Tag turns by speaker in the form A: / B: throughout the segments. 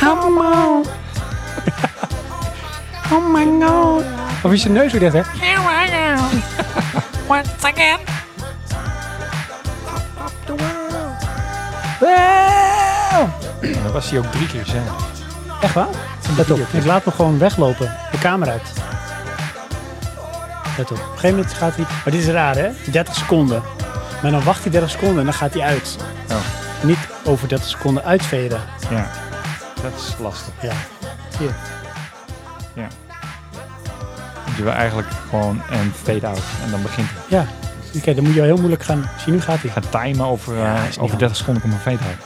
A: Allemaal. Oh my god. Of is je neus weer dicht, hè?
B: Here I am. Once again.
C: Dan was hij ook drie keer zijn.
A: Echt waar? Let op, ik laat me gewoon weglopen. De kamer uit. Let op, op een gegeven moment gaat hij... Maar dit is raar, hè? 30 seconden. Maar dan wacht hij 30 seconden en dan gaat hij uit.
C: Oh.
A: Niet over 30 seconden uitveden.
C: Ja. Dat is lastig.
A: Ja.
C: Want Je wil eigenlijk gewoon een fade-out. En dan begint hij.
A: Ja. Oké, dan moet je wel heel moeilijk gaan... Zie, nu gaat hij.
C: Gaat timen over, eh,
A: Ja, is niet
C: over
A: handig.
C: 30 seconden komt een fade-out.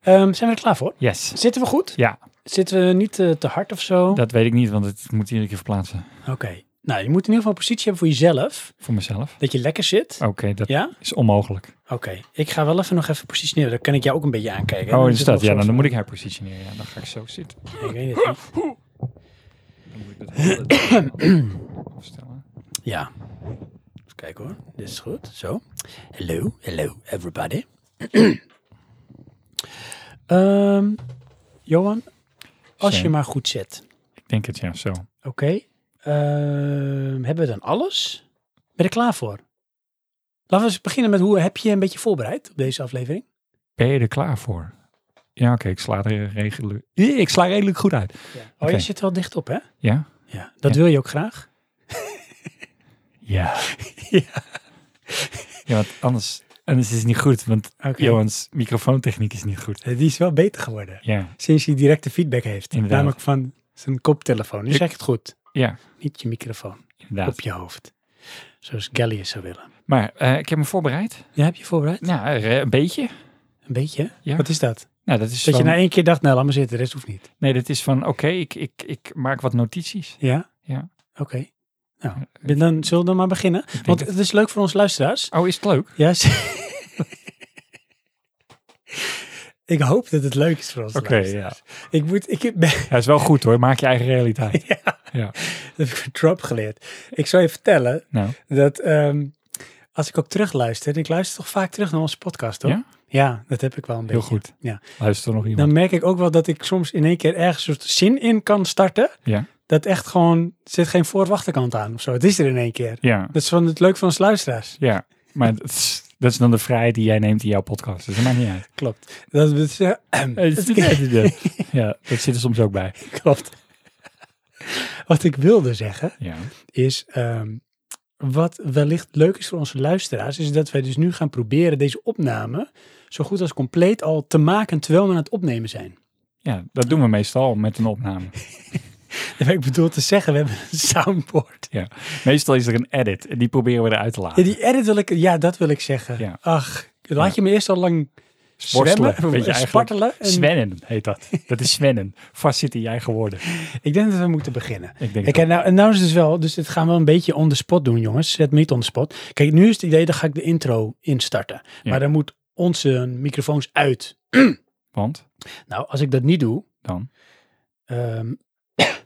A: Ehm, zijn we er klaar voor?
C: Yes.
A: Zitten we goed?
C: Ja,
A: Zitten we niet eh, te hard of zo?
C: dat weet ik niet, want het moet iedere keer verplaatsen.
A: Oké. Nou, je moet in ieder geval een positie hebben voor jezelf.
C: Voor mezelf.
A: Dat je lekker zit.
C: Oké, dat
A: Ja?
C: is onmogelijk.
A: Oké. Ik ga wel even nog even positioneren. Dan kan ik jou ook een beetje aankijken.
C: Oh,
A: Dan
C: is
A: zit
C: dat?
A: nog
C: Ja,
A: zo-
C: dan, dan moet ik haar positioneren. Ja, dan ga ik zo zitten.
A: Ik weet het niet.
C: Dan moet ik dat hele ding afstellen.
A: Ja. Even kijken hoor. Dit is goed. Zo. Hello, hello everybody. Ehm, Johan, als
C: Zo.
A: je maar goed zit.
C: Ik denk het, ja, zo.
A: Oké. Ehm, hebben we dan alles? Ben je er klaar voor? Laten we eens beginnen met hoe heb je je een beetje voorbereid op deze aflevering?
C: Ben je er klaar voor? Ja, oké, ik sla er redelijk... Eh, Ik sla redelijk goed uit.
A: Oh,
C: Oké.
A: je zit wel dicht op hè?
C: Ja?
A: Ja. Dat
C: Ja.
A: wil je ook graag?
C: Ja. ja. want anders, anders is het niet goed, want
A: Oké. Eh,
C: Johans microfoontechniek is niet goed.
A: Die is wel beter geworden.
C: Ja,
A: Sinds hij directe feedback heeft.
C: Inderdaad.
A: Namelijk van zijn koptelefoon. Nu
C: Ik-
A: zeg ik het goed.
C: ja,
A: Niet je microfoon.
C: inderdaad.
A: Op je hoofd. Zoals Gallius zou willen.
C: Maar eh, ik heb me voorbereid.
A: Ja, heb je voorbereid?
C: Nou, eh, een beetje.
A: Een beetje? hè?
C: Ja.
A: Wat is dat?
C: Nou, dat is
A: Dat je
C: van,
A: na één keer dacht, nou laat maar zitten, de rest hoeft niet.
C: Nee, dat is van, oké, ik, ik, ik maak wat notities.
A: Ja?
C: Ja.
A: Oké. Nou, dan zullen we dan maar beginnen. Want
C: het.
A: het is leuk voor onze luisteraars.
C: Oh, is het leuk?
A: Ja. ze- ik hoop dat het leuk is voor ons.
C: Oké, ja.
A: Ik moet, ik ben,
C: Ja, is wel goed hoor. Maak je eigen realiteit.
A: dat heb ik van Trump geleerd. Ik zal je vertellen,
C: Nou,
A: dat ehm, als ik ook terugluister, ik luister toch vaak terug naar onze podcast, toch?
C: Ja?
A: Ja, dat heb ik wel een beetje.
C: heel goed.
A: Ja.
C: Luister er nog iemand.
A: Dan merk ik ook wel dat ik soms in één keer ergens een soort zin in kan starten.
C: Ja.
A: Dat echt gewoon, er zit geen voor- of achterkant aan of zo. Het is er in één keer.
C: Ja,
A: Dat is van het leuk van ons luisteraars.
C: ja. Maar dat is, dat is dan de vrijheid die jij neemt in jouw podcast. Dus dat maakt niet uit.
A: Klopt. Dat is, eh,
C: Ehm, Ja, dat zit er soms ook bij.
A: klopt. Wat ik wilde zeggen
C: Ja.
A: is, ehm, wat wellicht leuk is voor onze luisteraars, is dat wij dus nu gaan proberen deze opname zo goed als compleet al te maken terwijl we aan het opnemen zijn.
C: ja, dat doen we meestal met een opname.
A: Ja, maar ik bedoel te zeggen, we hebben een soundboard.
C: Ja. Meestal is er een edit en die proberen we eruit te laten.
A: Ja, die edit wil ik, ja, dat wil ik zeggen.
C: Ja.
A: Ach, laat je me eerst al lang
C: Worstelen,
A: zwemmen,
C: weet je
A: en
C: eigenlijk.
A: spartelen. en-
C: Zwennen heet dat. Dat is zwennen. Vast zit in je eigen woorden.
A: ik denk dat we moeten beginnen.
C: Ik denk
A: Kijk, en nou, en nou is het dus wel, dus dit gaan we een beetje on the spot doen, jongens. Zet me niet on the spot. Kijk, nu is het idee, dan ga ik de intro instarten.
C: Ja.
A: Maar dan moet onze microfoons uit.
C: Want
A: Nou, als ik dat niet doe,
C: dan.
A: ehm,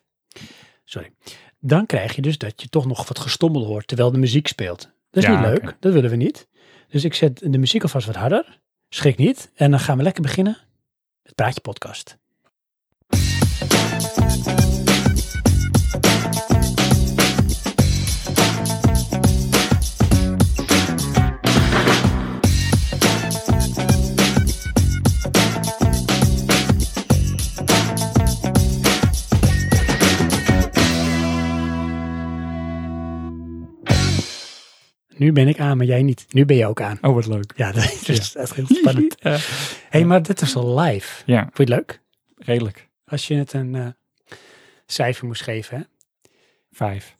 A: sorry, dan krijg je dus dat je toch nog wat gestommel hoort terwijl de muziek speelt. Dat is
C: Ja,
A: niet leuk,
C: oké.
A: dat willen we niet. Dus ik zet de muziek alvast wat harder, schrik niet. En dan gaan we lekker beginnen met Praatje Podcast. Nu ben ik aan, maar jij niet. Nu ben je ook aan.
C: Oh, wat leuk.
A: Ja, dat is, dat is heel spannend.
C: Eh,
A: Hé, hey, maar dit is al live.
C: ja,
A: Vond je het leuk?
C: redelijk.
A: Als je het een eh, cijfer moest geven, hè?
C: Vijf.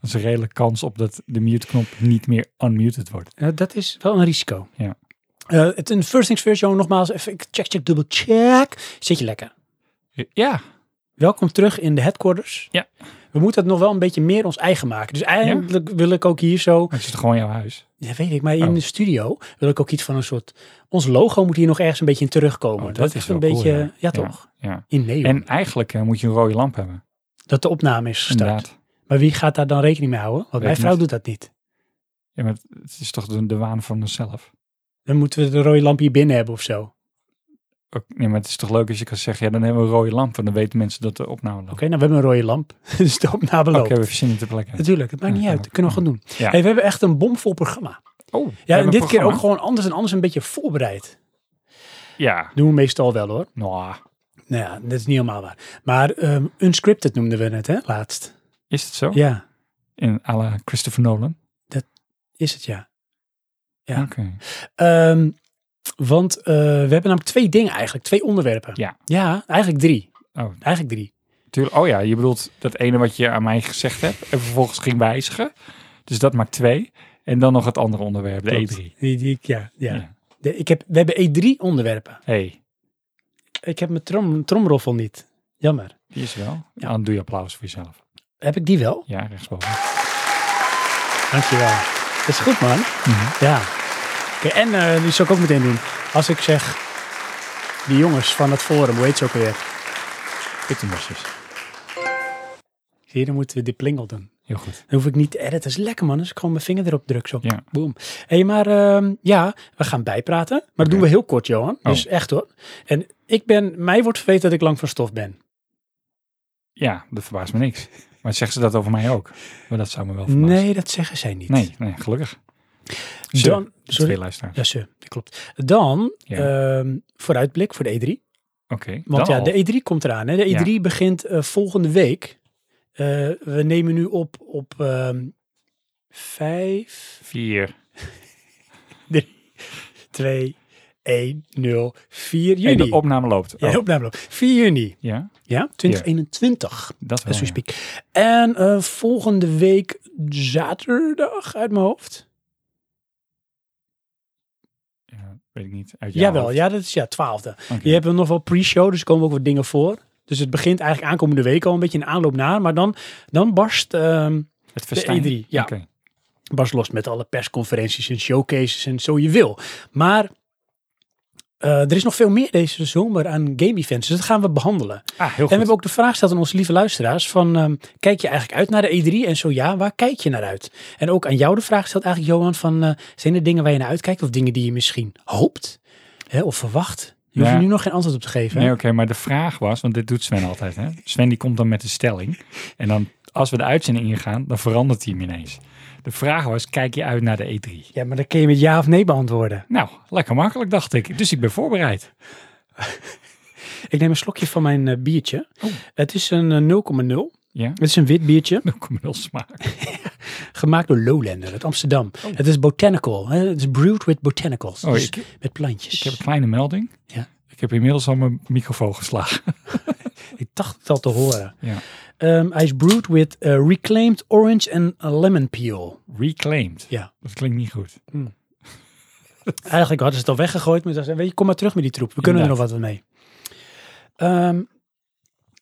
C: Dat is een redelijke kans op dat de mute-knop niet meer unmuted wordt.
A: Eh, dat is wel een risico.
C: Ja.
A: Eh, het een first things first, jongen, nogmaals, even ik check, check, dubbel check. Zit je lekker?
C: Ja,
A: Welkom terug in de headquarters.
C: Ja.
A: We moeten het nog wel een beetje meer ons eigen maken. Dus eigenlijk wil ik ook hier zo,
C: maar het is toch gewoon jouw huis?
A: ja, weet ik, maar in
C: Oh.
A: de studio wil ik ook iets van een soort, ons logo moet hier nog ergens een beetje in terugkomen.
C: Oh, dat is
A: echt een
C: wel cool,
A: beetje,
C: ja.
A: ja,
C: Ja.
A: toch?
C: Ja.
A: In Neo.
C: En eigenlijk eh, moet je een rode lamp hebben.
A: dat de opname is gestart.
C: Inderdaad.
A: Maar wie gaat daar dan rekening mee houden? Want
C: Weet
A: mijn
C: ik
A: vrouw
C: niet.
A: doet dat niet.
C: Ja, maar het- het is toch de, de waan van onszelf.
A: Dan moeten we de rode lamp hier binnen hebben of zo. Oké,
C: Ook, nee, maar het is toch leuk als je kan zeggen, ja, dan hebben we een rode lamp. En dan weten mensen dat de opname loopt.
A: nou we hebben een rode lamp. dus de opname
C: Oké,
A: loopt.
C: we verzinnen ter plekke.
A: Natuurlijk, het maakt
C: Ja,
A: niet
C: kan
A: uit.
C: ook.
A: Dat kunnen we gewoon doen.
C: Ja.
A: Hey, we hebben echt een bomvol programma. Ja,
C: Oh, we
A: en
C: hebben
A: dit
C: een
A: keer ook
C: programma.
A: gewoon anders en anders een beetje voorbereid.
C: Ja,
A: Doen we meestal wel hoor.
C: nou,
A: Nou ja, dat is niet helemaal waar. Maar ehm, unscripted noemden we het, hè, laatst.
C: is het zo?
A: Ja,
C: In à la Christopher Nolan?
A: is het ja. Ja.
C: Oké.
A: Ehm, want eh, we hebben namelijk twee dingen eigenlijk, twee onderwerpen.
C: Ja.
A: Ja, eigenlijk drie.
C: Oh.
A: Eigenlijk drie.
C: Tuurlijk. Oh ja, je bedoelt dat ene wat je aan mij gezegd hebt. En vervolgens ging wijzigen. Dus dat maakt twee. En dan nog het andere onderwerp, de
A: Klopt.
C: E3.
A: Die, die ik- ja, ja.
C: Ja.
A: De- ik heb, we hebben E3 onderwerpen.
C: hey,
A: Ik heb mijn trom, tromroffel niet. Jammer.
C: die is wel.
A: Ja.
C: Dan doe je applaus voor jezelf.
A: Heb ik die wel?
C: Ja, rechtsboven.
A: Dankjewel. Dat is goed, man.
C: Mhm.
A: Ja. Oké, en eh, die zal ik ook meteen doen. Als ik zeg, die jongens van het forum, hoe heet ze ook weer?
C: Pittenbosjes.
A: Zie je, dan moeten we die plingel doen.
C: Heel goed.
A: Dan hoef ik niet te editen. Dat is lekker, man. Als ik gewoon mijn vinger erop druk, zo.
C: Ja.
A: Boom. Hé, maar ehm, ja, we gaan bijpraten. Maar dat doen we heel kort, Johan.
C: Oh.
A: Dus echt hoor. En ik ben, mij wordt verweten dat ik lang van stof ben.
C: Ja, dat verbaast me niks. Maar zeggen ze dat over mij ook? Maar dat zou me wel verbazen.
A: Nee, dat zeggen zij niet.
C: Nee, nee, gelukkig. Ze,
A: Dan,
C: de
A: sorry.
C: twee luisteraars.
A: Ja, ze, dat klopt. Dan,
C: Ja.
A: ehm, vooruitblik voor de E3.
C: Oké.
A: Want
C: dan
A: ja,
C: al.
A: de E3 komt eraan. Hè? De
C: Ja.
A: E3 begint eh, volgende week. Eh, we nemen nu op op ehm 5,
C: Vier.
A: 2, 1, 0, 4
C: En
A: juni.
C: de opname loopt.
A: Ja,
C: Oh,
A: de opname loopt. 4 juni,
C: ja,
A: ja, 2021.
C: dat wel.
A: As we
C: ja.
A: speak. En eh, volgende week zaterdag uit mijn hoofd.
C: Ja, weet ik niet. Uit jouw
A: Jawel,
C: hoofd.
A: ja, dat is ja, 12e.
C: Oké.
A: Je hebt nog wel pre-show, dus er komen ook wat dingen voor. Dus het begint eigenlijk aankomende week al een beetje een aanloop naar. Maar dan, dan barst ehm,
C: Het festijn.
A: E3, ja.
C: Oké.
A: barst los met alle persconferenties en showcases en zo je wil. Maar eh, er is nog veel meer deze zomer aan game-events, dus dat gaan we behandelen.
C: Ah, heel
A: En we
C: goed.
A: hebben ook de vraag gesteld aan onze lieve luisteraars van, ehm, kijk je eigenlijk uit naar de E3? En zo ja, waar kijk je naar uit? En ook aan jou de vraag gesteld eigenlijk, Johan, van, eh, zijn er dingen waar je naar uitkijkt of dingen die je misschien hoopt hè, of verwacht? Je hoeft
C: Ja.
A: er nu nog geen antwoord op te geven. hè?
C: Nee, oké, maar de vraag was, want dit doet Sven altijd, hè? Sven die komt dan met een stelling. En dan, als we de uitzending ingaan, dan verandert hij hem ineens. De vraag was, kijk je uit naar de E3?
A: Ja, maar dan kun je met ja of nee beantwoorden.
C: Nou, lekker makkelijk, dacht ik. Dus ik ben voorbereid.
A: Ik neem een slokje van mijn eh, biertje.
C: Oh.
A: Het is een eh, 0,0.
C: Ja,
A: Het is een wit biertje.
C: dan kom je wel smaak.
A: Gemaakt door Lowlander uit Amsterdam. Het is botanical. hè. Het is brewed with botanicals.
C: Oh,
A: dus
C: ik-
A: met plantjes.
C: Ik
A: Ik,
C: heb een kleine melding.
A: Ja.
C: Ik heb inmiddels al mijn microfoon geslagen.
A: dacht het al te horen.
C: Ja.
A: Ehm, hij is brewed with eh, reclaimed orange en lemon peel.
C: Reclaimed.
A: Ja.
C: Dat klinkt niet goed.
A: Eigenlijk hadden ze het al weggegooid. Maar ze zeiden, weet je, kom maar terug met die troep. We kunnen er nog wat mee. Ehm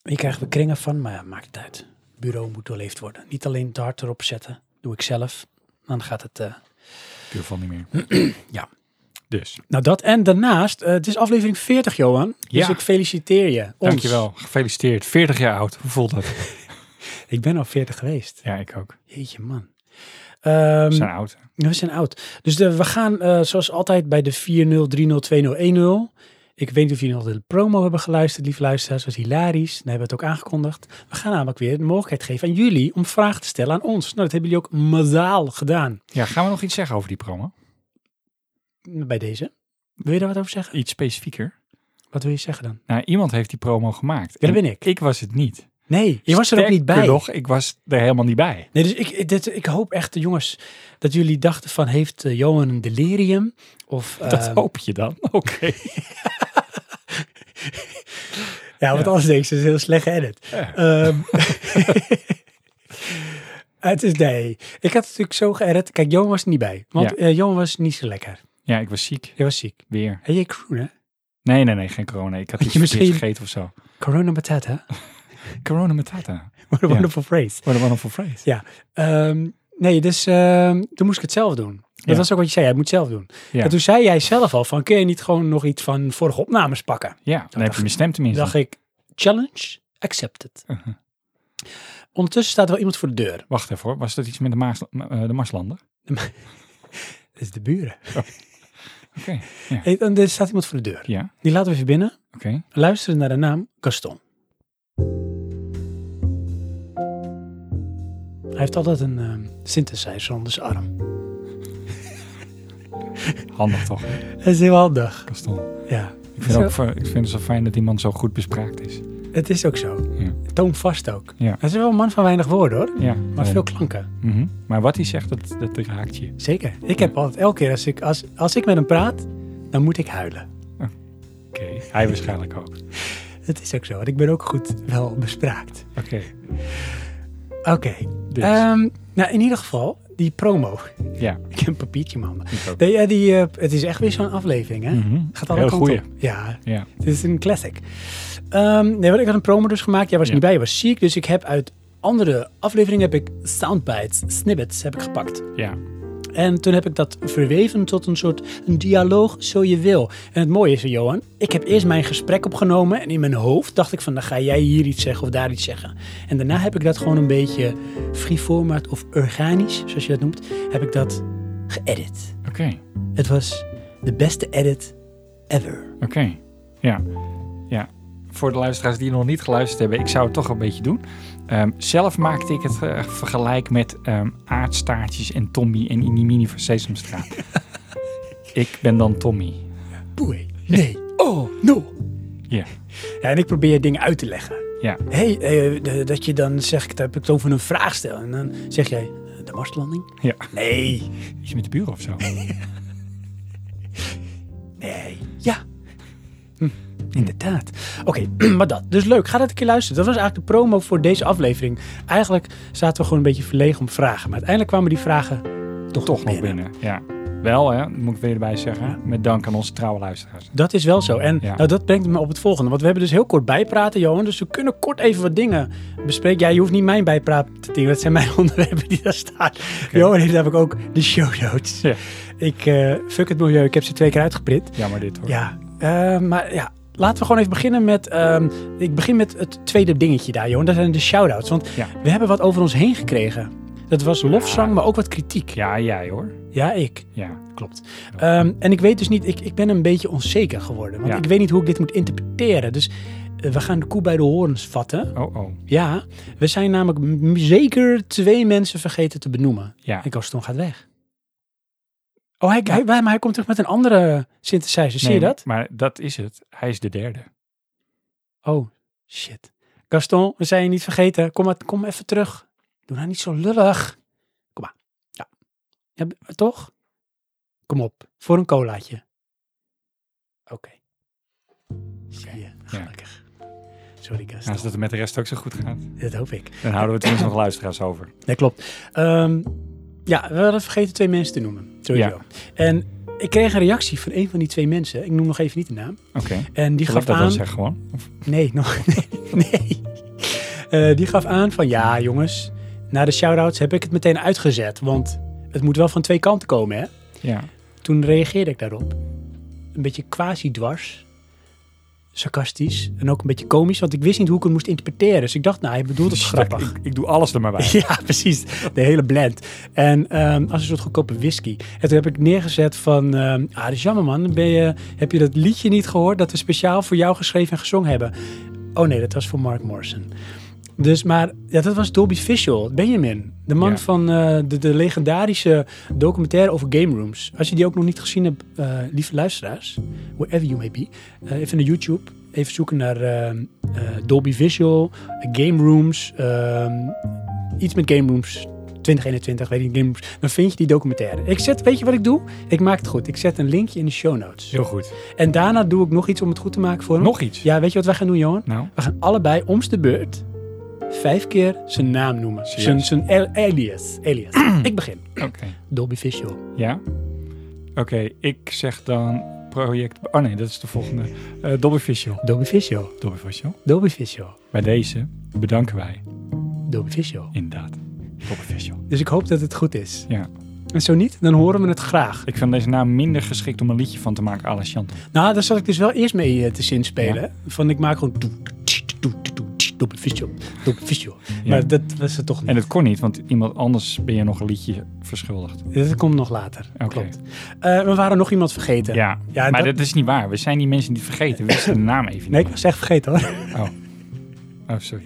A: hier krijgen we kringen van, maar ja, maakt het uit. Het bureau moet doorleefd worden. Niet alleen te hard erop zetten. Doe ik zelf. Dan gaat het... eh,
C: Puur van niet meer.
A: Ja.
C: Dus,
A: Nou, dat en daarnaast, eh, het is aflevering 40, Johan. Dus
C: Ja.
A: ik feliciteer je. Ons.
C: dankjewel. Gefeliciteerd. 40 jaar oud. Hoe voelt dat?
A: Ik ben al 40 geweest.
C: Ja, ik ook.
A: Jeetje, man. Ehm,
C: We zijn oud.
A: we zijn oud. Dus de, we gaan eh, zoals altijd bij de 4-0, 3-0, 2-0, 1-0. Ik weet niet of jullie nog de promo hebben geluisterd, lieve luisteraars. Dat was hilarisch. Dan hebben we het ook aangekondigd. We gaan namelijk weer de mogelijkheid geven aan jullie om vragen te stellen aan ons. Nou, dat hebben jullie ook massaal gedaan
C: Ja, gaan we nog iets zeggen over die promo?
A: bij deze. Wil je daar wat over zeggen?
C: Iets specifieker?
A: Wat wil je zeggen dan?
C: Nou, iemand heeft die promo gemaakt.
A: Ja,
C: En
A: dat ben ik.
C: Ik was het niet.
A: Nee, je was er ook niet bij.
C: Sterker nog, ik was er helemaal niet bij.
A: Nee, dus ik, dit, ik hoop echt, jongens, dat jullie dachten van, heeft eh, Johan een delirium? Of,
C: Dat
A: eh,
C: hoop je dan. Oké.
A: Ja, want
C: ja.
A: anders denk ik, ze is een heel slecht edit.
C: Ja.
A: Ehm, het is, nee. Ik had het natuurlijk zo geëdit. Kijk, Johan was er niet bij. Want
C: Ja.
A: eh, Johan was niet zo lekker.
C: Ja, ik was ziek.
A: Hij was ziek.
C: Weer.
A: En jij crew, hè?
C: Nee, nee, nee, geen corona. Ik had
A: Had
C: iets
A: je
C: verkeerds
A: misschien-
C: gegeten of zo.
A: Corona batata.
C: Corona matata.
A: What a
C: Ja.
A: wonderful phrase.
C: What a wonderful phrase.
A: Ehm, nee, dus ehm, toen moest ik het zelf doen. Dat
C: Ja.
A: was ook wat je zei, hij moet zelf doen.
C: Ja.
A: En toen zei jij zelf al van, kun je niet gewoon nog iets van vorige opnames pakken?
C: Ja, dan heb
A: dacht-
C: je mijn stem tenminste.
A: dacht ik, challenge accepted.
C: Uh-huh.
A: Ondertussen staat er wel iemand voor de deur.
C: Wacht even hoor. Was dat iets met de, Maas, eh, de Marslander?
A: Dat is de buren.
C: Oké,
A: Hey, en er staat iemand voor de deur.
C: ja,
A: Die laten we even binnen.
C: oké.
A: Luisteren naar de naam Gaston. Hij heeft altijd een ehm, synthesizer onder zijn arm.
C: Handig toch,
A: Dat is heel handig.
C: Gaston.
A: Ja,
C: Ik vind, ook, ik vind het zo fijn dat iemand zo goed bespraakt is.
A: het is ook zo.
C: Ja.
A: Toonvast ook.
C: Ja.
A: Hij is wel een man van weinig woorden hoor.
C: Ja,
A: Maar
C: daarom.
A: veel klanken.
C: Mhm. Maar wat hij zegt, dat, dat raakt je.
A: Zeker. Ik heb altijd, elke keer als ik, als, als ik met hem praat, dan moet ik huilen.
C: Oké, hij waarschijnlijk ook. Oké.
A: Het is ook zo. Want ik ben ook goed wel bespraakt. Oké.
C: Dus,
A: ehm, nou, in ieder geval, die promo.
C: ja.
A: Ik heb een papiertje, man.
C: Ik ook.
A: Nee, ja, die, eh, het is echt weer zo'n aflevering, hè?
C: Mhm.
A: Gaat alle
C: Heel
A: kanten
C: goeie.
A: op. Ja,
C: Ja.
A: dit is een classic. Ehm, nee, want ik had een promo dus gemaakt. Jij was
C: Ja.
A: niet bij, je was ziek. Dus ik heb uit andere afleveringen heb ik soundbites, snippets heb ik gepakt.
C: ja,
A: En toen heb ik dat verweven tot een soort een dialoog, zo je wil. En het mooie is, Johan, ik heb eerst mijn gesprek opgenomen. En in mijn hoofd dacht ik van, dan ga jij hier iets zeggen of daar iets zeggen. En daarna heb ik dat gewoon een beetje free format of organisch, zoals je dat noemt, heb ik dat geëdit.
C: oké.
A: Het was de beste edit ever.
C: Oké, ja. ja. Voor de luisteraars die nog niet geluisterd hebben, ik zou het toch een beetje doen. Ehm, zelf maakte ik het eh, vergelijk met ehm aardstaartjes en Tommy en Inimini van Sesamstraat. ik ben dan Tommy.
A: Poei. Nee. Oh, no.
C: Ja,
A: Ja, en ik probeer dingen uit te leggen.
C: ja,
A: Hé, hey, eh, dat je dan zeg ik, dan heb ik het over een vraag stellen. En dan zeg jij, eh, de Marslanding?
C: ja.
A: Nee.
C: Is je met de buren of zo?
A: Nee. Ja. Hm, Inderdaad. Oké, maar dat. Dus leuk. Ga dat een keer luisteren. Dat was eigenlijk de promo voor deze aflevering. Eigenlijk zaten we gewoon een beetje verlegen om vragen. Maar uiteindelijk kwamen die vragen toch,
C: Toch nog binnen, ja. Wel, hè, moet ik weer erbij zeggen. Met dank aan onze trouwe luisteraars.
A: Dat is wel zo. En
C: Ja.
A: nou, dat brengt me op het volgende. Want we hebben dus heel kort bijpraten, Johan. Dus we kunnen kort even wat dingen bespreken. Ja, je hoeft niet mijn bijpraten te dingen. Dat zijn mijn onderwerpen die daar staan. Johan heeft namelijk ook de show notes.
C: Ja.
A: Ik eh, fuck het milieu. Ik heb ze twee keer uitgeprint.
C: Jammer dit hoor.
A: Ja, eh, maar ja. Laten we gewoon even beginnen met... ehm, ik begin met het tweede dingetje daar, Johan. Dat zijn de shout-outs. Want
C: Ja.
A: we hebben wat over ons heen gekregen. Dat was lofzang, maar ook wat kritiek.
C: Ja, jij hoor.
A: ja ik.
C: Ja.
A: Klopt. Ehm, en ik weet dus niet, ik, ik ben een beetje onzeker geworden. Want
C: Ja.
A: ik weet niet hoe ik dit moet interpreteren. Dus eh, we gaan de koe bij de horens vatten.
C: Oh, oh.
A: Ja, we zijn namelijk m- zeker twee mensen vergeten te benoemen.
C: Ja.
A: En Gaston gaat weg. Oh, hij, hij, maar hij komt terug met een andere synthesizer. Zie je
C: Nee,
A: dat?
C: Maar dat is het. Hij is de derde.
A: Oh, shit. Gaston, we zijn je niet vergeten. Kom, maar, kom even terug. Doe nou niet zo lullig. Kom maar. Ja. Ja, b- toch? Kom op, voor een colaatje. Oké. Zie je, gelukkig. Sorry,
C: Ja,
A: Gaston.
C: als dat het met de rest ook zo goed gaat,
A: Dat hoop ik.
C: dan houden we tenminste nog luisteraars over.
A: Nee, klopt. Ehm, ja, we hadden vergeten twee mensen te noemen. Sowieso.
C: Ja.
A: En ik kreeg een reactie van een van die twee mensen. Ik noem nog even niet de naam.
C: Oké.
A: En die
C: Zal ik
A: gaf
C: dat
A: aan...
C: dan zeggen gewoon? Of-
A: Nee, nog nee. nee. Eh, die gaf aan van ja, jongens, na de shout-outs heb ik het meteen uitgezet. Want het moet wel van twee kanten komen, hè?
C: ja.
A: Toen reageerde ik daarop. Een beetje quasi-dwars. Sarcastisch. En ook een beetje komisch, want ik wist niet hoe ik het moest interpreteren. Dus ik dacht, nou, hij bedoelt het grappig.
C: Ik, ik doe alles er maar bij.
A: Ja, precies. De hele blend. En ehm, als een soort goedkope whisky. En toen heb ik neergezet van... ehm, ah, dat is jammer man. Dan Ben je, heb je dat liedje niet gehoord dat we speciaal voor jou geschreven en gezongen hebben? Oh nee, dat was voor Mark Morrison. Dus, maar ja, dat was Dolby Visual. Benjamin, de man
C: Ja.
A: van eh, de, de legendarische documentaire over game rooms. Als je die ook nog niet gezien hebt, eh, lieve luisteraars, wherever you may be, eh, even naar YouTube. Even zoeken naar ehm, eh, Dolby Visual, eh, game rooms, ehm, iets met Game Rooms 2021, weet ik niet, Game Rooms, dan vind je die documentaire. Ik zet, weet je wat ik doe? Ik maak het goed. Ik zet een linkje in de show notes.
C: Heel goed.
A: En daarna doe ik nog iets om het goed te maken voor hem.
C: Nog iets?
A: Ja, weet je wat wij gaan doen, Johan?
C: Nou,
A: We gaan allebei om's de beurt vijf keer zijn naam noemen.
C: Serieus?
A: Zijn, zijn al- alias. alias. ik begin.
C: oké.
A: Dolby Visual.
C: Ja? Oké, ik zeg dan project... Oh nee, dat is de volgende. Eh Dobby Visual.
A: Dolby Visual.
C: Dobby Visual.
A: Dolby Visual.
C: Bij deze bedanken wij.
A: Dolby Visual.
C: Inderdaad. Dobby Visual.
A: Dus ik hoop dat het goed is.
C: Ja.
A: En zo niet, dan horen we het graag.
C: Ik vind deze naam minder geschikt om een liedje van te maken à la Chantal.
A: Nou, daar zat ik dus wel eerst mee eh, te zinspelen.
C: Ja.
A: Van ik maak gewoon... toe, tsch, toe, toe, tsch, dubbel visio, dubbel visio.
C: Ja.
A: Maar dat was het toch niet.
C: En dat kon niet, want iemand anders ben je nog een liedje verschuldigd.
A: Dat komt nog later.
C: Oké.
A: Klopt. Eh, we waren nog iemand vergeten.
C: Ja,
A: Ja,
C: maar
A: dat-
C: dat... is niet waar. We zijn die mensen niet vergeten. We wisten de naam
A: Nee,
C: even niet.
A: ik was echt vergeten hoor.
C: Oh. oh, sorry.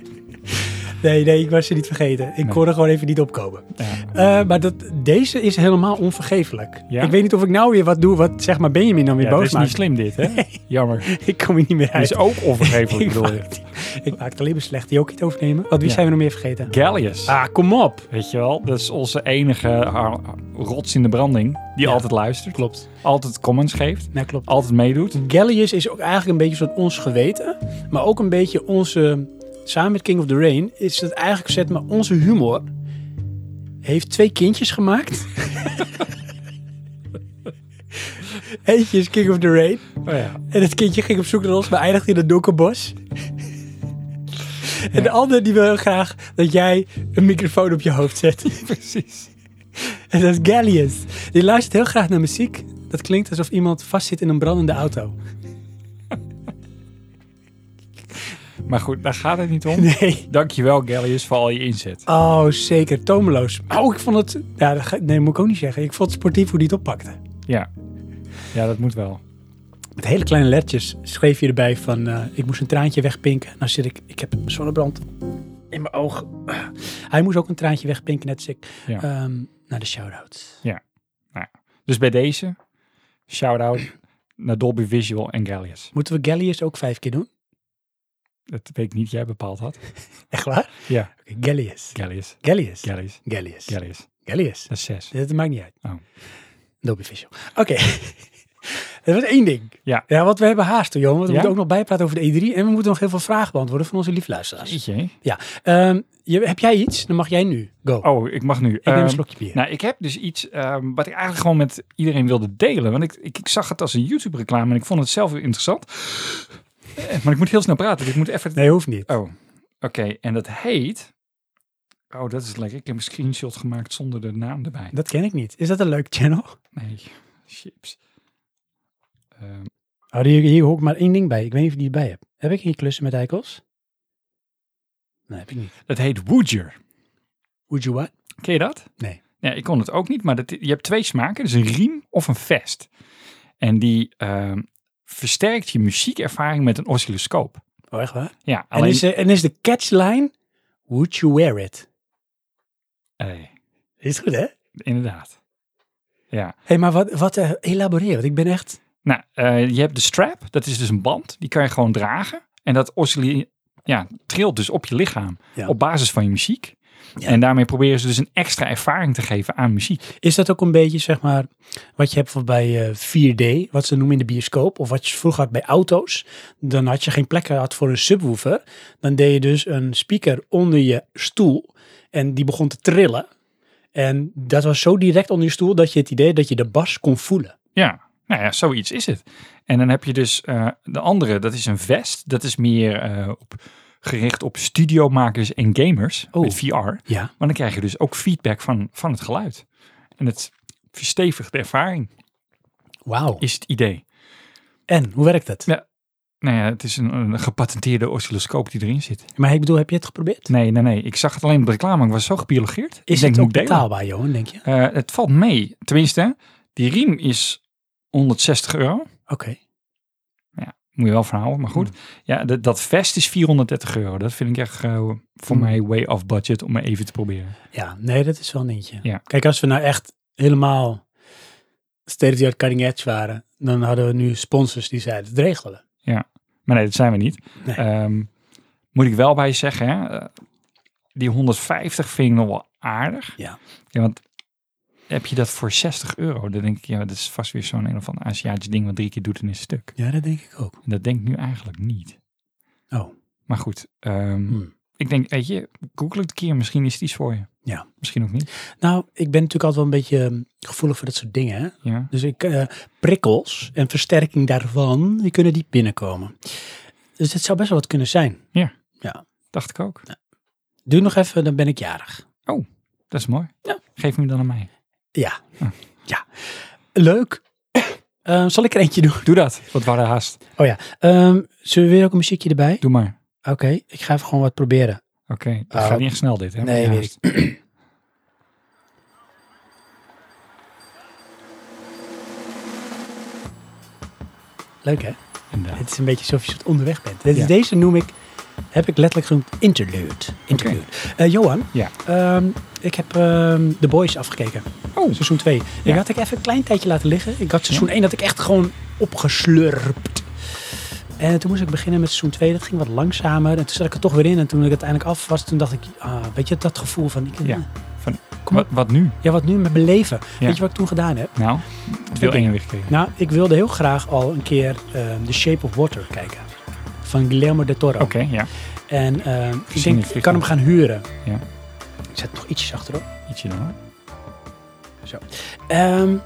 A: Nee, nee, ik was ze niet vergeten. Ik
C: Nee.
A: kon er gewoon even niet opkomen.
C: Ja.
A: Eh, maar dat, deze is helemaal onvergeeflijk.
C: Ja?
A: Ik weet niet of ik nou weer wat doe wat zeg maar Benjamin dan weer
C: Ja, dat
A: boos
C: is niet
A: maakt.
C: slim dit, hè? Jammer.
A: Ik kom hier niet meer
C: Dat
A: uit.
C: is ook onvergeeflijk,
A: ik,
C: bedoel je.
A: maak, ik maak het alleen maar slecht. Die ook niet overnemen. Wat wie
C: Ja.
A: zijn we nog meer vergeten?
C: Gallius.
A: Ah, kom op.
C: Weet je wel, dat is onze enige ah, rots in de branding die
A: Ja.
C: altijd luistert.
A: Klopt.
C: Altijd comments geeft.
A: Nou, klopt.
C: Altijd meedoet.
A: Gallius is ook eigenlijk een beetje zo'n ons geweten. Maar ook een beetje onze... Samen met King of the Rain is het eigenlijk gezet. Maar onze humor heeft twee kindjes gemaakt. Eentje is King of the Rain.
C: Oh ja.
A: En het kindje ging op zoek naar ons, maar eindigde in het donkerbos. En de ander die wil graag dat jij een microfoon op je hoofd zet.
C: Precies.
A: En dat is Gallius. Die luistert heel graag naar muziek. Dat klinkt alsof iemand vastzit in een brandende auto.
C: Maar goed, daar gaat het niet om.
A: Nee.
C: Dankjewel, Gallius, voor al je inzet.
A: Oh, zeker. Tomeloos. Oh, ik vond het... Ja, dat ga- nee, moet ik ook niet zeggen. Ik vond het sportief hoe die het oppakte.
C: Ja. Ja, dat moet wel.
A: Met hele kleine lettertjes schreef je erbij van... eh, ik moest een traantje wegpinken. Nou zit ik... Ik heb zonnebrand in mijn oog. Hij moest ook een traantje wegpinken, net als ik.
C: Ja.
A: Ehm, naar de shout-out.
C: Dus bij deze, shout-out naar Dolby Visual en Gallius.
A: Moeten we Gallius ook vijf keer doen?
C: Dat weet ik niet, jij bepaald had.
A: Echt waar?
C: Ja.
A: Oké, Gallius.
C: Gallius.
A: Gallius.
C: Gallius.
A: Gallius.
C: Gallius.
A: Gallius.
C: Dat is zes.
A: Dat maakt niet uit.
C: Oh.
A: Dolby Vision. Oké. dat was één ding.
C: Ja.
A: Ja, want we hebben haast, hoor, jongen. Want we
C: Ja?
A: moeten ook nog bijpraten over de E3. En we moeten nog heel veel vragen beantwoorden van onze liefluisteraars.
C: Jeetje. hè?
A: Ja. Ehm, je, heb jij iets? Dan mag jij nu. Go.
C: Oh, ik mag nu.
A: ik neem een
C: Ehm,
A: slokje bier.
C: Nou, ik heb dus iets ehm, wat ik eigenlijk gewoon met iedereen wilde delen. Want ik, ik, ik zag het als een YouTube-reclame en ik vond het zelf weer interessant. Eh, Maar ik moet heel snel praten, dus ik moet even...
A: nee, hoeft niet.
C: Oh, oké. En dat heet... Oh, dat is lekker. Ik heb een screenshot gemaakt zonder de naam erbij.
A: Dat ken ik niet. Is dat een leuk channel?
C: Nee, chips. Ehm,
A: Oh, hier, hier hoor ik maar één ding bij. Ik weet niet of je die erbij hebt. Heb ik hier klussen met eikels? Nee, heb ik niet.
C: dat heet Woodger.
A: Would you what?
C: Ken je dat?
A: Nee.
C: Ja, ik kon het ook niet, maar dat, je hebt twee smaken. Dus een riem of een vest. En die ehm, versterkt je muziekervaring met een oscilloscoop.
A: Oh, echt waar?
C: Ja,
A: En, is, eh, en is de catchline, would you wear it?
C: Eh,
A: Is goed, hè?
C: inderdaad. Ja.
A: Hé, hey, maar wat, wat eh, elaboreer, want ik ben echt...
C: Nou, eh, je hebt de strap. Dat is dus een band. Die kan je gewoon dragen. En dat oscille- ja, trilt dus op je lichaam.
A: Ja.
C: Op basis van je muziek. En daarmee proberen ze dus een extra ervaring te geven aan muziek.
A: Is dat ook een beetje, zeg maar, wat je hebt voor bij eh, 4D, wat ze noemen in de bioscoop, of wat je vroeger had bij auto's, dan had je geen plek gehad voor een subwoofer. Dan deed je dus een speaker onder je stoel en die begon te trillen. En dat was zo direct onder je stoel dat je het idee had dat je de bas kon voelen.
C: Ja, nou ja, zoiets is het. En dan heb je dus eh, de andere. Dat is een vest. Dat is meer eh, op, gericht op studiomakers en gamers.
A: Oh.
C: Met VR.
A: Ja.
C: Maar dan krijg je dus ook feedback van, van het geluid. En het verstevigt de ervaring,
A: Wauw.
C: is het idee.
A: En, hoe werkt dat?
C: Ja. Nou ja, het is een, een gepatenteerde oscilloscoop die erin zit.
A: Maar ik bedoel, heb je het geprobeerd?
C: Nee, nee, nee. Ik zag het alleen op de reclame. Ik was zo gebiologeerd. ik
A: Is
C: denk,
A: het ook
C: moet ik delen.
A: betaalbaar, Johan, denk je? Oké.
C: Eh, het valt mee. Tenminste, die riem is 160 euro. Moet je wel van houden, maar goed. Ja, dat, dat vest is 430 euro. Dat vind ik echt eh, voor
A: Hmm.
C: mij way off budget om maar even te proberen.
A: Ja, nee, dat is wel een eentje.
C: Ja.
A: Kijk, als we nou echt helemaal state of the art cutting edge waren, dan hadden we nu sponsors die zeiden het regelen.
C: Maar nee, dat zijn we niet.
A: Nee.
C: Ehm, moet ik wel bij je zeggen, hè, eh, die 150 vind ik nog wel aardig.
A: Ja.
C: Ja, want heb je dat voor 60 euro? Dan denk ik, ja, dat is vast weer zo'n een of ander Aziatisch ding wat drie keer doet en is stuk.
A: Ja, dat denk ik ook.
C: En dat denk ik nu eigenlijk niet.
A: Oh,
C: Maar goed, ehm,
A: hmm.
C: ik denk, weet je, google het een keer. Misschien is het iets voor je.
A: Ja.
C: Misschien ook niet.
A: nou, ik ben natuurlijk altijd wel een beetje ehm, gevoelig voor dat soort dingen. Hè?
C: Ja.
A: Dus ik, eh, prikkels en versterking daarvan, die kunnen die binnenkomen. Dus het zou best wel wat kunnen zijn.
C: Dacht ik ook.
A: Doe nog even, dan ben ik jarig.
C: Dat is mooi.
A: Ja.
C: Geef hem dan aan mij.
A: Ja.
C: Ah.
A: Ja. Leuk. Eh, zal ik er eentje doen?
C: Doe dat. Wat waren haast.
A: Oh ja. Ehm, zullen we weer ook een muziekje erbij?
C: Doe maar.
A: Oké, ik ga even gewoon wat proberen.
C: Oké, dat
A: Oh.
C: gaat niet echt snel dit, hè?
A: Nee,
C: Ja,
A: weet
C: juist.
A: Leuk hè?
C: Inderdaad.
A: Het is een beetje alsof je soort onderweg bent. Dit is-
C: Ja.
A: Deze noem ik, heb ik letterlijk genoemd interlude. interlude. Eh, Johan,
C: Ja.
A: ehm, ik heb ehm, The Boys afgekeken.
C: Oh,
A: Seizoen 2. Ik
C: Ja.
A: had ik even een klein tijdje laten liggen. Ik had seizoen 1 dat ik echt gewoon opgeslurpt. En toen moest ik beginnen met seizoen 2. Dat ging wat langzamer. En toen zat ik er toch weer in. En toen ik uiteindelijk af was, toen dacht ik... ah, weet je, dat gevoel van... Ik,
C: Ja.
A: ja. Kom
C: wat, wat nu?
A: ja, wat nu met mijn leven?
C: Ja.
A: Weet je wat ik toen gedaan heb?
C: Nou, veel
A: dingen.
C: enger weer gekregen.
A: Nou, ik wilde heel graag al een keer ehm, The Shape of Water kijken. Van Guillermo del Toro.
C: Oké, ja.
A: En ehm, ik
C: Gezien
A: denk,
C: het
A: ik kan hem
C: vliegtuig.
A: gaan huren.
C: Ja.
A: Ik zet nog ietsjes achterop.
C: Ietsje dan. hoor.
A: Ehm,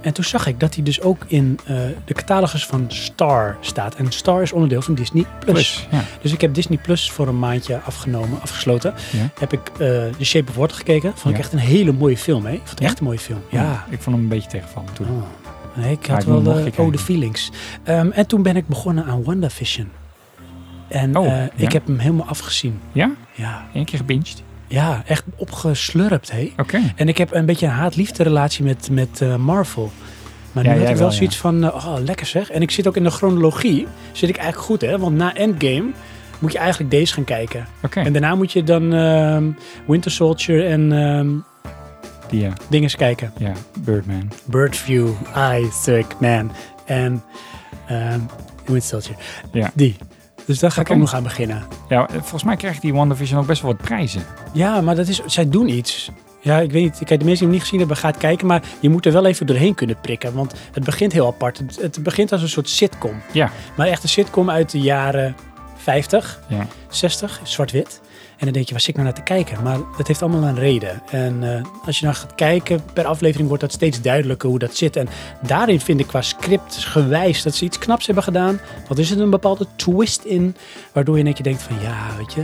A: en toen zag ik dat hij dus ook in eh, de catalogus van Star staat. En Star is onderdeel van Disney+. Plus.
C: Ja.
A: Dus ik heb Disney Plus voor een maandje afgenomen, afgesloten.
C: Ja.
A: Heb ik eh The Shape of Water gekeken. Vond ik
C: Ja.
A: echt een hele mooie film, hè? Ik vond het
C: Ja?
A: echt een mooie film. Ja.
C: Ik vond hem een beetje tegenvallen toen.
A: Oh. Nee, ik
C: Maar
A: had
C: ik moet
A: wel
C: nog
A: eh,
C: gekeken.
A: oude feelings. Ehm, en toen ben ik begonnen aan WandaVision. En
C: Oh,
A: eh,
C: ja.
A: ik heb hem helemaal afgezien.
C: Ja?
A: Ja,
C: Eén keer gebinged.
A: ja echt opgeslurpt, hé.
C: Oké.
A: En ik heb een beetje een haat-liefde relatie met, met eh, Marvel. Maar nu
C: Ja,
A: heb
C: jij
A: ik wel
C: wel,
A: zoiets van, eh, oh, lekker zeg. En ik zit ook in de chronologie, zit ik eigenlijk goed, hè. Want na Endgame moet je eigenlijk deze gaan kijken.
C: Oké.
A: En daarna moet je dan ehm, Winter Soldier en ehm
C: Die, ja.
A: dinges kijken.
C: ja, Birdman.
A: Birdview, Isaac, Man en ehm Winter Soldier.
C: Ja.
A: Die. Dus daar ga
C: Oké.
A: ik ook nog aan beginnen.
C: Ja, eh, volgens mij krijgt die WandaVision ook best wel wat prijzen.
A: Ja, maar dat is, zij doen iets. Ja, ik weet niet. Kijk, de mensen die hem niet gezien hebben, gaat kijken. Maar je moet er wel even doorheen kunnen prikken. Want het begint heel apart. Het, het begint als een soort sitcom.
C: Ja.
A: Maar echt een sitcom uit de jaren 50,
C: Ja.
A: 60, zwart-wit. En dan denk je, waar zit ik nou naar te kijken? Maar dat heeft allemaal een reden. En eh, als je nou gaat kijken, per aflevering wordt dat steeds duidelijker hoe dat zit. En daarin vind ik qua script gewijs dat ze iets knaps hebben gedaan. Wat is er een bepaalde twist in, waardoor je net je denkt van, ja, weet je...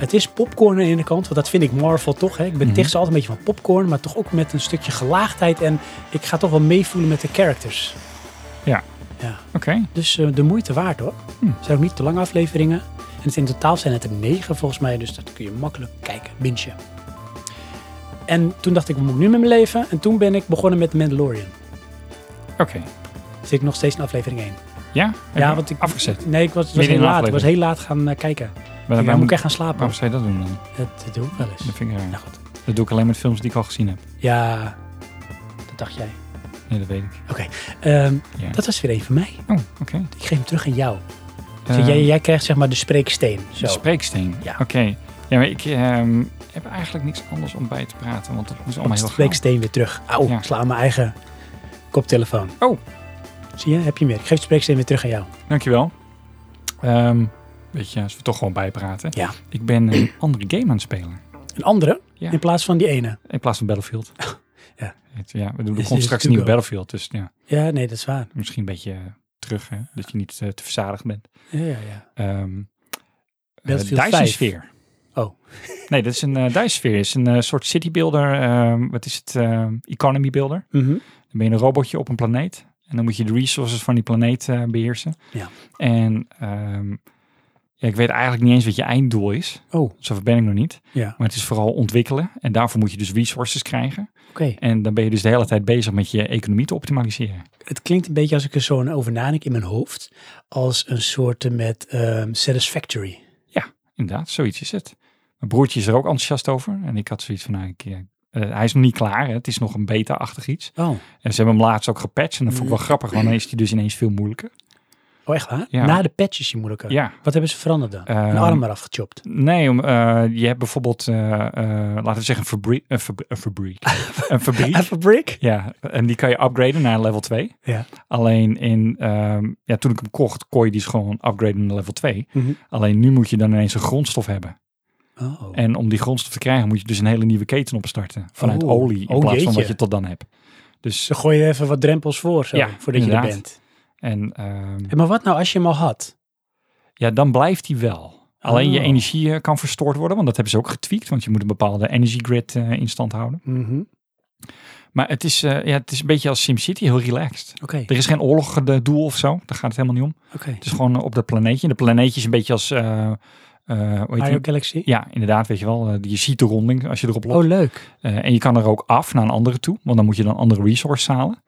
A: Het is popcorn aan de ene kant, want dat vind ik Marvel toch. Hè? Ik ben
C: Mhm.
A: tegen ze altijd een beetje van popcorn, maar toch ook met een stukje gelaagdheid. En ik ga toch wel meevoelen met de characters.
C: Ja.
A: Ja.
C: Oké.
A: Dus eh, de moeite waard hoor.
C: Hm.
A: Het zijn ook niet te lange afleveringen. En het, in totaal zijn het er negen volgens mij. Dus dat kun je makkelijk kijken, bintje. En toen dacht ik, wat moet ik nu met mijn leven? En toen ben ik begonnen met The Mandalorian.
C: Oké.
A: Zit ik nog steeds in aflevering 1.
C: Ja? Heb je
A: want ik-
C: Afgezet.
A: Nee, ik was, het was
C: Midden
A: heel
C: in de
A: laat. Ik was heel
C: aflevering.
A: laat gaan eh, kijken.
C: Maar Oh.
A: Dan
C: waarom,
A: moet ik echt gaan slapen.
C: waarom zou je dat doen dan?
A: Dat, dat doe ik wel eens.
C: Dat vind ik raar.
A: Nou goed.
C: Dat doe ik alleen met films die ik al gezien heb.
A: Ja, dat dacht jij.
C: Nee, dat weet ik.
A: Ehm,
C: Ja.
A: Dat was weer één van mij.
C: Oh, oké.
A: Ik geef hem terug aan jou. Dus
C: Ehm,
A: jij, jij krijgt zeg maar de spreeksteen.
C: de
A: Zo.
C: spreeksteen.
A: Ja.
C: Oké. Ja, maar ik ehm, heb eigenlijk niks anders om bij te praten, want het is allemaal
A: Komt
C: Oh, heel
A: de
C: gauw.
A: spreeksteen weer terug. Auw,
C: Ja.
A: ik sla aan mijn eigen koptelefoon.
C: Oh.
A: Zie je, heb je meer. Ik geef de spreeksteen weer terug aan jou.
C: Dankjewel. Ehm weet je, als we toch gewoon bijpraten.
A: Ja.
C: Ik ben een andere game aan het spelen.
A: Een andere,
C: Ja.
A: in plaats van die ene.
C: In plaats van Battlefield.
A: Ja.
C: Het- ja we doen er
A: Is-
C: komt
A: is
C: straks
A: to
C: een nieuwe
A: go.
C: Battlefield, dus ja,
A: Ja, nee, dat is waar.
C: misschien een beetje eh, terug, hè, dat je niet eh, te verzadigd bent.
A: Ja, ja, ja.
C: Ehm eh,
A: Battlefield
C: Dyson
A: 5.
C: Sphere.
A: Oh.
C: nee, dat is een eh Dyson Sphere. is een eh, soort city builder. ehm, wat is het? ehm, economy builder.
A: Mhm.
C: Dan ben je een robotje op een planeet. En dan moet je de resources van die planeet eh, beheersen.
A: Ja.
C: En ehm, ja, ik weet eigenlijk niet eens wat je einddoel is.
A: Oh,
C: Zover ben ik nog niet.
A: ja.
C: Maar het is vooral ontwikkelen. En daarvoor moet je dus resources krijgen.
A: Oké.
C: En dan ben je dus de hele tijd bezig met je economie te optimaliseren.
A: Het klinkt een beetje als ik er zo over nadenk in mijn hoofd. Als een soort met ehm, Satisfactory.
C: Inderdaad, zoiets is het. Mijn broertje is er ook enthousiast over. En ik had zoiets van, nou, ik, eh, eh, hij is nog niet klaar. Hè? Het is nog een beta-achtig iets.
A: Oh,
C: En ze hebben hem laatst ook gepatcht. En dat
A: Mm.
C: vond ik wel grappig, want dan is hij dus ineens veel moeilijker.
A: oh echt waar?
C: Ja.
A: Na de patch is hij moeilijker.
C: Ja.
A: Wat hebben ze veranderd dan?
C: Ehm,
A: een arm eraf gechopt.
C: Nee, om, eh, je hebt bijvoorbeeld, eh, eh, laten we zeggen, een fabriek. Een, fabri- een fabriek. een fabriek.
A: Even break?
C: Ja, en die kan je upgraden naar level 2.
A: Ja.
C: Alleen in, ehm, ja, toen ik hem kocht, kon je die dus gewoon upgraden naar level 2.
A: Mhm.
C: Alleen nu moet je dan ineens een grondstof hebben.
A: Oh.
C: En om die grondstof te krijgen, moet je dus een hele nieuwe keten opstarten. Vanuit
A: Oh.
C: olie, in
A: Oh,
C: plaats van wat
A: jeetje.
C: je tot dan hebt. Dus,
A: Ze gooien even wat drempels voor, zo,
C: Ja,
A: voordat je er
C: inderdaad.
A: bent.
C: en ehm,
A: Hé, maar wat nou als je hem al had?
C: ja, dan blijft die wel. Alleen je
A: Oh.
C: energie eh, kan verstoord worden, want dat hebben ze ook getweakt. Want je moet een bepaalde energy grid eh, in stand houden.
A: Mhm.
C: Maar het is, eh, ja, het is een beetje als SimCity, heel relaxed.
A: Oké,
C: Er is geen oorlog eh, doel of zo, daar gaat het helemaal niet om.
A: oké.
C: Het is gewoon eh, op dat planeetje. De planeetje is een beetje als eh, eh, hoe heet
A: Mario
C: die?
A: Galaxy.
C: Ja, inderdaad, weet je wel. eh, je ziet de ronding als je erop loopt.
A: Oh, leuk.
C: Eh, en je kan er ook af naar een andere toe, want dan moet je dan andere resources halen.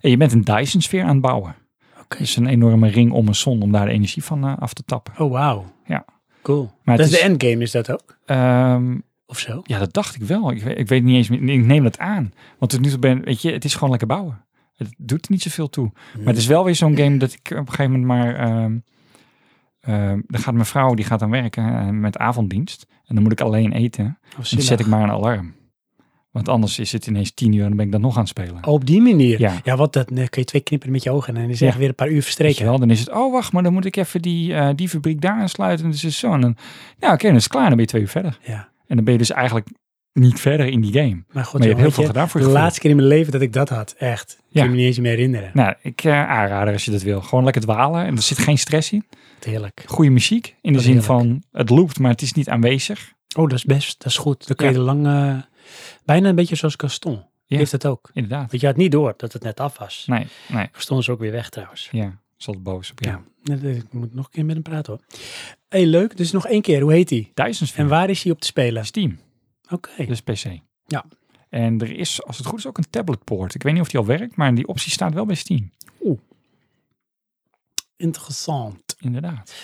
C: En je bent een Dyson-sfeer aan het bouwen.
A: Oké.
C: Dus een enorme ring om een zon om daar de energie van eh, af te tappen.
A: Oh, wauw.
C: Ja.
A: Cool.
C: Maar
A: dat
C: het
A: is de
C: is-
A: endgame, is dat ook?
C: Ehm,
A: Of zo?
C: ja, dat dacht ik wel. Ik, weet- ik weet niet eens meer. Ik neem dat aan. Want tot nu toe ben weet je, het is gewoon lekker bouwen. Het doet er niet zoveel toe. Maar het is wel weer zo'n game dat ik op een gegeven moment maar... ehm, ehm, dan gaat mijn vrouw, die gaat dan werken eh, met avonddienst. En dan moet ik alleen eten.
A: Oh,
C: Dan
A: zielig.
C: zet ik maar een alarm. Want anders is het ineens tien uur en dan ben ik dat nog aan het spelen.
A: Oh, op die manier.
C: Ja.
A: Ja, wat dat nee, kun je twee knippen met je ogen en dan is echt
C: Ja.
A: weer een paar uur
C: Weet je
A: verstreken.
C: wel, dan is het, oh wacht, maar dan moet ik even die, eh, die fabriek daar aansluiten. En dus is zo. En dan, nou oké, dan is het klaar. Dan ben je twee uur verder.
A: Ja.
C: En dan ben je dus eigenlijk niet verder in die game.
A: Maar goed,
C: maar je hebt
A: jongen,
C: heel
A: weet
C: veel gedaan voor je
A: De
C: gevoel.
A: laatste keer in mijn leven dat ik dat had, echt. Ik
C: Ja.
A: kan me niet eens meer herinneren.
C: Nou, ik eh aanrader als je dat wil. Gewoon lekker dwalen. En er zit geen stress in.
A: Heerlijk.
C: Goede muziek. In de
A: Wat
C: zin
A: heerlijk.
C: van, het loopt, maar het is niet aanwezig.
A: Oh, dat is best, dat is goed. Dan kun je
C: Ja.
A: er lang, eh, bijna een beetje zoals Gaston. Die Heeft dat ook.
C: Inderdaad.
A: Want je had niet door dat het net af was.
C: Nee, nee.
A: Gaston is ook weer weg trouwens.
C: Ja, zal het boos op je.
A: Ja. Nee, nee, Ik moet nog een keer met hem praten hoor. hey, leuk. Dus nog één keer. Hoe heet hij? En
C: Duizendsfeer.
A: waar is hij op te spelen?
C: Steam.
A: Oké.
C: Dus PC.
A: Ja.
C: En er is, als het goed is, ook een tabletpoort. Ik weet niet of die al werkt, maar die optie staat wel bij Steam.
A: Interessant.
C: Inderdaad.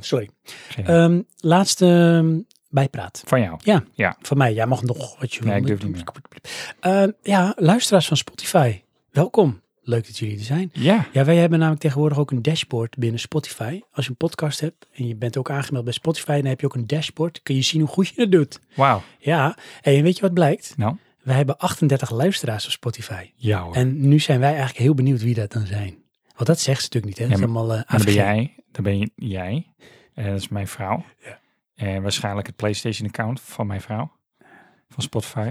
A: Sorry.
C: Geen-
A: Ehm, laatste ehm, bijpraat.
C: van jou.
A: Van mij, jij mag nog wat je wil.
C: Nee, ik durf niet meer.
A: Eh, ja, luisteraars van Spotify, welkom. Leuk dat jullie er zijn.
C: Ja.
A: Ja, wij hebben namelijk tegenwoordig ook een dashboard binnen Spotify. Als je een podcast hebt en je bent ook aangemeld bij Spotify, dan heb je ook een dashboard. Kun je zien hoe goed je het doet.
C: Wauw.
A: Ja, en weet je wat blijkt?
C: Nou.
A: Wij hebben 38 luisteraars op Spotify.
C: Ja hoor.
A: En nu zijn wij eigenlijk heel benieuwd wie dat dan zijn. Want dat zegt ze natuurlijk niet, hè?
C: Ja,
A: Dat is allemaal eh
C: En dan ben
A: AVG.
C: jij, dan ben je, jij, en dat is mijn vrouw.
A: Ja.
C: En waarschijnlijk het PlayStation-account van mijn vrouw, van Spotify.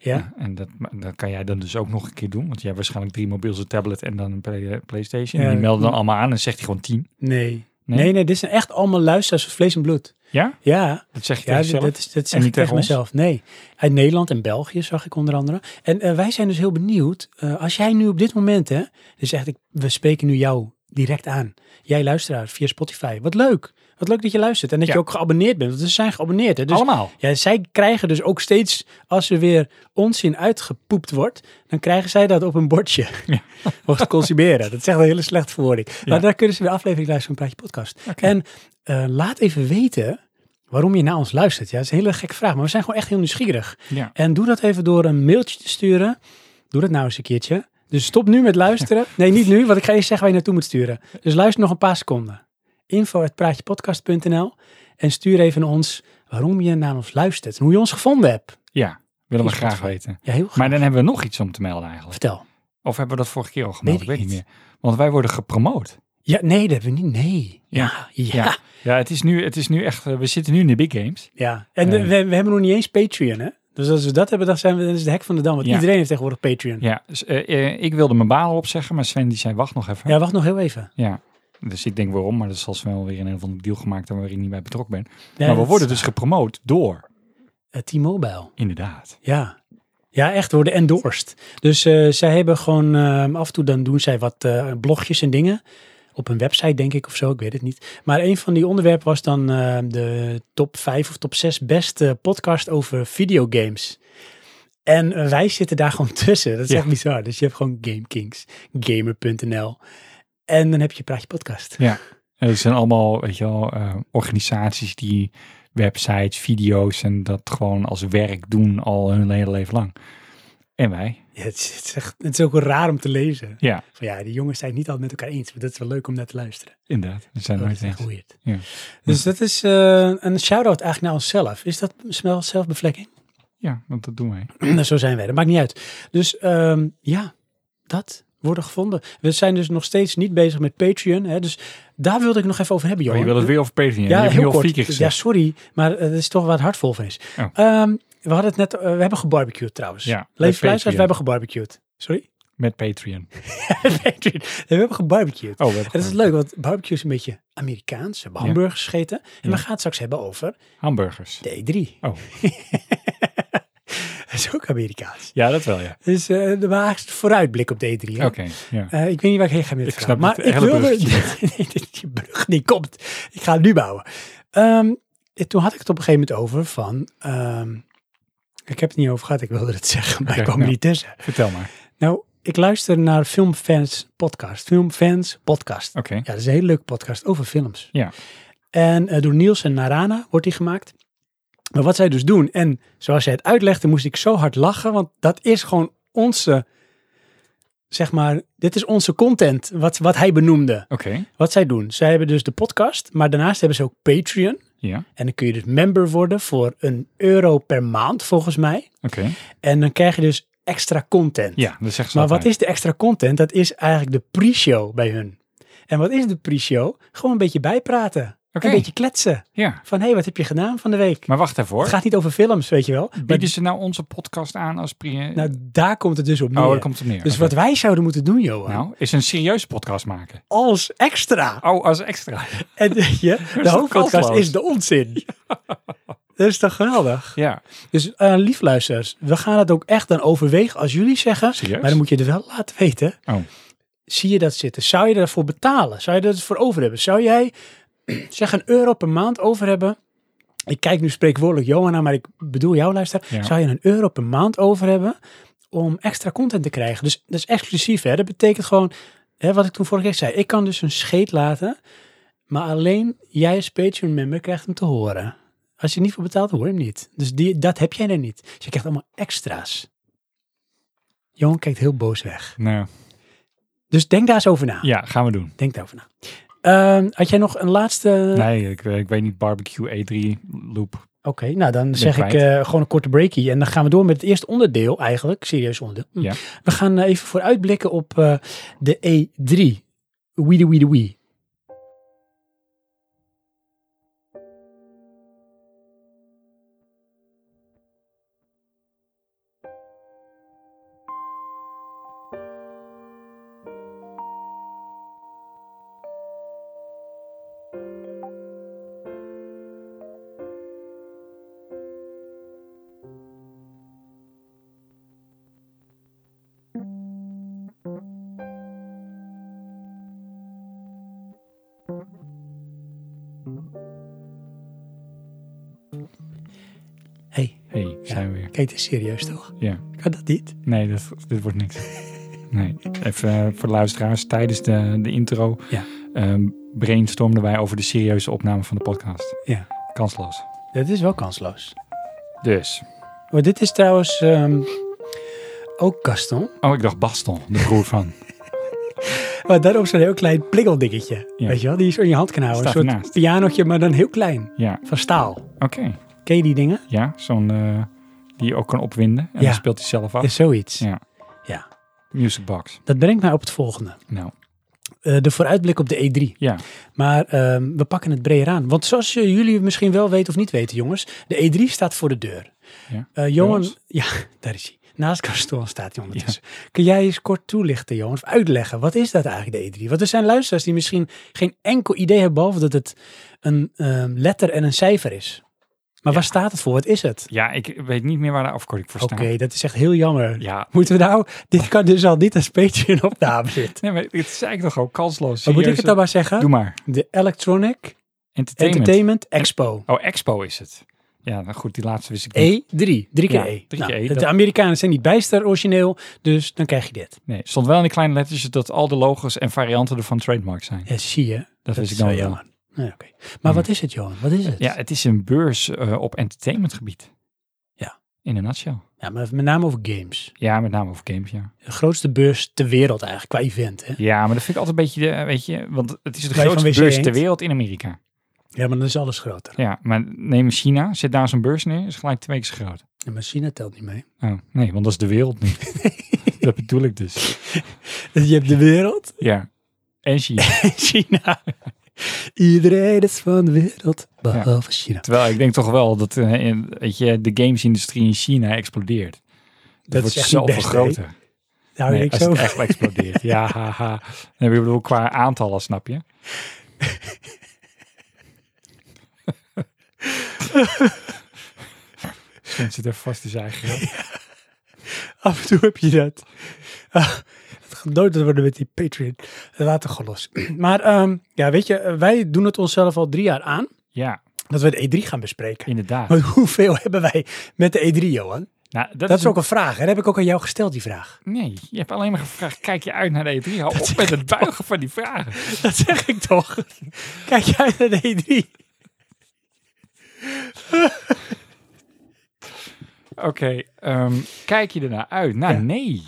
A: Ja?
C: En dat, maar dat kan jij dan dus ook nog een keer doen, want jij hebt waarschijnlijk drie mobiels, een tablet en dan een play- eh, PlayStation.
A: Ja,
C: en die
A: dat
C: melden dan
A: kan.
C: allemaal aan en zegt hij gewoon tien.
A: Nee.
C: Nee?
A: Nee, nee, dit zijn echt allemaal luisteraars van vlees en bloed.
C: Ja?
A: Ja,
C: Dat zeg je
A: Ja,
C: tegen
A: dat,
C: jezelf?
A: dat, is- dat zeg
C: niet
A: ik tegen
C: tegen ons?
A: mezelf. Nee. Uit Nederland en België zag ik onder andere. En eh, wij zijn dus heel benieuwd. eh, als jij nu op dit moment, hè, dus echt, ik, we spreken nu jou direct aan. Jij luisteraar via Spotify. Wat leuk. Wat leuk dat je luistert. En dat
C: Ja.
A: je ook geabonneerd bent. Want ze zijn geabonneerd. Hè? Dus
C: allemaal.
A: ja, zij krijgen dus ook steeds, als er weer onzin uitgepoept wordt, dan krijgen zij dat op een bordje.
C: Ja.
A: Mocht consumeren. Dat is echt een hele slechte verwoording.
C: Ja.
A: Maar daar kunnen ze weer aflevering luisteren van Praatje Podcast. En eh, laat even weten waarom je naar ons luistert. Ja, dat is een hele gekke vraag, maar we zijn gewoon echt heel nieuwsgierig.
C: Ja.
A: En doe dat even door een mailtje te sturen. Doe dat nou eens een keertje. Dus stop nu met luisteren. Nee, niet nu, want ik ga je zeggen waar je naartoe moet sturen. Dus luister nog een paar seconden. info.praatjepodcast.nl en stuur even naar ons waarom je naar ons luistert en hoe je ons gevonden hebt.
C: Ja, willen we
A: Is
C: graag
A: Spotify.
C: weten.
A: Ja, heel graag.
C: Maar dan hebben we nog iets om te melden eigenlijk.
A: Vertel.
C: Of hebben we dat vorige keer al gemeld? Ik
A: ik
C: weet niet
A: niet.
C: meer. Want wij worden gepromoot.
A: Ja, nee, dat hebben we niet. Nee.
C: Ja.
A: Ja. ja.
C: ja het, is nu, het is nu echt, eh, we zitten nu in de big games.
A: Ja, en
C: Eh.
A: we, we hebben nog niet eens Patreon, hè? Dus als we dat hebben, dan zijn we, dan is het hek van de dam. Want
C: Ja.
A: iedereen heeft tegenwoordig Patreon. Ja.
C: Ja, dus, eh, eh, ik wilde mijn baan al opzeggen, maar Sven die zei wacht nog even.
A: wacht nog heel even.
C: Ja, dus ik denk waarom, maar dat zal wel weer in een of andere deal gemaakt hebben waar ik niet bij betrokken ben.
A: Ja,
C: maar we
A: dat-
C: worden dus gepromoot door,
A: eh, T-Mobile.
C: inderdaad.
A: Ja. Ja, echt worden endorsed. Dus eh, zij hebben gewoon, eh, af en toe dan doen zij wat eh, blogjes en dingen. Op een website denk ik of zo, ik weet het niet. Maar een van die onderwerpen was dan eh, de top 5 of top 6 beste podcast over videogames. En eh, wij zitten daar gewoon tussen. Dat is
C: Ja.
A: echt bizar. Dus je hebt gewoon GameKings, Gamer.nl. En dan heb je Praatje Podcast.
C: En dat zijn allemaal, weet je wel, eh, organisaties die websites, video's en dat gewoon als werk doen al hun hele leven lang. En wij.
A: Ja, het, is, het, is echt, het is ook raar om te lezen.
C: Ja.
A: Van ja, die jongens zijn het niet altijd met elkaar eens. Maar dat is wel leuk om naar te luisteren.
C: Inderdaad, we zijn
A: Dat
C: nooit
A: is echt
C: eens.
A: weird.
C: Ja.
A: Dus dat is eh, een shout-out eigenlijk naar onszelf. Is dat snel zelfbevlekking?
C: Ja, want dat doen wij.
A: Nou, Zo zijn wij, dat maakt niet uit. Dus ehm, ja, dat worden gevonden. We zijn dus nog steeds niet bezig met Patreon. Hè, dus daar wilde ik nog even over hebben,
C: Oh,
A: Johan.
C: je wil het weer over
A: Ja,
C: Patreon. je hebt nu
A: heel
C: al vier
A: kort.
C: keer
A: Ja,
C: gezegd.
A: sorry, maar eh, dat is toch waar het hart vol van is.
C: Oh.
A: Ehm, we hadden het net, eh, we hebben gebarbecued trouwens.
C: Ja,
A: Leef
C: met
A: luisteraars,
C: Patreon.
A: we hebben gebarbecued. Sorry?
C: Met Patreon.
A: Patreon. we hebben gebarbecued.
C: Oh, we hebben
A: En dat is
C: gewoon
A: leuk, want barbecue is een beetje Amerikaans. We hebben
C: Ja.
A: hamburgers gegeten. En
C: Ja.
A: we gaan het straks hebben over
C: Hamburgers.
A: de E3.
C: Oh.
A: dat is ook Amerikaans.
C: Ja, dat wel, ja.
A: Dus eh de maagste vooruitblik op de E3. hè?
C: Oké, ja.
A: Eh, ik weet niet waar ik heen ga met
C: Ik
A: het verhaal.
C: snap
A: Maar
C: het
A: ik
C: hele
A: wilde...
C: bruggetje
A: Nee, die brug die komt. Ik ga het nu bouwen. Ehm, en toen had ik het op een gegeven moment over van... ehm, ik heb het niet over gehad, ik wilde het zeggen, maar
C: Oké,
A: ik kwam
C: nou.
A: niet tussen.
C: Vertel maar.
A: Nou, ik luister naar Filmfans podcast. Filmfans podcast.
C: Oké.
A: Ja, dat is een hele leuke podcast over films.
C: Ja.
A: En eh, door Niels en Narana wordt die gemaakt. Maar wat zij dus doen, en zoals zij het uitlegde, moest ik zo hard lachen, want dat is gewoon onze, zeg maar, dit is onze content, wat, wat hij benoemde.
C: Oké.
A: Wat zij doen, zij hebben dus de podcast, maar daarnaast hebben ze ook Patreon.
C: Ja.
A: En dan kun je dus member worden voor een euro per maand, volgens mij.
C: Oké.
A: En dan krijg je dus extra content.
C: Ja, dat zegt ze
A: Maar wat
C: altijd.
A: is de extra content? Dat is eigenlijk de pre-show bij hun. En wat is de pre-show? Gewoon een beetje bijpraten.
C: Oké.
A: Een beetje kletsen.
C: Ja.
A: Van, hé, hey, wat heb je gedaan van de week?
C: Maar wacht even hoor.
A: het gaat niet over films, weet je wel. Maar,
C: Bieden ze nou onze podcast aan als... Pri-
A: nou, daar komt het dus op neer.
C: oh, daar komt het neer.
A: dus
C: Oké.
A: wat wij zouden moeten doen, Johan,
C: Nou, is een serieuze podcast maken.
A: als extra.
C: Oh, als extra.
A: En eh, je, de
C: toch
A: hoofdpodcast
C: kansloos?
A: is de onzin. Dat is toch geweldig?
C: Ja.
A: Dus eh lief luisteraars, we gaan het ook echt dan overwegen als jullie zeggen.
C: Serieus?
A: Maar dan moet je het wel laten weten.
C: Oh.
A: Zie je dat zitten? Zou je daarvoor betalen? Zou je dat voor over hebben? Zou jij, zeg, een euro per maand over hebben? Ik kijk nu spreekwoordelijk Johanna, maar ik bedoel jou, luister.
C: Ja.
A: Zou je een euro per maand over hebben om extra content te krijgen? Dus dat is exclusief, hè? Dat betekent gewoon, hè, wat ik toen vorige keer zei. Ik kan dus een scheet laten, maar alleen jij als Patreon-member krijgt hem te horen. Als je er niet voor betaalt, hoor je hem niet. Dus die, dat heb jij er niet. Dus je krijgt allemaal extra's. Johan kijkt heel boos weg.
C: Nou,
A: Dus denk daar eens over na.
C: ja, gaan we doen.
A: Denk daarover na. Ehm, had jij nog een laatste?
C: Nee, ik, eh, ik weet niet. Barbecue E3 loop.
A: Oké, nou dan zeg ik
C: kwijt.
A: eh, gewoon een korte breakie. En dan gaan we door met het eerste onderdeel eigenlijk. Serieus onderdeel. Hm.
C: Ja.
A: We gaan eh, even vooruitblikken op eh, de E3. Wie de wie de wie. hey,
C: hey, zijn we weer.
A: kijk, dit is serieus toch?
C: Ja.
A: Kan dat niet?
C: Nee, dat, dit wordt niks. Nee. Even eh, voor de luisteraars. Tijdens de, de intro
A: Ja.
C: ehm, brainstormden wij over de serieuze opname van de podcast.
A: Ja.
C: Kansloos.
A: Dat is wel kansloos.
C: Dus.
A: Maar Oh, dit is trouwens ehm, ook Gaston.
C: Oh, ik dacht Baston, de broer van.
A: Maar daarop Oh, zo'n heel klein prikkeldingetje.
C: Ja.
A: Weet je wel, die je zo in je hand kan houden.
C: Staat
A: een soort
C: ernaast.
A: pianotje, maar dan heel klein.
C: Ja,
A: Van staal.
C: oké.
A: Ken je die dingen?
C: Ja, zo'n eh, die je ook kan opwinden. En
A: Ja.
C: dan speelt hij zelf af.
A: Is zoiets.
C: Ja.
A: Ja.
C: Music box.
A: Dat brengt mij op het volgende.
C: Nou,
A: Eh, de vooruitblik op de E3.
C: ja.
A: Maar ehm, we pakken het breder aan. Want zoals eh, jullie misschien wel weten of niet weten, jongens, de E3 staat voor de deur.
C: Ja.
A: Eh, Johan,
C: Jongens?
A: ja, daar is hij. Naast Gaston staat hij ondertussen. Kun jij eens kort toelichten, Johan, of uitleggen, wat is dat eigenlijk, de E3? Want er zijn luisteraars die misschien geen enkel idee hebben, behalve dat het een ehm, letter en een cijfer is. Maar waar staat het voor? Wat is het?
C: Ja, ik weet niet meer waar de afkorting voor
A: Oké,
C: staat.
A: dat is echt heel jammer.
C: Ja.
A: Moeten we nou, dit kan dus al niet als Patreon in opname zitten.
C: Nee, maar het is eigenlijk toch ook kansloos.
A: Wat moet ik
C: Serieuze-
A: het dan maar
C: Doe
A: zeggen?
C: maar.
A: De Electronic
C: Entertainment.
A: Entertainment Expo.
C: Oh, Expo is het. Ja, nou goed, die laatste wist ik niet.
A: E3. Drie keer
C: Ja,
A: E.
C: drie keer
A: Nou,
C: E,
A: de
C: dat-
A: Amerikanen zijn niet bijster origineel, dus dan krijg je dit.
C: Nee, stond wel in de kleine letters dat al de logos en varianten ervan trademark zijn.
A: Ja, zie je.
C: Dat,
A: Dat
C: wist
A: is
C: ik dan
A: wel
C: wel.
A: jammer. Ja, oké. Maar wat is het, Johan? Wat is het?
C: Ja, het is een beurs eh, op entertainmentgebied.
A: Ja.
C: In een nutshell.
A: Ja, maar met name over games.
C: Ja, met name over games, ja.
A: De grootste beurs ter wereld eigenlijk, qua event. Hè?
C: Ja, maar dat vind ik altijd een beetje, de, eh, weet je, want het is de
A: Wij van
C: grootste
A: WC
C: beurs
A: Eend.
C: ter wereld in Amerika.
A: Ja, maar dan is alles groter.
C: Ja, maar neem China, zet daar zo'n beurs neer, is gelijk twee keer zo groot.
A: Ja, maar China telt niet mee.
C: Oh, nee, want dat is de wereld niet. dat bedoel ik dus.
A: Je hebt de wereld
C: Ja. En China.
A: en China. Iedereen is van de wereld, behalve China.
C: Terwijl ik denk toch wel dat eh, in- weet je, de gamesindustrie in China explodeert.
A: Dat is
C: wordt
A: echt
C: zoveel
A: niet best, hè?
C: groter.
A: Daar hou
C: Nee,
A: je niks
C: als het
A: over.
C: echt wel explodeert. ja, haha. Nee, ik bedoel, qua aantallen, snap je? Misschien zit er vast in zijn eigen grap.
A: Af en toe heb je dat. Ah, het gaat nooit wat worden met die Patreon. eh, Laat het gewoon los. Maar ehm, ja, weet je, wij doen het onszelf al drie jaar aan.
C: Ja,
A: dat we de E3 gaan bespreken.
C: Inderdaad.
A: Maar hoeveel hebben wij met de E3, Johan?
C: Nou, dat,
A: Dat, is ook een vraag. En heb ik ook aan jou gesteld, die vraag.
C: een- Nee, je hebt alleen maar gevraagd, kijk je uit naar de E3? Hou op met het buigen van die vragen.
A: Dat zeg ik toch. Kijk jij naar de E E3?
C: Oké, ehm, kijk je ernaar uit? Nou, nee.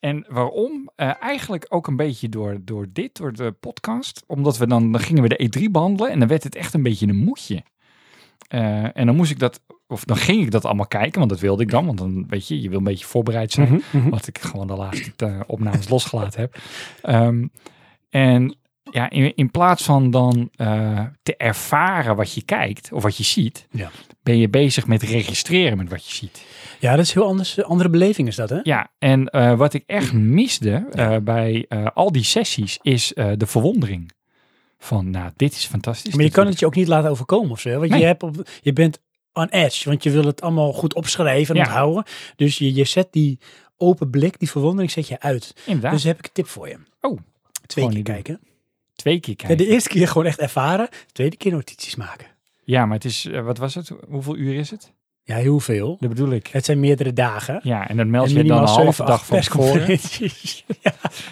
C: En waarom? Eh, eigenlijk ook een beetje door, door dit, door de podcast. Omdat we dan, dan gingen we de E3 behandelen en dan werd het echt een beetje een moedje. Eh, en dan moest ik dat, of dan ging ik dat allemaal kijken, want dat wilde ik dan. Want dan, weet je, je wil een beetje voorbereid zijn. Wat ik gewoon de laatste eh, opnames losgelaten heb. Ehm, en ja, in, in plaats van dan eh, te ervaren wat je kijkt of wat je ziet,
A: Ja.
C: ben je bezig met registreren met wat je ziet.
A: Ja, dat is heel anders. eh, Andere beleving is dat, hè?
C: Ja, en eh, wat ik echt misde eh, bij eh, al die sessies is eh, de verwondering. Van, nou, dit is fantastisch.
A: Maar je
C: dit
A: kan
C: wil
A: het je ook niet laten overkomen of zo. hè? Want
C: Nee.
A: je, hebt op, je bent on edge, want je wil het allemaal goed opschrijven en
C: Ja.
A: onthouden. Dus je, je zet die open blik, die verwondering, zet je uit.
C: ik. Inderdaad,
A: Dus heb ik een tip voor je.
C: Oh,
A: Twee keer
C: niet doen.
A: kijken.
C: twee keer
A: Ja,
C: kijken.
A: de eerste keer gewoon echt ervaren. De tweede keer notities maken.
C: Ja, maar het is, eh, wat was het? Hoeveel uur is het?
A: Ja, heel veel.
C: Dat bedoel ik.
A: Het zijn meerdere dagen.
C: Ja, en dan meld
A: En
C: je dan
A: minimaal
C: een halve
A: zeven,
C: dag
A: acht
C: van tevoren.
A: persconferenties.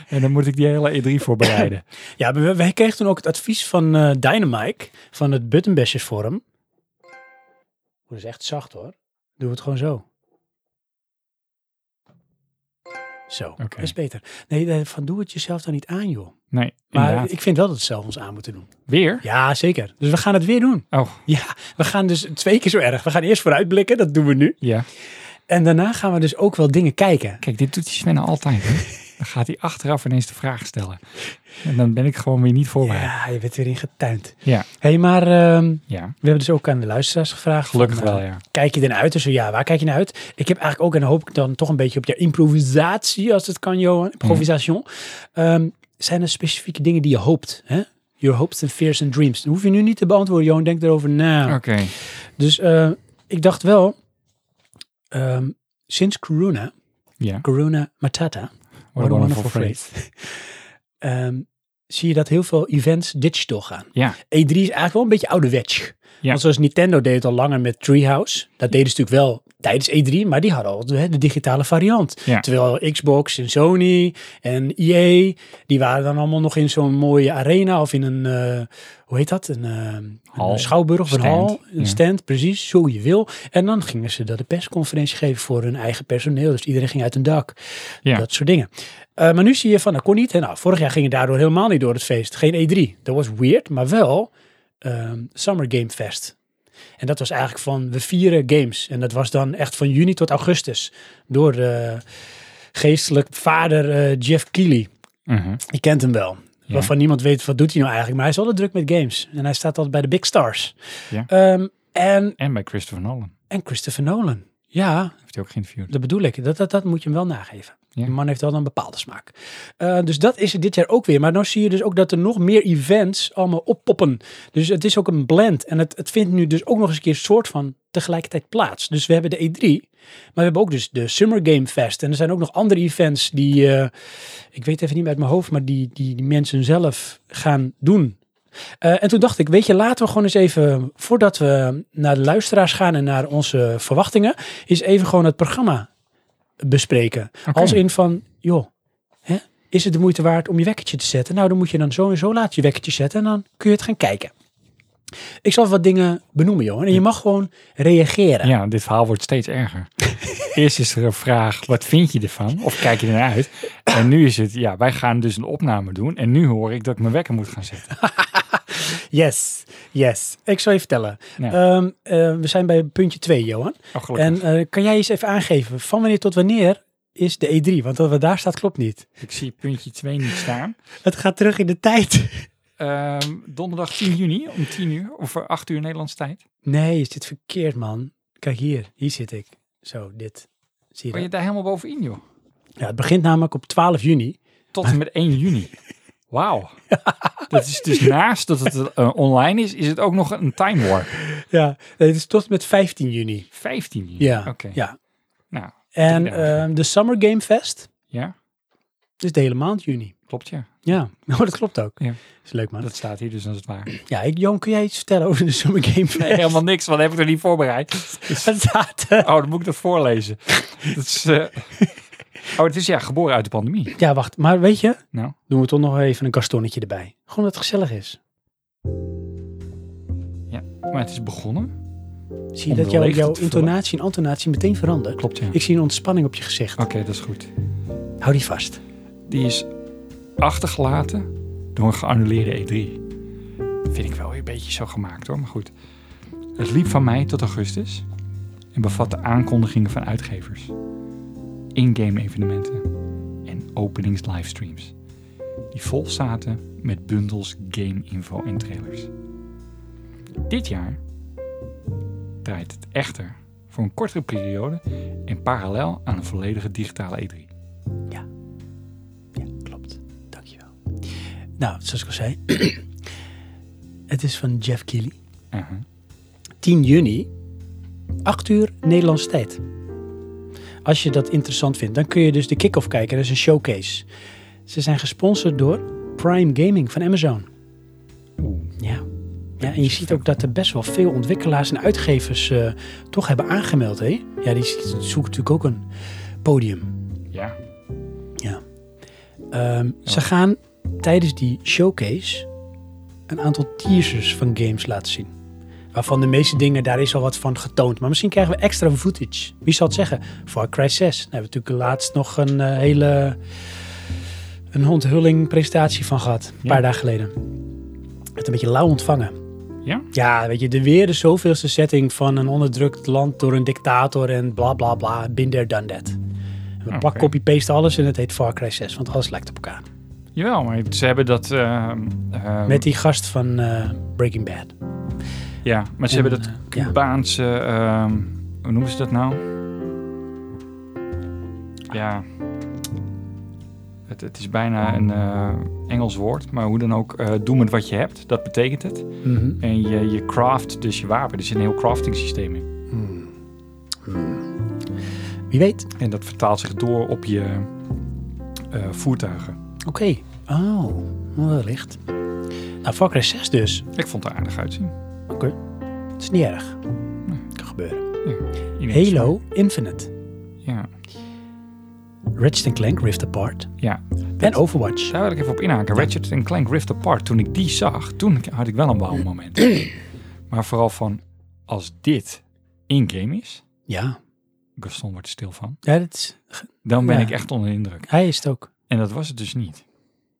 C: En dan moet ik die hele E3 voorbereiden.
A: Ja, maar we- wij kregen toen ook het advies van eh Dynamike, van het Buttonbashers Forum. Oeh, Dat is echt zacht hoor. Doe het gewoon zo. Zo, dat is beter. Nee, eh, van doe het jezelf dan niet aan joh.
C: Nee,
A: Maar
C: inderdaad.
A: ik vind wel dat we het zelf ons aan moeten doen.
C: Weer?
A: Ja, zeker. Dus we gaan het weer doen.
C: Oh,
A: Ja, we gaan dus twee keer zo erg. We gaan eerst vooruitblikken, dat doen we nu.
C: ja.
A: En daarna gaan we dus ook wel dingen kijken.
C: Kijk, dit doet die Sven altijd. Hè? Dan gaat hij achteraf ineens de vraag stellen. En dan ben ik gewoon weer niet voorbereid. Ja,
A: Ja, je bent weer ingetuind.
C: ja.
A: Hé, hey, maar ehm, we hebben dus ook aan de luisteraars gevraagd.
C: gelukkig
A: van, eh,
C: wel, ja.
A: kijk je dan uit? Dus ja, waar kijk je naar uit? Ik heb eigenlijk ook, en dan hoop ik dan toch een beetje op jouw improvisatie, als het kan, Johan. Improvisation.
C: Mhm.
A: Ehm, zijn er specifieke dingen die je hoopt? Hè? Your hopes and fears and dreams. Dat hoef je nu niet te beantwoorden, Johan. Denk erover na.
C: Oké.
A: Dus eh, ik dacht wel, ehm, sinds corona,
C: Ja.
A: corona matata,
C: What a wonderful phrase.
A: phrase. Ehm, zie je dat heel veel events digital gaan.
C: Ja,
A: E3 is eigenlijk wel een beetje ouderwets.
C: Ja.
A: Want zoals Nintendo deed het al langer met Treehouse. Dat deden ze natuurlijk wel tijdens E3, maar die hadden al de, de digitale variant.
C: Ja.
A: Terwijl Xbox en Sony en EA, die waren dan allemaal nog in zo'n mooie arena of in een, eh, hoe heet dat? Een, eh,
C: Hal.
A: een schouwburg of een
C: Stand.
A: hal, een
C: Ja.
A: stand, precies, zo je wil. En dan gingen ze dat de persconferentie geven voor hun eigen personeel. Dus iedereen ging uit hun dak.
C: Ja.
A: Dat soort dingen. Eh, maar nu zie je van, dat kon niet. En nou, vorig jaar ging het daardoor helemaal niet door het feest. Geen E3. Dat was weird, maar wel ehm, Summer Game Fest. En dat was eigenlijk van, we vieren games. En dat was dan echt van juni tot augustus. Door eh, geestelijk vader eh, Jeff Keighley.
C: Mhm.
A: Je kent hem wel.
C: Ja.
A: Waarvan niemand weet, wat doet hij nou eigenlijk? Maar hij is altijd druk met games. En hij staat altijd bij de big stars.
C: Ja.
A: Ehm, en,
C: en bij Christopher Nolan.
A: en Christopher Nolan. Ja,
C: Heeft hij ook geïnterviewd.
A: dat bedoel ik. Dat, dat, dat moet je hem wel nageven.
C: Ja.
A: De man heeft wel een bepaalde smaak. Eh, dus dat is er dit jaar ook weer. Maar nu zie je dus ook dat er nog meer events allemaal oppoppen. Dus het is ook een blend. En het, het vindt nu dus ook nog eens een keer soort van tegelijkertijd plaats. Dus we hebben de E3. Maar we hebben ook dus de Summer Game Fest. En er zijn ook nog andere events die... eh, ik weet even niet meer uit mijn hoofd, maar die, die, die mensen zelf gaan doen. Eh, en toen dacht ik, weet je, laten we gewoon eens even, voordat we naar de luisteraars gaan en naar onze verwachtingen, is even gewoon het programma bespreken.
C: Oké.
A: Als in van, joh, hè, is het de moeite waard om je wekkertje te zetten? Nou, dan moet je dan zo en zo laat je wekkertje zetten en dan kun je het gaan kijken. Ik zal wat dingen benoemen, joh. En je mag gewoon reageren.
C: Ja, dit verhaal wordt steeds erger. Eerst is er een vraag, wat vind je ervan? Of kijk je ernaar uit? En nu is het, ja, wij gaan dus een opname doen. En nu hoor ik dat ik mijn wekker moet gaan zetten.
A: Yes, yes. Ik zal je vertellen.
C: Ja.
A: Ehm, eh, we zijn bij puntje 2, Johan.
C: Oh, gelukkig.
A: En eh, kan jij eens even aangeven, van wanneer tot wanneer is de E3? Want wat daar staat klopt niet.
C: Ik zie puntje 2 niet staan.
A: Het gaat terug in de tijd.
C: Ehm, donderdag 10 juni om 10 uur of eh, 8 uur Nederlands tijd.
A: Nee, is dit verkeerd, man. Kijk hier, hier zit ik. Zo, dit. Zie
C: Ben
A: je
C: Oh, je
A: dat?
C: daar helemaal bovenin, joh?
A: Ja, het begint namelijk op 12 juni.
C: Tot en met 1 juni. Wauw. Dat is dus naast dat het eh, online is, is het ook nog een time warp.
A: Ja, nee, het is tot en met 15 juni.
C: 15 juni.
A: Ja,
C: Oké.
A: ja.
C: Nou,
A: En
C: Ja.
A: ehm, de Summer Game Fest
C: ja.
A: is de hele maand juni.
C: Klopt, ja.
A: Ja, oh, dat klopt ook.
C: Ja.
A: Is leuk man.
C: Dat staat hier dus als het waar.
A: Ja, ik, Jan, kun jij iets vertellen over de Summer Game Fest?
C: Nee, helemaal niks, want dat heb ik er niet voorbereid.
A: Wat staat er?
C: Oh, dan moet ik dat voorlezen. Dat is, eh, Oh, het is ja geboren uit de pandemie.
A: Ja, wacht. Maar weet je,
C: Nou,
A: doen we toch nog even een kastonnetje erbij. Gewoon dat het gezellig is.
C: maar het is begonnen.
A: Zie je dat jouw,
C: Om leeg
A: jouw
C: te vullen.
A: intonatie en antonatie meteen verandert?
C: Klopt, ja. Ah.
A: Ik zie een ontspanning op je gezicht.
C: Oké, dat is goed.
A: Hou die vast.
C: Die is achtergelaten door een geannuleerde E3. Vind ik wel weer een beetje zo gemaakt hoor, maar goed. Het liep van mei tot augustus en bevatte aankondigingen van uitgevers, in-game evenementen en openings-livestreams. Die vol zaten met bundels game-info en trailers. Dit jaar draait het echter voor een kortere periode en parallel aan een volledige digitale E E3.
A: Ja, klopt. Dankjewel. Nou, zoals ik al zei. het is van Jeff Keighley.
C: Aha.
A: 10 juni, 8 uur Nederlands tijd. Als je dat interessant vindt, dan kun je dus de kick-off kijken. Dat is een showcase. Ze zijn gesponsord door Prime Gaming van Amazon.
C: Oeh.
A: Ja. ja en je ziet ook dat er best wel veel ontwikkelaars en uitgevers eh, toch hebben aangemeld. Hè? Ja, die zoekt natuurlijk ook een podium.
C: Ja,
A: Ehm, Ze gaan tijdens die showcase een aantal teasers van games laten zien. Waarvan de meeste dingen, daar is al wat van getoond. Maar misschien krijgen we extra footage. Wie zal het zeggen? Far Cry 6. Daar hebben we natuurlijk laatst nog een eh, hele... een onthulling presentatie van gehad. Een
C: Ja.
A: paar dagen geleden. Het een beetje lauw ontvangen.
C: Ja?
A: Ja, weet je, de weer de zoveelste setting van een onderdrukt land door een dictator en bla bla bla. Been there, done that. En we
C: Ah, Oké.
A: pak copy-paste alles en het heet Far Cry 6. Want alles lijkt op elkaar.
C: Jawel, maar ze hebben dat. ehm, ehm,
A: Met die gast van eh, Breaking Bad.
C: Ja, maar ze
A: En,
C: hebben dat
A: eh, ja.
C: Cubaanse. ehm, hoe noemen ze dat nou? Ja. Het, het is bijna een eh, Engels woord, maar hoe dan ook, eh, doe met wat je hebt, dat betekent het.
A: Mhm.
C: En je, je craft dus je wapen, er zit een heel crafting systeem in.
A: Wie weet.
C: En dat vertaalt zich door op je eh, voertuigen.
A: Oké. Oh, wellicht. Nou, Far Cry 6 dus.
C: Ik vond het er aardig uitzien.
A: Oké. Het is niet erg.
C: Hm,
A: Kan gebeuren.
C: Ineens-
A: Halo Infinite.
C: Ja,
A: Ratchet Clank Rift Apart.
C: ja,
A: En Overwatch.
C: Daar wil ik even op inhaken. Ratchet en Clank Rift Apart, toen ik die zag, toen had ik wel een bouwmoment. maar vooral van, als dit in-game is,
A: Ja.
C: Gaston wordt er stil van,
A: ja dat is,
C: dan ben
A: Ja.
C: ik echt onder de indruk.
A: hij is het ook.
C: En dat was het dus niet.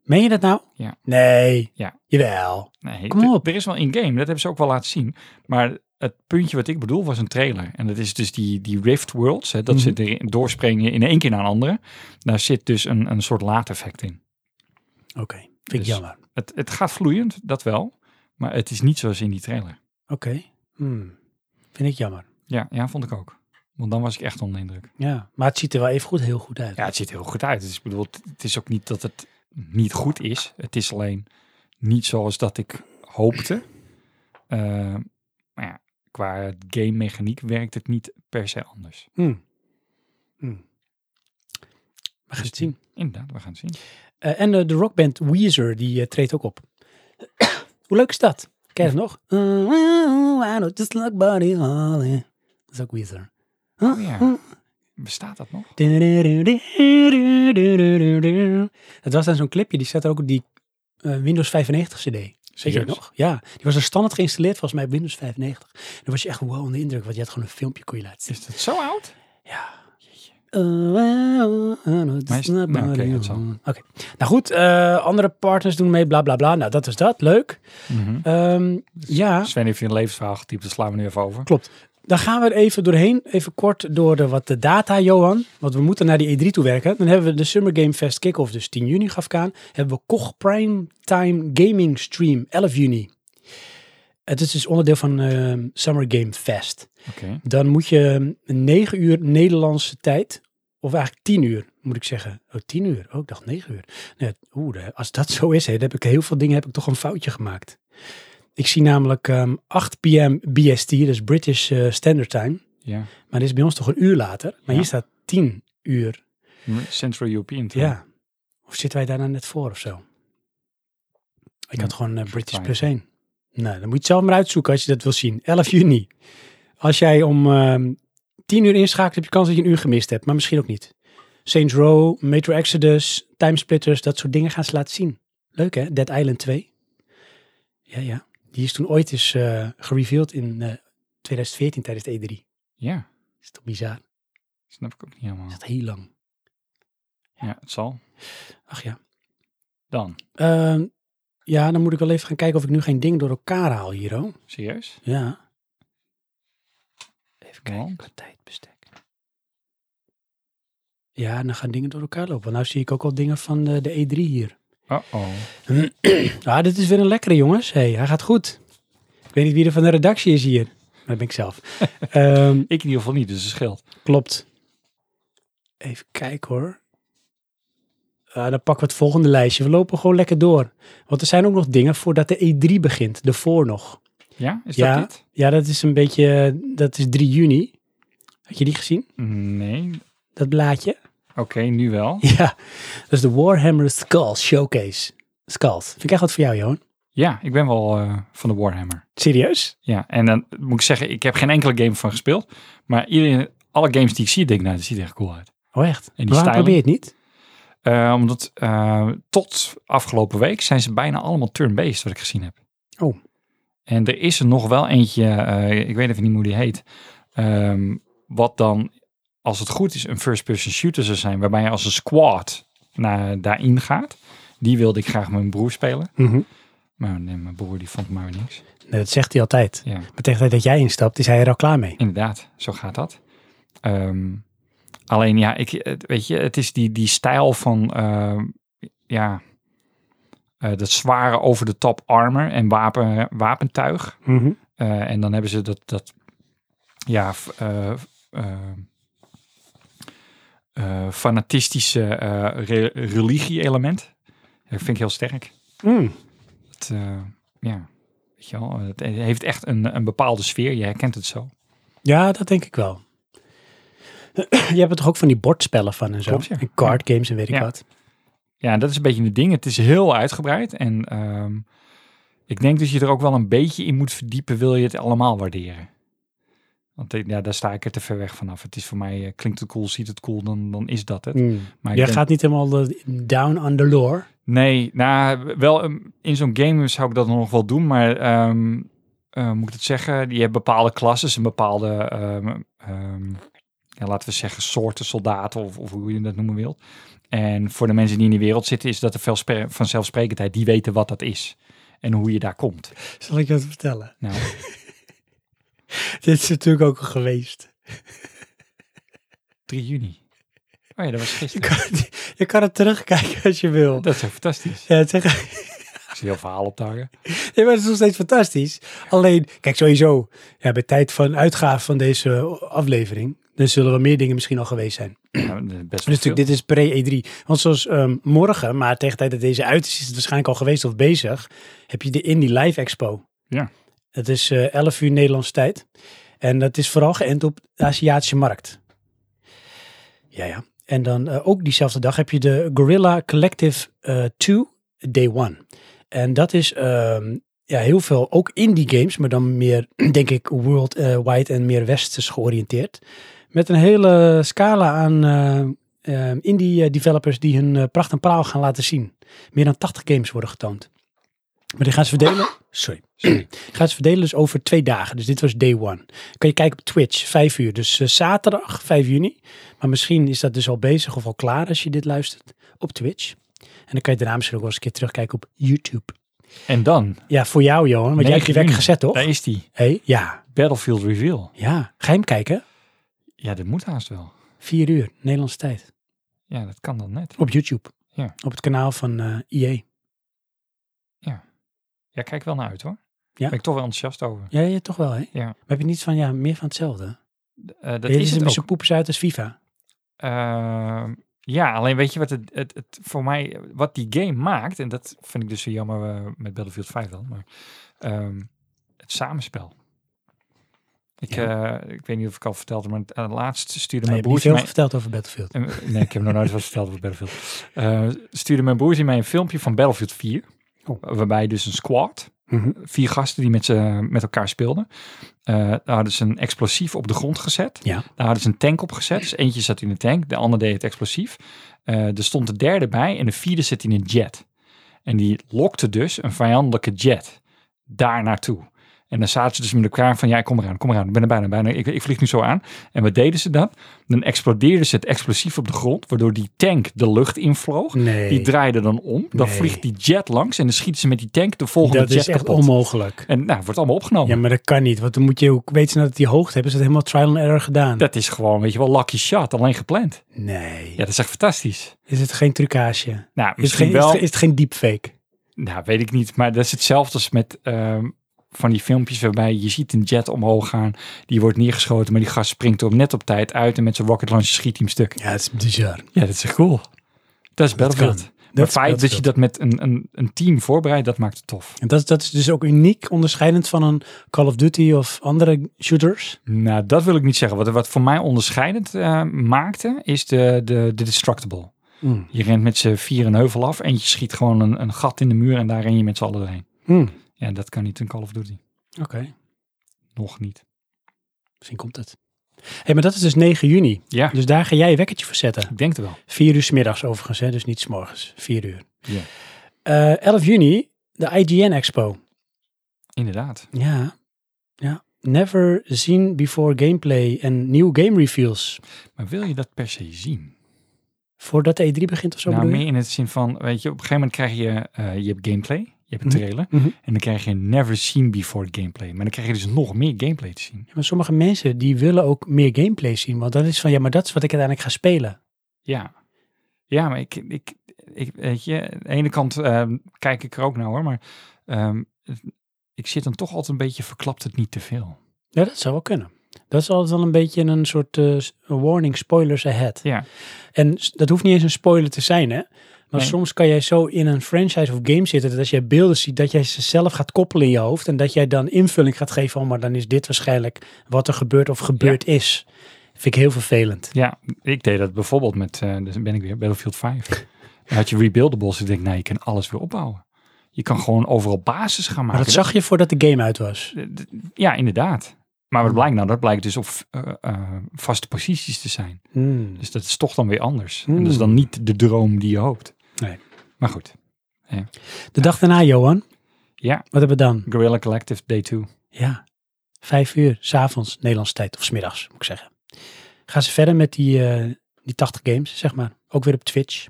A: Meen je dat nou?
C: Ja.
A: Nee.
C: Ja.
A: Jawel.
C: Nee,
A: Kom
C: d-
A: op.
C: Er is wel in-game, dat hebben ze ook wel laten zien. Maar het puntje wat ik bedoel was een trailer. En dat is dus die, die Rift Worlds, hè, dat
A: Mhm.
C: zit erin, doorspringen in één keer naar een andere. Daar zit dus een, een soort laadeffect in.
A: Oké. Vind ik
C: Dus-
A: jammer.
C: Het, het gaat vloeiend, dat wel. Maar het is niet zoals in die trailer.
A: Oké. Hmm. Vind ik jammer.
C: Ja, ja, vond ik ook. Want dan was ik echt onder de indruk.
A: Ja. Maar het ziet er wel even goed heel goed uit.
C: Ja, het ziet er heel goed uit. Dus ik bedoel, het- het is ook niet dat het niet goed is. Het is alleen niet zoals dat ik hoopte. Eh, maar ja, qua game mechaniek werkt het niet per se anders.
A: Hmm. Hmm. We
C: Dus
A: gaan het zien.
C: Inderdaad, we gaan het zien.
A: Eh, en eh, de rockband Weezer, die eh, treedt ook op. Hoe leuk is dat? Ken je dat nog?
C: Mm.
A: Eh, I don't just like body holly. Dat is ook Weezer.
C: Oh ja. Bestaat dat nog?
A: Het was dan zo'n clipje, die zat er ook op die eh, Windows 95 cd. Weet je
C: Serieus?
A: dat nog? Ja, die was er standaard geïnstalleerd volgens mij op Windows 95. Dan was je echt wow onder de indruk, want je had gewoon een filmpje kon je laten zien.
C: Is dat zo oud?
A: Ja.
C: Jeetje.
A: Maar
C: Maar is- nou, oké, dat zal.
A: Oké. Nou goed, eh, andere partners doen mee, bla bla bla. Nou, dat is dat. Leuk.
C: Mhm.
A: Ehm, ja,
C: Sven heeft hier een levensverhaal getypt, daar slaan we nu even over.
A: klopt. Dan gaan we er even doorheen. Even kort door de, wat de data, Johan. Want we moeten naar die E3 toe werken. Dan hebben we de Summer Game Fest kick-off, dus 10 juni gaf ik aan. Hebben we Koch Prime Time Gaming Stream, 11 juni. Het is dus onderdeel van ehm, Summer Game Fest.
C: Oké.
A: dan moet je eh, 9 uur Nederlandse tijd, of eigenlijk 10 uur moet ik zeggen. Oh, 10 uur. Oh, ik dacht 9 uur. Nee, Oeh, de- als dat zo is, hè, dan heb ik heel veel dingen heb ik toch een foutje gemaakt. Ik zie namelijk ehm 8 p.m. BST, dus British eh, Standard Time.
C: Ja.
A: Maar dit is bij ons toch een uur later. Maar
C: Ja.
A: hier staat 10 uur.
C: Central European.
A: Ja. Of zitten wij daarna net voor of zo? Ik
C: Ja,
A: had gewoon eh, British
C: fijn.
A: plus 1. Nou, dan moet je het zelf maar uitzoeken als je dat wil zien. 11 juni. Als jij om ehm 10 uur inschakelt, heb je kans dat je een uur gemist hebt. Maar misschien ook niet. Saints Row, Metro Exodus, Timesplitters, dat soort dingen gaan ze laten zien. Leuk hè? Dead Island 2. Ja, ja. Die is toen ooit eens eh gereveeld in eh, 2014 tijdens de E3.
C: Ja,
A: Is toch bizar?
C: snap ik ook niet helemaal.
A: Is dat heel lang?
C: Ja, het zal.
A: Ach ja.
C: Dan,
A: Ehm, ja, dan moet ik wel even gaan kijken of ik nu geen ding door elkaar haal hier, hoor.
C: serieus?
A: Ja. Even kijken,
C: Want?
A: qua tijdbestek. Ja, dan gaan dingen door elkaar lopen. Want nou zie ik ook al dingen van de, de E3 hier.
C: Uh-oh.
A: Ah, dit is weer een lekkere, jongens. hey, hij gaat goed. Ik weet niet wie er van de redactie is hier. Maar dat ben ik zelf. Ehm,
C: Ik in ieder geval niet, dus het scheelt.
A: Klopt. Even kijken hoor. Ah, dan pakken we het volgende lijstje. We lopen gewoon lekker door. Want er zijn ook nog dingen voordat de E3 begint. De voor nog.
C: Ja, is
A: Ja.
C: dat dit?
A: Ja, dat is een beetje... Dat is 3 juni. Had je die gezien?
C: Nee.
A: Dat blaadje?
C: Oké, nu wel.
A: Ja. Dat is de Warhammer Skulls Showcase. Skulls. Vind ik echt wat voor jou, Johan.
C: Ja, ik ben wel eh, van de Warhammer.
A: Serieus?
C: Ja, en dan moet ik zeggen, ik heb geen enkele game van gespeeld. Maar iedereen, alle games die ik zie, denk ik, nou, dat ziet er echt cool uit.
A: Oh, echt?
C: die
A: En Waarom
C: styling?
A: probeer je het niet?
C: Eh, omdat eh, tot afgelopen week zijn ze bijna allemaal turn-based, wat ik gezien heb.
A: Oh.
C: En er is er nog wel eentje, eh, ik weet even niet hoe die heet. ehm, wat dan, als het goed is, een first-person shooter zou zijn. Waarbij je als een squad naar, daarin gaat. Die wilde ik graag met mijn broer spelen. Maar nee, mijn broer die vond maar weer niks.
A: nee, dat zegt hij altijd.
C: Ja.
A: Maar tegen de tijd dat jij instapt, is hij er al klaar mee.
C: Inderdaad, zo gaat dat. Ehm, alleen ja, ik, het- weet je, het is die, die stijl van ehm, ja, eh, dat zware over de top armor en wapen, wapentuig.
A: Mhm.
C: Eh, en dan hebben ze dat, dat ja, f- eh, f- eh, eh, fanatistische eh, re- religie-element. Dat vind ik heel sterk.
A: Mm.
C: Het, eh, ja, weet je wel, het heeft echt een, een bepaalde sfeer. Je herkent het zo.
A: Ja, dat denk ik wel. Je hebt er toch ook van die bordspellen van en zo.
C: Klopt, ja.
A: En card games en weet ik
C: Ja.
A: wat.
C: Ja, dat is een beetje het ding. Het is heel uitgebreid. En ehm, ik denk dat je er ook wel een beetje in moet verdiepen, wil je het allemaal waarderen. Want eh, ja, daar sta ik er te ver weg vanaf. Het is voor mij, eh, klinkt het cool, ziet het cool, dan, dan is dat het. Maar ik
A: Hmm. Jij
C: denk-
A: gaat niet helemaal de- down on the lore.
C: Nee, nou, wel ehm, in zo'n game zou ik dat nog wel doen, maar ehm, eh, moet ik het zeggen? Je hebt bepaalde klasses en bepaalde, ehm, ehm, ja, laten we zeggen, soorten soldaten of, of hoe je dat noemen wilt. En voor de mensen die in die wereld zitten, is dat er veel spre- vanzelfsprekendheid. Die weten wat dat is en hoe je daar komt.
A: Zal ik je wat vertellen?
C: Nou,
A: Dit is natuurlijk ook al geweest.
C: 3 juni. Oh ja, dat was
A: Je
C: gisteren.
A: kan, het- je kan het terugkijken als je wil.
C: Dat is echt fantastisch.
A: Ja, het zeggen,
C: Ik zie heel verhaal opdagen.
A: nee, maar het is nog steeds fantastisch. Alleen, kijk, sowieso, ja, bij tijd van uitgave van deze aflevering, dan zullen wel meer dingen misschien al geweest zijn.
C: Nou, best wel
A: Dus
C: veel.
A: natuurlijk, dit is pre-E3. Want zoals ehm, morgen, maar tegen de tijd dat deze uit is, is het waarschijnlijk al geweest of bezig, heb je de Indie Live Expo.
C: Ja.
A: Het is eh 11 uur Nederlandse tijd. En dat is vooral geënt op de Aziatische markt. Ja, ja. En dan eh, ook diezelfde dag heb je de Gorilla Collective eh 2 Day 1. En dat is ehm, ja, heel veel ook indie games, maar dan meer, denk ik, worldwide en meer westers georiënteerd. Met een hele scala aan eh, eh, indie eh, developers die hun eh, pracht en praal gaan laten zien. Meer dan 80 games worden getoond. Maar die gaan ze verdelen. Sorry.
C: Sorry.
A: Gaan ze verdelen dus over twee dagen. Dus dit was day one. Kan je kijken op Twitch, 5 uur. Dus eh, zaterdag, 5 juni. Maar misschien is dat dus al bezig of al klaar als je dit luistert op Twitch. En dan kan je daarna misschien ook wel eens een keer terugkijken op YouTube.
C: En dan,
A: Ja, voor jou, Johan. Want jij hebt je
C: 9
A: werk
C: juni.
A: gezet, toch?
C: daar is die
A: Hey, ja,
C: Battlefield Reveal.
A: ja. Ga je hem kijken?
C: Ja, dat moet haast wel.
A: Vier uur, Nederlandse tijd.
C: Ja, dat kan dan net.
A: Op YouTube.
C: Ja.
A: Op het kanaal van eh EA.
C: Ja, kijk wel naar uit hoor.
A: Ja.
C: Ben ik toch wel enthousiast over.
A: Ja, ja, toch wel, hè?
C: Ja.
A: Maar heb je niet van, ja, meer van hetzelfde?
C: Eh, dat
A: Dit
C: is het
A: een
C: ook.
A: zo poepers uit als FIFA.
C: Ehm, ja, alleen weet je wat het, het, het voor mij, wat die game maakt, en dat vind ik dus zo jammer eh, met Battlefield 5 dan, maar ehm, het samenspel. Ik, eh, ik weet niet of ik al verteld heb, maar het- eh, laatst
A: Nou, je
C: stuurde mijn
A: hebt niet
C: broertje
A: veel
C: mij...
A: verteld over Battlefield.
C: Eh, Nee, ik heb nog nooit wat verteld over Battlefield. Eh, stuurde mijn broertje mij een filmpje van Battlefield 4.
A: Oh.
C: Waarbij dus een squad,
A: Mhm.
C: vier gasten die met, ze, met elkaar speelden. eh, daar hadden ze een explosief op de grond gezet.
A: Ja.
C: Daar hadden ze een tank op gezet. Dus eentje zat in de tank, de ander deed het explosief. Eh, er stond de derde bij en de vierde zit in een jet. En die lokte dus een vijandelijke jet daar naartoe. En dan zaten ze dus met elkaar van, ja, kom eraan, kom eraan, ik ben er bijna, bijna, ik, ik vlieg nu zo aan. En wat deden ze dan? Dan explodeerden ze het explosief op de grond, waardoor die tank de lucht invloog.
A: Nee,
C: Die draaide dan om, dan
A: Nee.
C: vliegt die jet langs en dan schieten ze met die tank de volgende
A: dat
C: jet
A: is echt
C: kapot.
A: onmogelijk.
C: En nou, wordt allemaal opgenomen.
A: Ja, maar dat kan niet. Want dan moet je ook weten dat die hoogte hebben. Ze het helemaal trial and error gedaan.
C: Dat is gewoon, weet je wel, lucky shot, alleen gepland.
A: Nee.
C: Ja, dat is echt fantastisch.
A: Is het geen trucage? Is
C: Nou,
A: het
C: misschien
A: geen, is
C: wel,
A: het, is het geen deepfake?
C: nou, weet ik niet, maar dat is hetzelfde als met ehm, van die filmpjes waarbij je ziet een jet omhoog gaan, die wordt neergeschoten, maar die gast springt er net op tijd uit en met zijn rocket launcher schiet hij hem stuk.
A: Ja, het is bizar.
C: Ja, dat is echt cool. Dat is Battlefield.
A: kan.
C: Maar
A: Dat
C: het feit dat je dat met een, een, een team voorbereidt, dat maakt het tof.
A: En dat, dat is dus ook uniek, onderscheidend van een Call of Duty of andere shooters.
C: Nou, dat wil ik niet zeggen. Wat, wat voor mij onderscheidend eh, maakte, is de, de, de Destructible.
A: Mm.
C: Je rent met z'n vier een heuvel af. Eentje schiet gewoon een, een gat in de muur en daar ren je met z'n allen doorheen. Ja, dat kan niet in Call of Duty.
A: Mm. Oké,
C: Nog niet.
A: misschien komt het. Hé, hey, maar dat is dus 9 juni.
C: Ja,
A: Dus daar ga jij je wekkertje voor zetten.
C: ik denk het wel.
A: 4 uur 's middags overigens, hè? dus niet 's morgens. 4 uur.
C: Ja.
A: Eh, 11 juni, de IGN Expo.
C: Inderdaad.
A: Ja. ja. Never seen before gameplay en nieuw game reveals.
C: Maar wil je dat per se zien?
A: Voordat de E3 begint of zo
C: nou,
A: bedoel
C: meer
A: je?
C: in het zin van, weet je, op een gegeven moment krijg je, eh, je hebt gameplay, je hebt een
A: Mhm.
C: trailer.
A: Mhm.
C: En dan krijg je never seen before gameplay. Maar dan krijg je dus nog meer gameplay te zien.
A: Ja, maar sommige mensen die willen ook meer gameplay zien. Want dat is van, ja, maar dat is wat ik uiteindelijk ga spelen.
C: Ja. Ja, maar ik, ik, ik weet je, aan de ene kant ehm, kijk ik er ook naar hoor, maar ehm, ik zit dan toch altijd een beetje verklapt het niet te veel.
A: Ja, dat zou wel kunnen. Dat is altijd wel een beetje een soort eh, s- warning, spoilers ahead.
C: Ja.
A: En s- dat hoeft niet eens een spoiler te zijn, hè. Maar
C: Nee.
A: soms kan jij zo in een franchise of game zitten dat als jij beelden ziet, dat jij ze zelf gaat koppelen in je hoofd. En dat jij dan invulling gaat geven, van, maar dan is dit waarschijnlijk wat er gebeurt of gebeurd is. Vind ik heel vervelend.
C: Ja, ik deed dat bijvoorbeeld met, eh dus ben ik weer, Battlefield 5. Dan had je rebuildables. Ik denk, nou, je kan alles weer opbouwen. Je kan gewoon overal basis gaan
A: Maar
C: maken.
A: dat zag je voordat de game uit was.
C: D- d- Ja, inderdaad. Maar
A: Hmm.
C: wat blijkt nou? Dat blijkt dus op eh, eh, vaste posities te zijn.
A: Hmm.
C: Dus dat is toch dan weer anders.
A: Hmm.
C: En dat is dan niet de droom die je hoopt.
A: Nee.
C: Maar goed,
A: De dag daarna, Johan.
C: Ja.
A: Wat hebben we dan?
C: Guerrilla Collective Day 2.
A: Ja, vijf uur, s'avonds, Nederlandse tijd. Of smiddags, moet ik zeggen. Gaan ze verder met die, eh, die 80 games, zeg maar. Ook weer op Twitch.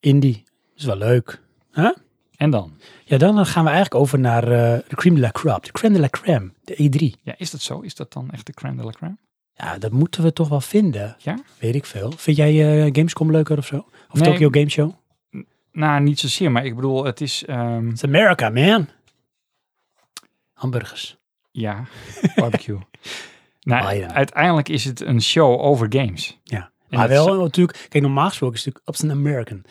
A: Indie. is wel leuk.
C: En dan?
A: Ja, dan eh, gaan we eigenlijk over naar eh, de crème de la crop. De crème de la crème. De E3.
C: Ja, is dat zo? Is dat dan echt de crème de la crème?
A: Ja, dat moeten we toch wel vinden.
C: Ja?
A: Weet ik veel. Vind jij eh, Gamescom leuker of zo? Of
C: Nee.
A: Tokyo Game Show?
C: Nou, niet zozeer. Maar ik bedoel, het is... ehm,
A: It's America, man. Hamburgers.
C: Ja, barbecue. nou,
A: Ah, ja.
C: uiteindelijk is het een show over games.
A: Ja,
C: En
A: maar
C: dat is-
A: wel natuurlijk, kijk normaal gesproken is het natuurlijk op zijn American.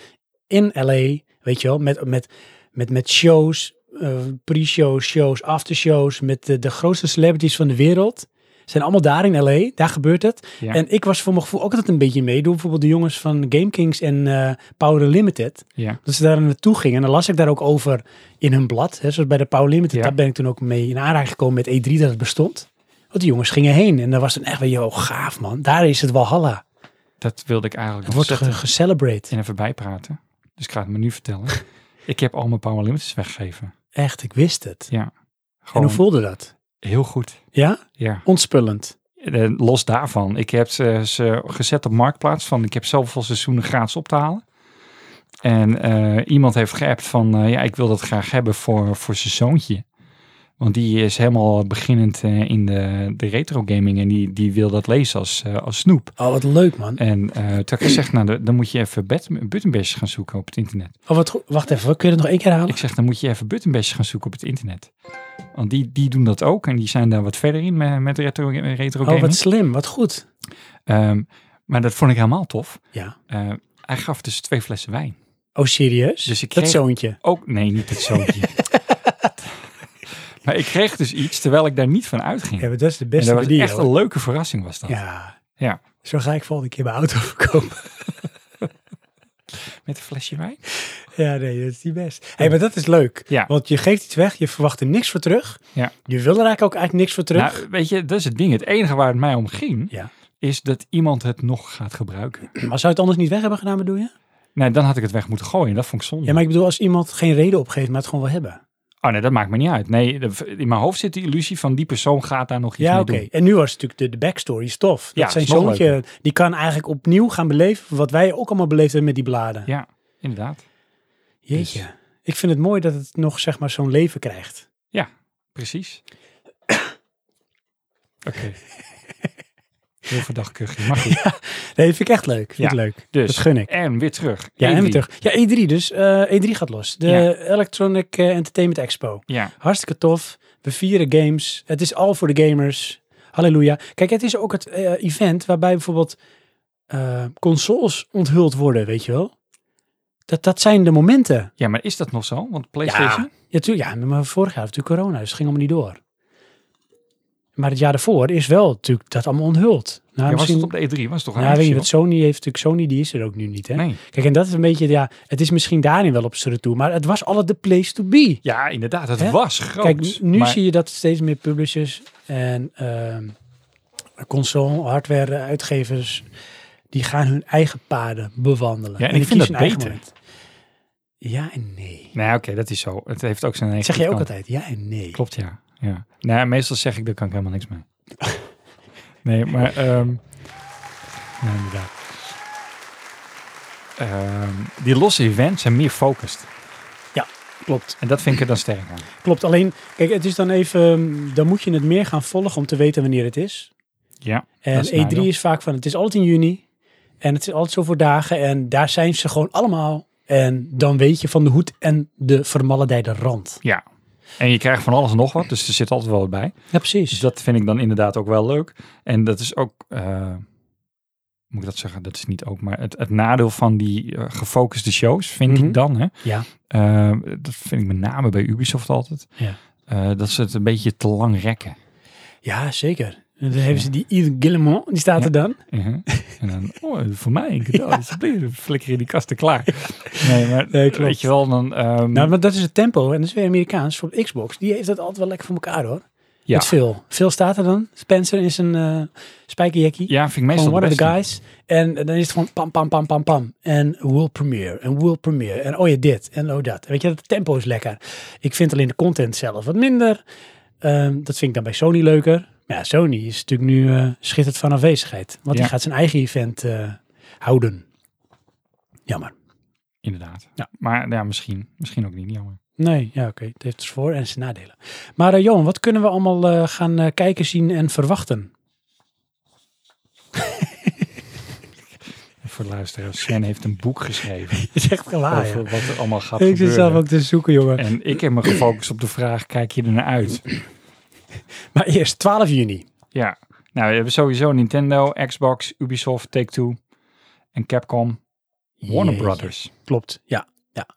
A: In LA, weet je wel, met, met, met, met shows, eh, pre-shows, shows, aftershows, met de, de grootste celebrities van de wereld. Zijn allemaal daar in LA, daar gebeurt het.
C: Ja.
A: En ik was voor mijn gevoel ook altijd een beetje mee. Door bijvoorbeeld de jongens van Game Kings en eh, Power Limited.
C: Ja.
A: Dat ze daar naartoe gingen. En dan las ik daar ook over in hun blad. Hè, zoals bij de Power Limited.
C: Ja.
A: Daar ben ik toen ook mee in aanraking gekomen met E3 dat het bestond. Want die jongens gingen heen. En daar was dan echt weer, joh, gaaf man. Daar is het Walhalla.
C: Dat wilde ik eigenlijk
A: Het
C: nog
A: wordt
C: zetten
A: ge- gecelebrate.
C: en even bijpraten. Dus ik ga het me nu vertellen. ik heb al mijn Power Limits weggegeven.
A: Echt, ik wist het. en
C: Gewoon
A: hoe voelde dat?
C: heel goed.
A: Ja?
C: Ja.
A: Ontspullend.
C: Eh, Los daarvan. Ik heb ze, ze gezet op Marktplaats. Van, ik heb zoveel seizoenen gratis op te halen. En eh, iemand heeft geappt van... eh, ja, ik wil dat graag hebben voor, voor zijn zoontje. Want die is helemaal beginnend eh, in de, de retro gaming. En die, die wil dat lezen als, eh, als snoep.
A: Oh, wat leuk, man.
C: En eh toen heb ik gezegd, nou, dan- dan moet je even button- buttonbashers gaan zoeken op het internet.
A: Oh, wat goed. Wacht even, kun je het nog één keer halen?
C: Ik zeg, dan moet je even buttonbashers gaan zoeken op het internet. Want die, die doen dat ook en die zijn daar wat verder in met, met retro, retro
A: oh,
C: gaming.
A: wat slim, wat goed.
C: Ehm, maar dat vond ik helemaal tof.
A: Ja.
C: Eh, hij gaf dus twee flessen wijn.
A: Oh, serieus?
C: Dus ik
A: dat
C: kreeg-
A: zoontje.
C: Ook, nee, niet het zoontje. Maar ik kreeg dus iets terwijl ik daar niet van uitging.
A: Ja, maar dat is de
C: en
A: beste
C: dat was
A: manier.
C: echt
A: hoor.
C: een leuke verrassing was dat.
A: Ja.
C: Ja.
A: Zo ga ik volgende keer mijn auto verkopen.
C: Met een flesje wijn.
A: ja, nee, dat is niet best. Hé, hey, maar dat is leuk.
C: Ja.
A: Want je geeft iets weg, je verwacht er niks voor terug.
C: Ja.
A: Je wil er eigenlijk ook eigenlijk niks voor terug.
C: Nou, weet je, dat is het ding. Het enige waar het mij om ging,
A: Ja.
C: is dat iemand het nog gaat gebruiken.
A: maar zou je het anders niet weg hebben gedaan, bedoel je?
C: Nee, dan had ik het weg moeten gooien. Dat vond ik zonde.
A: Ja, maar ik bedoel, als iemand geen reden opgeeft, maar het gewoon wil hebben.
C: Oh nee, dat maakt me niet uit. Nee, de- in mijn hoofd zit de illusie van die persoon gaat daar nog iets
A: Ja,
C: mee
A: oké.
C: doen.
A: En nu was het natuurlijk de, de backstory is tof. Dat
C: Ja,
A: zijn
C: is nog
A: zoontje, die kan eigenlijk opnieuw gaan beleven wat wij ook allemaal beleefd hebben met die bladen.
C: Ja, inderdaad.
A: Jeetje. Ik vind het mooi dat het nog zeg maar zo'n leven krijgt.
C: Precies. Oké. Heel verdacht kuchje. Mag niet.
A: Nee, dat vind ik echt leuk. Vind ik leuk.
C: Dus,
A: Dat gun ik.
C: En weer terug. E
A: Ja, en
C: Andy.
A: weer terug. Ja, E3 dus. Eh, E3 gaat los. De
C: Ja.
A: Electronic eh, Entertainment Expo.
C: Ja,
A: Hartstikke tof. We vieren games. Het is al voor de gamers. Halleluja. Kijk, het is ook het eh, event waarbij bijvoorbeeld eh, consoles onthuld worden, weet je wel. Dat, dat zijn de momenten.
C: ja, maar is dat nog zo? Want PlayStation?
A: Ja, tuur- ja, maar vorig jaar had natuurlijk corona, dus het ging allemaal niet door. Maar het jaar daarvoor is wel natuurlijk dat allemaal onthuld. Nou,
C: Ja, was
A: misschien,
C: het op de E3? Was het toch
A: nou, weet je,
C: een
A: wat Sony heeft natuurlijk, Sony die is er ook nu niet. Hè?
C: Nee.
A: Kijk, en dat is een beetje, ja, het is misschien daarin wel op z'n retour, maar het was alle de place to be.
C: Ja, inderdaad. Het
A: Hè?
C: was groot.
A: Kijk, nu
C: maar-
A: zie je dat steeds meer publishers en ehm, console, hardware uitgevers, die gaan hun eigen paden bewandelen.
C: Ja, en ik
A: die
C: vind
A: kiezen
C: dat
A: hun eigen
C: beter.
A: moment. Ja en nee.
C: Nee, oké, dat is zo. Het heeft ook zijn
A: Dat
C: eigen
A: zeg jij ook
C: kant.
A: altijd, ja en nee.
C: Klopt, ja. ja. Nou, meestal zeg ik, daar kan ik helemaal niks mee. Nee, maar... ehm, ja, inderdaad. Ehm, die losse events zijn meer focused.
A: Klopt.
C: En dat vind ik er dan sterk aan.
A: Klopt, alleen, kijk, het is dan even, ehm, dan moet je het meer gaan volgen om te weten wanneer het is.
C: Ja,
A: En
C: Dat is
A: E3
C: het nadeel.
A: is vaak van, het is altijd in juni en het is altijd zo voor dagen en daar zijn ze gewoon allemaal. En dan weet je van de hoed en de vermaledijde rand.
C: ja. En je krijgt van alles en nog wat, dus er zit altijd wel wat bij.
A: Ja,
C: Dus
A: precies.
C: dat vind ik dan inderdaad ook wel leuk. En dat is ook... eh, moet ik dat zeggen? Dat is niet ook, maar het, het nadeel van die eh, gefocuste shows vind
A: Mhm.
C: ik dan, hè,
A: Ja,
C: Eh, dat vind ik met name bij Ubisoft altijd.
A: Ja.
C: Eh, dat ze het een beetje te lang rekken.
A: ja zeker. En dan hebben ze die Yves Guillemot, die staat
C: Dus, Ja.
A: er dan.
C: Mhm. En dan, oh, voor mij een cadeau. Alsjeblieft, flikker in die kasten klaar. Nee, maar
A: Nee, klopt.
C: weet je wel, dan... ehm,
A: Nou, maar dat is het tempo en dat is weer Amerikaans. Voor Xbox, die heeft dat altijd wel lekker voor elkaar hoor.
C: ja.
A: Met veel. Veel staat er dan. Spencer in zijn eh spijkerjackie.
C: ja, vind ik meestal
A: Gewoon one
C: het
A: of the
C: beste.
A: guys. En dan is het gewoon pam, pam, pam, pam, pam. En will premiere. En will premiere. En oh ja, dit. En oh dat. Weet je, het tempo is lekker. Ik vind alleen de content zelf wat minder. Ehm, dat vind ik dan bij Sony leuker. Maar ja, Sony is natuurlijk nu eh schitterd van afwezigheid. Want
C: Ja.
A: die gaat zijn eigen event eh, houden. Jammer.
C: Inderdaad.
A: Ja.
C: Maar ja, misschien, misschien ook niet, jammer.
A: Nee, ja oké. Het heeft dus voor- en zijn nadelen. Maar eh, Johan, wat kunnen we allemaal eh, gaan eh, kijken, zien en verwachten?
C: Voor de luisteraars, Sven heeft een boek geschreven
A: Het is echt gewaar.
C: over
A: joh.
C: wat er allemaal gaat
A: Ah, Ik zit
C: gebeuren.
A: zelf ook te zoeken, jongen.
C: En ik heb me gefocust op de vraag, kijk je er naar uit?
A: Maar eerst 12 juni.
C: Ja, nou, we hebben sowieso Nintendo, Xbox, Ubisoft, Take-Two en Capcom, Warner
A: Jeetje.
C: Brothers.
A: Klopt, ja. ja.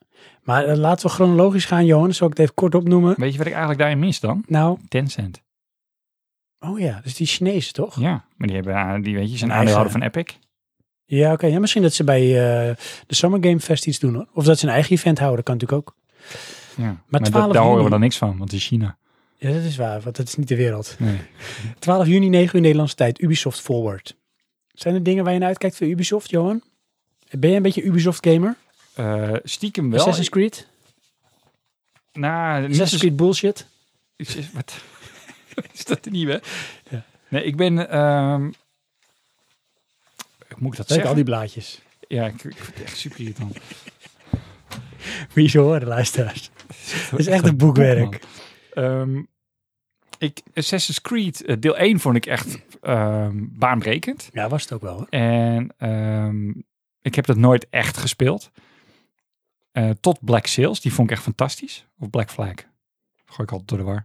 A: Maar eh, laten we chronologisch gaan, Johan. Zal ik het even kort opnoemen?
C: Weet je wat ik eigenlijk daarin mis dan?
A: Nou,
C: Tencent.
A: oh ja, dus die Chinezen toch? Ja,
C: Ja, maar die hebben, eh, die weet je, zijn
A: Een
C: aandeelhouder van Epic.
A: oké. Ja, misschien dat ze bij eh, de Summer Game Fest iets doen hoor. Of dat ze een eigen event houden, kan natuurlijk ook.
C: Ja. Maar,
A: 12
C: dat, daar horen
A: juni.
C: we dan niks van, want in China.
A: Ja, dat is waar, want dat is niet de wereld.
C: Nee.
A: 12 juni, 9 uur Nederlandse tijd, Ubisoft Forward. Zijn er dingen waar je naar uitkijkt voor Ubisoft, Johan? Ben je een beetje Ubisoft-gamer?
C: Eh, stiekem wel.
A: Assassin's Creed?
C: Ik- nou, niet
A: Assassin's
C: zo-
A: Creed bullshit?
C: Ik zeg, wat? is dat de nieuwe? Nee, ik ben... ehm, hoe moet ik
A: Leuk,
C: dat
A: al
C: zeggen?
A: die blaadjes.
C: Ja, ik, ik vind het echt super irritant.
A: Wie zo horen, luisteraars. Het is echt een boekwerk.
C: Ehm, ik, Assassin's Creed, eh, deel 1 vond ik echt ehm, baanbrekend.
A: Ja, was het ook wel hoor.
C: En ehm, ik heb dat nooit echt gespeeld. Eh, tot Black Sails, die vond ik echt fantastisch. Of Black Flag. Gooi ik altijd door de war.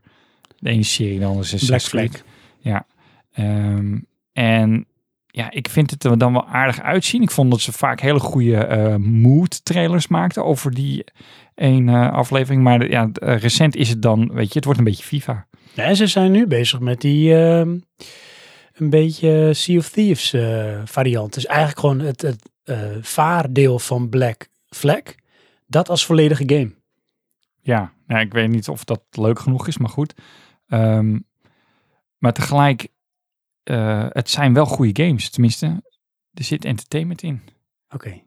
C: De ene serie, de andere is
A: Black
C: Assassin's
A: Flag.
C: Creed. Ehm, en ja, ik vind het er dan wel aardig uitzien. Ik vond dat ze vaak hele goede eh mood trailers maakten over die één eh, aflevering. Maar de- ja, eh, recent is het dan, weet je, het wordt een beetje FIFA.
A: Nee, ze zijn nu bezig met die ehm, een beetje Sea of Thieves eh, variant. Dus eigenlijk gewoon het, het eh, vaardeel van Black Flag. Dat als volledige game.
C: Ja, nou, ik weet niet of dat leuk genoeg is, maar goed. Ehm, maar tegelijk, eh, het zijn wel goede games. Tenminste, er zit entertainment in.
A: Oké.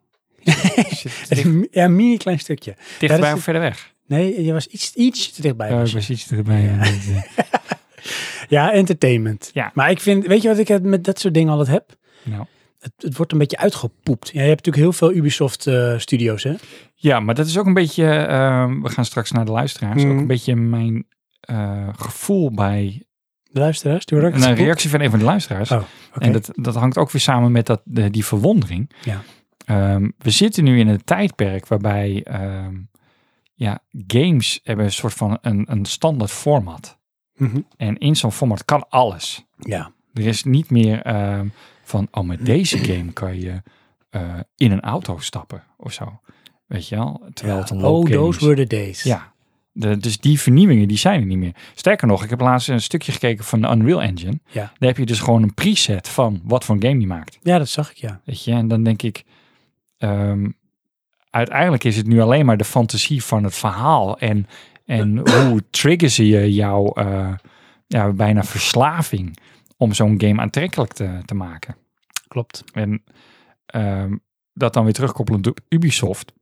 C: Er zit dicht,
A: ja, een mini klein stukje.
C: dichtbij
A: is-
C: of verder weg.
A: Nee, je was iets, iets te dichtbij.
C: Ja,
A: was je.
C: precies erbij. Ja.
A: Ja, entertainment.
C: Ja.
A: Maar ik vind, weet je wat ik het met dat soort dingen altijd heb?
C: Nou.
A: Het, het wordt een beetje uitgepoept. Ja, je hebt natuurlijk heel veel Ubisoft-studio's, hè?
C: Ja, maar dat is ook een beetje. ehm, we gaan straks naar de luisteraars.
A: Mhm.
C: Ook een beetje mijn eh, gevoel bij.
A: De luisteraars, die worden ook
C: Een
A: uitgepoept.
C: reactie van een van de luisteraars.
A: Oh, Oké.
C: En dat, dat hangt ook weer samen met dat, de- die verwondering.
A: Ja.
C: Ehm, we zitten nu in een tijdperk waarbij. ehm, ja, games hebben een soort van een, een standaard format.
A: Mhm.
C: En in zo'n format kan alles.
A: Ja.
C: Er is niet meer ehm, van, oh, met deze game kan je eh, in een auto stappen of zo. Weet je wel? Terwijl het een
A: oh,
C: loopgame
A: those
C: is.
A: were the days.
C: Ja, de, dus die vernieuwingen die zijn er niet meer. Sterker nog, ik heb laatst een stukje gekeken van de Unreal Engine.
A: Ja.
C: Daar heb je dus gewoon een preset van wat voor een game die maakt.
A: ja, dat zag ik, ja.
C: Weet je? En dan denk ik, ehm, uiteindelijk is het nu alleen maar de fantasie van het verhaal. En, en hoe triggeren ze je jouw eh, ja, bijna verslaving om zo'n game aantrekkelijk te, te maken.
A: Klopt.
C: En ehm, dat dan weer terugkoppelend op Ubisoft.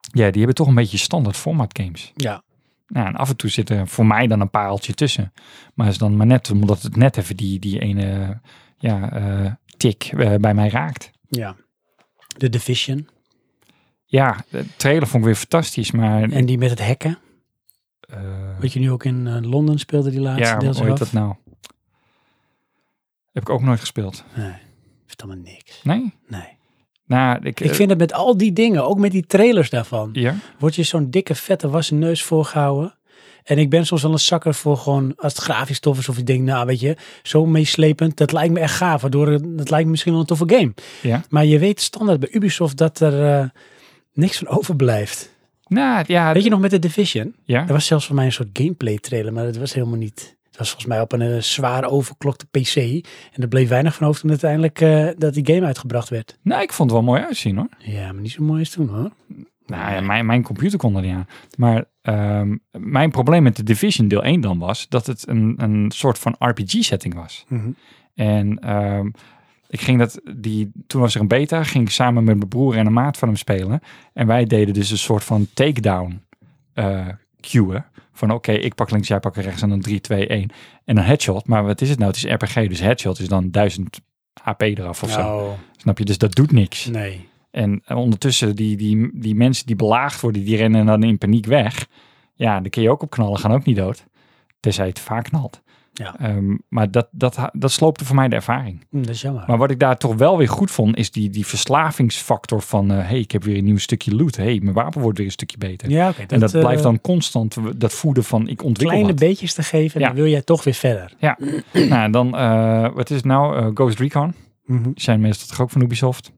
C: Ja, die hebben toch een beetje standaard format games.
A: Ja.
C: Nou, en af en toe zit er voor mij dan een pareltje tussen. Maar is dan maar net omdat het net even die, die ene ja, eh, tik eh, bij mij raakt.
A: Ja. De Division.
C: Ja, de trailer vond ik weer fantastisch, maar...
A: En die met het hacken.
C: eh,
A: Weet je, nu ook in eh, Londen speelde die laatste
C: ja,
A: deel
C: hoe heet
A: zelf.
C: dat nou? Heb ik ook nooit gespeeld.
A: Nee, heeft allemaal niks.
C: Nee?
A: Nee.
C: Nou, ik...
A: Ik
C: eh,
A: vind dat met al die dingen, ook met die trailers daarvan.
C: Ja?
A: wordt je zo'n dikke, vette wassen neus voorgehouden. En ik ben soms wel een zakker voor gewoon, als het grafisch tof is of ik denk, nou weet je, zo meeslepend, dat lijkt me echt gaaf, waardoor het, dat lijkt me misschien wel een toffe game.
C: Ja.
A: Maar je weet standaard bij Ubisoft dat er eh, niks van overblijft.
C: Nou, ja...
A: Weet je nog met de Division?
C: ja?
A: Er was zelfs voor mij een soort gameplay trailer, maar dat was helemaal niet. Het was volgens mij op een eh, zwaar overklokte PC. En er bleef weinig van over toen uiteindelijk eh, dat die game uitgebracht werd.
C: Nou, ik vond het wel mooi uitzien, hoor.
A: Ja, maar niet zo mooi is toen hoor.
C: Nou ja, mijn, mijn computer kon er niet aan. Maar ehm, mijn probleem met de Division deel 1 dan was... dat het een, een soort van RPG-setting was.
A: Mhm.
C: En ehm, ik ging dat, die, toen was er een beta, ging ik samen met mijn broer en een maat van hem spelen. En wij deden dus een soort van takedown eh queuen. Van oké, ik pak links, jij pakt rechts en dan 3, 2, 1. En dan headshot. Maar wat is het nou? Het is RPG, dus headshot is dan 1000 HP eraf of zo.
A: Nou,
C: Snap je? Dus dat doet niks.
A: nee.
C: En eh, ondertussen, die, die, die mensen die belaagd worden, die rennen dan in paniek weg. Ja, daar kun je ook op knallen, gaan ook niet dood. Tenzij het vaak knalt.
A: Ja.
C: Ehm, maar dat, dat, dat sloopte voor mij de ervaring.
A: Hm, dat is jammer.
C: Maar wat ik daar toch wel weer goed vond, is die, die verslavingsfactor van... eh, hey, ik heb weer een nieuw stukje loot. hey, mijn wapen wordt weer een stukje beter.
A: Ja, oké.
C: en dat
A: eh,
C: blijft dan constant eh, dat voeden van ik ontwikkel
A: kleine
C: wat.
A: beetjes te geven,
C: Ja.
A: dan wil jij toch weer verder.
C: Nou, dan, eh, wat is het nou? Eh, Ghost Recon. Die zijn meestal toch ook van Ubisoft.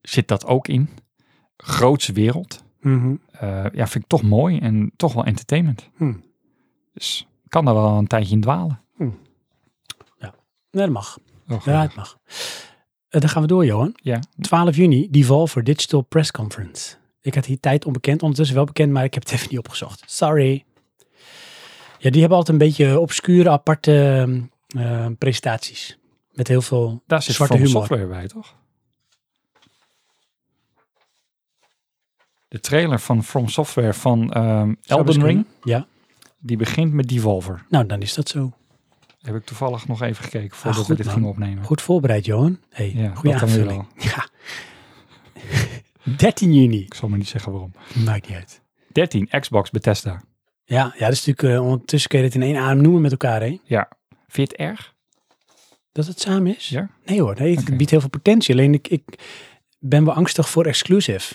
C: Zit dat ook in? Grootse wereld. Eh, ja, vind ik toch mooi en toch wel entertainment.
A: Hmm.
C: Dus ik kan er wel een tijdje in dwalen.
A: Nee, dat mag.
C: Oh,
A: Ja, het mag. Eh, dan gaan we door, Johan.
C: ja.
A: 12 juni, Devolver Digital Press Conference. Ik had hier tijd onbekend, ondertussen wel bekend, maar ik heb het even niet opgezocht. Sorry. Ja, die hebben altijd een beetje obscure, aparte eh, presentaties. Met heel veel
C: Daar zit
A: zwarte
C: From
A: humor.
C: Software bij, toch? De trailer van From Software van ehm,
A: Zou best
C: Elden Ring,
A: kunnen. Ja,
C: die begint met Devolver.
A: nou dan is dat zo.
C: Heb ik toevallig nog even gekeken voordat
A: Ah, goed,
C: we dit
A: man.
C: gingen opnemen.
A: Goed voorbereid, Johan. Hey,
C: Ja,
A: goede
C: dat dan weer
A: aanvulling. Ja. 13 juni.
C: Ik zal maar niet zeggen waarom.
A: Maakt niet uit.
C: 13, Xbox Bethesda.
A: Ja, ja, dat is natuurlijk, eh, ondertussen kun je dit in één adem noemen met elkaar, hè?
C: Vind je het erg?
A: Dat het samen is?
C: Ja.
A: Nee hoor, nee, het
C: Oké.
A: biedt heel veel potentie. Alleen ik, ik ben wel angstig voor exclusive.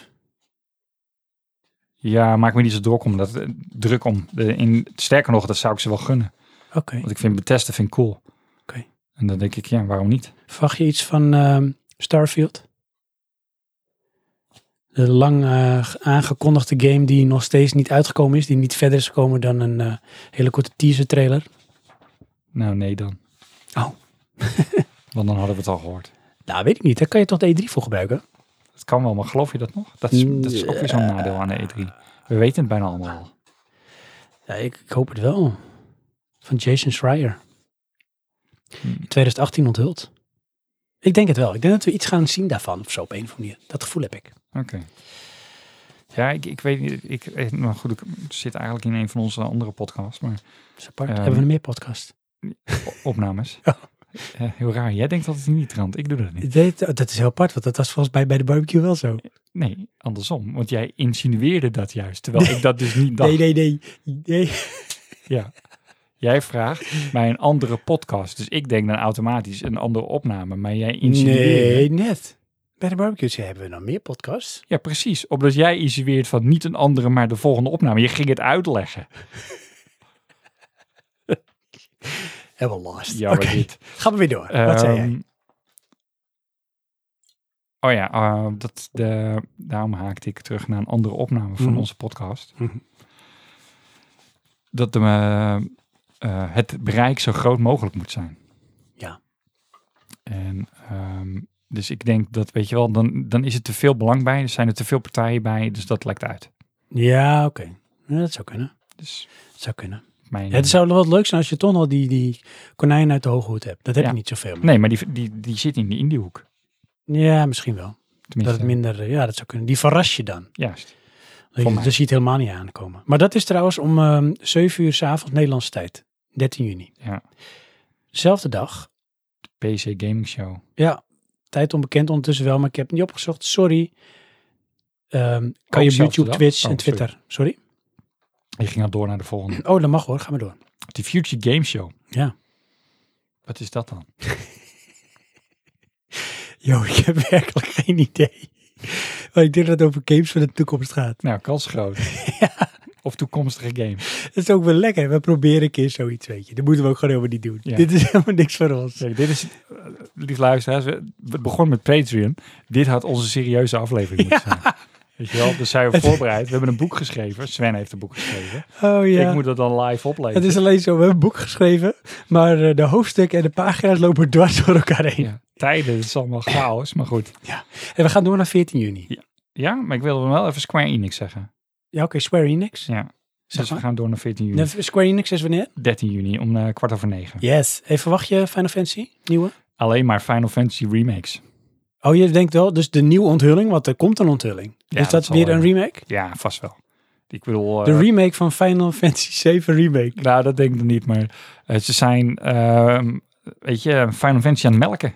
C: Ja, maak me niet zo druk om. Dat, eh, druk om. De, in, sterker nog, dat zou ik ze wel gunnen.
A: Oké.
C: Want ik vind Bethesda vind ik cool.
A: Oké.
C: En dan denk ik, ja, waarom niet?
A: Verwacht je iets van ehm, Starfield? De lang eh, ge- aangekondigde game die nog steeds niet uitgekomen is. Die niet verder is gekomen dan een eh, hele korte teaser trailer.
C: Nou, nee dan.
A: Oh.
C: Want dan hadden we het al gehoord.
A: Nou, weet ik niet. Daar kan je toch de E3 voor gebruiken?
C: Dat kan wel, maar geloof je dat nog? Dat is, dat is ook weer zo'n nadeel aan de E3. We weten het bijna allemaal al.
A: Ja, ik, ik hoop het wel. Van Jason Schreier.
C: Hmm.
A: In 2018 onthuld. Ik denk het wel. Ik denk dat we iets gaan zien daarvan of zo op een of andere manier. Dat gevoel heb ik.
C: Oké. Ja, ik, ik weet niet. Ik, eh, nou goed, ik zit eigenlijk in een van onze andere podcasts, maar
A: Dat is apart.
C: Ehm.
A: Hebben we een meer podcast?
C: o- opnames.
A: Ja.
C: Eh, heel raar. Jij denkt dat het niet trant. Ik doe dat niet.
A: Dit- dat is heel apart, want dat was volgens mij bij de barbecue wel zo.
C: Nee, andersom. Want jij insinueerde dat juist, terwijl ik dat dus niet dacht.
A: Nee, nee, nee. nee.
C: Ja. Jij vraagt bij een andere podcast. Dus ik denk dan automatisch een andere opname. Maar jij insinueerde.
A: Nee, net. Bij de barbecue zei, hebben we nog meer podcasts?
C: Ja, precies. Omdat jij insinueert van niet een andere, maar de volgende opname. Je ging het uitleggen.
A: Hebben we last.
C: Ja,
A: Oké,
C: maar dit.
A: gaan we weer door. Wat zei jij?
C: Ehm, Oh ja, eh, dat, de, daarom haakte ik terug naar een andere opname van
A: Mhm.
C: onze podcast.
A: Mhm.
C: Dat de, eh, eh, het bereik zo groot mogelijk moet zijn.
A: Ja.
C: En ehm, dus ik denk dat, weet je wel, dan, dan is er te veel belang bij. Er zijn er te veel partijen bij, dus dat lekt uit.
A: Ja, oké. Ja, dat zou kunnen.
C: Dus
A: Dat zou kunnen.
C: mijn,
A: Ja, het zou wel wat leuk zijn als je toch al die, die konijn uit de hoge hoed hebt. Dat heb
C: Ja.
A: je niet zoveel. meer.
C: Nee, maar die, die, die zit in die indiehoek.
A: Ja, misschien wel. Dat
C: Tenminste,
A: het minder, eh, ja, dat zou kunnen. Die verras je dan.
C: juist.
A: Dat
C: Voor
A: je,
C: mij.
A: dus je het helemaal niet aankomen. Maar dat is trouwens om ehm 7 uur 's avonds Nederlandse tijd. 13 juni.
C: Ja.
A: Zelfde dag.
C: PC Gaming Show.
A: Ja, tijd onbekend ondertussen wel, maar ik heb het niet opgezocht. Sorry. Ehm, kan
C: Ook
A: je op
C: zelfde
A: YouTube,
C: dag?
A: Twitch en
C: Oh, sorry.
A: Twitter. Sorry.
C: Je ging al door naar de volgende.
A: Oh, dat mag hoor. Ga maar door.
C: De Future Game Show.
A: Ja.
C: Wat is dat dan?
A: Jo, ik heb werkelijk geen idee. Maar ik denk dat het over games van de toekomst gaat.
C: Nou, kans groot. Of toekomstige games.
A: Dat is ook wel lekker. We proberen een keer zoiets, weet je. Dat moeten we ook gewoon helemaal niet doen.
C: Ja.
A: Dit is helemaal niks voor ons.
C: Kijk, dit is, eh, lief luisteraars, we we begonnen met Patreon. Dit had onze serieuze aflevering moeten zijn. Weet je wel, dus zijn we voorbereid. We hebben een boek geschreven. Sven heeft een boek geschreven.
A: Oh ja.
C: Ik moet dat dan live
A: Het
C: oplezen.
A: is alleen zo, we hebben een boek geschreven, maar eh, de hoofdstukken en de pagina's lopen dwars door elkaar heen.
C: Ja, tijden, het is allemaal chaos, maar goed.
A: En we gaan door naar 14 juni.
C: Ja, maar ik wilde wel even Square Enix zeggen.
A: Ja, oké, Square Enix.
C: Ja,
A: Zeg
C: dus we
A: maar.
C: gaan door naar 14 juni.
A: Nou, Square Enix is wanneer?
C: 13 juni om eh, kwart over negen.
A: Yes. Hey, verwacht je Final Fantasy? Nieuwe?
C: Alleen maar Final Fantasy remakes.
A: Oh, je denkt wel, dus de nieuwe onthulling, want er komt een onthulling.
C: Ja,
A: dus dat,
C: dat
A: is
C: zal
A: weer
C: wel.
A: een remake?
C: Ja, vast wel. Ik bedoel... eh,
A: De remake van Final Fantasy 7 Remake.
C: Nou, dat denk ik nog niet, maar eh, ze zijn, ehm, weet je, Final Fantasy aan het melken.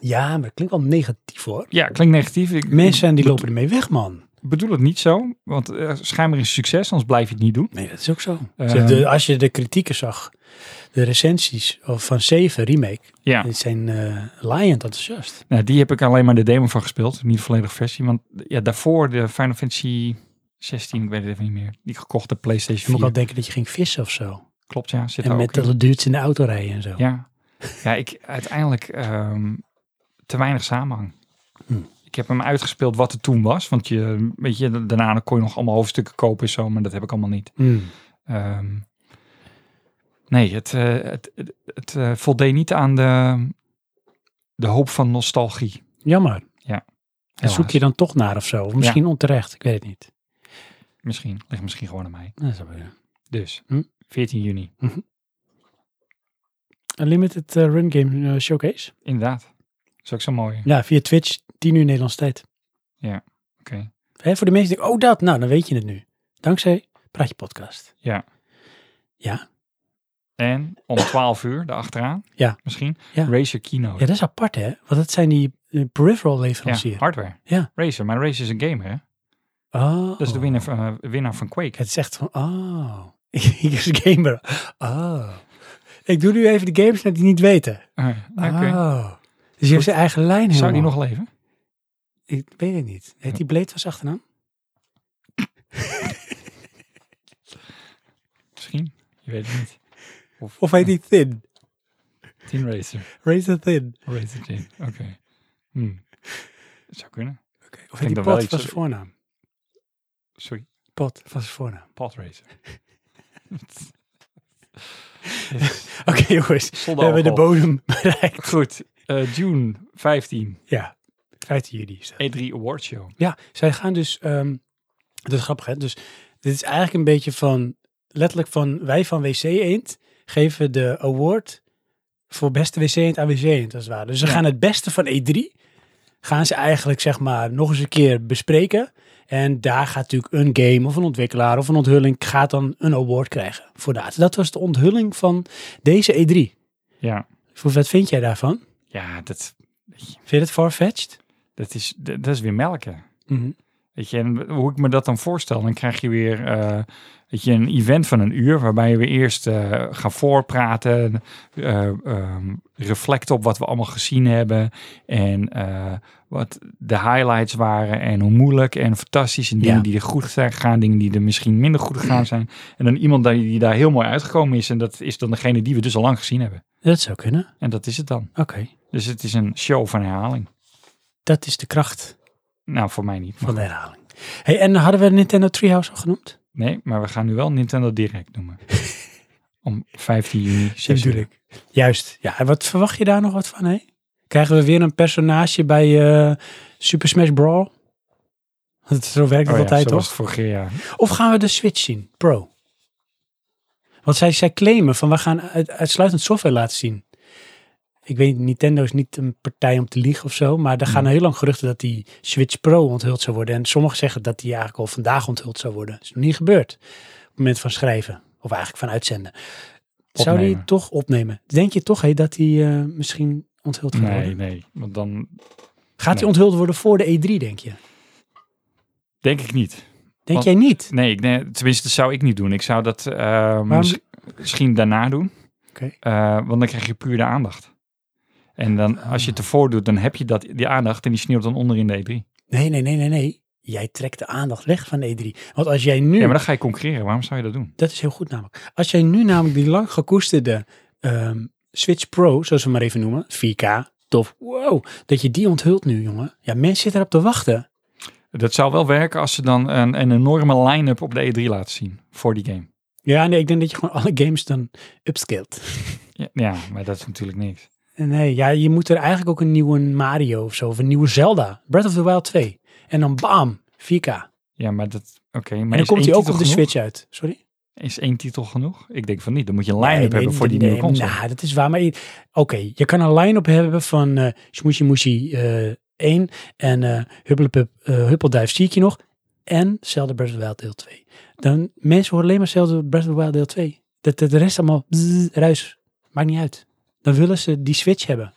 A: Ja, maar dat klinkt wel negatief hoor.
C: Ja, klinkt negatief. Ik
A: Mensen die
C: bedo-
A: lopen ermee weg, man.
C: bedoel het niet zo, want eh, schijnbaar is het succes, anders blijf je het niet doen.
A: Nee, dat is ook zo.
C: Ehm.
A: Zeg, de- als je de kritieken zag, de recensies of van 7 Remake,
C: Ja,
A: die zijn eh laaiend enthousiast.
C: nou, die heb ik alleen maar de demo van gespeeld, niet de volledige versie, want ja, daarvoor de Final Fantasy 16, ik weet het even niet meer, die ik gekocht heb,
A: Je
C: PlayStation
A: moet
C: 4.
A: wel denken dat je ging vissen of zo.
C: Klopt, ja, zit
A: En
C: daar
A: met
C: ook in.
A: de duurtjes in de auto rijden en zo.
C: Ja, ja ik, uiteindelijk ehm, te weinig samenhang.
A: Hm.
C: Ik heb hem uitgespeeld wat het toen was, want je, weet je, daarna kon je nog allemaal hoofdstukken kopen en zo, maar dat heb ik allemaal niet.
A: Hmm.
C: Ehm, nee, het, eh, het, het, het, eh, voldeed niet aan de, de hoop van nostalgie.
A: Jammer. En
C: Helaas.
A: zoek je dan toch naar of zo. Of misschien onterecht. Ik weet het niet.
C: Misschien, ligt misschien gewoon aan mij.
A: Dat zou kunnen.
C: Dus,
A: Hm?
C: 14 juni,
A: Een limited eh, run game eh, showcase.
C: inderdaad. Dat is ook zo mooi.
A: Ja, via Twitch. 10 uur Nederlandse tijd.
C: Oké.
A: Hè, voor de mensen die denken, oh dat. Nou, dan weet je het nu. Dankzij Praatje Podcast.
C: En om 12 uur, daarachteraan,
A: Ja.
C: misschien,
A: Ja.
C: Razer Keynote.
A: Ja, dat is apart hè. Want dat zijn die eh, peripheral
C: Ja,
A: leveranciers.
C: hardware.
A: Ja.
C: Razer, maar Razer is een gamer, hè?
A: Oh.
C: Dat is de winnaar van, eh, winnaar van Quake.
A: Het is echt van, oh. Ik is gamer. Oh. Ik doe nu even de games net die niet weten.
C: Eh, oké.
A: Oh. Dus je hebt zijn eigen lijn helemaal.
C: Zou die nog leven?
A: Ik weet het niet. Heet die Blade was achternaam?
C: Misschien. Je weet het niet.
A: Of heet die Thin?
C: Teen Racer.
A: Razor Thin.
C: Racer Teen. Oké. Hm. Zou kunnen.
A: Oké. Of heet die
C: Ik denk dat wel
A: Pot
C: iets-
A: van zijn voornaam?
C: Sorry.
A: Pot van zijn voornaam.
C: Podracer.
A: Oké jongens, we hebben de bodem bereikt.
C: Goed. eh, June 15.
A: Ja, 15 juli is dat.
C: E3 Award Show.
A: Ja, zij gaan dus. ehm dat is grappig, hè? Dus dit is eigenlijk een beetje van. Letterlijk van wij van WC Eend geven de award voor beste WC Eend aan WC Eend, als het ware. Dus ze gaan het beste van E3, gaan ze eigenlijk zeg maar nog eens een keer bespreken. En daar gaat natuurlijk een game of een ontwikkelaar of een onthulling gaat dan een award krijgen voor dat. Dat was de onthulling van deze E E3.
C: Ja.
A: Voor wat vind jij daarvan?
C: Ja, dat,
A: Vind je het farfetched?
C: dat, is, dat is weer melken.
A: Mhm.
C: Weet je, en hoe ik me dat dan voorstel, dan krijg je weer eh, weet je, een event van een uur, waarbij we eerst eh gaan voorpraten, eh, ehm, reflecten op wat we allemaal gezien hebben en eh, wat de highlights waren en hoe moeilijk en fantastisch en dingen
A: Ja.
C: die er goed zijn gegaan, dingen die er misschien minder goed gegaan zijn. En dan iemand die, die daar heel mooi uitgekomen is en dat is dan degene die we dus al lang gezien hebben.
A: Dat zou kunnen.
C: En dat is het dan.
A: Oké,
C: Dus het is een show van herhaling.
A: dat is de kracht
C: Nou, voor mij niet. maar
A: van de herhaling. Hey, en hadden we Nintendo Treehouse al genoemd?
C: Nee, maar we gaan nu wel Nintendo Direct noemen. Om 15 juni. 6 uur.
A: Natuurlijk. Juist. Ja, en wat verwacht je daar nog wat van? Hè? Krijgen we weer een personage bij eh, Super Smash Brawl? Want Zo werkt het
C: Oh ja,
A: altijd,
C: zoals
A: toch?
C: het vorig jaar.
A: Of gaan we de Switch zien, Pro? Want zij, zij claimen van we gaan uit- uitsluitend software laten zien. Ik weet, Nintendo is niet een partij om te liegen of zo, maar er
C: Mm.
A: gaan heel lang geruchten dat die Switch Pro onthuld zou worden. En sommigen zeggen dat die eigenlijk al vandaag onthuld zou worden. is nog niet gebeurd op het moment van schrijven, of eigenlijk van uitzenden. Zou die
C: Opnemen.
A: het toch opnemen? Denk je toch hé, dat die eh, misschien onthuld gaat
C: Nee,
A: worden?
C: nee. Want dan
A: Gaat die
C: nee.
A: onthuld worden voor de E3, denk je?
C: denk ik niet.
A: Denk
C: Want-
A: jij niet?
C: Nee, ik, nee tenminste, dat zou ik niet doen. Ik zou dat eh, mis- misschien daarna doen.
A: Oké.
C: Eh, want dan krijg je puur de aandacht. En dan,
A: Ah.
C: als je het ervoor doet, dan heb je dat, die aandacht en die sneeuwt dan onder in de E3.
A: Nee, nee, nee, nee, nee. Jij trekt de aandacht weg van de E3. Want als jij nu...
C: Ja, maar dan ga je concurreren. Waarom zou je dat doen?
A: Dat is heel goed namelijk. Als jij nu namelijk die lang gekoesterde ehm, Switch Pro, zoals we hem maar even noemen, 4K, tof, wow, dat je die onthult nu, jongen. Ja, mensen zitten erop te wachten.
C: Dat zou wel werken als ze dan een, een enorme line-up op de E3 laten zien voor die game.
A: Ja, nee, ik denk dat je gewoon alle games dan upscaled.
C: Ja, ja maar dat is natuurlijk niks.
A: Nee, ja, je moet er eigenlijk ook een nieuwe Mario of zo, of een nieuwe Zelda, Breath of the Wild 2. En dan bam, 4K.
C: Ja, maar dat... Oké, maar
A: en dan
C: is
A: komt
C: één
A: hij ook op
C: titel
A: de
C: genoeg?
A: Switch uit. Sorry?
C: Is één titel genoeg? Ik denk van niet. Dan moet je een line-up hebben voor die nieuwe console.
A: Nou, dat is waar. Maar je- oké, je kan een line-up hebben van eh Smoesje Moesie eh, 1 en eh Huppelepup, eh, Huppelduif zie ik je nog. En Zelda Breath of the Wild deel 2. Dan mensen horen alleen maar Zelda Breath of the Wild deel 2. Dat, dat de rest allemaal bzz, ruis. Maakt niet uit. Dan willen ze die switch hebben.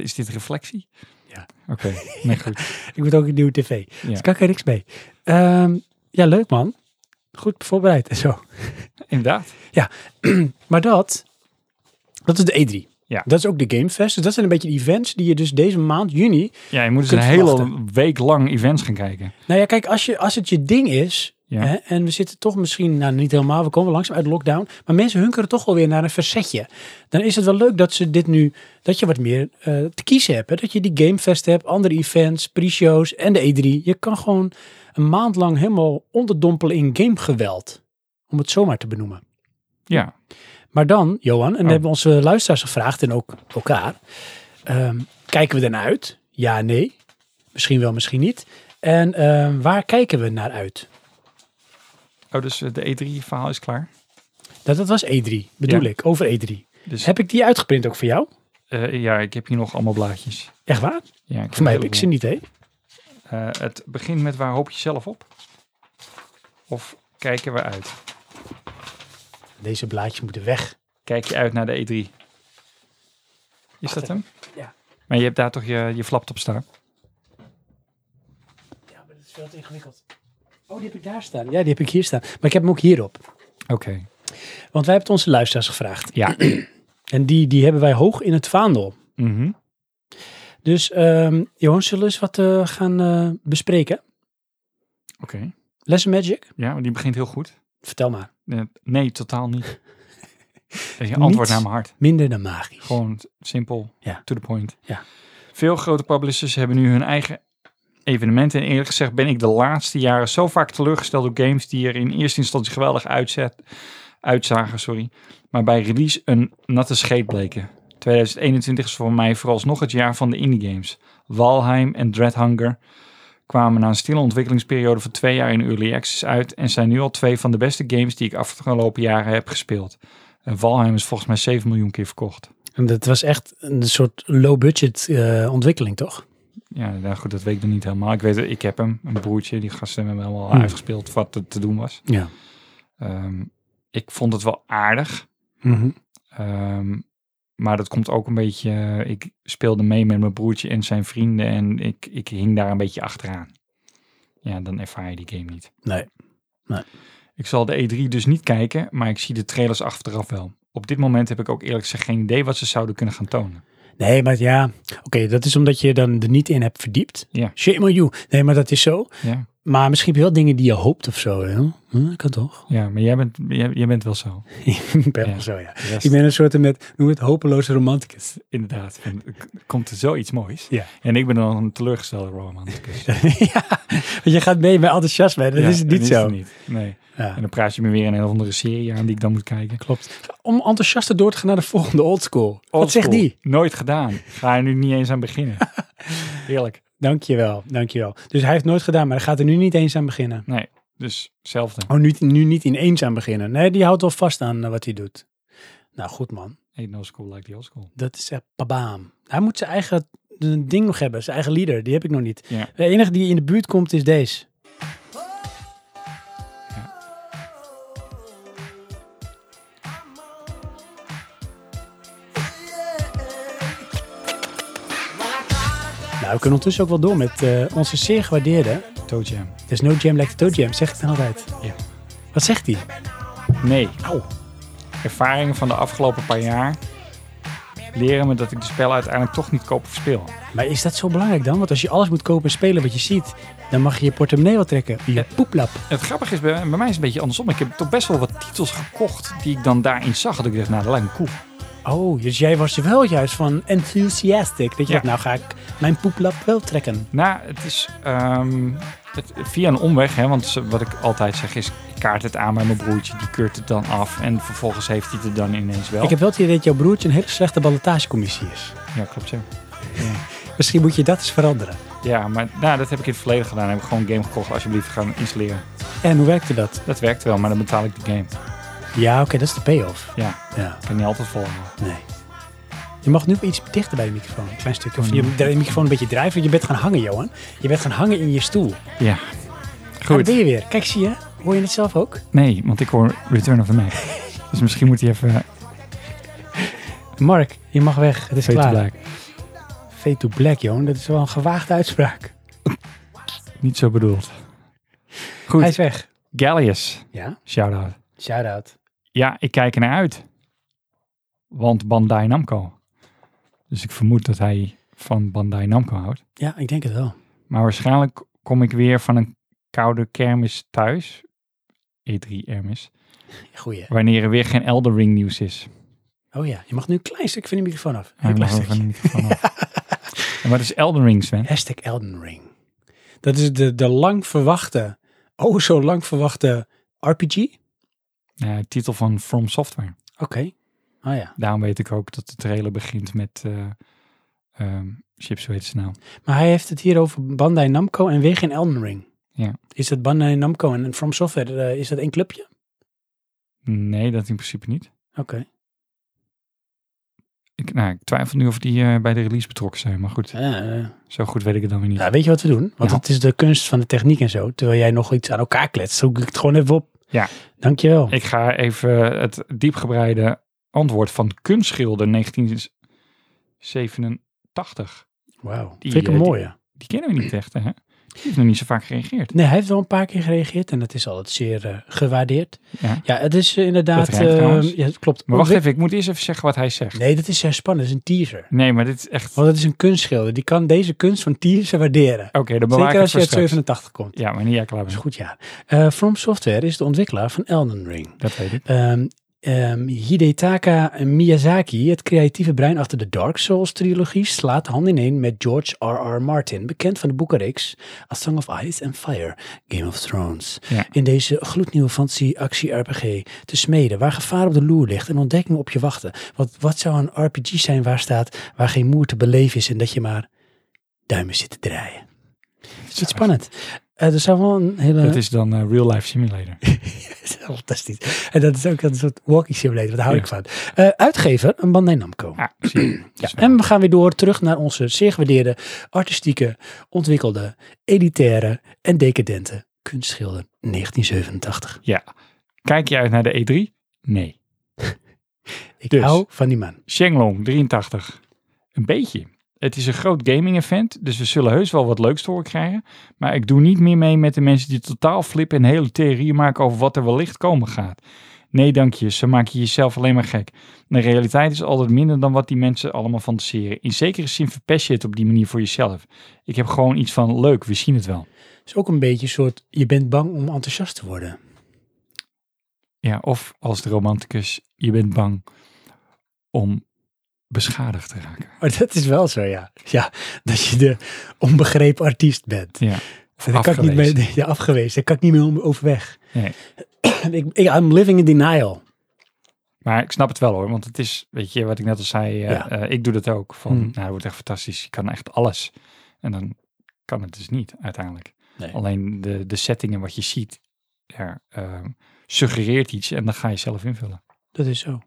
C: Is dit reflectie?
A: Ja.
C: Oké, nee goed.
A: Ik word ook een nieuwe tv.
C: Ja.
A: Dus kan ik er niks mee. Ehm, ja, leuk man. Goed voorbereid en zo.
C: Inderdaad.
A: Maar dat, dat is de E3.
C: Ja.
A: Dat is ook de Gamefest. Dus dat zijn een beetje de events die je dus deze maand, juni...
C: Ja, je moet dus
A: Kunt
C: een hele
A: verwachten.
C: week lang events gaan kijken.
A: Nou ja, kijk, als, je, als het je ding is...
C: Ja.
A: Hè, en we zitten toch misschien, nou niet helemaal, we komen langzaam uit lockdown. Maar mensen hunkeren toch wel weer naar een versetje. Dan is het wel leuk dat ze dit nu, dat je wat meer eh, te kiezen hebt. Hè? Dat je die Gamefest hebt, andere events, pre-shows en de E3. Je kan gewoon een maand lang helemaal onderdompelen in gamegeweld. Om het zomaar te benoemen.
C: Ja.
A: Maar dan, Johan, en dan
C: Oh.
A: hebben we onze luisteraars gevraagd en ook elkaar. ehm, kijken we daarnaar uit? Ja, nee. Misschien wel, misschien niet. En ehm, waar kijken we naar uit?
C: Oh, dus eh, de E3-verhaal is klaar.
A: Dat, dat was E3, bedoel
C: Ja.
A: ik, over E3.
C: Dus
A: Heb ik die uitgeprint ook voor jou?
C: eh, ja, ik heb hier nog allemaal blaadjes.
A: Echt waar?
C: Ja, ik
A: Voor mij heb ik ze niet, hè?
C: Eh, het begint met waar hoop je zelf op? Of kijken we uit?
A: Deze blaadjes moeten weg.
C: Kijk je uit naar de E3? Is dat hem?
A: Ja.
C: Maar je hebt daar toch je, je flaptop staan?
A: Ja, maar dat is veel te ingewikkeld. Oh, die heb ik daar staan. Ja, die heb ik hier staan. Maar ik heb hem ook hierop.
C: Oké.
A: Want wij hebben het onze luisteraars gevraagd.
C: Ja.
A: En die, die hebben wij hoog in het vaandel.
C: Mhm.
A: Dus ehm Johan, zullen we eens wat eh, gaan eh, bespreken?
C: Oké.
A: Lesson Magic?
C: Ja, maar die begint heel goed.
A: Vertel maar.
C: Eh, Nee, totaal niet. Dat is je antwoord
A: Niets.
C: naar mijn hart.
A: Minder dan magisch.
C: Gewoon simpel,
A: Ja.
C: to the point.
A: Ja.
C: Veel grote publishers hebben nu hun eigen evenementen. En eerlijk gezegd ben ik de laatste jaren zo vaak teleurgesteld door games die er in eerste instantie geweldig uitzet, uitzagen, sorry, maar bij release een natte scheet bleken. 2021 is voor mij vooralsnog het jaar van de indie games. Valheim en Dreadhunger kwamen na een stille ontwikkelingsperiode van twee jaar in Early Access uit en zijn nu al twee van de beste games die ik afgelopen jaren heb gespeeld. En Valheim is volgens mij 7 miljoen keer verkocht.
A: En dat was echt een soort low-budget eh, ontwikkeling, toch?
C: Ja, nou goed, dat weet ik nog niet helemaal. Ik weet het, ik heb hem, een broertje, die gasten hebben hem helemaal
A: Hmm.
C: uitgespeeld wat er te doen was.
A: Ja.
C: Ehm, ik vond het wel aardig, Mhm. ehm, maar dat komt ook een beetje... eh, ik speelde mee met mijn broertje en zijn vrienden en ik, ik hing daar een beetje achteraan. Ja, dan ervaar je die game niet.
A: Nee. Nee.
C: Ik zal de E3 dus niet kijken, maar ik zie de trailers achteraf wel. Op dit moment heb ik ook eerlijk gezegd geen idee wat ze zouden kunnen gaan tonen.
A: Nee, maar ja, oké, dat is omdat je dan er niet in hebt verdiept.
C: Ja.
A: Shame on you. Nee, maar dat is zo.
C: Ja,
A: Maar misschien wel dingen die je hoopt of zo. Hè? Hm, kan toch?
C: ja maar jij bent, jij, jij bent wel zo.
A: ik ben
C: Ja.
A: wel zo, ja.
C: De rest-
A: Ik ben een soort, met, noem het, hopeloze romanticus.
C: Inderdaad, en k- komt er zoiets moois.
A: Ja.
C: En ik ben dan een teleurgestelde romanticus.
A: ja, want je gaat mee met enthousiasme. Dat
C: Ja,
A: is het niet
C: dat
A: zo.
C: het niet. Nee.
A: Ja.
C: En dan praat je me weer een hele andere serie aan die ik dan moet kijken.
A: Klopt. Om enthousiaster door te gaan naar de volgende oldschool. Wat zegt
C: Oldschool.
A: die?
C: Nooit gedaan. Ga er nu niet eens aan beginnen. Heerlijk.
A: Dankjewel, dankjewel. Dus hij heeft nooit gedaan, maar hij gaat er nu niet eens aan beginnen.
C: Nee, dus hetzelfde.
A: Oh, nu, nu niet ineens aan beginnen. Nee, die houdt wel vast aan eh, wat hij doet. Nou, goed man.
C: Ain't no school like the old school.
A: Dat is echt pabaam. Hij moet zijn eigen eh, ding nog hebben, zijn eigen leader. Die heb ik nog niet.
C: Ja.
A: De enige die in de buurt komt is deze. Nou, we kunnen ondertussen ook wel door met eh, onze zeer gewaardeerde.
C: Toe jam.
A: There's no jam like the toe jam, zeg ik dan altijd.
C: Ja.
A: Wat zegt hij?
C: Nee,
A: Auw.
C: ervaringen van de afgelopen paar jaar leren me dat ik de spellen uiteindelijk toch niet koop of speel.
A: Maar is dat zo belangrijk dan? Want als je alles moet kopen en spelen wat je ziet, dan mag je je portemonnee wel trekken. Je poeplap.
C: Het grappige is, bij, bij mij is het een beetje andersom. Ik heb toch best wel wat titels gekocht die ik dan daarin zag. Dat ik dacht, nou, dat lijkt me cool.
A: Oh, dus jij was wel juist van enthusiastic. Dat je
C: Ja.
A: dacht, nou ga ik mijn poeplap wel trekken.
C: Nou, het is ehm, het, via een omweg, hè, want ze- wat ik altijd zeg is, ik kaart het aan bij mijn broertje, die keurt het dan af en vervolgens heeft hij het er dan ineens wel.
A: Ik heb wel het idee dat jouw broertje een hele slechte ballotagecommissie is.
C: Ja, klopt ja.
A: Misschien moet je dat eens veranderen.
C: Ja, maar nou, dat heb ik in het verleden gedaan. Heb ik gewoon een game gekocht, alsjeblieft gaan installeren.
A: En hoe werkte dat?
C: Dat werkt wel, maar dan betaal ik de game.
A: Ja, oké, dat is de payoff.
C: Ja,
A: Ja,
C: ik kan niet altijd volhouden.
A: nee. Je mag nu wel iets dichter bij de microfoon. Een klein stukje. Of
C: Oh,
A: je de microfoon een beetje drijven. Je bent gaan hangen, Johan. Je bent gaan hangen in je stoel.
C: Ja.
A: Daar ben
C: Goed.
A: je weer. Kijk, zie je? Hoor je het zelf ook?
C: Nee, want ik hoor Return of the Mac. Dus misschien moet hij even
A: Mark, je mag weg. Het is
C: weten
A: klaar.
C: blijken.
A: Fade to black, Johan. Dat is wel een gewaagde uitspraak.
C: Niet zo bedoeld.
A: Hij is
C: Goed,
A: weg.
C: Gallius.
A: Ja,
C: Shout-out.
A: shout-out.
C: Ja, ik kijk ernaar uit. Want Bandai Namco. Dus ik vermoed dat hij van Bandai Namco houdt.
A: Ja, ik denk het wel.
C: Maar waarschijnlijk kom ik weer van een koude kermis thuis. E3 Ermis.
A: Goeie.
C: Wanneer er weer geen Elden Ring nieuws is.
A: Oh ja, je mag nu een klein stukje van de microfoon af.
C: Hij
A: Een klein
C: mag er van de
A: stukje.
C: microfoon af. En wat is Elden Ring, Sven?
A: Hashtag Elden Ring. Dat is de, de lang verwachte, oh zo lang verwachte RPG. Oké.
C: Nou, de titel van From Software.
A: Oh ja.
C: Daarom weet ik ook dat de trailer begint met... eh ehm chips, hoe heet ze nou?
A: Maar hij heeft het hier over Bandai Namco en weer geen Elden Ring.
C: Ja.
A: Is dat Bandai Namco en From Software, eh, is dat één clubje?
C: Nee, dat in principe niet.
A: Oké.
C: Ik, nou, ik twijfel nu of die eh, bij de release betrokken zijn, maar goed.
A: Ja, eh.
C: Zo goed weet ik het dan weer niet.
A: Nou, weet je wat we doen? Want
C: Ja.
A: het is de kunst van de techniek en zo. Terwijl jij nog iets aan elkaar kletst, zoek ik het gewoon even op.
C: Ja.
A: Dankjewel.
C: Ik ga even het diepgebreide antwoord van kunstschilder 1987.
A: Wauw.
C: Die,
A: Vind ik een
C: eh, die-
A: mooie.
C: Die kennen we niet echt, hè? Die heeft nog niet zo vaak gereageerd.
A: Nee, hij heeft wel een paar keer gereageerd en dat is altijd zeer eh, gewaardeerd.
C: Ja.
A: Ja, het is eh, inderdaad...
C: Dat rijmt
A: eh,
C: trouwens.
A: ja, het klopt.
C: Maar wacht even, ik moet eerst even zeggen wat hij zegt.
A: Nee, dat is heel spannend. Dat is een teaser.
C: Nee, maar dit is echt... Oké,
A: Want het is een kunstschilder. Die kan deze kunst van teaser waarderen.
C: dan bewaar ik
A: Zeker
C: het
A: als je
C: voor
A: uit
C: straks.
A: 87 komt.
C: Ja, maar niet jij klaar
A: Dat is
C: bent.
A: een goed jaar. Eh, From Software is de ontwikkelaar van Elden Ring.
C: Dat weet ik.
A: Ehm, Ehm, Hidetaka Miyazaki, het creatieve brein achter de Dark Souls-trilogie, slaat hand in één met George R.R. Martin, bekend van de boekenreeks A Song of Ice and Fire, Game of Thrones.
C: Ja.
A: In deze gloednieuwe fantasy-actie-RPG te smeden, waar gevaar op de loer ligt en ontdekking op je wachten. Wat, wat zou een RPG zijn waar staat, waar geen moer te beleven is en dat je maar duimen zit te draaien? Het is
C: Zo.
A: iets spannend. Eh, er zou wel een hele...
C: Dat is dan eh, Real Life Simulator.
A: Dat is fantastisch. En dat is ook een soort walking simulator, daar hou
C: Ja.
A: ik van. Eh, uitgever, een Bandai Namco.
C: Ah, zie je.
A: Ja, en we gaan weer door terug naar onze zeer gewaardeerde, artistieke, ontwikkelde, elitaire en decadente kunstschilder 1987.
C: Kijk je uit naar de E3? Nee.
A: Ik
C: Dus.
A: hou van die man.
C: Shenlong, 83. Een beetje. Het is een groot gaming-event, dus we zullen heus wel wat leuks te horen krijgen. Maar ik doe niet meer mee met de mensen die totaal flippen en hele theorieën maken over wat er wellicht komen gaat. Nee, dank je. Ze maken jezelf alleen maar gek. De realiteit is altijd minder dan wat die mensen allemaal fantaseren. In zekere zin verpest je het op die manier voor jezelf. Ik heb gewoon iets van leuk, we zien het wel.
A: Het is ook een beetje een soort, je bent bang om enthousiast te worden.
C: Ja, of als de romanticus, je bent bang om beschadigd te raken.
A: Maar dat is wel zo, ja. Ja, dat je de onbegrepen artiest bent.
C: Ja.
A: En daar kan ik niet
C: Afgewezen.
A: mee, ja, afgewezen. Daar kan ik niet meer om- overweg.
C: Nee.
A: ik, ik- I'm living in denial.
C: Maar ik snap het wel hoor, want het is, weet je, wat ik net al zei, eh,
A: Ja.
C: eh, ik doe dat ook. Van,
A: Mm.
C: nou, het wordt echt fantastisch, je kan echt alles. En dan kan het dus niet, uiteindelijk.
A: Nee.
C: Alleen de, de settingen wat je ziet, ja, ehm, suggereert iets en dan ga je zelf invullen.
A: Dat is zo.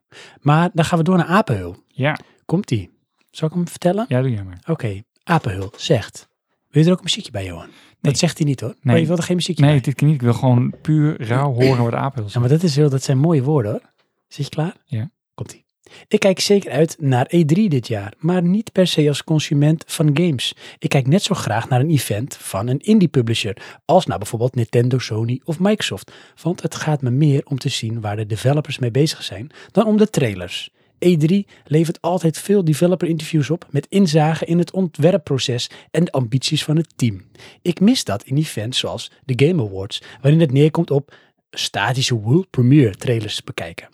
A: Maar dan gaan we door naar Apenhul.
C: Ja,
A: Komt-ie. Zal ik hem vertellen?
C: ja, doe jij maar.
A: Oké, Apenhul zegt. Wil je er ook een muziekje bij, Johan? Dat zegt hij niet hoor. Maar
C: Nee.
A: je wilde geen muziekje
C: Nee,
A: bij.
C: dit kan niet. Ik wil gewoon puur rauw horen wat apels.
A: Ja, maar dat, is heel, dat zijn mooie woorden hoor. Zit je klaar?
C: Ja.
A: Komt ie. Ik kijk zeker uit naar E3 dit jaar, maar niet per se als consument van games. Ik kijk net zo graag naar een event van een indie publisher, als naar bijvoorbeeld Nintendo, Sony of Microsoft. Want het gaat me meer om te zien waar de developers mee bezig zijn, dan om de trailers. E3 levert altijd veel developer interviews op met inzage in het ontwerpproces en de ambities van het team. Ik mis dat in events zoals de Game Awards, waarin het neerkomt op statische world premiere trailers bekijken.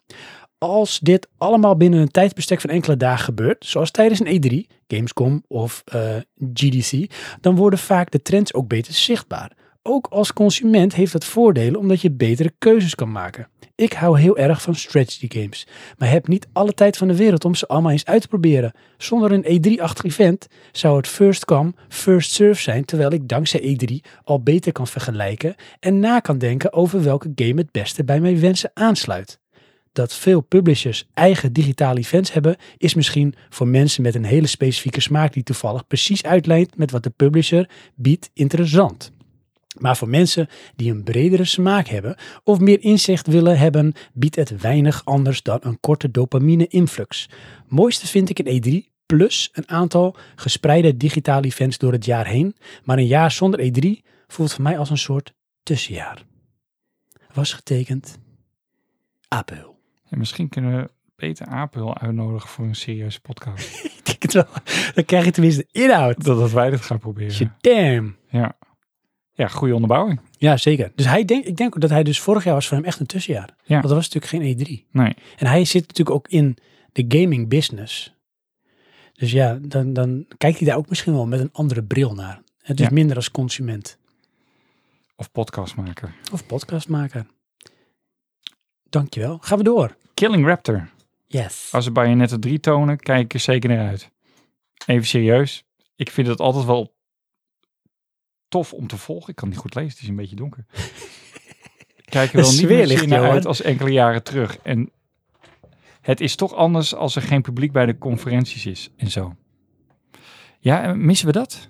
A: Als dit allemaal binnen een tijdsbestek van enkele dagen gebeurt, zoals tijdens een E3, Gamescom of eh, GDC, dan worden vaak de trends ook beter zichtbaar. Ook als consument heeft dat voordelen omdat je betere keuzes kan maken. Ik hou heel erg van strategy games, maar heb niet alle tijd van de wereld om ze allemaal eens uit te proberen. Zonder een E3-achtig event zou het first come, first serve zijn, terwijl ik dankzij E3 al beter kan vergelijken en na kan denken over welke game het beste bij mijn wensen aansluit. Dat veel publishers eigen digitale events hebben, is misschien voor mensen met een hele specifieke smaak die toevallig precies uitlijnt met wat de publisher biedt interessant. Maar voor mensen die een bredere smaak hebben of meer inzicht willen hebben, biedt het weinig anders dan een korte dopamine-influx. Mooiste vind ik een E3 plus een aantal gespreide digitale events door het jaar heen, maar een jaar zonder E3 voelt voor mij als een soort tussenjaar. Was getekend Apel.
C: En misschien kunnen we Peter Apel uitnodigen voor een serieuze podcast.
A: Ik denk het wel. Dan krijg je tenminste inhoud.
C: dat, dat wij dat gaan proberen.
A: Shit, Damn.
C: Ja. Ja, goede onderbouwing.
A: Ja, zeker. Dus hij denk, ik denk ook dat hij dus vorig jaar was voor hem echt een tussenjaar.
C: Ja.
A: Want dat was natuurlijk geen E3.
C: Nee.
A: En hij zit natuurlijk ook in de gaming business. Dus ja, dan, dan kijkt hij daar ook misschien wel met een andere bril naar. Het is
C: Ja.
A: minder als consument
C: Of podcastmaker.
A: of podcastmaker. Dankjewel. Gaan we door.
C: Killing Raptor.
A: Yes.
C: Als ze Bayonetta 3 tonen, kijk ik er zeker naar uit. Even serieus. Ik vind het altijd wel tof om te volgen. Ik kan niet goed lezen, het is een beetje donker. Ik Kijk er
A: De
C: wel niet
A: sfeer
C: meer
A: ligt
C: zin naar
A: heel, hè?
C: uit als enkele jaren terug. En het is toch anders als er geen publiek bij de conferenties is en zo. Ja, en missen we dat?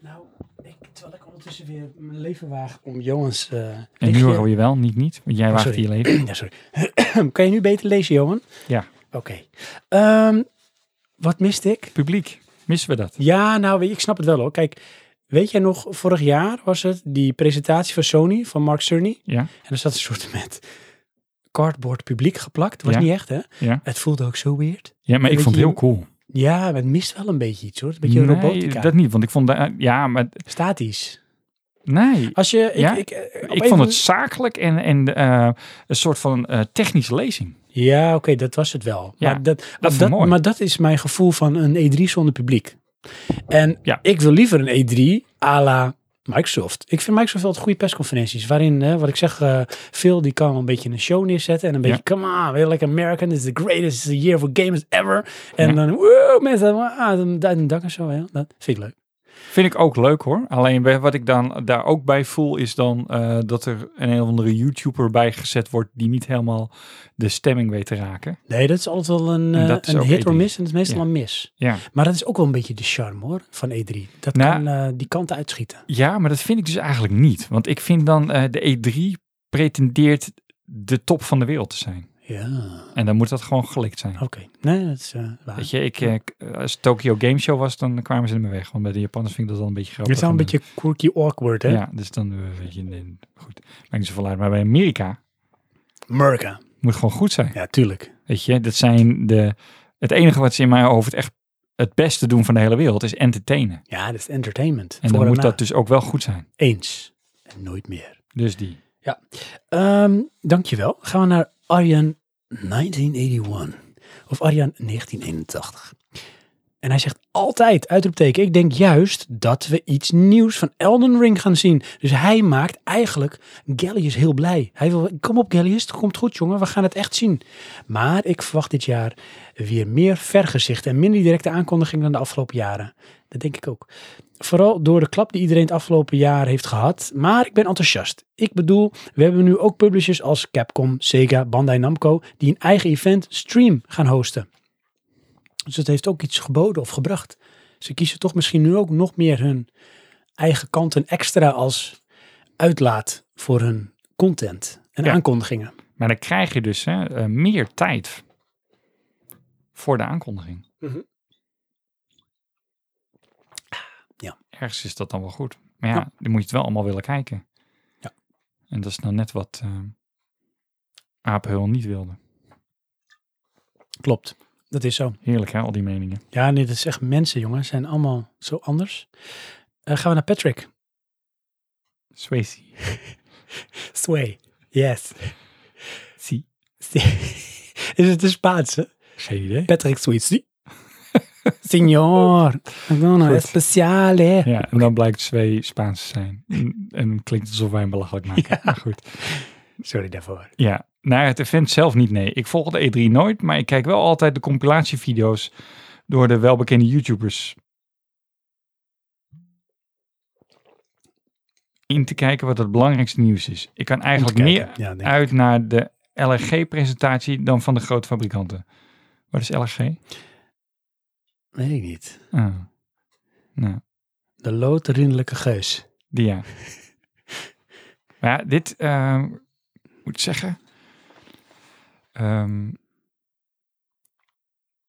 A: Nou, ik, terwijl ik ondertussen weer mijn leven waag om Johans... eh,
C: En nu
A: lichtje-
C: hoor je wel, niet niet. Want jij waagt
A: Oh, sorry.
C: hier leven.
A: Ja, sorry. kan je nu beter lezen, Johan?
C: Ja.
A: Oké. Ehm, wat miste ik?
C: Publiek, missen we dat?
A: Ja, nou, weet je, ik snap het wel hoor. Kijk, weet jij nog, vorig jaar was het die presentatie van Sony, van Mark Cerny.
C: Ja,
A: En er zat een soort met cardboard publiek geplakt. Het was
C: Ja.
A: niet echt, hè?
C: ja.
A: Het voelde ook zo weird.
C: ja maar ik
A: Weet
C: vond het
A: je-
C: heel cool.
A: Ja, maar het mist wel een beetje iets hoor. Een beetje
C: Nee,
A: robotica.
C: dat niet, want ik vond... daar- Ja, maar
A: Statisch.
C: Nee,
A: Als je, ik,
C: Ja?
A: ik, eh, op
C: ik
A: een
C: vond
A: van-
C: het zakelijk en, en eh, een soort van eh, technische lezing.
A: Ja, oké, dat was het wel.
C: Ja,
A: maar, dat,
C: vond ik
A: dat,
C: mooi.
A: maar dat is mijn gevoel van een E3 zonder publiek. En
C: Ja.
A: ik wil liever een E3 à la Microsoft. Ik vind Microsoft altijd goede persconferenties. Waarin, hè, wat ik zeg, eh Phil die kan een beetje een show neerzetten. En een beetje, come on, we're like American. This is the greatest this is the year for gamers ever. En
C: Ja.
A: dan, wow, mensen, ah, dan duit een dak en zo. Hè. Dat vind ik leuk.
C: Vind ik ook leuk hoor. Alleen bij- wat ik dan daar ook bij voel is dan eh, dat er een of andere YouTuber bij gezet wordt die niet helemaal de stemming weet te raken.
A: Nee, dat is altijd wel een,
C: En
A: eh,
C: dat is
A: een
C: ook
A: hit or
C: E3.
A: miss. En dat is meestal
C: Ja.
A: een mis.
C: Ja.
A: Maar dat is ook wel een beetje de charme hoor, van E3. Dat
C: Nou,
A: kan eh, die kanten uitschieten.
C: ja, maar dat vind ik dus eigenlijk niet. Want ik vind dan eh, de E3 pretendeert de top van de wereld te zijn.
A: Ja.
C: En dan moet dat gewoon gelikt zijn.
A: Oké, nee, dat is eh, waar.
C: Weet je, ik, eh, k- als het Tokyo Game Show was, dan kwamen ze ermee weg. Want bij de Japanners vind ik dat dan een beetje
A: Dit
C: grappig.
A: is wel een
C: En dan-
A: beetje quirky awkward, hè?
C: Ja, dus dan eh, weet je, nee, goed. Maakt niet zoveel uit. Maar bij Amerika
A: Merca.
C: moet het gewoon goed zijn.
A: Ja, tuurlijk.
C: Weet je, dat zijn de. Het enige wat ze in mijn hoofd echt het beste doen van de hele wereld is entertainen.
A: Ja, dat is entertainment.
C: En
A: Voor
C: dan moet
A: na.
C: dat dus ook wel goed zijn.
A: Eens. En nooit meer.
C: Dus die.
A: Ehm dankjewel. Gaan we naar Arjan 1981. Of Arjan 1981. En hij zegt altijd, uitroepteken, ik denk juist dat we iets nieuws van Elden Ring gaan zien. Dus hij maakt eigenlijk Gallius heel blij. Hij wil, kom op Gallius, het komt goed jongen, we gaan het echt zien. Maar ik verwacht dit jaar weer meer vergezichten en minder directe aankondigingen dan de afgelopen jaren. Dat denk ik ook. Vooral door de klap die iedereen het afgelopen jaar heeft gehad. Maar ik ben enthousiast. Ik bedoel, we hebben nu ook publishers als Capcom, Sega, Bandai Namco die een eigen event stream gaan hosten. Dus het heeft ook iets geboden of gebracht. Ze kiezen toch misschien nu ook nog meer hun eigen kanten extra als uitlaat voor hun content en
C: Ja.
A: aankondigingen.
C: Maar dan krijg je dus hè, eh, meer tijd voor de aankondiging.
A: Mhm. Ja.
C: Ergens is dat dan wel goed. Maar ja, dan moet je het wel allemaal willen kijken.
A: Ja.
C: En dat is nou net wat eh Aapheul niet wilde.
A: Klopt, dat is zo.
C: Heerlijk hè, al die meningen.
A: Ja, nee, dat is echt mensen, jongen. Ze zijn allemaal zo anders. Eh, gaan we naar Patrick.
C: Swayze.
A: Sway. Yes.
C: Zie.
A: is het een Spaanse?
C: Geen idee.
A: Patrick Swayze. Signor. nou Madonna,
C: Goed.
A: speciale.
C: Ja, en dan blijkt twee Spaans te zijn. En- En het klinkt alsof wij hem belachelijk maken. Maar goed.
A: Sorry daarvoor.
C: Ja, naar het event zelf niet, nee. Ik volg de E3 nooit, maar ik kijk wel altijd de compilatievideo's door de welbekende YouTubers. In te kijken wat het belangrijkste nieuws is. Ik kan eigenlijk meer
A: Ja, denk ik.
C: uit naar de LRG-presentatie dan van de grote fabrikanten. Wat is LRG?
A: Weet ik niet.
C: Ah. Nou.
A: De loodrinderlijke geus.
C: Die ja. maar ja, dit ehm, moet ik zeggen. Ehm,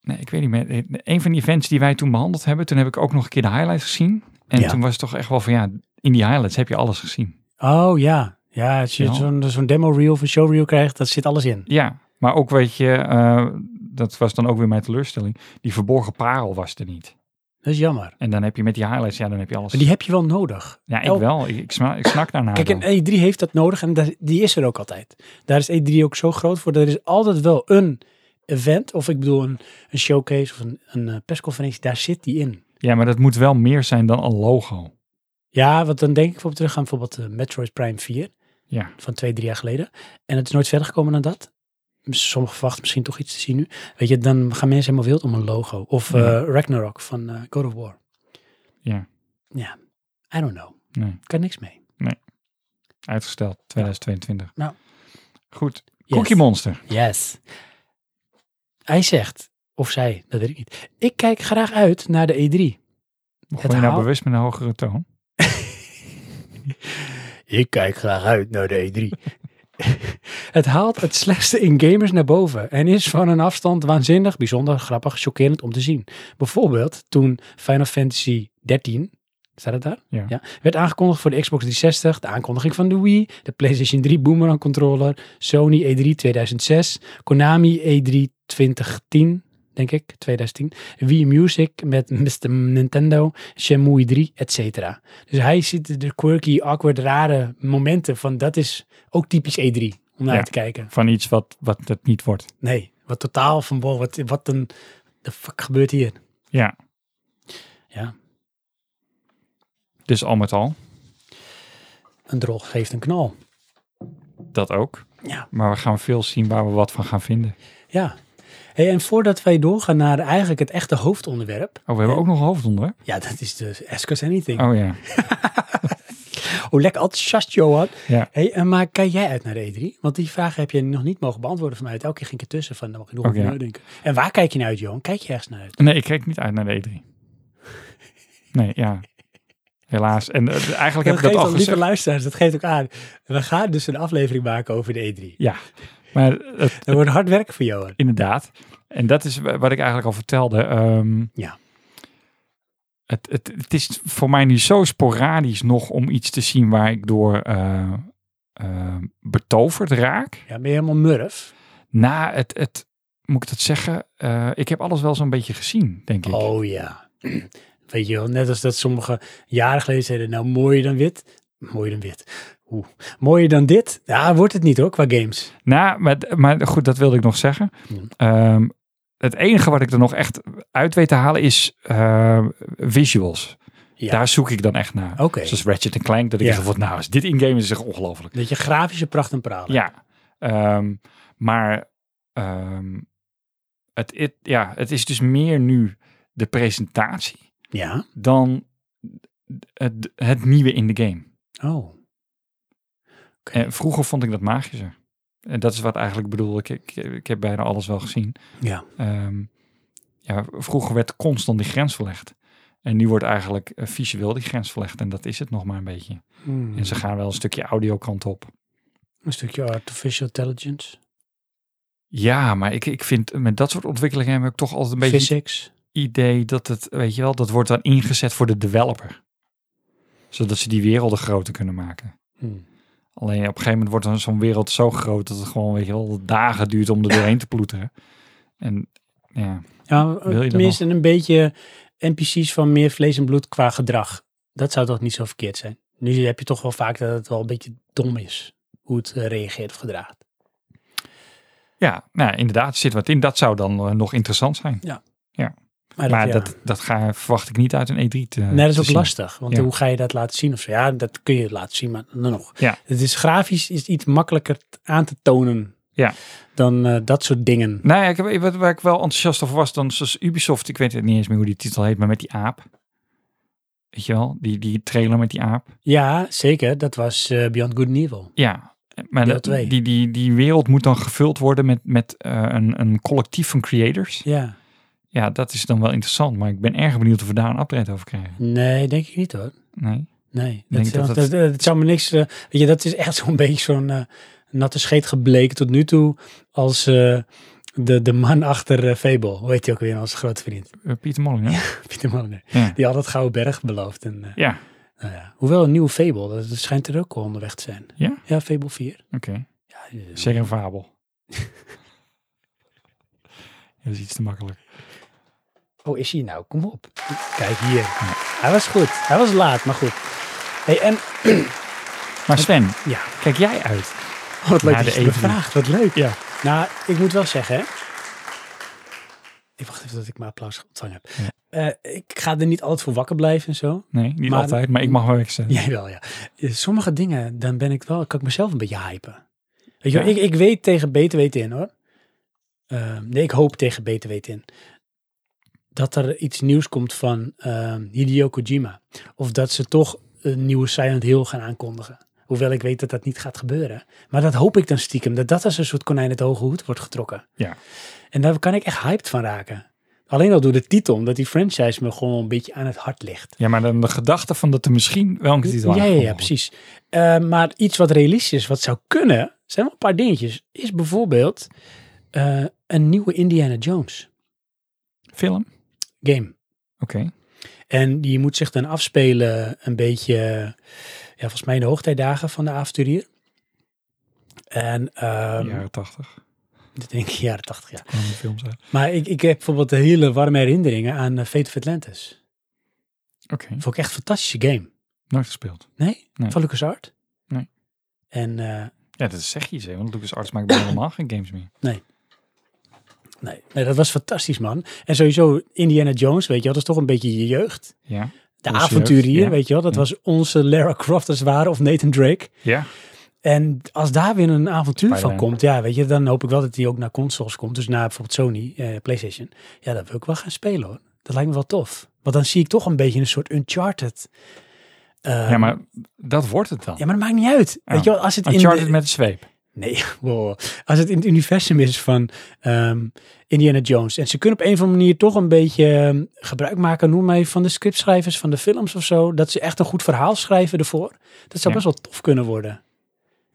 C: nee, ik weet niet meer. Een van die events die wij toen behandeld hebben, toen heb ik ook nog een keer de highlights gezien. En
A: Ja.
C: toen was het toch echt wel van ja, in die highlights heb je alles gezien.
A: Oh ja. Ja, als je
C: Ja.
A: zo'n zo'n demo reel of een showreel krijgt, dat zit alles in.
C: Ja, maar ook weet je, eh, dat was dan ook weer mijn teleurstelling. Die verborgen parel was er niet.
A: Dat is jammer.
C: En dan heb je met die highlights, ja, dan heb je alles.
A: Maar die heb je wel nodig.
C: ja, ik
A: Oh.
C: wel. Ik, ik, sma- ik snak daarna.
A: Kijk,
C: wel.
A: en E3 heeft dat nodig en daar- die is er ook altijd. Daar is E3 ook zo groot voor. Er is altijd wel een event, of ik bedoel een, een showcase of een, een eh, persconferentie, daar zit die in.
C: Ja, maar dat moet wel meer zijn dan een logo.
A: Ja, want dan denk ik bijvoorbeeld terug aan bijvoorbeeld eh, Metroid Prime 4
C: Ja.
A: van twee, drie jaar geleden. En het is nooit verder gekomen dan dat. Sommigen verwachten misschien toch iets te zien nu. Weet je, dan gaan mensen helemaal wild om een logo. Of eh,
C: Ja.
A: Ragnarok van eh, God of War.
C: Ja.
A: Ja, I don't know.
C: Nee.
A: Kan niks mee.
C: Uitgesteld 2022.
A: Nou.
C: Goed.
A: Yes.
C: Cookie Monster.
A: Yes. Hij zegt, of zij, dat weet ik niet. Ik kijk graag uit naar de E3.
C: Begon je nou
A: haal-
C: bewust met een hogere toon?
A: Ik kijk graag uit naar de E3. het haalt het slechtste in gamers naar boven en is van een afstand waanzinnig, bijzonder, grappig, chockerend om te zien. Bijvoorbeeld toen Final Fantasy 13, staat het daar?
C: Ja.
A: werd aangekondigd voor de Xbox 360, de aankondiging van de Wii, de PlayStation 3 Boomerang E controller, Sony E3 2006, Konami E3 2010, denk ik, 2010. Wii Music met Mr. Nintendo, Shenmue 3, et cetera. Dus hij ziet de quirky, awkward, rare momenten van dat is ook typisch E3 om naar
C: Ja.
A: te kijken.
C: Van iets wat, wat het niet wordt.
A: Nee, wat totaal van wow, wat, wat een de fuck gebeurt hier?
C: Ja.
A: Ja.
C: Dus al met al,
A: Een drog geeft een knal.
C: dat ook.
A: Ja.
C: Maar we gaan veel zien waar we wat van gaan vinden.
A: Ja. Hey, en voordat wij doorgaan naar eigenlijk het echte hoofdonderwerp.
C: Oh, we hebben
A: Ja.
C: ook nog een hoofdonderwerp.
A: Ja, dat is de Ask Us Anything.
C: Oh ja.
A: Oh, lekker enthousiast, Johan.
C: Ja.
A: Hey, eh, maar kijk jij uit naar de E3? Want die vraag heb je nog niet mogen beantwoorden van mij. Elke keer ging ik ertussen van, daar mag ik nog
C: Oh,
A: over
C: ja.
A: nadenken. En waar kijk je naar uit, Johan? Kijk je ergens naar uit?
C: Nee, ik kijk niet uit naar de E3. Nee, ja. Helaas. En eh, eigenlijk heb ik
A: geeft
C: dat al
A: al, lieve
C: gezegd.
A: luisteraars, dat geeft ook aan. We gaan dus een aflevering maken over de E3.
C: Ja. Maar het,
A: Dat wordt hard werk voor Johan.
C: Inderdaad. En dat is wa- wat ik eigenlijk al vertelde. Ehm,
A: Ja.
C: Het, het, het is voor mij nu zo sporadisch nog om iets te zien waar ik door eh, eh, betoverd raak.
A: Ja, ben je helemaal murf?
C: Na het, het moet ik dat zeggen, Eh, ik heb alles wel zo'n beetje gezien, denk ik.
A: Oh ja. Weet je wel, net als dat sommige jaren geleden zeiden, nou mooier dan wit. Mooier dan wit. Oeh. Mooier dan dit? Ja, wordt het niet hoor, qua games.
C: Nou, maar, maar goed, dat wilde ik nog zeggen.
A: Hmm.
C: Ehm, het enige wat ik er nog echt uit weet te halen is eh, visuals.
A: Ja.
C: Daar zoek ik dan echt naar.
A: Oké.
C: Zoals Ratchet Clank, dat ik
A: Ja.
C: echt van, nou, als dit in-game is, is echt ongelooflijk.
A: Dat je grafische pracht en praal. hebt.
C: Ja, ehm, maar ehm, het, het, ja, het is dus meer nu de presentatie
A: Ja.
C: dan het, het nieuwe in de game.
A: Oh.
C: En vroeger vond ik dat magischer. En dat is wat eigenlijk bedoel ik. Ik, ik heb bijna alles wel gezien.
A: Ja.
C: Ehm, ja, vroeger werd constant die grens verlegd. En nu wordt eigenlijk eh, visueel die grens verlegd. En dat is het nog maar een beetje.
A: Hmm.
C: En ze gaan wel een stukje audiokant op.
A: Een stukje artificial intelligence.
C: Ja, maar ik, ik vind met dat soort ontwikkelingen heb ik toch altijd een beetje
A: Physics.
C: idee dat het, weet je wel, dat wordt dan ingezet voor de developer. Zodat ze die werelden groter kunnen maken.
A: Hmm.
C: Alleen op een gegeven moment wordt dan zo'n wereld zo groot dat het gewoon, weet je wel, dagen duurt om er doorheen te ploeteren. En ja,
A: Ja, eh,
C: Wil je dat
A: tenminste een beetje NPC's van meer vlees en bloed qua gedrag. Dat zou toch niet zo verkeerd zijn? Nu heb je toch wel vaak dat het wel een beetje dom is. Hoe het eh, reageert of gedraagt.
C: ja nou, inderdaad, er zit wat in. Dat zou dan eh, nog interessant zijn. maar
A: ja.
C: dat, dat ga, verwacht ik niet uit een E3 te
A: Nee, dat is
C: te
A: ook
C: zien.
A: lastig. Want
C: Ja.
A: hoe ga je dat laten zien of zo? Ja, dat kun je laten zien, maar dan nog.
C: Ja.
A: Het is grafisch is iets makkelijker t- aan te tonen
C: Ja.
A: dan eh, dat soort dingen.
C: Nou ja, ik, heb- wat, waar ik wel enthousiast over was, dan zoals Ubisoft, ik weet het niet eens meer hoe die titel heet, maar met die aap. Weet je wel, die, die trailer met die aap.
A: Ja, zeker. Dat was eh, Beyond Good and Evil.
C: Ja, maar
A: Deel
C: dat-
A: twee.
C: die, die, die wereld moet dan gevuld worden met, met eh, een, een collectief van creators.
A: Ja.
C: Ja, dat is dan wel interessant, maar ik ben erg benieuwd of we daar een update over krijgen.
A: Nee, denk ik niet hoor.
C: Nee.
A: Nee, dat,
C: Denk
A: is-
C: dat
A: dat,
C: dat-
A: dat- dat zou me niks... eh, weet je, dat is echt zo'n beetje zo'n eh, natte scheet gebleken tot nu toe als eh, de, de man achter eh, Fable. Hoe heet hij ook weer, onze grote vriend?
C: Eh, Pieter Molyneux. Ja.
A: Pieter Molenaar.
C: Ja.
A: Die had dat Gouden Berg beloofd. En, eh,
C: Ja.
A: nou ja. Hoewel een nieuwe Fable, dat, dat schijnt er ook al onderweg te zijn.
C: Ja?
A: Ja, Fable 4.
C: Oké.
A: Ja, eh,
C: Zeker een fabel. Ja, dat is iets te makkelijk.
A: Oh, is hij nou? Kom op. Kijk hier. Hij was goed. Hij was laat, maar goed. Hey, en
C: Maar Sven,
A: ja,
C: kijk jij uit?
A: oh, wat leuk
C: Naar
A: dat
C: de
A: je het
C: E3.
A: me vraagt. Wat leuk.
C: Ja.
A: Nou, ik moet wel zeggen, hè. Ik wacht even dat ik mijn applaus ontvangen heb. Eh, ik ga er niet altijd voor wakker blijven en zo.
C: Nee, niet
A: Maar-
C: altijd, maar ik mag wel wegzetten.
A: Jij wel, ja. Eh, Sommige dingen, dan ben ik wel, kan ik mezelf een beetje hypen. Weet je wel,
C: Ja.
A: ik, ik weet tegen beter weten in, hoor. Eh, nee, ik hoop tegen beter weten in. Dat er iets nieuws komt van eh, Hideo Kojima. Of dat ze toch een nieuwe Silent Hill gaan aankondigen. Hoewel ik weet dat dat niet gaat gebeuren. Maar dat hoop ik dan stiekem. Dat dat als een soort konijn het hoge hoed wordt getrokken.
C: Ja.
A: En daar kan ik echt hyped van raken. Alleen al door de titel, omdat die franchise me gewoon een beetje aan het hart ligt.
C: Ja, maar dan de gedachte van dat er misschien wel een titel
A: Ja, ja, ja,
C: aangekondigd
A: precies. Eh, maar iets wat realistisch is, wat zou kunnen, zijn wel een paar dingetjes, is bijvoorbeeld eh, een nieuwe Indiana Jones
C: wordt. Film?
A: game.
C: Oké.
A: En die moet zich dan afspelen een beetje, ja, volgens mij in de hoogtijdagen van de avonturier. En ehm,
C: Jaren tachtig.
A: Dat denk ik jaren 80 jaar.
C: Kwam die films uit.
A: Maar ik, ik heb bijvoorbeeld hele warme herinneringen aan eh, Fate of Atlantis.
C: Oké,
A: Vond ik echt een fantastische game.
C: nooit gespeeld.
A: Nee?
C: Nee.
A: Van LucasArts?
C: Nee.
A: En eh,
C: Ja, dat zeg je eens, hè, want LucasArts maakt bijna helemaal geen games meer.
A: nee, nee, dat was fantastisch, man. En sowieso Indiana Jones, weet je wel, dat is toch een beetje je jeugd.
C: Ja,
A: De
C: Onze
A: avonturier,
C: jeugd, ja.
A: weet je wel. Dat
C: Ja.
A: was onze Lara Croft als het ware, of Nathan Drake.
C: ja.
A: En als daar weer een avontuur van
C: Spider-Man.
A: komt, ja, weet je, dan hoop ik wel dat die ook naar consoles komt. Dus naar bijvoorbeeld Sony, eh, PlayStation. Ja, dat wil ik wel gaan spelen hoor. Dat lijkt me wel tof. Want dan zie ik toch een beetje een soort Uncharted. eh,
C: ja maar dat wordt het dan.
A: Ja, maar dat maakt niet uit.
C: Ja.
A: Weet je wel, als het in
C: Uncharted
A: de-
C: met een zweep.
A: Nee, wow. als het in het universum is van ehm, Indiana Jones. En ze kunnen op een of andere manier toch een beetje ehm, gebruik maken, noem maar even, van de scriptschrijvers van de films of zo. Dat ze echt een goed verhaal schrijven ervoor. Dat zou
C: Ja.
A: best wel tof kunnen worden.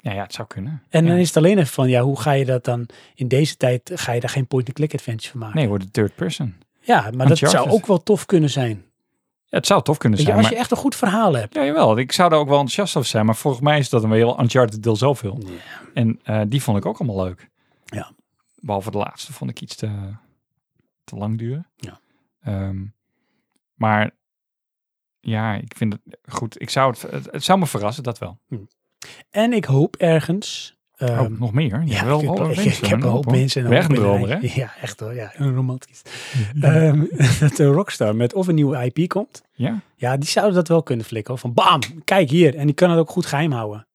C: Ja, ja, het zou kunnen.
A: En
C: Ja.
A: dan is het alleen even van, ja, hoe ga je dat dan in deze tijd, ga je daar geen point-and-click adventure van maken?
C: Nee, wordt het third person.
A: Ja, maar dat
C: Uncharted.
A: zou ook wel tof kunnen zijn.
C: Ja, het zou tof kunnen
A: Weet je,
C: zijn,
A: als
C: maar...
A: je echt een goed verhaal hebt.
C: Ja, jawel. Ik zou daar ook wel enthousiast over zijn. Maar volgens mij is dat een heel Uncharted deel zoveel.
A: Ja.
C: En eh, die vond ik ook allemaal leuk.
A: Ja.
C: Behalve de laatste vond ik iets te, te lang duren.
A: Ja.
C: Ehm, maar ja, ik vind het goed. Ik zou het, het, het zou me verrassen, dat wel.
A: En ik hoop ergens...
C: Oh,
A: ehm,
C: nog meer. Je hebt
A: ik,
C: wel
A: heb,
C: hoop
A: ik-
C: mensen,
A: ik heb
C: hoor.
A: een hoop
C: hoor.
A: mensen. en
C: Ben je
A: een
C: echt een
A: hoop
C: dromer, hè?
A: bedrijven. Ja, echt hoor. Ja, een romantisch. Ehm, dat de Rockstar met of een nieuwe IP komt.
C: Ja,
A: Ja, die zouden dat wel kunnen flikken. hoor. Van bam, kijk hier. En die kan het ook goed geheim houden.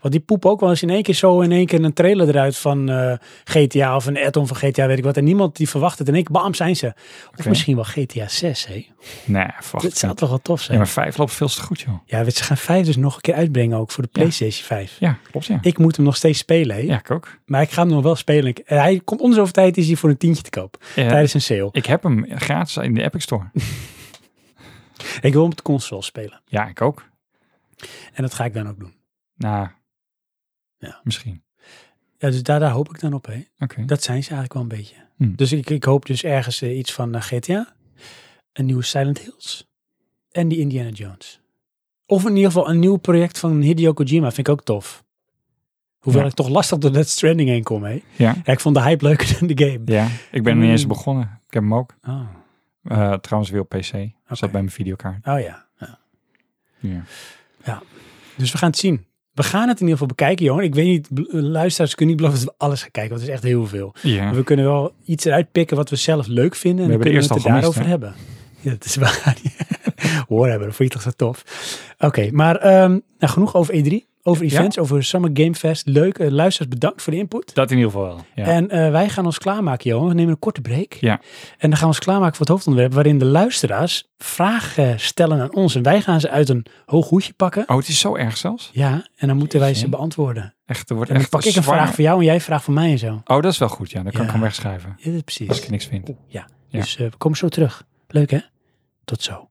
A: Want die poepen ook wel eens in één keer zo in één keer een trailer eruit van eh, GTA of een add-on van GTA, weet ik wat. En niemand die verwacht het. En ik, bam, zijn ze. Of
C: Oké.
A: misschien wel GTA 6, hé.
C: nee, verwacht
A: Dat
C: ik
A: zou
C: niet.
A: toch wel tof
C: Ja,
A: zijn.
C: maar vijf loopt veel te goed, joh.
A: Ja, weet je, ze gaan 5 dus nog een keer uitbrengen ook voor de
C: Ja.
A: PlayStation 5.
C: Ja, klopt, ja.
A: Ik moet hem nog steeds spelen, hé.
C: Ja, ik ook.
A: Maar ik ga hem nog wel spelen. Ik- en Hij komt onder zoveel tijd is hij voor een tientje te koop.
C: Eh,
A: Tijdens een sale.
C: ik heb hem gratis in de Epic Store.
A: Ik wil hem op de console spelen.
C: Ja, ik ook.
A: En dat ga ik dan ook doen.
C: Nou,
A: Ja.
C: misschien.
A: Ja, dus daar, daar hoop ik dan op, hé.
C: Oké.
A: Dat zijn ze eigenlijk wel een beetje.
C: Hmm.
A: Dus ik, ik hoop dus ergens eh, iets van eh, GTA, een nieuwe Silent Hills en die Indiana Jones. Of in ieder geval een nieuw project van Hideo Kojima, vind ik ook tof. Hoewel
C: Ja.
A: ik toch lastig door Death Stranding heen kom, hé.
C: Ja.
A: Ja, ik vond de hype leuker dan de game.
C: Ja, ik ben er niet eens
A: Mm.
C: begonnen. Ik heb hem ook.
A: Oh,
C: Eh, trouwens, weer op PC.
A: Oké.
C: Zat bij mijn videokaart.
A: oh ja. ja.
C: Ja.
A: Dus we gaan het zien. We gaan het in ieder geval bekijken, Johan. Ik weet niet, bl- eh, luisteraars kunnen niet beloven dat we alles gaan kijken, want het is echt heel veel.
C: ja.
A: Maar We kunnen wel iets eruit pikken wat we zelf leuk vinden. En
C: We
A: dan kunnen
C: hebben
A: we
C: de
A: het er
C: eerste al
A: daarover hebben. Ja, dat is waar. Hoor hebben, dat vond je toch zo tof. Oké, maar ehm, nou, genoeg over E3. Over
C: Ja.
A: events, over Summer Game Fest. Leuk. Eh, luisteraars, bedankt voor de input.
C: Dat in ieder geval wel. Ja.
A: En eh, wij gaan ons klaarmaken, Johan. We nemen een korte break.
C: Ja.
A: En dan gaan we ons klaarmaken voor het hoofdonderwerp... waarin de luisteraars vragen stellen aan ons. En wij gaan ze uit een hoog hoedje pakken.
C: Oh, het is zo erg zelfs?
A: Ja, en dan moeten wij ze
C: Jeetje.
A: beantwoorden.
C: Echt, er wordt
A: En dan
C: echt
A: pak ik een
C: zwaar-
A: vraag voor jou en jij een vraag voor mij en zo.
C: Oh, dat is wel goed. Ja, dan kan
A: Ja.
C: ik hem wegschrijven.
A: Ja, dat is
C: Als
A: precies.
C: ik niks vind.
A: Ja,
C: Ja.
A: dus eh, we komen zo terug. Leuk hè? Tot zo.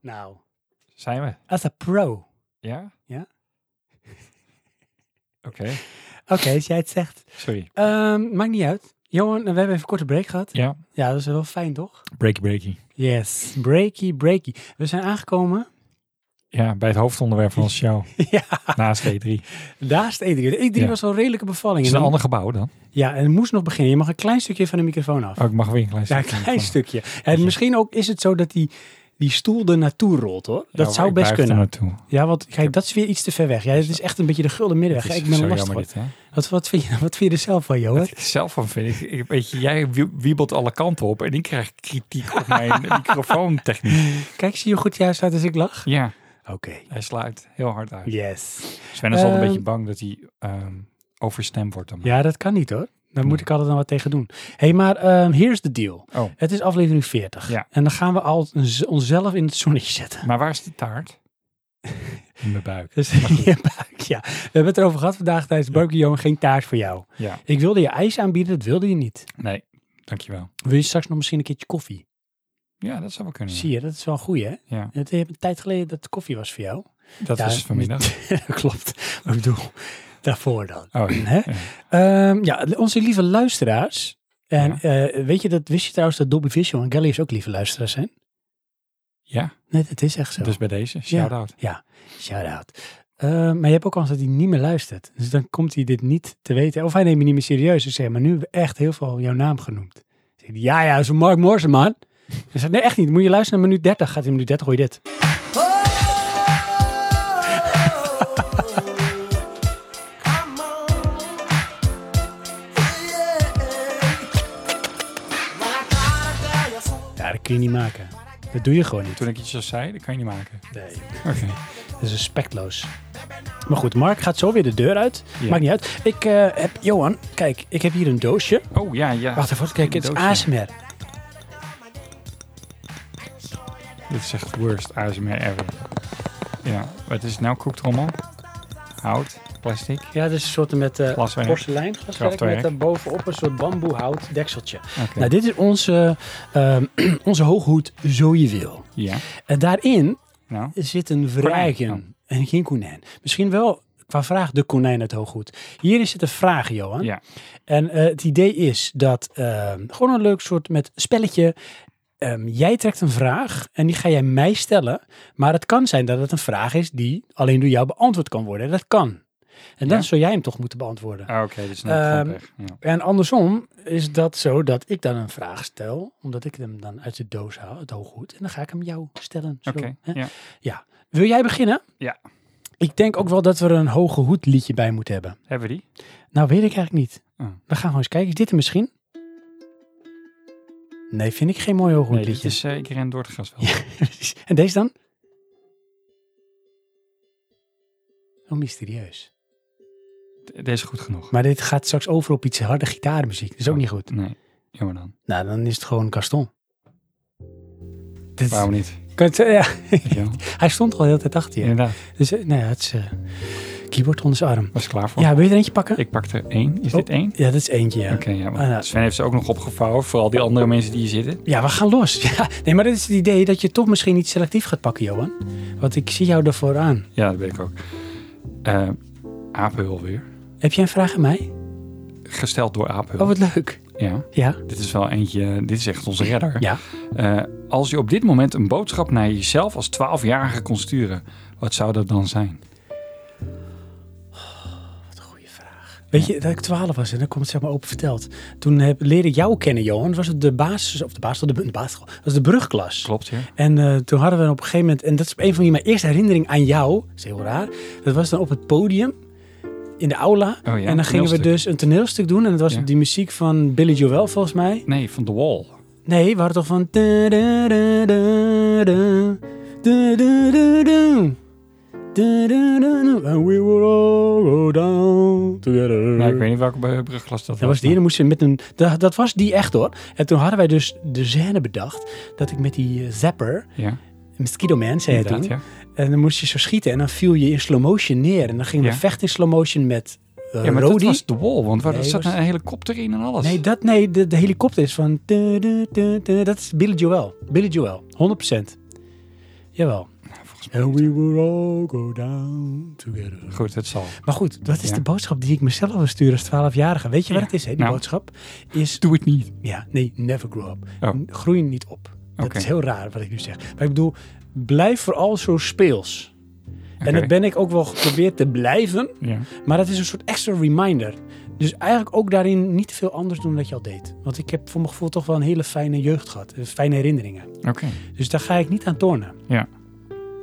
A: Nou,
C: Zijn we?
A: as a pro.
C: Ja?
A: Ja.
C: Oké,
A: Oké, als jij het zegt.
C: sorry.
A: Ehm, maakt niet uit. Johan, we hebben even een korte break gehad.
C: Ja,
A: Ja, dat is wel fijn toch?
C: breaky breaky.
A: Yes, breaky, breaky. We zijn aangekomen.
C: Ja, bij het hoofdonderwerp van onze show.
A: ja,
C: Naast E3. Is
A: daar is de E3. De E3
C: Ja.
A: was wel een redelijke bevalling.
C: het
A: En
C: een
A: dan-
C: ander gebouw dan?
A: Ja, en het moest nog beginnen. Je mag een klein stukje van de microfoon af.
C: Oh, ik mag weer een klein
A: Ja, een
C: stukje
A: klein
C: van-
A: stukje. En misschien ook is het zo dat die, die stoel er naartoe rolt hoor.
C: Ja,
A: Dat
C: maar
A: zou
C: ik
A: best
C: blijf
A: kunnen.
C: er naartoe.
A: Ja, want kijk, dat is weer iets te ver weg. Ja, het is echt een beetje de gulden middenweg.
C: Het
A: Ja,
C: is
A: ik ben
C: zo
A: er lastig
C: jammer
A: van.
C: dit, hè?
A: Wat, wat, vind je, wat vind je er zelf van, Johan?
C: Wat ik er zelf van vind. Ik, ik, weet je, jij wie- wiebelt alle kanten op en ik krijg kritiek op mijn microfoontechniek.
A: Kijk, zie je hoe goed jij staat als ik lach?
C: Ja,
A: Oké.
C: hij sluit heel hard uit.
A: Yes.
C: Sven is altijd
A: Ehm.
C: een beetje bang dat hij ehm, overstemd wordt. Dan.
A: Ja, dat kan niet hoor. Daar moet ik altijd dan wat tegen doen. Hé, hey, maar ehm, here's the deal.
C: Oh.
A: Het is aflevering 40.
C: Ja.
A: En dan gaan we al ons- onszelf in het zonnetje zetten.
C: Maar waar is die taart? In mijn buik.
A: Dus, ja, maar- ja, we hebben het erover gehad vandaag tijdens de barbecue, Johan. Geen taart voor jou.
C: Ja,
A: Ik wilde je ijs aanbieden, dat wilde je niet.
C: nee. Dankjewel.
A: Wil je straks nog misschien een keertje koffie?
C: Ja, dat zou wel kunnen.
A: Zie je, dat is wel een goeie, hè?
C: Ja,
A: Het- Je hebt een tijd geleden dat de koffie was voor jou.
C: dat
A: Ja,
C: is vanmiddag.
A: Klopt. Maar ik bedoel, daarvoor dan.
C: Oh, ja.
A: Hè? Ehm, ja, onze lieve luisteraars. En eh, weet je, dat wist je trouwens dat Dobby Vissel en Gallius ook lieve luisteraars zijn?
C: ja,
A: Nee, dat is echt zo.
C: dus bij deze. Shout-out.
A: Shout-out. Ehm, maar je hebt ook kans dat hij niet meer luistert. Dus dan komt hij dit niet te weten. Of hij neemt me niet meer serieus. Dus zeg maar, nu hebben we echt heel veel jouw naam genoemd. Dan Zegt hij, ja, ja, dat is een Mark Morsen, man. Dan zegt hij, nee, echt niet. Moet je luisteren naar minuut 30. Gaat hij in minuut 30, hoor je dit. Ja, dat kun je niet maken. Dat doe je gewoon niet.
C: Toen ik iets zo zei, dat kan je niet maken.
A: Nee.
C: Oké.
A: Dat is respectloos. Maar goed, Mark gaat zo weer de deur uit.
C: Ja.
A: Maakt niet uit. Ik eh, heb, Johan, kijk, ik heb hier een doosje.
C: Oh, ja, ja.
A: Wacht even, kijk, het is
C: Doosje.
A: ASMR.
C: Dit is echt worst ASMR ever. Ja, wat is het nou? Koektrommel? Hout? Plastic?
A: Ja, het is een soort met eh
C: Glaswerk.
A: porselein glaswerk
C: Kraftwerk.
A: met daar bovenop een soort bamboehout dekseltje.
C: Oké.
A: Nou, dit is onze, ehm, onze hooghoed, zo je wil.
C: Ja.
A: En daarin
C: Nou,
A: zit een
C: oh.
A: vragen en geen konijn. Misschien wel qua vraag de konijn uit hooghoed. Hier is het een vraag, Johan.
C: ja.
A: En eh, het idee is dat ehm, gewoon een leuk soort met spelletje. Ehm, jij trekt een vraag en die ga jij mij stellen. Maar het kan zijn dat het een vraag is die alleen door jou beantwoord kan worden. Dat kan. En dan
C: Ja.
A: zou jij hem toch moeten beantwoorden.
C: Ah, Oké, dus nou
A: Ehm,
C: weg. Ja.
A: En andersom is dat zo dat ik dan een vraag stel. Omdat ik hem dan uit de doos haal, het hooggoed. En dan ga ik hem jou stellen. Zo,
C: Oké,
A: hè?
C: ja.
A: Wil jij beginnen?
C: Ja.
A: Ik denk ook wel dat we er een hoge hoed liedje bij moeten hebben.
C: Hebben we die?
A: Nou, weet ik eigenlijk niet.
C: Oh.
A: We gaan gewoon eens kijken. Is dit er misschien? Nee, vind ik geen mooi hooghoed
C: Nee, dit
A: liedje.
C: is eh, Ik ren door het gras wel.
A: Precies. en deze dan? Oh, mysterieus.
C: Deze is goed genoeg.
A: Maar dit gaat straks over op iets harde gitaarmuziek. Dat is ook
C: Oh.
A: niet goed.
C: Nee, jammer dan.
A: Nou, dan is het gewoon Gaston. Dit,
C: Waarom niet?
A: Kan het- ja,
C: Weet je wel?
A: hij stond al de hele tijd achter je.
C: Inderdaad,
A: Dus eh, nou ja, het is eh, keyboard onder zijn arm.
C: was ik klaar voor.
A: Ja, wil je er eentje pakken?
C: Ik pak er één. Is
A: Oh.
C: dit één?
A: Ja, dat is eentje, ja.
C: Oké, ja, maar
A: Ah, ja.
C: Sven heeft ze ook nog opgevouwen. Vooral die andere mensen die hier zitten.
A: Ja, we gaan los. Ja, nee, maar dit is het idee dat je toch misschien niet selectief gaat pakken, Johan. Want ik zie jou ervoor aan.
C: Ja, dat weet ik ook. Eh Apenhul weer.
A: Heb jij een vraag aan mij?
C: Gesteld door Apenhul.
A: Oh, wat leuk.
C: Ja,
A: Ja,
C: dit is wel eentje. Dit is echt onze redder.
A: ja.
C: Eh, als je op dit moment een boodschap naar jezelf als 12-jarige kon sturen, wat zou dat dan zijn?
A: Wat een goede vraag. Weet je, dat ik twaalf was en dan komt het zeg maar open verteld. Toen heb, leerde ik jou kennen, Johan. Was het de basis, of de basis, de, de basis, dat was de brugklas.
C: Klopt, ja.
A: En eh, toen hadden we op een gegeven moment, en dat is op een van die mijn eerste herinnering aan jou, dat is heel raar. Dat was dan op het podium in de aula.
C: ja,
A: en dan gingen we
C: toneelstuk.
A: dus een toneelstuk doen. En dat was
C: Ja.
A: op die muziek van Billy Joel, volgens mij.
C: Nee, van The Wall.
A: Nee, we hadden toch van. And we will all go down together.
C: Nou, ik weet niet welke eh, brugklas dat was.
A: Dat Mm. was die, dan moest ze met een. Dat, dat was die echt hoor. En toen hadden wij dus de scène bedacht. Dat ik met die eh, zapper.
C: Ja,
A: Mosquito Man zei hij toen.
C: inderdaad, ja.
A: En dan moest je zo schieten. En dan viel je in slow motion neer. En dan gingen we
C: Ja.
A: vechten in slow motion met eh,
C: Ja, maar dat
A: Rodi.
C: was The Wall, want waar
A: Nee,
C: zat
A: was-
C: een helikopter in en alles.
A: Nee, dat, nee de, de helikopter is van... Dat is Billy Joel. Billy Joel, 100%. Jawel.
C: volgens
A: And we will all go down together.
C: Goed, het zal.
A: Maar goed, dat is
C: Ja.
A: de boodschap die ik mezelf wil sturen als 12-jarige. Weet je wat
C: Ja,
A: het is, hè? Die
C: nou.
A: boodschap is...
C: Doe het niet.
A: Ja, nee, never grow up.
C: Oh.
A: N- Groei niet op. Dat
C: Oké.
A: is heel raar wat ik nu zeg. Maar ik bedoel, blijf vooral zo speels. En dat ben ik ook wel geprobeerd te blijven.
C: Ja.
A: Maar dat is een soort extra reminder. Dus eigenlijk ook daarin niet veel anders doen dan dat je al deed. Want ik heb voor mijn gevoel toch wel een hele fijne jeugd gehad. eh, Fijne herinneringen.
C: Oké.
A: Dus daar ga ik niet aan tornen.
C: Ja.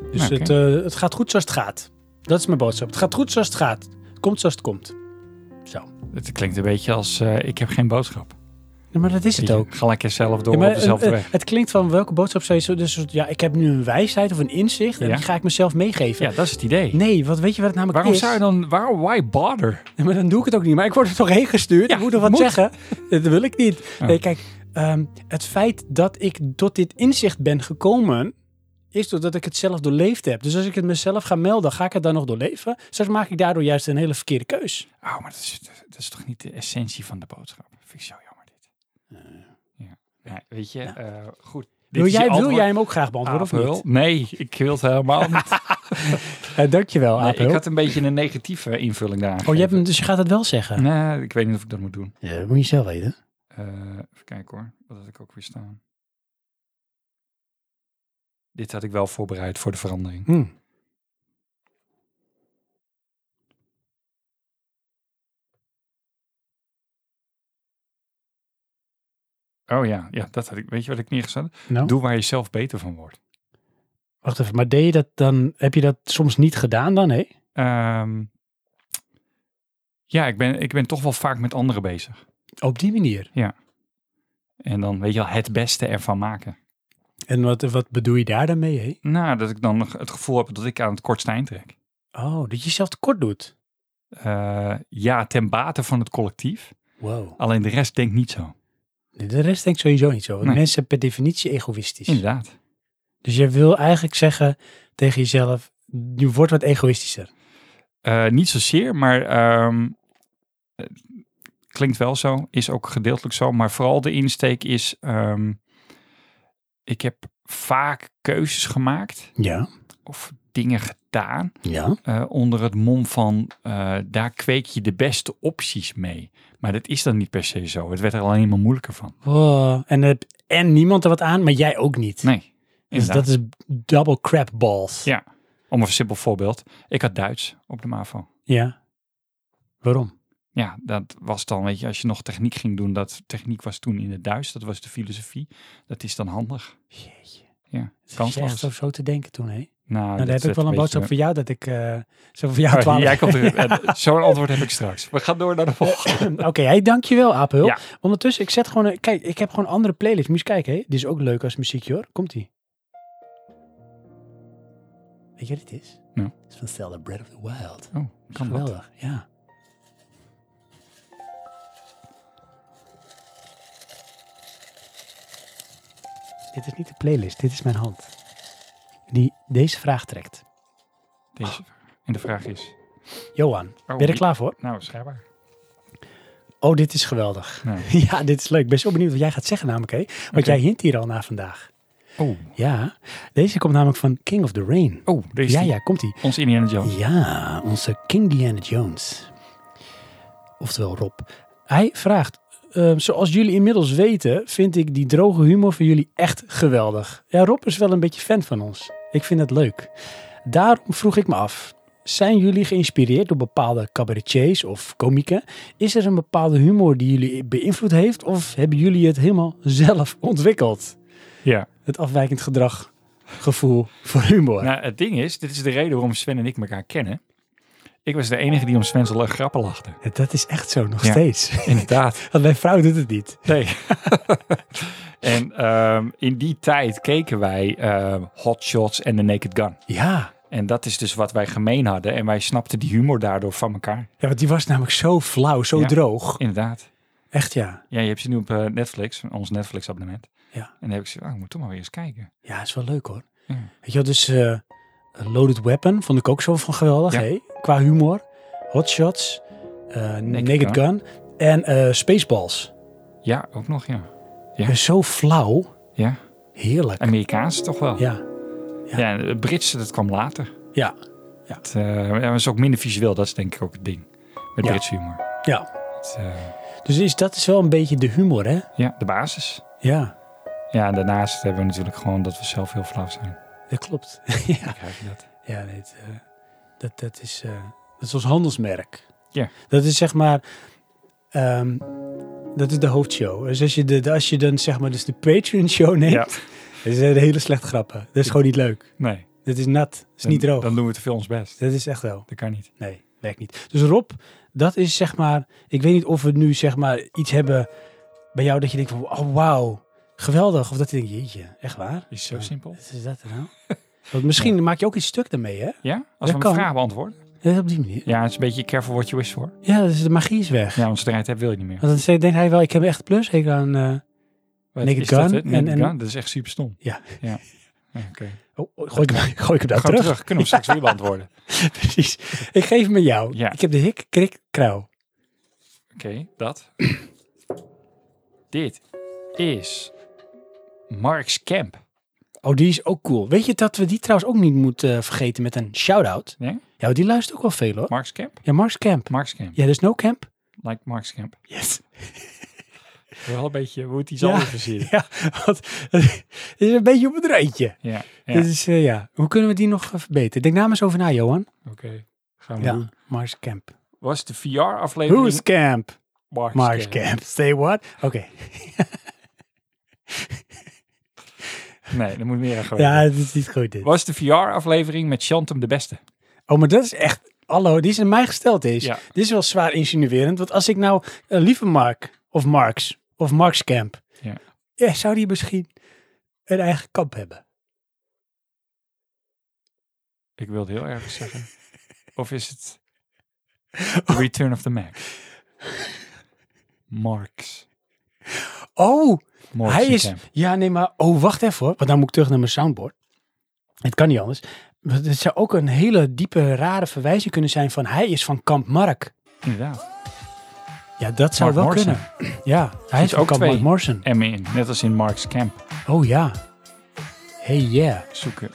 C: Nou,
A: Dus
C: Oké.
A: het, eh, het gaat goed zoals het gaat. Dat is mijn boodschap. Het gaat goed zoals het gaat. Het komt zoals het komt. Zo.
C: Het klinkt een beetje als eh, ik heb geen boodschap.
A: Ja, maar dat is het
C: Die
A: ook.
C: Ga lekker zelf door
A: Ja, maar eh,
C: op dezelfde
A: het-
C: weg.
A: Het klinkt van welke boodschap zou je zo... Dus ja, ik heb nu een wijsheid of een inzicht en
C: Ja.
A: die ga ik mezelf meegeven.
C: Ja, dat is het idee.
A: Nee, want weet je wat het namelijk
C: Waarom
A: is?
C: zou je dan, waarom, why bother?
A: Nee, maar dan doe ik het ook niet. Maar ik word er toch heen gestuurd.
C: Ja,
A: ik moet er wat
C: moet.
A: zeggen. Dat wil ik niet.
C: Oh.
A: Nee, kijk, ehm, het feit dat ik tot dit inzicht ben gekomen, is doordat ik het zelf doorleefd heb. Dus als ik het mezelf ga melden, ga ik het dan nog doorleven? Straks maak ik daardoor juist een hele verkeerde keus.
C: Oh, maar dat is, dat is toch niet de essentie van de boodschap? Vind ik zo jammer dit. Ja. Ja, weet je, eh, goed. Dit
A: Wil
C: is je
A: jij, wil
C: antwoord.
A: jij hem ook graag beantwoorden of
C: Apel?
A: niet?
C: Nee, ik wil het helemaal niet.
A: Eh, dankjewel,
C: Nee,
A: Apel.
C: ik had een beetje een negatieve invulling daar.
A: Oh, je hebt hem, dus je gaat het wel zeggen?
C: Nee, ik weet niet of ik dat moet doen.
A: Ja, dat moet je zelf weten.
C: Eh, even kijken hoor, wat had ik ook weer staan. Dit had ik wel voorbereid voor de verandering.
A: Hm.
C: Oh ja, ja dat had ik. Weet je wat ik neergezet heb?
A: Nou,
C: Doe waar je zelf beter van wordt.
A: wacht even. Maar deed je dat dan, heb je dat soms niet gedaan dan, hè?
C: Ehm, ja, ik ben, ik ben toch wel vaak met anderen bezig.
A: Op die manier.
C: En dan weet je wel, het beste ervan maken.
A: En wat, wat bedoel je daar dan mee, hè?
C: Nou, dat ik dan nog het gevoel heb dat ik aan het kortste eind trek.
A: Oh, dat je zelf tekort doet.
C: Eh, ja, ten bate van het collectief.
A: Wow.
C: Alleen de rest denkt niet zo.
A: De rest denkt sowieso niet zo. Want
C: Nee.
A: mensen zijn per definitie egoïstisch.
C: Inderdaad.
A: Dus je wil eigenlijk zeggen tegen jezelf, je wordt wat egoïstischer.
C: Eh, niet zozeer, maar ehm, eh, klinkt wel zo. Is ook gedeeltelijk zo. Maar vooral de insteek is... ehm, ik heb vaak keuzes gemaakt
A: Ja.
C: of dingen gedaan
A: Ja.
C: eh, onder het mom van eh, daar kweek je de beste opties mee. Maar dat is dan niet per se zo. Het werd er alleen maar moeilijker van.
A: Oh, en, er heb- en niemand er wat aan, maar jij ook niet.
C: Nee.
A: dus
C: Inderdaad.
A: dat is double crap balls.
C: Ja. Om een simpel voorbeeld. Ik had Duits op de MAVO.
A: Ja. Waarom?
C: Ja, dat was dan, weet je, als je nog techniek ging doen, dat techniek was toen in het Duits, dat was de filosofie. Dat is dan handig.
A: Jeetje.
C: Ja,
A: Het is echt
C: kansloos.
A: zo, zo te denken toen, hè?
C: Nou,
A: nou, daar heb ik wel een boodschap voor jou, dat ik eh, zo voor jou twaalf...
C: Oh, Jij komt er, eh, Zo'n antwoord heb ik straks. We gaan door naar de volgende.
A: Oké, hey, dankjewel, Apel.
C: Ja.
A: Ondertussen, ik zet gewoon... een- Kijk, ik heb gewoon andere playlists. Moet je eens kijken, hè? Dit is ook leuk als muziekje, hoor. Komt-ie. Weet je wat dit is?
C: Nou.
A: Het is van Zelda Breath of the Wild.
C: Oh, kan dat?
A: Geweldig, ja. Dit is niet de playlist, dit is mijn hand. Die deze vraag trekt.
C: Deze. En de vraag is,
A: Johan, ben je er
C: wie-
A: klaar voor?
C: nou, schijnbaar.
A: Oh, dit is geweldig.
C: Nou.
A: Ja, dit is leuk. Ik ben zo benieuwd wat jij gaat zeggen namelijk. Hè? Want
C: Oké.
A: jij hint hier al na vandaag.
C: Oh,
A: Ja, deze komt namelijk van King of the Rain.
C: oh deze
A: Ja,
C: die.
A: ja, komt ie.
C: Ons Indiana Jones.
A: Ja, onze King Diana Jones. Oftewel Rob. Hij vraagt, ehm, zoals jullie inmiddels weten, vind ik die droge humor van jullie echt geweldig. Ja, Rob is wel een beetje fan van ons. Ik vind het leuk. Daarom vroeg ik me af, zijn jullie geïnspireerd door bepaalde cabaretiers of komieken? Is er een bepaalde humor die jullie beïnvloed heeft of hebben jullie het helemaal zelf ontwikkeld?
C: Ja.
A: Het afwijkend gedrag, gevoel voor humor.
C: Nou, het ding is, dit is de reden waarom Sven en ik elkaar kennen. Ik was de enige die om Sven's la- grappen lachte.
A: Dat is echt zo, nog
C: Ja.
A: steeds.
C: Inderdaad.
A: Want mijn vrouw doet het niet.
C: Nee. en ehm, in die tijd keken wij ehm, Hot Shots en The Naked Gun.
A: Ja.
C: En dat is dus wat wij gemeen hadden. En wij snapten die humor daardoor van elkaar.
A: ja, want die was namelijk zo flauw, zo
C: Ja.
A: droog.
C: Inderdaad.
A: Echt ja.
C: Ja, je hebt ze nu op eh, Netflix, ons Netflix abonnement.
A: Ja.
C: En dan heb ik ze, oh, ik moet toch maar weer eens kijken.
A: Ja, is wel leuk hoor.
C: Ja.
A: Weet je wel, dus eh, Loaded Weapon vond ik ook zo van geweldig,
C: Ja.
A: hè? Qua humor. Hot Shots, eh, Naked,
C: Naked
A: Gun en eh, Spaceballs.
C: Ja, ook nog, ja. Ja.
A: Dus zo flauw.
C: Ja.
A: Heerlijk.
C: Amerikaans toch wel.
A: Ja.
C: Ja, het Britse, dat kwam later.
A: Ja.
C: Het eh, ja, was ook minder visueel, dat is denk ik ook het ding. Met
A: Ja.
C: Brits humor.
A: Ja.
C: Het, eh,
A: Dus is, dat is wel een beetje de humor, hè?
C: ja, de basis.
A: Ja,
C: Ja, en daarnaast hebben we natuurlijk gewoon dat we zelf heel flauw zijn.
A: dat klopt. ja.
C: Krijg je dat?
A: Ja, nee, het, eh, dat, dat, is, eh, dat is ons handelsmerk.
C: Ja.
A: Dat is zeg maar, ehm, dat is de hoofdshow. Dus als je, de, de- als je dan zeg maar dus de Patreon show neemt,
C: Ja.
A: dat zijn hele slechte grappen. Dat is gewoon niet leuk.
C: Nee.
A: Dat is nat. Dat is niet droog.
C: Dan doen we te veel ons best.
A: Dat is echt wel.
C: Dat kan niet.
A: Nee, werkt niet. Dus Rob, dat is zeg maar, ik weet niet of we nu zeg maar iets hebben bij jou dat je denkt van, oh wauw, geweldig. Of dat je denkt, jeetje, echt waar?
C: Is zo
A: Ja.
C: simpel.
A: Wat is dat nou? Want misschien maak je ook iets stuk daarmee, hè?
C: Ja? Als we
A: kan.
C: een vraag beantwoorden.
A: Ja, op die manier.
C: Ja, het is een beetje careful what you wish for.
A: Ja, dus de magie is weg.
C: Ja, want strijd heb wil je niet meer.
A: Want dan denkt hij wel, ik heb echt plus. Ik aan, eh,
C: Wat
A: Naked
C: is dat,
A: Gun
C: hè?
A: en-
C: Naked
A: en-
C: Gun, dat is echt super stom.
A: Ja.
C: ja. Ja, Oké.
A: oh, oh, gooi, ik hem, gooi ik hem daar
C: Gewoon
A: terug.
C: terug. Kunnen we straks weer beantwoorden.
A: Precies. Ik geef hem aan jou.
C: Ja.
A: Ik heb de hik, krik, krauw.
C: Oké, dat. Dit is Mark's Camp.
A: Oh, die is ook cool. Weet je dat we die trouwens ook niet moeten eh, vergeten met een shout-out?
C: Nee?
A: Ja, die luistert ook wel veel hoor.
C: Mark's Camp?
A: Ja, Mars Camp.
C: Mark's Camp.
A: Ja, dus No Camp.
C: Like Mark's Camp.
A: Yes.
C: Wel een beetje, hoe het iets
A: Ja.
C: anders verzinnen.
A: Ja, want het is een beetje op het randje.
C: Ja, ja.
A: Dit is, eh, ja. Hoe kunnen we die nog eh, verbeteren? Denk namens over na, Johan.
C: oké. Gaan we doen.
A: Mars Camp.
C: Was de VR-aflevering
A: Who's Camp?
C: Mark's,
A: Mars
C: Camp?
A: Camp. Say what? Oké.
C: Nee, dat moet meer aan gebeuren.
A: Ja, dit is niet goed dit.
C: Was de VR-aflevering met Shantum de beste?
A: Oh, maar dat is echt... Hallo, die is aan mij gesteld is.
C: Ja.
A: Dit is wel zwaar insinuerend. Want als ik nou... eh, lieve Mark. Of Marks. Of Marks Camp.
C: Ja.
A: ja, zou die misschien een eigen kamp hebben?
C: Ik wilde heel erg zeggen. Of is het Return of the Mac? Marks.
A: Oh,
C: Marks
A: hij is...
C: Camp.
A: Ja, nee, maar... Oh, wacht even hoor. Want dan moet ik terug naar mijn soundboard. Het kan niet anders. Want Het zou ook een hele diepe, rare verwijzing kunnen zijn van... Hij is van Kamp Mark.
C: Inderdaad.
A: Ja, dat zou
C: Mark
A: wel
C: Morrison.
A: kunnen. Ja, hij is van
C: Zit ook
A: Kamp
C: twee.
A: Mark Morrison.
C: M in, net als in Marks Camp.
A: Oh ja. Hey yeah.
C: Zoeken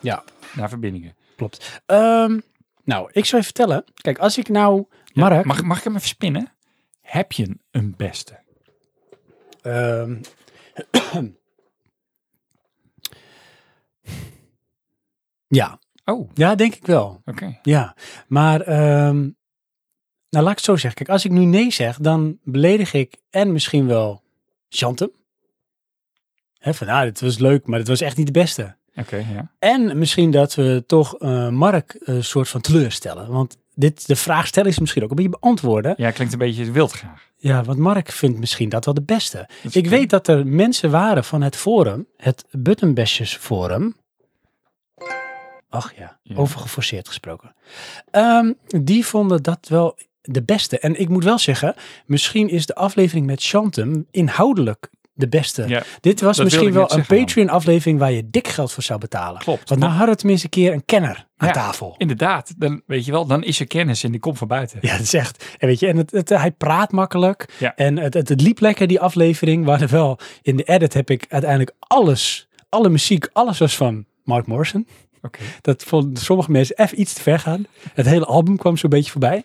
A: Ja.
C: naar verbindingen.
A: Klopt. Ehm, nou, ik zou je vertellen. Kijk, als ik nou
C: Ja,
A: Mark...
C: Mag, mag ik hem even spinnen? Heb je een beste?
A: ehm, ja,
C: Oh, oké.
A: ja, denk ik wel. Ja, maar... ehm, nou, laat ik het zo zeggen. Kijk, als ik nu nee zeg, dan beledig ik en misschien wel Chantem. Hè, van, nou, dit was leuk, maar het was echt niet de beste.
C: Oké, ja.
A: En misschien dat we toch eh, Mark een soort van teleurstellen. Want dit, de vraag stellen is misschien ook een beetje beantwoorden.
C: Ja, klinkt een beetje wild graag.
A: Ja, want Mark vindt misschien dat wel de beste.
C: Dat is
A: Ik
C: oké.
A: weet dat er mensen waren van het forum, het Buttonbashers Forum. Ach ja,
C: Ja.
A: overgeforceerd gesproken. Ehm, die vonden dat wel de beste. En ik moet wel zeggen, misschien is de aflevering met Shantum inhoudelijk de beste.
C: Ja,
A: Dit was
C: dat
A: misschien
C: wilde ik
A: wel
C: net
A: een
C: zeggen,
A: Patreon-aflevering waar je dik geld voor zou betalen.
C: klopt.
A: Want nou hadden we tenminste een keer een kenner aan
C: Ja.
A: tafel.
C: Inderdaad, dan weet je wel, dan is er kennis en die komt van buiten.
A: Ja, dat is echt. En weet je, en het, het, hij praat makkelijk.
C: Ja.
A: En het, het, het liep lekker, die aflevering. Waar er wel in de edit heb ik uiteindelijk alles, alle muziek, alles was van Mark Morrison.
C: Oké.
A: Dat vonden sommige mensen even iets te ver gaan. Het hele album kwam zo'n beetje voorbij.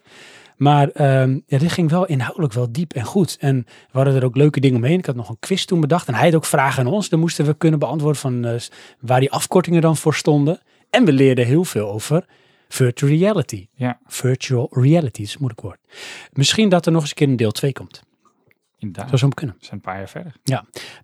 A: Maar ehm, ja, dit ging wel inhoudelijk wel diep en goed. En we hadden er ook leuke dingen omheen. Ik had nog een quiz toen bedacht. En hij had ook vragen aan ons. Dan moesten we kunnen beantwoorden van eh, waar die afkortingen dan voor stonden. En we leerden heel veel over virtual reality.
C: Ja.
A: Virtual reality, dat is een moeilijk woord. Misschien dat er nog eens een keer een deel 2 komt.
C: Inderdaad.
A: Zou zo kunnen.
C: We zijn een paar jaar verder.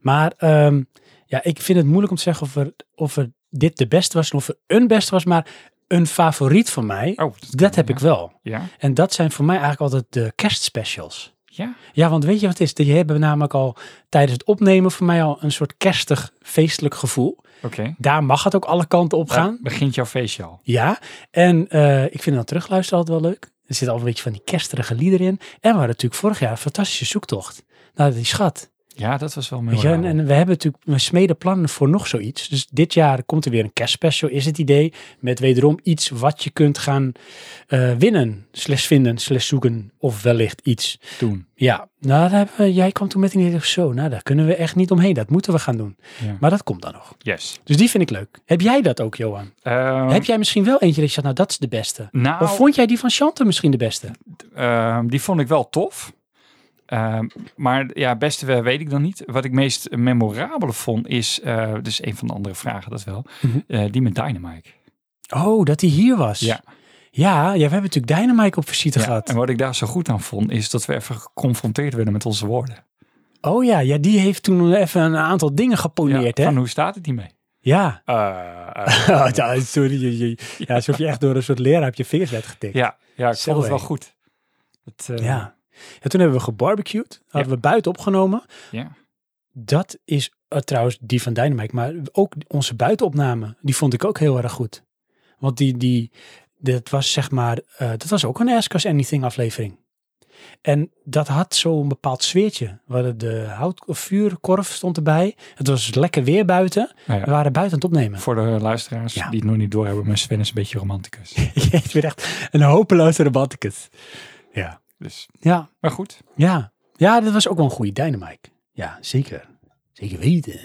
A: Maar ehm, ja, ik vind het moeilijk om te zeggen of er, of er dit de beste was. en Of er een beste was. Maar een favoriet van mij,
C: Oh,
A: dat heb ik wel.
C: Ja?
A: En dat zijn voor mij eigenlijk altijd de kerstspecials.
C: Ja?
A: Ja, want weet je wat het is? Die hebben namelijk al tijdens het opnemen voor mij al een soort kerstig feestelijk gevoel.
C: Oké.
A: Daar mag het ook alle kanten op gaan.
C: Daar Begint jouw feestje al.
A: Ja, en eh, ik vind dan terugluisteren altijd wel leuk. Er zit al een beetje van die kersterige liederen in. En we hadden natuurlijk vorig jaar een fantastische zoektocht naar die schat.
C: Oh, Ja, dat was wel
A: Weet je, en,
C: memorabel.
A: en we hebben natuurlijk, we smeden plannen voor nog zoiets. Dus dit jaar komt er weer een kerstspecial, is het idee. Met wederom iets wat je kunt gaan eh, winnen, slash vinden, slash zoeken. Of wellicht iets
C: Toen.
A: ja, nou, daar hebben we- jij kwam toen met een idee. Zo, nou, daar kunnen we echt niet omheen. Dat moeten we gaan doen.
C: Ja.
A: Maar dat komt dan nog.
C: Yes.
A: Dus die vind ik leuk. Heb jij dat ook, Johan?
C: Ehm,
A: Heb jij misschien wel eentje dat je zegt, nou, dat is de beste?
C: nou,
A: Of vond jij die van Chante misschien de beste?
C: Ehm, die vond ik wel tof. Ehm, maar ja, beste wel weet ik dan niet. Wat ik meest memorabele vond is, eh dus een van de andere vragen dat wel,
A: Mhm.
C: eh, die met Dynamite.
A: Oh, dat die hier was.
C: Ja.
A: Ja, ja, we hebben natuurlijk Dynamite op visite gehad.
C: En wat ik daar zo goed aan vond, is dat we even geconfronteerd werden met onze woorden.
A: Oh ja, ja, die heeft toen even een aantal dingen geponeerd,
C: Ja,
A: hè?
C: van hoe staat het hiermee?
A: Ja.
C: Eh, eh,
A: Oh, ja, sorry. je- je- Ja, alsof je echt door een soort leraar op je vingers werd getikt.
C: ja, ja, ik
A: Zo,
C: vond het wel
A: hé.
C: goed. Het, eh,
A: Ja. En toen hebben we gebarbecued. Hadden we buiten opgenomen.
C: Ja.
A: Dat is eh, trouwens die van Dynamite. Maar ook onze buitenopname. Die vond ik ook heel erg goed. Want die, die dat was zeg maar, eh, dat was ook een Ask Us Anything aflevering. En dat had zo'n bepaald sfeertje. We hadden de hout, of vuurkorf stond erbij. Het was lekker weer buiten.
C: Nou ja,
A: We waren buiten aan het opnemen.
C: Voor de luisteraars
A: Ja.
C: die het nog niet doorhebben, maar Sven is een beetje romanticus.
A: Je bent echt een hopeloze romanticus. Ja.
C: Dus,
A: Ja,
C: maar goed,
A: ja. Ja, dat was ook wel een goede Dynamite. Ja, zeker. Zeker weten.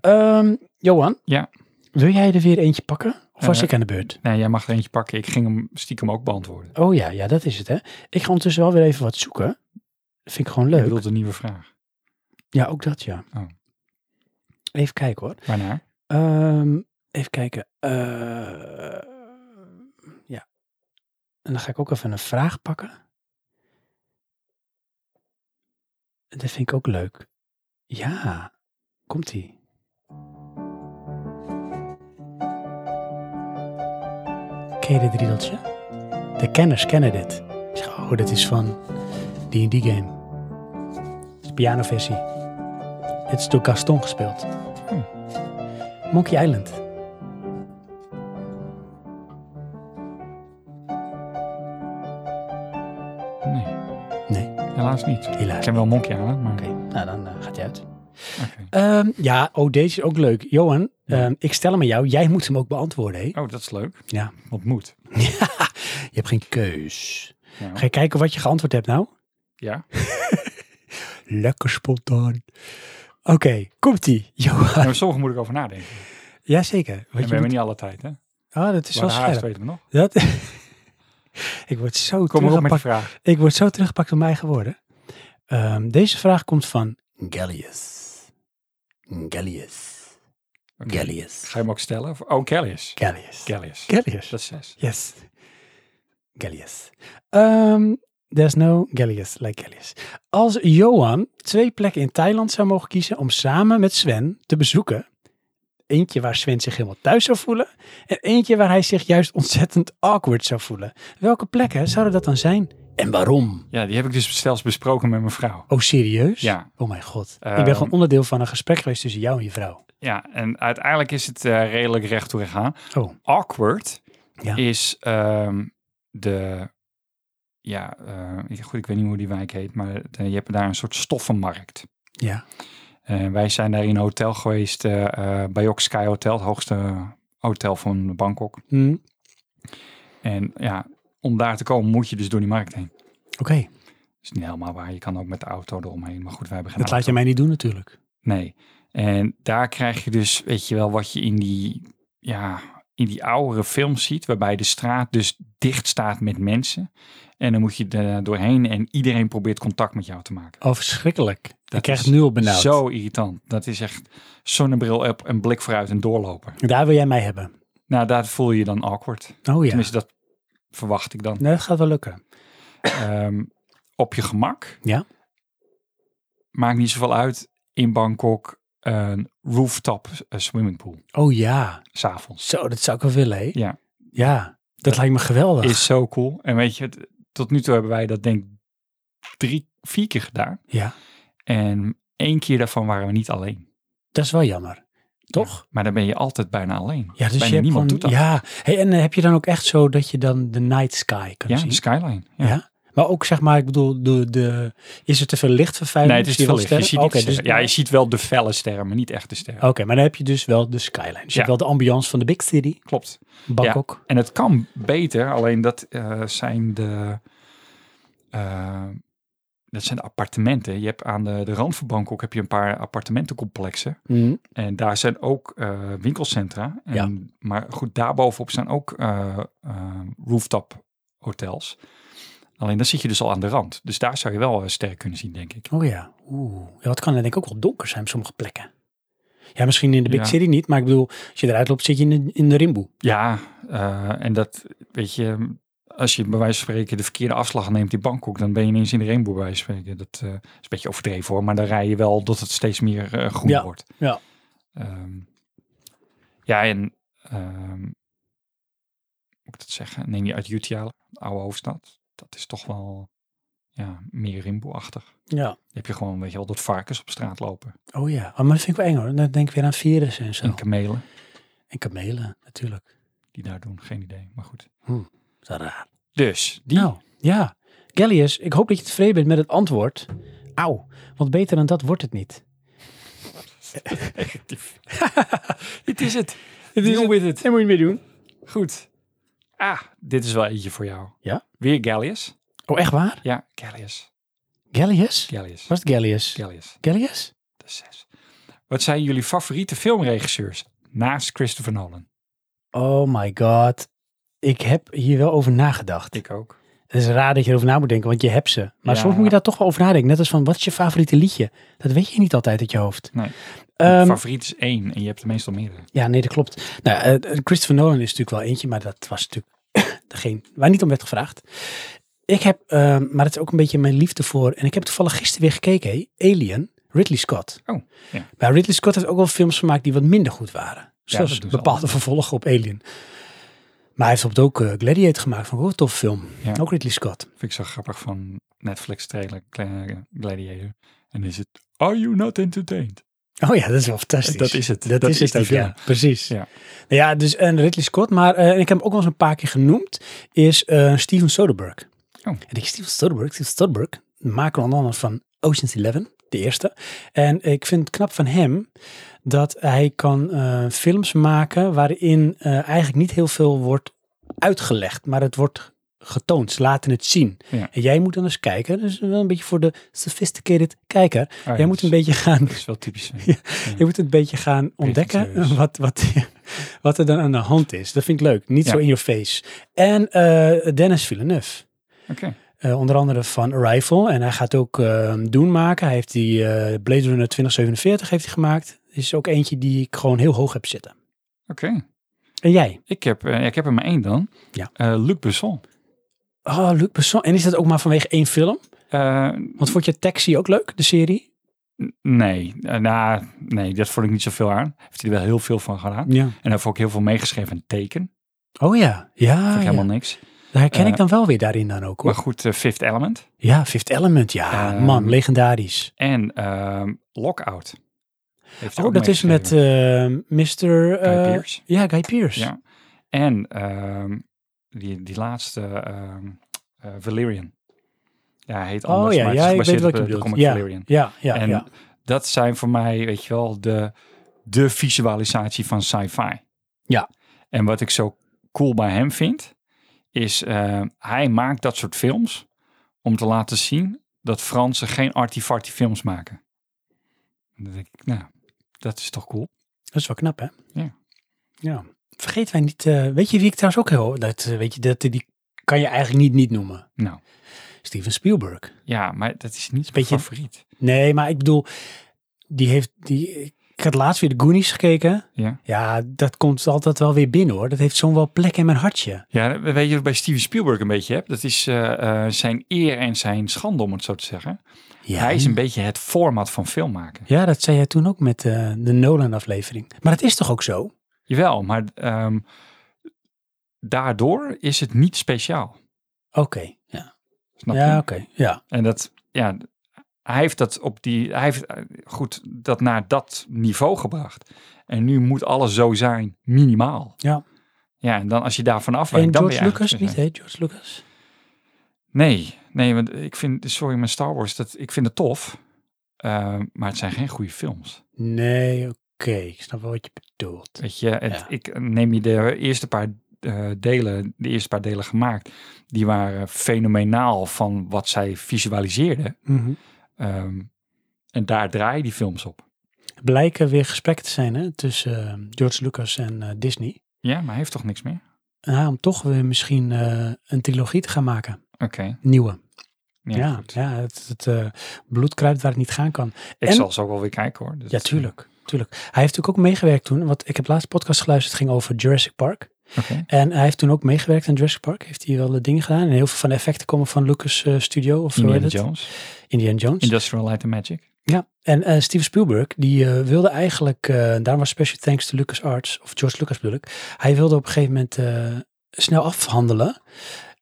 A: Ehm, Johan?
C: Ja.
A: Wil jij er weer eentje pakken? Of was
C: Eh.
A: ik aan de beurt?
C: nee, jij mag er eentje pakken. Ik ging hem stiekem ook beantwoorden.
A: Oh ja, ja, dat is het hè. Ik ga ondertussen wel weer even wat zoeken. Dat vind ik gewoon
C: Ik
A: leuk.
C: bedoel de nieuwe vraag.
A: Ja, ook dat ja.
C: Oh.
A: Even kijken hoor.
C: Waarna?
A: Ehm, even kijken. Eh, ja. En dan ga ik ook even een vraag pakken. Dat vind ik ook leuk. Ja, komt ie. Ken je dit riedeltje? De kenners kennen dit. Ik zeg, oh, dat is van die en die game. Het is de pianoversie. Het is door Gaston gespeeld. Monkey Island.
C: Nee,
A: Nee,
C: helaas niet. Ik
A: helaas.
C: ken wel Monkey aan, maar...
A: Oké, nou dan eh, gaat hij uit.
C: oké.
A: Ehm, ja, oh, deze is ook leuk. Johan,
C: Ja.
A: ehm, ik stel hem aan jou. Jij moet hem ook beantwoorden, hè?
C: Oh, dat is leuk.
A: Ja.
C: Wat moet.
A: Je hebt geen keus.
C: Nou,
A: Ga je kijken wat je geantwoord hebt nou?
C: ja.
A: Lekker spontaan. Oké, komt-ie. Johan.
C: Nou, Maar sommige moet ik over nadenken. En
A: Jazeker.
C: we
A: Want je
C: hebben
A: moet...
C: niet alle tijd, hè?
A: Ah, dat is
C: Maar
A: wel
C: de haast
A: scherp.
C: weten we nog.
A: Dat... ik word zo
C: Kom maar op met de
A: teruggepakt.
C: vraag.
A: Ik word zo teruggepakt door mij geworden. Ehm, deze vraag komt van Gallius. Gallius.
C: Oké.
A: Gallius.
C: Ga je hem ook stellen? Of- Oh, Kelly's.
A: Gallius.
C: Kelly's.
A: Gallius.
C: Dat is zes.
A: Yes. Gallius. Ehm, there's no Gallius like Gallius. Als Johan twee plekken in Thailand zou mogen kiezen om samen met Sven te bezoeken. Eentje waar Sven zich helemaal thuis zou voelen. En eentje waar hij zich juist ontzettend awkward zou voelen. Welke plekken zouden dat dan zijn? En waarom?
C: Ja, die heb ik dus zelfs besproken met mijn vrouw.
A: Oh, serieus?
C: Ja.
A: Oh mijn god. ik
C: Ehm.
A: ben gewoon onderdeel van een gesprek geweest tussen jou en je vrouw.
C: Ja, en uiteindelijk is het eh, redelijk recht toe recht aan.
A: Oh,
C: Awkward
A: Ja.
C: is ehm, de... Ja, eh, ik- goed, ik weet niet hoe die wijk heet, maar het, eh, je hebt daar een soort stoffenmarkt.
A: ja.
C: En wij zijn daar in een hotel geweest, eh eh Bayok Sky Hotel, het hoogste hotel van Bangkok.
A: Hm,
C: En ja, om daar te komen moet je dus door die markt heen.
A: Oké,
C: is niet helemaal waar, je kan ook met de auto eromheen, maar goed, wij hebben geen
A: dat laat
C: auto.
A: je mij niet doen natuurlijk.
C: Nee. En daar krijg je dus, weet je wel, wat je in die, ja, in die oudere films ziet, waarbij de straat dus dicht staat met mensen. En dan moet je er doorheen en iedereen probeert contact met jou te maken.
A: Oh, verschrikkelijk. ik krijg
C: is
A: het nu al benauwd.
C: Zo irritant. Dat is echt zonnebril op en blik vooruit en doorlopen.
A: Daar wil jij mij hebben.
C: Nou, daar voel je je dan awkward.
A: Oh ja.
C: Tenminste, dat verwacht ik dan.
A: Nee, dat gaat wel lukken.
C: Ehm, op je gemak.
A: Ja.
C: Maakt niet zoveel uit in Bangkok een rooftop eh, swimmingpool.
A: Oh ja.
C: S'avonds.
A: Zo, dat zou ik wel willen, hè?
C: Ja.
A: Ja, dat lijkt me geweldig.
C: Is zo cool. En weet je, het- tot nu toe hebben wij dat denk ik drie, vier keer gedaan.
A: Ja.
C: En één keer daarvan waren we niet alleen.
A: Dat is wel jammer. Toch?
C: Maar dan ben je altijd bijna alleen.
A: Ja, dus
C: bijna
A: je hebt
C: niemand
A: gewoon...
C: doet dat.
A: Ja. Hey, en eh, heb je dan ook echt zo dat je dan de night sky kan
C: Ja,
A: zien?
C: skyline. Ja.
A: Ja. Maar ook zeg maar, ik bedoel, de, de, is er te veel lichtvervuiling?
C: Nee, het is
A: Zie je
C: veel
A: wel
C: licht. Je ziet
A: sterren? Oké,
C: niet de sterren.
A: dus,
C: Ja, je ziet wel de felle sterren, maar niet echt de sterren.
A: Oké, maar dan heb je dus wel de skyline. Dus je
C: Ja.
A: hebt wel de ambiance van de big city,
C: Klopt.
A: Bangkok.
C: En het kan beter, alleen dat eh, zijn de... eh, dat zijn de appartementen. Je hebt aan de, de rand van Bangkok heb je een paar appartementencomplexen.
A: Mm.
C: En daar zijn ook eh, winkelcentra. En,
A: Ja.
C: Maar goed, daarbovenop zijn ook eh, eh, rooftop hotels. Alleen dan zit je dus al aan de rand. Dus daar zou je wel eh, sterren kunnen zien, denk ik.
A: Oh ja. Oeh. Ja, wat kan er denk ik ook wel donker zijn op sommige plekken. Ja, misschien in de big
C: Ja.
A: city niet, maar ik bedoel, als je eruit loopt, zit je in de, in de rimboe.
C: Ja, eh, en dat, weet je, als je bij wijze van spreken de verkeerde afslag neemt in Bangkok, dan ben je ineens in de rainbow bij wijze van spreken. Dat eh, is een beetje overdreven hoor, maar dan rij je wel dat het steeds meer eh, groen
A: Ja,
C: wordt.
A: ja.
C: Ehm, ja, en ehm, hoe moet ik dat zeggen? Neem je uit Jutiala, de oude hoofdstad. Dat is toch wel ja, meer rimpelachtig.
A: Ja.
C: Dan heb je gewoon, weet je wel, dat varkens op straat lopen.
A: Oh ja. Oh, maar dat vind ik wel eng hoor. Dan denk ik weer aan virussen en zo.
C: En kamelen.
A: En kamelen, natuurlijk.
C: Die daar doen, geen idee. Maar goed.
A: Dat is wel raar.
C: Dus, die.
A: Nou, ja. Gallius, ik hoop dat je tevreden bent met het antwoord. Auw, want beter dan dat wordt het niet.
C: Negatief. Dit is het.
A: Het
C: Deal with it.
A: En moet je mee doen.
C: Goed. Ah, dit is wel eentje voor jou.
A: Ja?
C: Weer Gallius.
A: Oh, echt waar?
C: Ja, Gallius.
A: Gallius?
C: Gallius.
A: Was het Gallius?
C: Gallius.
A: Gallius?
C: De zes. Wat zijn jullie favoriete filmregisseurs naast Christopher Nolan?
A: Oh my god. Ik heb hier wel over nagedacht.
C: Ik ook.
A: Het is raar dat je erover na moet denken, want je hebt ze. Maar
C: Ja.
A: soms moet je daar toch wel over nadenken. Net als van, wat is je favoriete liedje? Dat weet je niet altijd uit je hoofd.
C: Nee.
A: Ehm,
C: Favoriet is één en je hebt er meestal meerdere.
A: ja, nee, dat klopt. Nou, eh, Christopher Nolan is natuurlijk wel eentje, maar dat was natuurlijk degene waar niet om werd gevraagd. Ik heb, ehm, maar het is ook een beetje mijn liefde voor, en ik heb toevallig gisteren weer gekeken, hé, Alien, Ridley Scott.
C: Oh, ja.
A: Maar Ridley Scott heeft ook wel films gemaakt die wat minder goed waren. Zoals
C: dat doen ze
A: bepaalde vervolgen op Alien. Maar hij heeft op ook eh, Gladiator gemaakt, van ook een tof film.
C: Ja.
A: Ook Ridley Scott.
C: Vind ik zo grappig van Netflix trailer Gla- Gladiator. En is het Are You Not Entertained?
A: Oh ja, dat is wel fantastisch.
C: Dat is het.
A: Dat, is, het
C: die
A: ook, ja. Precies.
C: Ja.
A: Ja. ja, dus en Ridley Scott, maar eh, en ik heb hem ook wel eens een paar keer genoemd, is eh, Steven Soderbergh.
C: Oh.
A: En ik Steven Soderbergh, Steven Soderbergh, de maker onder andere van Ocean's Eleven, de eerste. En ik vind het knap van hem dat hij kan eh, films maken waarin eh, eigenlijk niet heel veel wordt uitgelegd, maar het wordt getoond. Ze laten het zien.
C: Ja.
A: En jij moet dan eens kijken. Dus wel een beetje voor de sophisticated kijker.
C: Oh ja,
A: jij moet
C: dat
A: een
C: is-
A: beetje gaan
C: Dat is wel typisch. hè?
A: je moet het een beetje gaan ontdekken
C: Pretentieus.
A: wat, wat, wat er dan aan de hand is. Dat vind ik leuk. Niet
C: Ja.
A: zo in your face. En eh, Dennis Villeneuve.
C: Oké.
A: Eh, onder andere van Arrival. En hij gaat ook eh, Doen maken. Hij heeft die eh, Blade Runner 2047 heeft hij gemaakt. Is ook eentje die ik gewoon heel hoog heb zitten.
C: Oké.
A: En jij?
C: Ik, heb, eh, ik heb er maar één dan.
A: Ja.
C: Eh, Luc Besson.
A: Oh, Luc Besson. En is dat ook maar vanwege één film?
C: Eh,
A: Want vond je Taxi ook leuk, de serie?
C: nee, Eh, nou, nee, dat vond ik niet zoveel aan. Heeft hij er wel heel veel van gedaan.
A: Ja.
C: En daarvoor ook heel veel meegeschreven en teken.
A: Oh ja. Ja,
C: Vond ik
A: ja.
C: helemaal niks.
A: daar herken
C: eh,
A: ik dan wel weer daarin dan ook. Hoor.
C: Maar goed, eh, Fifth Element.
A: Ja, Fifth Element. Ja,
C: Ehm,
A: man, legendarisch.
C: En ehm, Lockout. Heeft
A: Oh,
C: hij ook
A: dat is met
C: meegeschreven.
A: eh, Mr. eh,
C: Guy Pearce.
A: Ja, Guy Pearce.
C: Ja. En ehm, die, die laatste, ehm, eh, Valerian. Ja, hij heet anders,
A: oh ja,
C: maar het
A: ja
C: is
A: ik weet
C: gebaseerd
A: wat
C: op eh,
A: je
C: de, de
A: bedoelt.
C: comic
A: Ja,
C: Valerian.
A: ja, ja,
C: en
A: ja.
C: dat zijn voor mij, weet je wel, de, de visualisatie van sci-fi.
A: Ja.
C: En wat ik zo cool bij hem vind, is eh, hij maakt dat soort films om te laten zien dat Fransen geen artifarty films maken. En dan denk ik, nou, dat is toch cool.
A: Dat is wel knap, hè?
C: Ja.
A: Ja. Vergeet wij niet... eh, weet je wie ik trouwens ook heel... Dat, eh, weet je, dat, die kan je eigenlijk niet niet noemen.
C: Nou,
A: Steven Spielberg.
C: ja, maar dat is niet
A: Beetje-
C: mijn favoriet.
A: Nee, maar ik bedoel... Die heeft... Die, ik had laatst weer de Goonies gekeken.
C: Ja.
A: Ja, dat komt altijd wel weer binnen, hoor. Dat heeft zo'n wel plek in mijn hartje.
C: Ja, weet je wat bij Steven Spielberg een beetje hebt? Dat is eh, eh, zijn eer en zijn schande, om het zo te zeggen.
A: Ja.
C: Hij is een beetje het format van film maken.
A: Ja, dat zei jij toen ook met eh, de Nolan-aflevering. Maar dat is toch ook zo?
C: Jawel, maar ehm, daardoor is het niet speciaal.
A: Oké, ja.
C: Snap
A: ja,
C: je?
A: oké. Ja.
C: En dat, ja, hij heeft dat op die, hij heeft eh, goed dat naar dat niveau gebracht. En nu moet alles zo zijn, minimaal.
A: Ja.
C: Ja, en dan als je daarvan afwijkt,
A: En
C: dan
A: George
C: ben je
A: Lucas
C: eigenlijk-
A: niet, hè? George Lucas.
C: Nee, nee, want ik vind, sorry, mijn Star Wars, dat, ik vind het tof. eh, maar het zijn geen goede films.
A: Nee, oké. Ik snap wel wat je bedoelt.
C: Weet je, het,
A: Ja.
C: ik neem je de eerste paar eh, delen, de eerste paar delen gemaakt, die waren fenomenaal van wat zij visualiseerden.
A: Mhm.
C: Ehm, en daar draai je die films op.
A: Blijken weer gesprekken te zijn hè, tussen eh, George Lucas en eh, Disney.
C: Ja, maar hij heeft toch niks meer?
A: En om toch weer misschien eh, een trilogie te gaan maken.
C: Oké.
A: Nieuwe.
C: Ja,
A: Ja, ja, het,
C: goed.
A: het eh, bloed kruipt waar het niet gaan kan.
C: Ik
A: en-
C: zal ze ook wel weer kijken hoor. Dus-
A: Ja, tuurlijk. tuurlijk. Hij heeft natuurlijk ook meegewerkt toen. Want ik heb laatst een podcast geluisterd. Het ging over Jurassic Park.
C: Oké.
A: En hij heeft toen ook meegewerkt aan Jurassic Park. Heeft hij wel de dingen gedaan. En heel veel van de effecten komen van Lucas eh, Studio. Of hoe
C: Indiana
A: heet het?
C: Jones.
A: Indiana Jones.
C: Industrial Light and Magic.
A: Ja, en eh, Steven Spielberg, die eh, wilde eigenlijk, eh daarom was special thanks to Lucas Arts, of George Lucas bedoel ik. Hij wilde op een gegeven moment eh, snel afhandelen.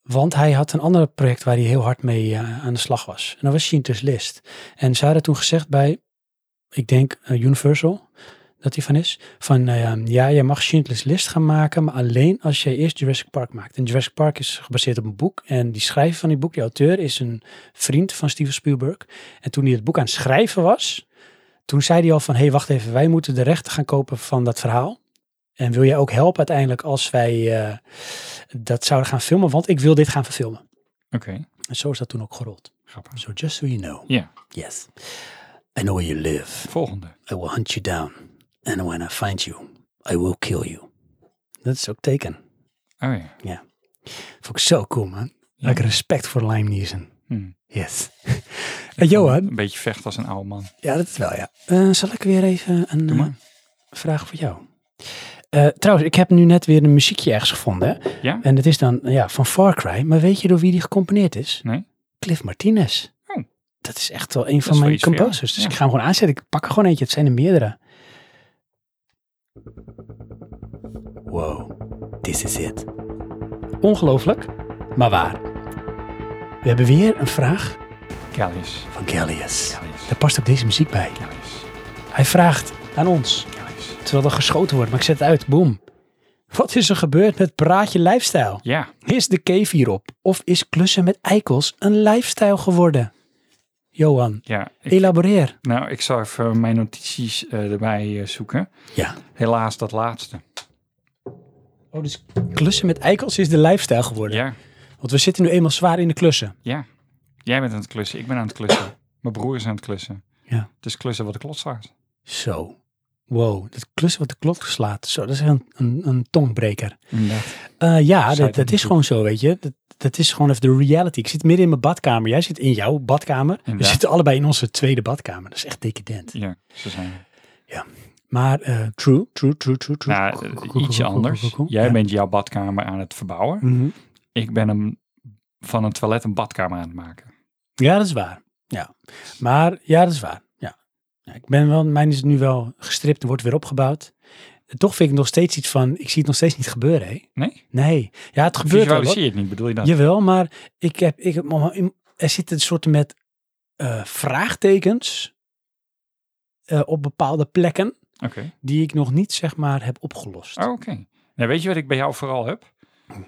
A: Want hij had een ander project waar hij heel hard mee eh, aan de slag was. En dat was Schindler's List. En ze hadden toen gezegd bij, ik denk eh, Universal, dat hij van is. Van, eh, ja, je mag Schindler's List gaan maken, maar alleen als jij eerst Jurassic Park maakt. En Jurassic Park is gebaseerd op een boek. En die schrijver van die boek, die auteur, is een vriend van Steven Spielberg. En toen hij het boek aan het schrijven was, toen zei hij al van, hé, hey, wacht even, wij moeten de rechten gaan kopen van dat verhaal. En wil jij ook helpen uiteindelijk als wij eh, dat zouden gaan filmen? Want ik wil dit gaan verfilmen.
C: Oké,
A: En zo is dat toen ook gerold.
C: grappig.
A: So just so you know.
C: Ja,
A: Yes. I know where you live.
C: volgende.
A: I will hunt you down. And when I find you, I will kill you. Dat is ook teken.
C: Oh ja.
A: Vond ik zo cool, man.
C: Ja.
A: Like respect voor Lime Neeson.
C: Hm.
A: Yes. en Johan,
C: Een beetje vecht als een oude man.
A: Ja, dat wel, ja. Eh, zal ik weer even een
C: Doe maar.
A: eh, vraag voor jou? Eh, trouwens, ik heb nu net weer een muziekje ergens gevonden. hè.
C: Ja?
A: En dat is dan ja, van Far Cry. Maar weet je door wie die gecomponeerd is?
C: Nee.
A: Cliff Martinez.
C: Oh.
A: Dat is echt wel een
C: is
A: van
C: wel
A: mijn
C: iets voor jou.
A: composers. Dus
C: Ja.
A: ik ga hem gewoon aanzetten. Ik pak er gewoon eentje. Het zijn er meerdere. Wow, this is it. Ongelooflijk, maar waar. We hebben weer een vraag
C: Callius.
A: van Gallius.
C: Callius.
A: Daar past ook deze muziek bij.
C: Callius.
A: Hij vraagt aan ons,
C: Callius.
A: terwijl er geschoten wordt, maar ik zet het uit, boom. Wat is er gebeurd met Praatje Lifestyle?
C: Ja,
A: Is de cave hierop? Of is klussen met eikels een lifestyle geworden? Johan,
C: ja. Ik,
A: elaboreer.
C: nou, ik zal even mijn notities eh, erbij eh, zoeken.
A: Ja.
C: Helaas dat laatste.
A: Oh, dus klussen met eikels is de lifestyle geworden.
C: Ja,
A: Want we zitten nu eenmaal zwaar in de klussen.
C: ja. Jij bent aan het klussen, ik ben aan het klussen. Mijn broer is aan het klussen.
A: Ja.
C: Het is klussen wat de klot slaat.
A: Zo. Wow, dat klussen wat de klok slaat. Zo, dat is een, een, een tongbreker.
C: Inderdaad.
A: Eh, ja,
C: Zei
A: dat,
C: het
A: dat
C: niet
A: is
C: goed.
A: gewoon zo, weet je. Dat, dat is gewoon even de reality. Ik zit midden in mijn badkamer. Jij zit in jouw badkamer. We
C: Inderdaad.
A: zitten allebei in onze tweede badkamer. Dat is echt decadent.
C: Ja, ze zijn.
A: Maar eh, true, true, true, true, true.
C: Nou,
A: Koek, koek,
C: eh,
A: koek,
C: ietsje
A: koek, koek, koek,
C: anders.
A: koek.
C: Jij
A: Ja.
C: bent jouw badkamer aan het verbouwen.
A: Mhm.
C: Ik ben hem van een toilet een badkamer aan het maken.
A: Ja, dat is waar. Ja. Maar ja, dat is waar. Ja. Ja, ik ben wel, mijn is nu wel gestript, wordt weer opgebouwd. En Toch vind ik nog steeds iets van, ik zie het nog steeds niet gebeuren, hè?
C: Nee?
A: Nee. Ja, het gebeurt wel. hoor.
C: Visualiseer je het niet, bedoel je dat?
A: Jawel, maar ik heb, ik heb, er zitten een soort met eh, vraagtekens eh, op bepaalde plekken
C: Oké.
A: die ik nog niet, zeg maar, heb opgelost.
C: Oh, oké. Nou, weet je wat ik bij jou vooral heb? Van,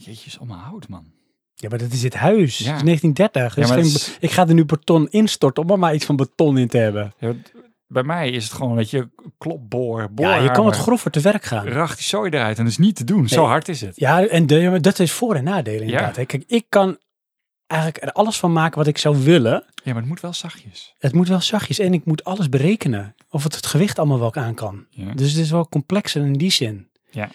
C: Jeetje, is allemaal hout, man.
A: Ja, maar dat is dit huis.
C: Ja.
A: Het is 1930.
C: Ja,
A: Dus
C: maar
A: geen
C: dat is-
A: be- Ik ga er nu beton instorten om er maar iets van beton in te hebben.
C: Ja, want bij mij is het gewoon dat je klopboor, boor,
A: Ja, je kan wat grover te werk gaan.
C: Racht die zooi eruit en dat is niet te doen. Zo
A: Nee.
C: hard is het.
A: Ja, en de- maar dat is voor- en nadelen inderdaad. hè. Kijk, ik kan eigenlijk er alles van maken wat ik zou willen.
C: Ja, maar het moet wel zachtjes.
A: Het moet wel zachtjes en ik moet alles berekenen. Of het het gewicht allemaal wel aan kan.
C: Ja.
A: Dus het is wel complexer in die zin.
C: Ja.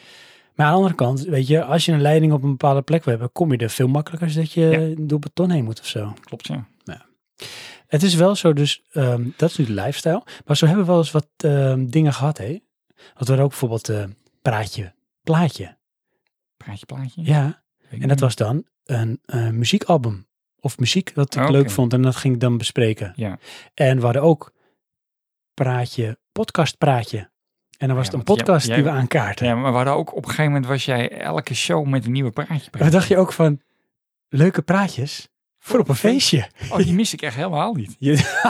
A: Maar aan de andere kant, weet je, als je een leiding op een bepaalde plek wil hebben, kom je er veel makkelijker als dat je door beton heen moet of zo.
C: Klopt, ja.
A: Het is wel zo, dus ehm, dat is nu de lifestyle. Maar zo hebben we wel eens wat ehm, dingen gehad, hè? Want we hadden ook bijvoorbeeld eh, praatje, plaatje.
C: Praatje, plaatje.
A: Ja.
C: Weet ik
A: En dat
C: niet.
A: was dan een eh, muziekalbum. Of muziek dat ik
C: Ah,
A: leuk
C: oké.
A: vond en dat ging ik dan bespreken.
C: Ja.
A: En we hadden ook praatje, podcastpraatje. En dan was
C: Ja,
A: het een
C: want jij-
A: podcast die
C: jij-
A: we aankaarten.
C: Ja, maar we hadden ook op een gegeven moment was jij elke show met een nieuwe praatje.
A: En dan dacht je ook van, leuke praatjes voor op een feestje.
C: Oh, die mis ik echt helemaal niet.
A: Je-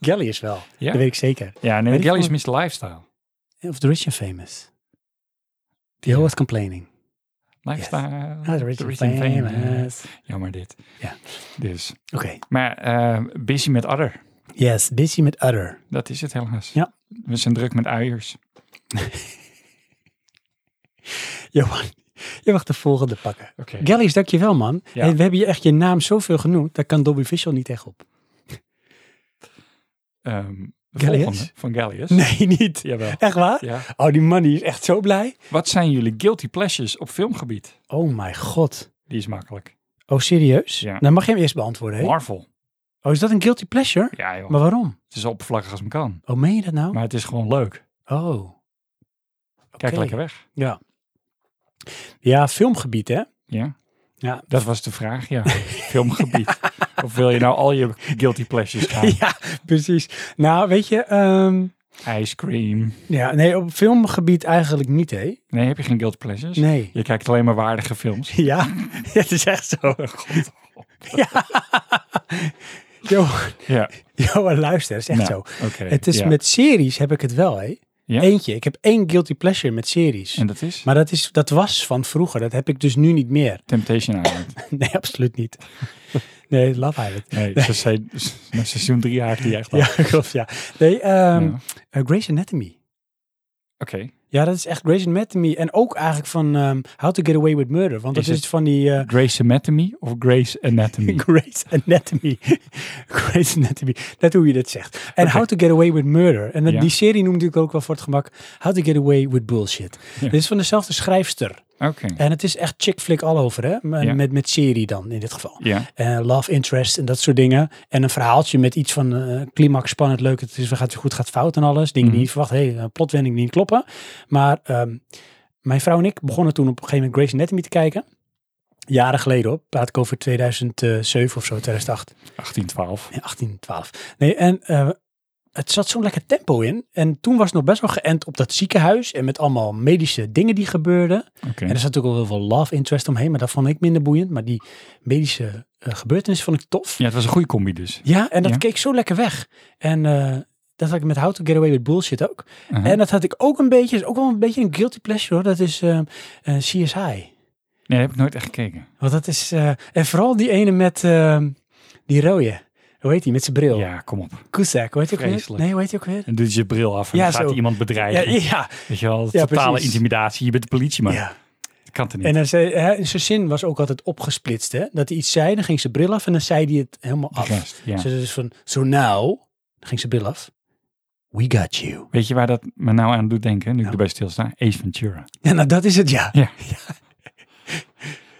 A: Gally is wel,
C: Ja?
A: dat weet ik zeker.
C: Ja,
A: Weet
C: nee,
A: ik
C: Galley's
A: wel.
C: mist lifestyle.
A: Of The Rich and Famous. The Old Complaining.
C: Lifestyle. eh,
A: Ah, the Rich and Famous.
C: Jammer dit.
A: Ja.
C: Dus.
A: Oké,
C: Maar eh, busy met other.
A: yes, Busy met Utter.
C: Dat is het helaas.
A: Ja.
C: We zijn druk met uiers.
A: Johan, je mag de volgende pakken.
C: Oké.
A: Gallies, dankjewel man.
C: Ja.
A: Hey, we hebben je echt je naam zoveel genoemd, daar kan Dobby Visual niet echt op.
C: Ehm, de
A: Gallius?
C: volgende van Gallius.
A: Nee, niet.
C: Jawel.
A: Echt waar?
C: Ja.
A: Oh, die man die is echt zo blij.
C: Wat zijn jullie guilty pleasures op filmgebied?
A: Oh mijn god.
C: Die is makkelijk.
A: Oh, serieus?
C: Ja.
A: Dan mag je hem eerst beantwoorden. hè?
C: Marvel.
A: Oh, is dat een guilty pleasure?
C: Ja joh.
A: Maar waarom?
C: Het is zo oppervlakkig als me kan.
A: Oh, meen je dat nou?
C: Maar het is gewoon leuk.
A: Oh.
C: Kijk
A: Oké.
C: lekker weg.
A: Ja. Ja, filmgebied hè?
C: Ja.
A: Ja.
C: Dat was de vraag, ja. Filmgebied. Of wil je nou al je guilty pleasures gaan?
A: Ja, precies. Nou, weet je, ehm,
C: Ice cream.
A: Ja, nee, op filmgebied eigenlijk niet, hè?
C: Nee, heb je geen guilt pleasures?
A: Nee.
C: Je kijkt alleen maar waardige films.
A: Ja, het is echt zo. Ja. Johan,
C: Ja,
A: Johan, luister, het is echt
C: Nou,
A: zo.
C: oké.
A: Het is
C: Ja.
A: met series heb ik het wel, hè?
C: Ja?
A: Eentje. Ik heb één guilty pleasure met series.
C: En dat is
A: Maar dat, is, dat was van vroeger. Dat heb ik dus nu niet meer.
C: Temptation Island.
A: Nee, absoluut niet. Nee, Love Island.
C: Nee, ze zei- s- na seizoen 3 haakte die echt af.
A: Ja, klopt, ja. Nee, ehm
C: Ja.
A: eh, Grey's Anatomy.
C: Oké.
A: Ja, dat is echt Grey's Anatomy. En ook eigenlijk van ehm, How to Get Away with Murder. Want dat
C: Is
A: is,
C: het- Hmm.
A: van die eh
C: Grace Anatomy of Grace Anatomy?
A: Grey's Anatomy. Grey's Anatomy. Net hoe je dat zegt. En
C: Oké.
A: How to Get Away with Murder. En dat-
C: Ja.
A: die serie noemde ik ook wel voor het gemak How to Get Away with Bullshit.
C: Ja.
A: Dit is van dezelfde schrijfster.
C: Oké.
A: En het is echt chick flick all over, hè? Maar
C: Ja.
A: Met, met serie dan, in dit geval.
C: Ja.
A: eh, love interest en dat soort dingen. En een verhaaltje met iets van eh, climax, spannend, leuk. Het is, gaat goed, gaat fout en alles. Dingen die je niet verwacht. Hé, hey, plotwending die niet kloppen. Maar ehm, mijn vrouw en ik begonnen toen op een gegeven moment Grey's Anatomy te kijken. Jaren geleden op. Praat ik over 2007 of zo, 2008.
C: 1812.
A: Nee, 1812. Nee, en eh, het zat zo'n lekker tempo in. En toen was het nog best wel geënt op dat ziekenhuis. En met allemaal medische dingen die gebeurden.
C: Oké.
A: En er zat natuurlijk al heel veel love interest omheen, maar dat vond ik minder boeiend. Maar die medische eh, gebeurtenis vond ik tof.
C: Ja, het was een goede combi dus.
A: Ja, en dat
C: Ja.
A: keek zo lekker weg. En eh, dat had ik met How to Get Away with Bullshit ook.
C: Aha.
A: En dat had ik ook een beetje, is ook wel een beetje een guilty pleasure hoor. Dat is ehm, eh, CSI.
C: Nee, dat heb ik nooit echt gekeken.
A: Want dat is, eh, en vooral die ene met ehm, die rode. Hoe heet die? Met zijn bril. Ja.
C: Ja, kom op.
A: Cusack, hoe heet die ook weer?
C: Vreselijk.
A: Nee, hoe heet die ook weer?
C: En doet je bril af en
A: Ja,
C: dan gaat
A: zo.
C: iemand
A: Ja,
C: bedreigen.
A: ja,
C: Weet je wel,
A: Ja,
C: totale
A: precies.
C: intimidatie. Je bent de politie, maar
A: ja.
C: dat kan er niet.
A: En dan zei, hè, in zijn zin was ook altijd opgesplitst. Hè? Dat hij iets zei, dan ging zijn bril af en dan zei hij het helemaal
C: De
A: af.
C: rest, ja.
A: Ze dus van, so now, dan ging ze bril af. We got you.
C: Weet je waar dat me nou aan doet denken, nu ik
A: Nou.
C: erbij stilsta? Ace Ventura.
A: Ja, nou dat is het, ja.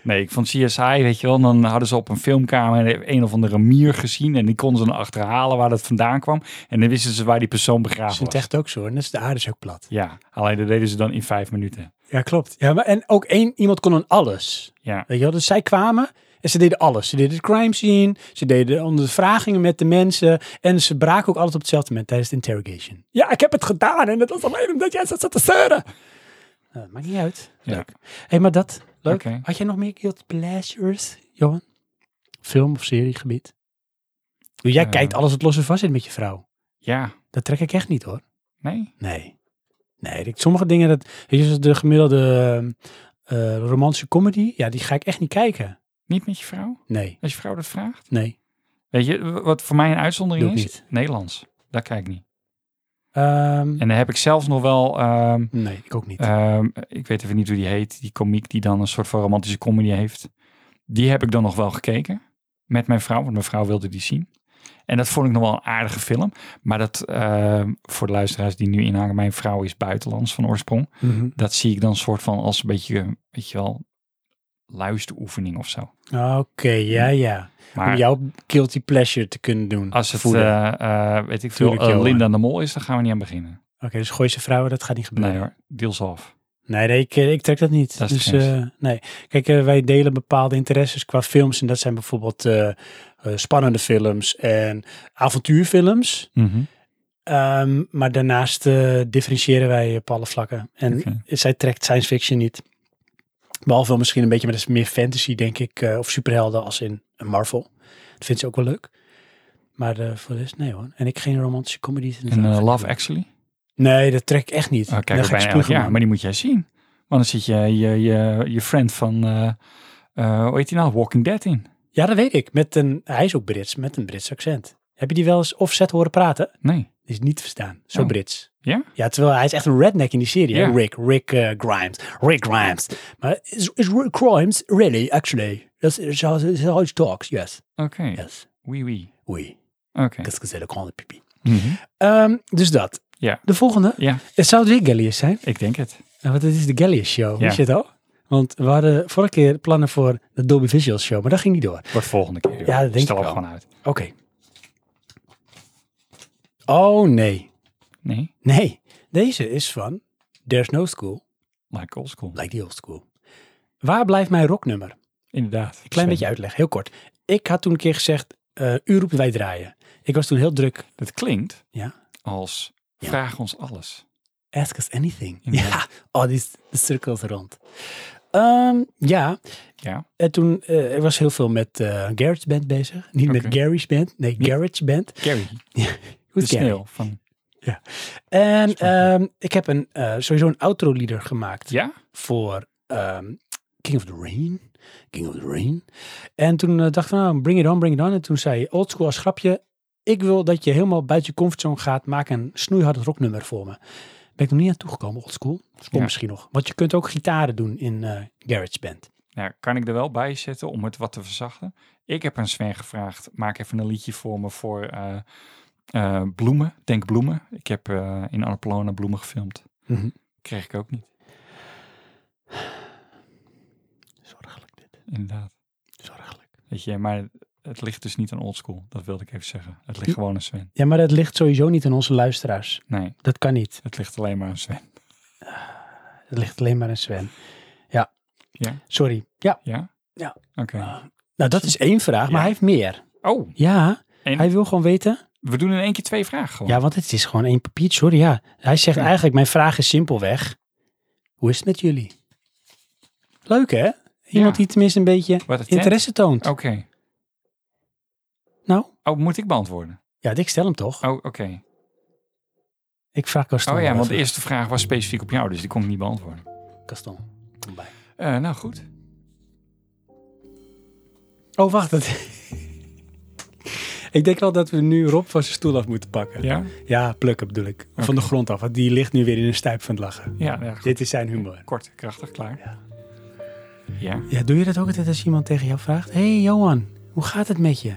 C: Nee, ik vond CSI, weet je wel, dan hadden ze op een filmkamer een of andere mier gezien en die konden ze dan achterhalen waar dat vandaan kwam. En dan wisten ze waar die persoon
A: Dat is
C: begraven
A: het
C: was.
A: echt ook zo. En dat is de aarde is ook plat.
C: Ja, alleen dat deden ze dan in vijf minuten.
A: Ja, klopt. Ja, maar, en ook één, iemand kon aan alles.
C: Ja,
A: Weet je wel? Dus zij kwamen en ze deden alles. Ze deden de crime scene, ze deden ondervragingen met de mensen. En ze braken ook altijd op hetzelfde moment tijdens de interrogation. Ja, ik heb het gedaan en dat was alleen omdat jij zat zat te zeuren. Nou, dat maakt niet uit.
C: Ja.
A: Leuk. hey, maar dat, leuk.
C: Oké.
A: Had jij nog meer guilty pleasures, Johan? Film of seriegebied? Doe Jij
C: Eh.
A: kijkt alles wat los en vast zit met je vrouw.
C: ja,
A: Dat trek ik echt niet hoor.
C: nee.
A: Nee. Nee, ik- sommige dingen, dat, weet je, zoals de gemiddelde eh, eh, romantische comedy, ja, die ga ik echt niet kijken.
C: Niet met je vrouw?
A: Nee,
C: Als je vrouw dat vraagt?
A: nee.
C: Weet je, w- wat voor mij een uitzondering
A: Doe ik
C: is?
A: niet.
C: Nederlands. Daar kijk ik niet.
A: Ehm,
C: En dan heb ik zelfs nog wel, ehm,
A: nee, ik ook niet.
C: ehm, ik weet even niet hoe die heet, die komiek die dan een soort van romantische comedy heeft. Die heb ik dan nog wel gekeken met mijn vrouw, want mijn vrouw wilde die zien. En dat vond ik nog wel een aardige film. Maar dat, ehm, voor de luisteraars die nu inhangen, mijn vrouw is buitenlands van oorsprong.
A: Mhm.
C: Dat zie ik dan soort van als een beetje, weet je wel, luisteroefening of zo.
A: Oké, ja, ja. Om
C: Maar
A: jouw guilty pleasure te kunnen doen.
C: als het,
A: voelen.
C: eh, eh, weet ik veel,
A: Tuurlijk,
C: eh,
A: Johan.
C: Linda de Mol is, dan gaan we niet aan beginnen.
A: Oké, dus gooi ze vrouwen, dat gaat niet gebeuren.
C: Nee hoor, deals off.
A: Nee, nee, ik, eh, ik trek dat niet.
C: Dat is
A: dus
C: de grens.
A: eh, nee. Kijk, eh, wij delen bepaalde interesses qua films. En dat zijn bijvoorbeeld eh, eh, spannende films en avontuurfilms.
C: Mhm.
A: Ehm, maar daarnaast eh, differentiëren wij op alle vlakken. En
C: Oké.
A: zij trekt science fiction niet. Behalve wel misschien een beetje, maar dat is meer fantasy, denk ik. eh, of superhelden als in Marvel. Dat vindt ze ook wel leuk. Maar eh, voor de rest, nee hoor. En ik geen romantische comedies.
C: En eh, Love Actually?
A: Nee, dat trek ik echt niet.
C: Oh,
A: Dan
C: kijk,
A: ga ik
C: bijna elk
A: spugen,
C: jaar.
A: man.
C: Maar die moet jij zien. Want dan zit je je, je, je friend van, eh eh, hoe heet die nou, Walking Dead in.
A: Ja, dat weet ik. Met een, hij is ook Brits, met een Brits accent. Heb je die wel eens offset horen praten?
C: Nee.
A: Die is niet te verstaan. Zo
C: Oh.
A: Brits.
C: Ja?
A: Ja, terwijl hij is echt een redneck in die serie. hè?
C: Ja.
A: Rick, Rick eh, Grimes. Rick Grimes. Maar is, is Rick Grimes really, actually? That's is how, is how he talks, yes.
C: Oké.
A: Yes.
C: Wee wee.
A: Oui.
C: Oké.
A: Dat is gezellig, gewoon pipi.
C: Mhm.
A: Ehm, dus dat.
C: Ja.
A: De volgende.
C: Ja,
A: Het zou weer Gallius zijn.
C: ik denk het.
A: Eh, Want het is de Gallius Show.
C: Ja.
A: Wist je het al? Want we hadden vorige keer plannen voor de Dolby Visual Show, maar dat ging niet door.
C: Wordt volgende keer. joh.
A: Ja, dat denk
C: Stel
A: ik
C: hem
A: wel.
C: gewoon uit.
A: Oké. Oh nee.
C: Nee,
A: Nee, deze is van There's No School
C: like old school.
A: Like the Old School. Waar blijft mijn rocknummer?
C: Inderdaad.
A: Klein beetje uitleg, heel kort. Ik had toen een keer gezegd, eh u roept wij draaien. Ik was toen heel druk.
C: Dat klinkt
A: Ja.
C: als
A: Ja.
C: Vraag ons alles.
A: Ask us anything. Ja,
C: Inderdaad.
A: oh, die is- de cirkels rond. Ehm, ja,
C: Ja.
A: en toen, eh ik was heel veel met eh GarageBand bezig. Niet met
C: Oké.
A: GarageBand, nee, GarageBand.
C: Gary,
A: Goed,
C: de
A: Gary.
C: sneeuw. Van,
A: En
C: Smaak.
A: ehm, ik heb een, eh, sowieso een outro lieder gemaakt
C: ja?
A: voor ehm, King of the Rain. King of the Rain. En toen eh, dacht ik van, nou, bring it on, bring it on. En toen zei je oldschool als grapje, ik wil dat je helemaal buiten je comfortzone gaat. Maak een snoeihard rocknummer voor me. Ben ik nog niet aan toegekomen, oldschool. Dus komt
C: Ja.
A: misschien nog. Want je kunt ook gitaren doen in eh GarageBand.
C: Nou, kan ik er wel bij zetten om het wat te verzachten? Ik heb aan Sven gevraagd, maak even een liedje voor me voor eh, eh, bloemen. Denk bloemen. Ik heb eh, in Annapolona bloemen gefilmd.
A: Mhm.
C: Kreeg ik ook niet,
A: Zorgelijk dit.
C: inderdaad.
A: Zorgelijk.
C: Weet je, maar het ligt dus niet aan oldschool. Dat wilde ik even zeggen. Het ligt gewoon aan Sven.
A: Ja, maar dat ligt sowieso niet aan onze luisteraars.
C: Nee,
A: Dat kan niet.
C: het ligt alleen maar aan Sven.
A: Het ligt alleen maar aan Sven. Ja.
C: Ja.
A: Sorry. Ja.
C: Ja?
A: Ja.
C: Oké.
A: Nou, dat is één vraag, maar
C: Ja.
A: hij heeft meer.
C: Oh,
A: Ja,
C: En-
A: hij wil gewoon weten.
C: we doen in één keer twee vragen gewoon.
A: Ja, want het is gewoon één papier. Sorry, ja. Hij zegt
C: Ja.
A: eigenlijk, mijn vraag is simpelweg. Hoe is het met jullie? Leuk, hè? Iemand
C: Ja.
A: die tenminste een beetje
C: Wat een
A: interesse toont.
C: tent. Oké.
A: Nou,
C: Oh, moet ik beantwoorden?
A: ja, ik stel hem toch.
C: Oh, oké.
A: Ik vraag Gaston.
C: Oh ja,
A: wel
C: want de
A: even.
C: eerste vraag was specifiek op jou, dus die kon ik niet beantwoorden.
A: Gaston, kom bij.
C: Eh, nou goed.
A: Oh, wacht. Het... ik denk wel dat we nu Rob van zijn stoel af moeten pakken.
C: Ja?
A: Ja, plukken bedoel ik. Van de grond af, want die ligt nu weer in een stuip van het lachen.
C: Ja, nou ja, goed.
A: Dit is zijn humor.
C: kort, krachtig, klaar.
A: Ja.
C: Ja,
A: Ja, doe je dat ook altijd als iemand tegen jou vraagt? Hé hey, Johan, hoe gaat het met je?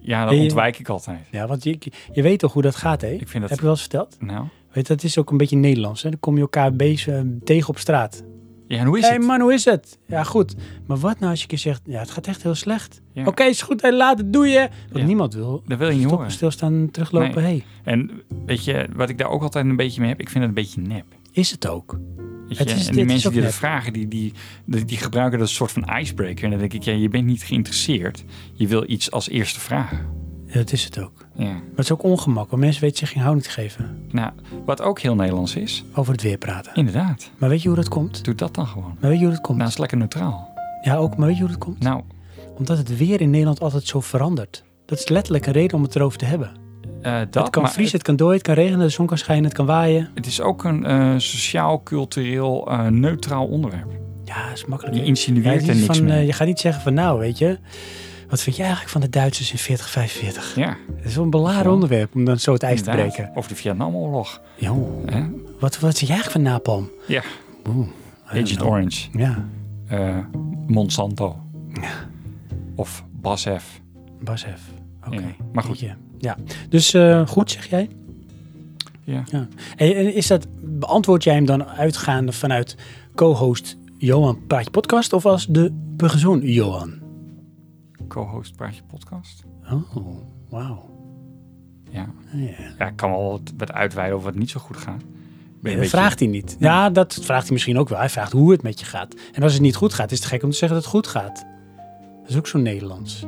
C: ja dat
A: Hey,
C: ontwijk ik altijd.
A: Ja, want je, je weet toch hoe dat gaat, hè?
C: Ik vind dat-
A: Heb je wel eens verteld?
C: Nou,
A: Weet, je, dat is ook een beetje Nederlands, hè? Dan kom je elkaar bezig, tegen op straat.
C: ja, en hoe is
A: Hé hey,
C: het?
A: man, hoe is het? Ja, goed. Maar wat nou als je een keer zegt, ja, het gaat echt heel slecht.
C: Ja.
A: Oké, is goed, hey, later, doe je. Want
C: Ja.
A: niemand wil
C: Dat wil je niet
A: stoppen,
C: horen.
A: stilstaan, en teruglopen.
C: Nee.
A: Hey,
C: En weet je, wat ik daar ook altijd een beetje mee heb, ik vind het een beetje nep.
A: is het ook?
C: Weet je?
A: Het is-
C: en die
A: dit is
C: mensen
A: ook
C: die dat
A: nep.
C: vragen, die, die, die, die gebruiken dat als een soort van icebreaker. En dan denk ik, ja, je bent niet geïnteresseerd. Je wil iets als eerste vragen.
A: Ja, dat is het ook.
C: Ja.
A: Maar het is ook ongemak, want mensen weten zich geen houding te geven.
C: Nou, wat ook heel Nederlands is,
A: Over het weer praten.
C: inderdaad,
A: Maar weet je hoe dat komt?
C: doe dat dan gewoon.
A: Maar weet je hoe dat komt?
C: Nou, is lekker neutraal.
A: Ja, ook, maar weet je hoe dat komt?
C: Nou,
A: Omdat het weer in Nederland altijd zo verandert. Dat is letterlijk een reden om het erover te hebben.
C: eh, dat
A: het kan
C: maar
A: vriezen, het, kan dooien, het kan regenen, de zon kan schijnen, het kan waaien.
C: Het is ook een eh, sociaal, cultureel, eh, neutraal onderwerp.
A: Ja, is makkelijk.
C: Je
A: hè?
C: insinueert
A: Ja, het is
C: er
A: niet
C: niks
A: van,
C: mee.
A: eh, je gaat niet zeggen van nou, weet je, wat vind jij eigenlijk van de Duitsers in 4045?
C: ja,
A: Het is wel een beladen
C: Ja.
A: onderwerp om dan zo het ijs te
C: inderdaad.
A: breken.
C: Of de Vietnamoorlog.
A: Joh,
C: Hè?
A: wat, wat vind jij eigenlijk van napalm?
C: Ja,
A: Boem.
C: Agent Orange.
A: Ja,
C: eh, Monsanto. Of Basf.
A: Basf. Oké.
C: Ja, maar goed.
A: Jeetje. Ja, dus eh, goed zeg jij.
C: Ja.
A: En en is dat, beantwoord jij hem dan uitgaande vanuit co-host Johan Praatje Podcast of als de persoon Johan?
C: Co-host Praatje Podcast.
A: Oh, wauw.
C: Ja.
A: Ja.
C: ja, ik kan wel wat, wat uitweiden over wat niet zo goed gaat. Ik
A: Nee,
C: ben een
A: dat
C: beetje-
A: vraagt hij niet. Ja, dat vraagt hij misschien ook wel. Hij vraagt hoe het met je gaat. En als het niet goed gaat, is het gek om te zeggen dat het goed gaat. Dat is ook zo Nederlands.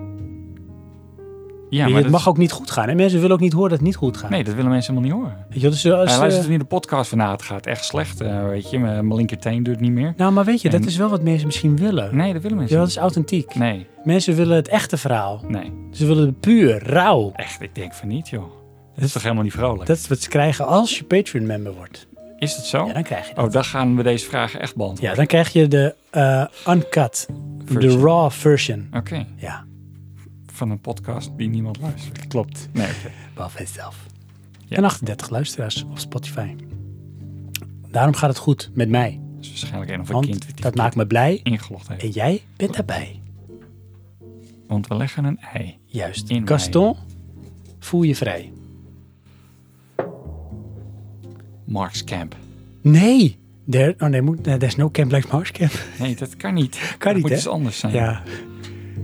C: Ja,
A: het
C: maar dat
A: mag ook niet goed gaan. En mensen willen ook niet horen dat het niet goed gaat.
C: Nee, dat willen mensen helemaal niet horen.
A: Weet je, wel, dus als,
C: Hij
A: eh,
C: luistert niet naar de podcast van, nou, het gaat echt slecht. eh, weet je, mijn, mijn linkerteen doet niet meer.
A: nou, maar weet je, dat
C: En-
A: is wel wat mensen misschien willen.
C: Nee, dat willen
A: Weet je wel,
C: mensen
A: dat is authentiek.
C: niet. Nee,
A: Mensen willen het echte verhaal.
C: nee.
A: Ze willen het puur, rauw.
C: Echt, ik denk van niet, joh. Dat is toch helemaal niet vrolijk?
A: Dat is wat ze krijgen als je Patreon-member wordt.
C: Is dat zo?
A: Ja, dan krijg je dat.
C: Oh, dan gaan we deze vragen echt beantwoorden.
A: Ja, dan krijg je de eh, uncut, de
C: Version.
A: raw version.
C: Oké,
A: Ja,
C: van een podcast die niemand luistert.
A: klopt.
C: Nee, oké.
A: Behalve zelf.
C: Ja.
A: En 38 luisteraars op Spotify. Daarom gaat het goed met mij.
C: Dat is waarschijnlijk een of een kind die
A: Want dat
C: dit
A: maakt me blij.
C: ingelogd heeft.
A: En jij bent daarbij.
C: Want we leggen een ei.
A: Juist.
C: In mij.
A: Gaston, voel je vrij.
C: Mark's Camp.
A: Nee. There, oh nee, moet, nee, there's no camp like Mars camp.
C: Nee, dat kan niet. Kan
A: niet,
C: moet
A: hè?
C: iets anders zijn.
A: Ja.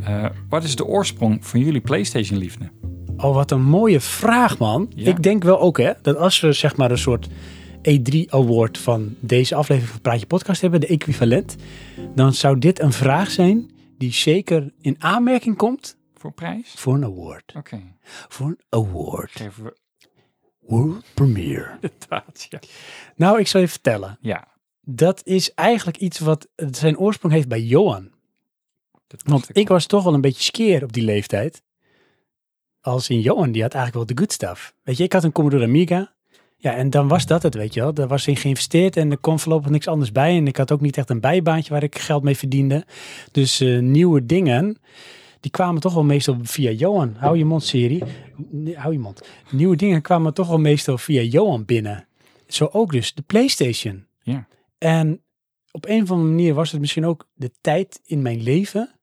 C: Eh, wat is de oorsprong van jullie PlayStation-liefde?
A: Oh, wat een mooie vraag, man.
C: Ja.
A: Ik denk wel ook, hè, dat als we zeg maar een soort E3-award van deze aflevering van Praatje Podcast hebben, de equivalent, dan zou dit een vraag zijn die zeker in aanmerking komt
C: Voor prijs?
A: voor een award.
C: Oké.
A: Voor een award.
C: Geven we
A: World premiere.
C: Inderdaad, ja.
A: Nou, ik zal je vertellen.
C: Ja,
A: Dat is eigenlijk iets wat zijn oorsprong heeft bij Johan.
C: dat
A: Want
C: dacht
A: ik
C: al.
A: was toch wel een beetje skeer op die leeftijd. Als in Johan, die had eigenlijk wel de good stuff. Weet je, ik had een Commodore Amiga. Ja, en dan was dat het, weet je wel. Daar was in geïnvesteerd en er kwam voorlopig niks anders bij. En ik had ook niet echt een bijbaantje waar ik geld mee verdiende. Dus eh, nieuwe dingen, die kwamen toch wel meestal via Johan. Hou je mond, serie. Nee, hou je mond. Nieuwe dingen kwamen toch wel meestal via Johan binnen. Zo ook dus de PlayStation.
C: Ja.
A: En op een of andere manier was het misschien ook de tijd in mijn leven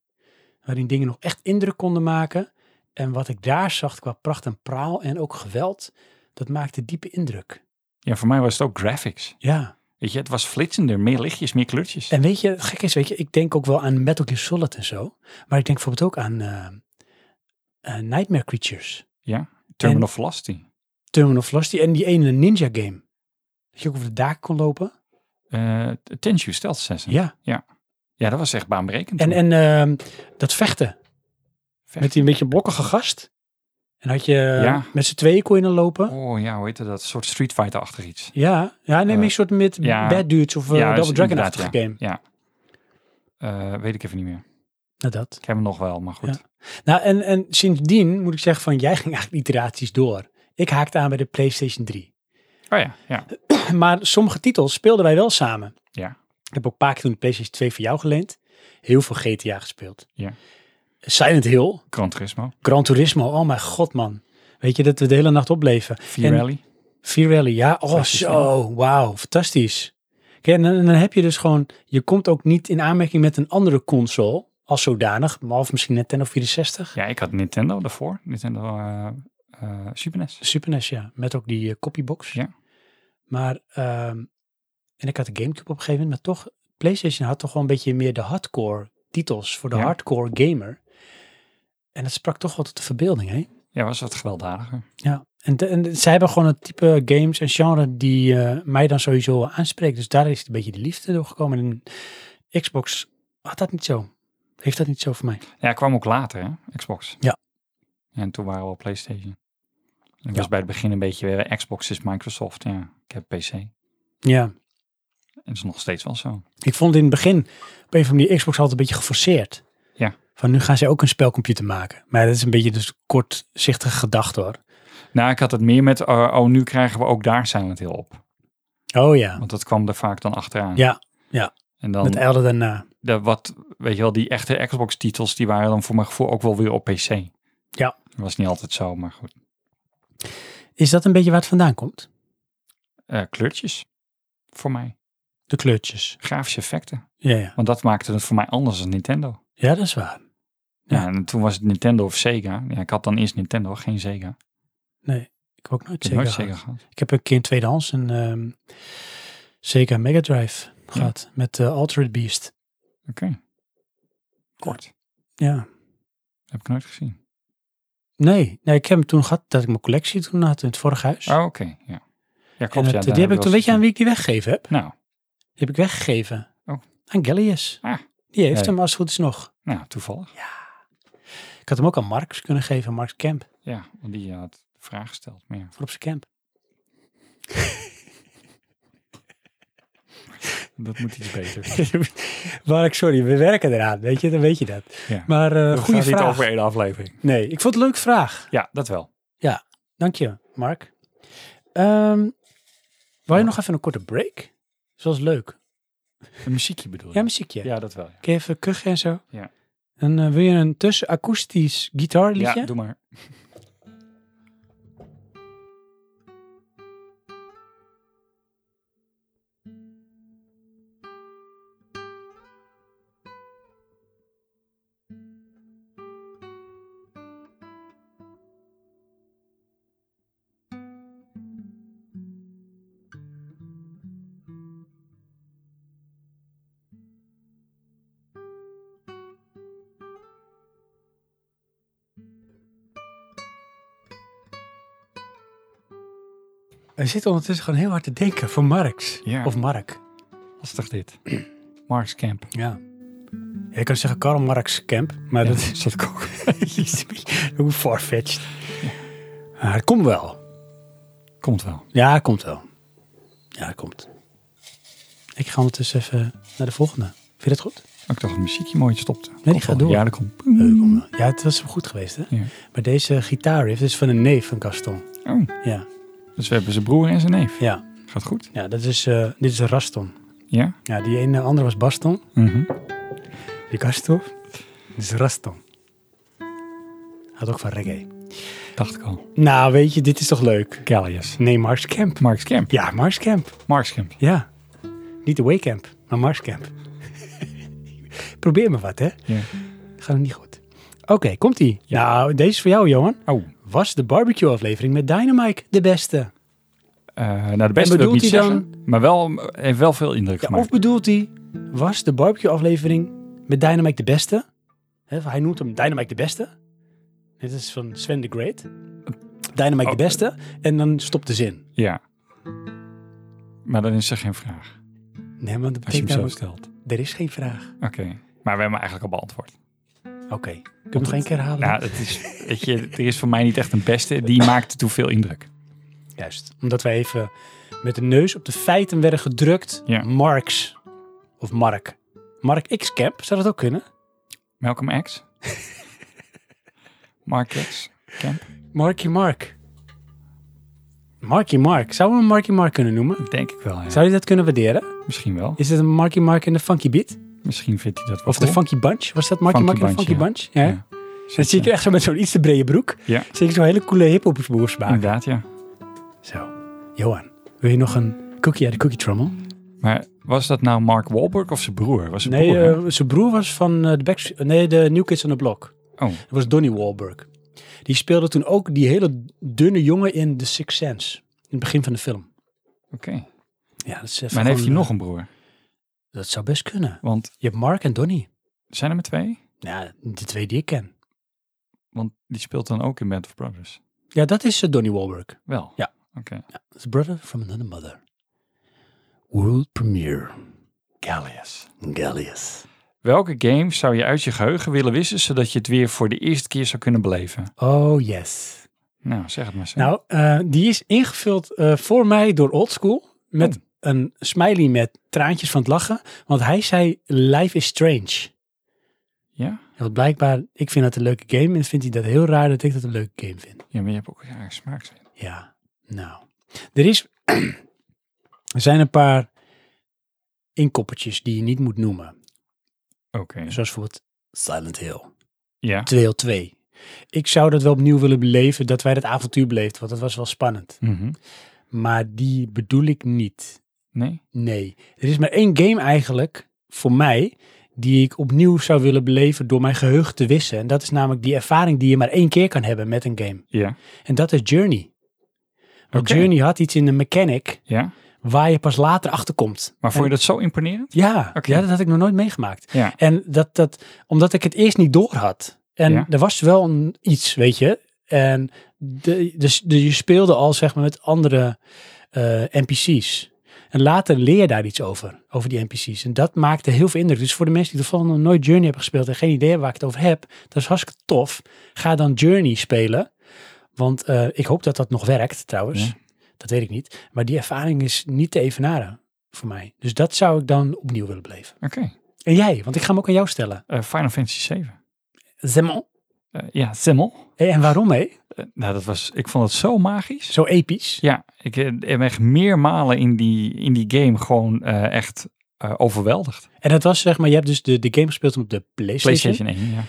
A: waarin dingen nog echt indruk konden maken. En wat ik daar zag qua pracht en praal en ook geweld, dat maakte diepe indruk.
C: Ja, voor mij was het ook graphics.
A: Ja.
C: Weet je, het was flitsender. Meer lichtjes, meer kleurtjes.
A: En weet je, het gek is, weet je, ik denk ook wel aan Metal Gear Solid en zo. Maar ik denk bijvoorbeeld ook aan eh, eh, Nightmare Creatures,
C: Terminal Velocity.
A: Terminal Velocity en die ene ninja game. Dat je ook over de daken kon lopen.
C: Eh Tenshu Stealth Assassin.
A: Ja.
C: Ja, dat was echt baanbrekend.
A: En,
C: toen.
A: en ehm, dat vechten.
C: Vechten.
A: Met die beetje blokkige gast. En had je, eh,
C: Ja.
A: met z'n tweeën kon je dan lopen.
C: Oh ja, hoe heette dat? Een soort Street Fighter-achtig iets.
A: Ja, ja neem
C: Eh,
A: ik een soort met
C: ja.
A: Bad Dudes of eh,
C: Ja, is
A: Double Dragon-achtige
C: inderdaad, ja.
A: game.
C: Eh, weet ik even niet meer.
A: Nou, dat.
C: Ik heb hem nog wel, maar goed.
A: Nou, en, en sindsdien moet ik zeggen van, jij ging eigenlijk iteraties door. Ik haakte aan bij de PlayStation 3.
C: Oh ja, ja.
A: Maar sommige titels speelden wij wel samen.
C: Ja.
A: Ik heb ook een paar keer toen de PlayStation 2 voor jou geleend. Heel veel GTA gespeeld.
C: Ja.
A: Silent Hill,
C: Gran Turismo.
A: Gran Turismo, oh mijn god man. Weet je, dat we de hele nacht opbleven. En-
C: V-Rally.
A: V-Rally, ja. Oh,
C: Fantastisch,
A: zo. Wauw, fantastisch. Kijk, en dan, en dan heb je dus gewoon... Je komt ook niet in aanmerking met een andere console als zodanig. Maar of misschien Nintendo 64.
C: Ja, ik had Nintendo daarvoor. Nintendo eh, eh, Super NES.
A: Super NES, ja. Met ook die eh, copybox.
C: Ja.
A: Maar... ehm, en ik had de Gamecube op een gegeven moment. Maar toch, PlayStation had toch wel een beetje meer de hardcore titels voor de
C: Ja.
A: hardcore gamer. En dat sprak toch wel tot de verbeelding, hè?
C: Ja, was wat gewelddadiger.
A: Ja, en, de- en zij hebben gewoon het type games en genre die eh, mij dan sowieso aanspreekt. Dus daar is een beetje de liefde door gekomen. En Xbox had dat niet zo. Heeft dat niet zo voor mij.
C: Ja, kwam ook later, hè? Xbox.
A: Ja.
C: En toen waren we al PlayStation. Ik
A: Ja.
C: was bij het begin een beetje eh, Xbox is Microsoft. Ja, ik heb PC. En
A: Ja,
C: dat is nog steeds wel zo.
A: ik vond in het begin op een of andere manier Xbox altijd een beetje geforceerd.
C: Ja.
A: Van nu gaan zij ook een spelcomputer maken. Maar dat is een beetje dus kortzichtige gedachte hoor.
C: Nou, ik had het meer met, eh, oh, nu krijgen we ook daar Silent Hill op.
A: Oh ja,
C: Want dat kwam er vaak dan achteraan.
A: Ja, ja.
C: En dan,
A: met Elder daarna.
C: de, wat, weet je wel, die echte Xbox-titels, die waren dan voor mijn gevoel ook wel weer op PC.
A: Ja.
C: Dat was niet altijd zo, maar goed.
A: Is dat een beetje waar het vandaan komt?
C: Eh, kleurtjes, voor mij.
A: De kleurtjes.
C: Grafische effecten.
A: Ja, ja.
C: Want dat maakte het voor mij anders dan Nintendo.
A: ja dat is waar.
C: Ja, en toen was het Nintendo of Sega. Ja, ik had dan eerst Nintendo, geen Sega. Ik
A: Ik heb ook nooit
C: heb
A: zeker
C: nooit
A: gehad.
C: Sega gehad.
A: Ik heb een keer in tweedehands een ehm Sega Mega Drive gehad met eh Altered Beast.
C: Oké. Kort.
A: Ja.
C: Heb ik nooit gezien.
A: Nee, nee, ik heb hem toen gehad dat ik mijn collectie toen had in het vorige huis.
C: Oh, oké. Ja. ja, klopt.
A: En
C: ja,
A: dat,
C: daar
A: die heb ik toen,
C: wel
A: weet je aan
C: eens
A: wie ik die weggegeven heb?
C: gezien. Nou,
A: Die heb ik weggegeven.
C: Oh.
A: Aan Gallius.
C: Ah.
A: Die heeft
C: Nee.
A: hem als het goed is nog.
C: nou, toevallig.
A: Ik had hem ook aan Marx kunnen geven, Marx Camp,
C: Ja, want die eh, had de vraag gesteld. Maar ja.
A: voor op zijn camp.
C: dat moet iets beter.
A: Mark, sorry, we werken eraan, weet je, dan weet je dat.
C: Ja.
A: Maar eh
C: We
A: goede
C: gaan
A: vraag.
C: niet over één aflevering.
A: Nee, ik vond het een leuke vraag.
C: Ja, dat wel.
A: Dank je, Mark. Ehm wil je nog even een korte break? Zoals leuk.
C: Een muziekje bedoel je?
A: Ja, muziekje.
C: Ja, dat wel. Ja,
A: Kun je even kuchen en zo?
C: Ja.
A: En eh, wil je een tussenakoestisch gitaarliedje?
C: Ja, doe maar.
A: Hij zit ondertussen gewoon heel hard te denken voor Marx.
C: Ja.
A: Of Mark.
C: Lastig dit. Marks Camp.
A: Ja. Je kan zeggen Karl Marx Camp, maar
C: Ja,
A: dat is dat ook. Hoe farfetched. Maar het komt wel.
C: Komt wel.
A: Ja, komt wel. Ja, komt. Ik ga ondertussen even naar de volgende. Vind je dat goed?
C: Maar Ik dacht dat het muziekje mooi stopte.
A: die
C: Komt
A: gaat
C: wel.
A: door.
C: Ja, dat komt.
A: Leuk om- eh, Ja, het was goed geweest, hè?
C: Mm. Ja.
A: Maar deze gitaarriff is van een neef van Gaston.
C: Oh,
A: Ja,
C: dus we hebben zijn broer en zijn neef.
A: ja.
C: Gaat goed.
A: ja dat is, eh, dit is Raston.
C: Ja?
A: Ja, die ene andere was Baston.
C: Mhm.
A: Die Gaston. Dit is Raston. Had ook van reggae.
C: Dacht ik al.
A: Nou, weet je, dit is toch leuk?
C: Gallius.
A: Nee, Mars Camp.
C: Marks Kemp.
A: Ja, Mars Camp.
C: Marks Kemp.
A: Ja. Niet de Waycamp, maar Mars Camp. Probeer me wat, hè?
C: Ja.
A: Gaat het niet goed. Oké, komt-ie. Nou, deze is voor jou, Johan.
C: Oh,
A: Was de barbecue-aflevering met Dynamite de beste?
C: eh nou de beste wil ik
A: bedoelt
C: niet
A: hij
C: zeggen. Maar wel, heeft wel veel indruk
A: Ja,
C: gemaakt.
A: of bedoelt hij, was de barbecue-aflevering met Dynamite de beste? Hè, hij noemt hem Dynamite de beste. Dit is van Sven de Great. Dynamite
C: Oh.
A: de beste. En dan stopt de zin.
C: Ja. Maar dan is er geen vraag.
A: Nee, want dat
C: Als je
A: betekent
C: hem zo
A: namelijk,
C: stelt.
A: er is geen vraag.
C: Oké. Maar we hebben hem eigenlijk al beantwoord.
A: Oké, kun je hem nog één keer halen?
C: Nou, het is, weet je, er is voor mij niet echt een beste. Die maakte toen veel indruk.
A: Juist, omdat wij even met de neus op de feiten werden gedrukt.
C: Ja.
A: Marx of Mark. Mark X Camp, zou dat ook kunnen?
C: Malcolm X. Mark X. Kemp.
A: Marky Mark. Marky Mark. Zouden we hem Marky Mark kunnen noemen?
C: Denk ik wel, ja.
A: Zou je dat kunnen waarderen?
C: Misschien wel.
A: Is het een Marky Mark en de Funky Beat?
C: Misschien vindt hij dat wel
A: Of de
C: cool.
A: Funky Bunch? Was dat Marky Mark
C: Funky
A: en de
C: Bunch,
A: Funky
C: ja.
A: Bunch? Ja.
C: Ja. eh,
A: Dan zie ik er echt zo met zo'n iets te brede broek.
C: Ja.
A: Zie ik zo'n hele coole hiphopboers maken.
C: Inderdaad, ja.
A: Zo. Johan, wil je nog een cookie uit de cookie trommel?
C: Maar was dat nou Mark Wahlberg of zijn broer? Was zijn
A: Nee,
C: broer, hè?
A: eh, zijn broer was van eh, de, Backst- nee, de New Kids on the Block.
C: Oh,
A: Dat was Donnie Wahlberg. Die speelde toen ook die hele dunne jongen in The Sixth Sense. In het begin van de film.
C: oké.
A: Ja, dat is even
C: Maar dan heeft
A: gewoon,
C: hij nog
A: eh,
C: een broer?
A: Dat zou best kunnen.
C: Want
A: Je hebt Mark en Donnie.
C: zijn er maar twee?
A: Ja, de twee die ik ken.
C: Want die speelt dan ook in Band of Brothers.
A: Ja, dat is eh, Donnie Wahlberg.
C: Wel?
A: Ja.
C: Oké.
A: His brother from another mother. World premiere.
C: Gallius.
A: Gallius.
C: Welke game zou je uit je geheugen willen wissen, zodat je het weer voor de eerste keer zou kunnen beleven?
A: Oh, yes.
C: Nou, zeg het maar zo.
A: Nou, eh, die is ingevuld eh, voor mij door Oldschool. Met
C: Oh.
A: een smiley met traantjes van het lachen. Want hij zei, life is strange.
C: Ja?
A: En wat blijkbaar, ik vind dat een leuke game. En vindt hij dat heel raar dat ik dat een leuke game vind.
C: Ja, maar je hebt ook een rare smaak.
A: Ja, nou. Er, is, er zijn een paar inkoppertjes die je niet moet noemen.
C: Oké.
A: Zoals bijvoorbeeld Silent Hill.
C: Ja.
A: 202. Ik zou dat wel opnieuw willen beleven, dat wij dat avontuur beleefden, want dat was wel spannend.
C: Mhm.
A: Maar die bedoel ik niet.
C: Nee?
A: Nee. Er is maar één game eigenlijk, voor mij, die ik opnieuw zou willen beleven door mijn geheugen te wissen. En dat is namelijk die ervaring die je maar één keer kan hebben met een game.
C: Ja.
A: En dat is Journey. Want
C: Oké.
A: Journey had iets in de mechanic
C: Ja?
A: waar je pas later achter komt.
C: Maar vond je dat zo imponerend?
A: Ja,
C: Oké.
A: ja, dat had ik nog nooit meegemaakt.
C: Ja.
A: En dat, dat, omdat ik het eerst niet door had. En
C: Ja.
A: er was wel een, iets, weet je. En de, dus de, je speelde al, zeg maar, met andere eh, NPC's. En later leer je daar iets over, over die NPC's. En dat maakte heel veel indruk. Dus voor de mensen die toevallig nog nooit Journey hebben gespeeld en geen idee hebben waar ik het over heb, dat is hartstikke tof. Ga dan Journey spelen. Want eh, ik hoop dat dat nog werkt, trouwens.
C: Ja.
A: Dat weet ik niet. Maar die ervaring is niet te evenaren voor mij. Dus dat zou ik dan opnieuw willen beleven.
C: Oké.
A: En jij, want ik ga hem ook aan jou stellen.
C: Eh, Final Fantasy 7.
A: Zemon.
C: ja, Simmel.
A: Hé, en waarom, hé?
C: nou, dat was, ik vond het zo magisch.
A: Zo episch.
C: Ja, ik eh, heb echt meermalen in die, in die game gewoon eh, echt eh, overweldigd.
A: En dat was, zeg maar, je hebt dus de, de game gespeeld op de PlayStation.
C: PlayStation 1, ja.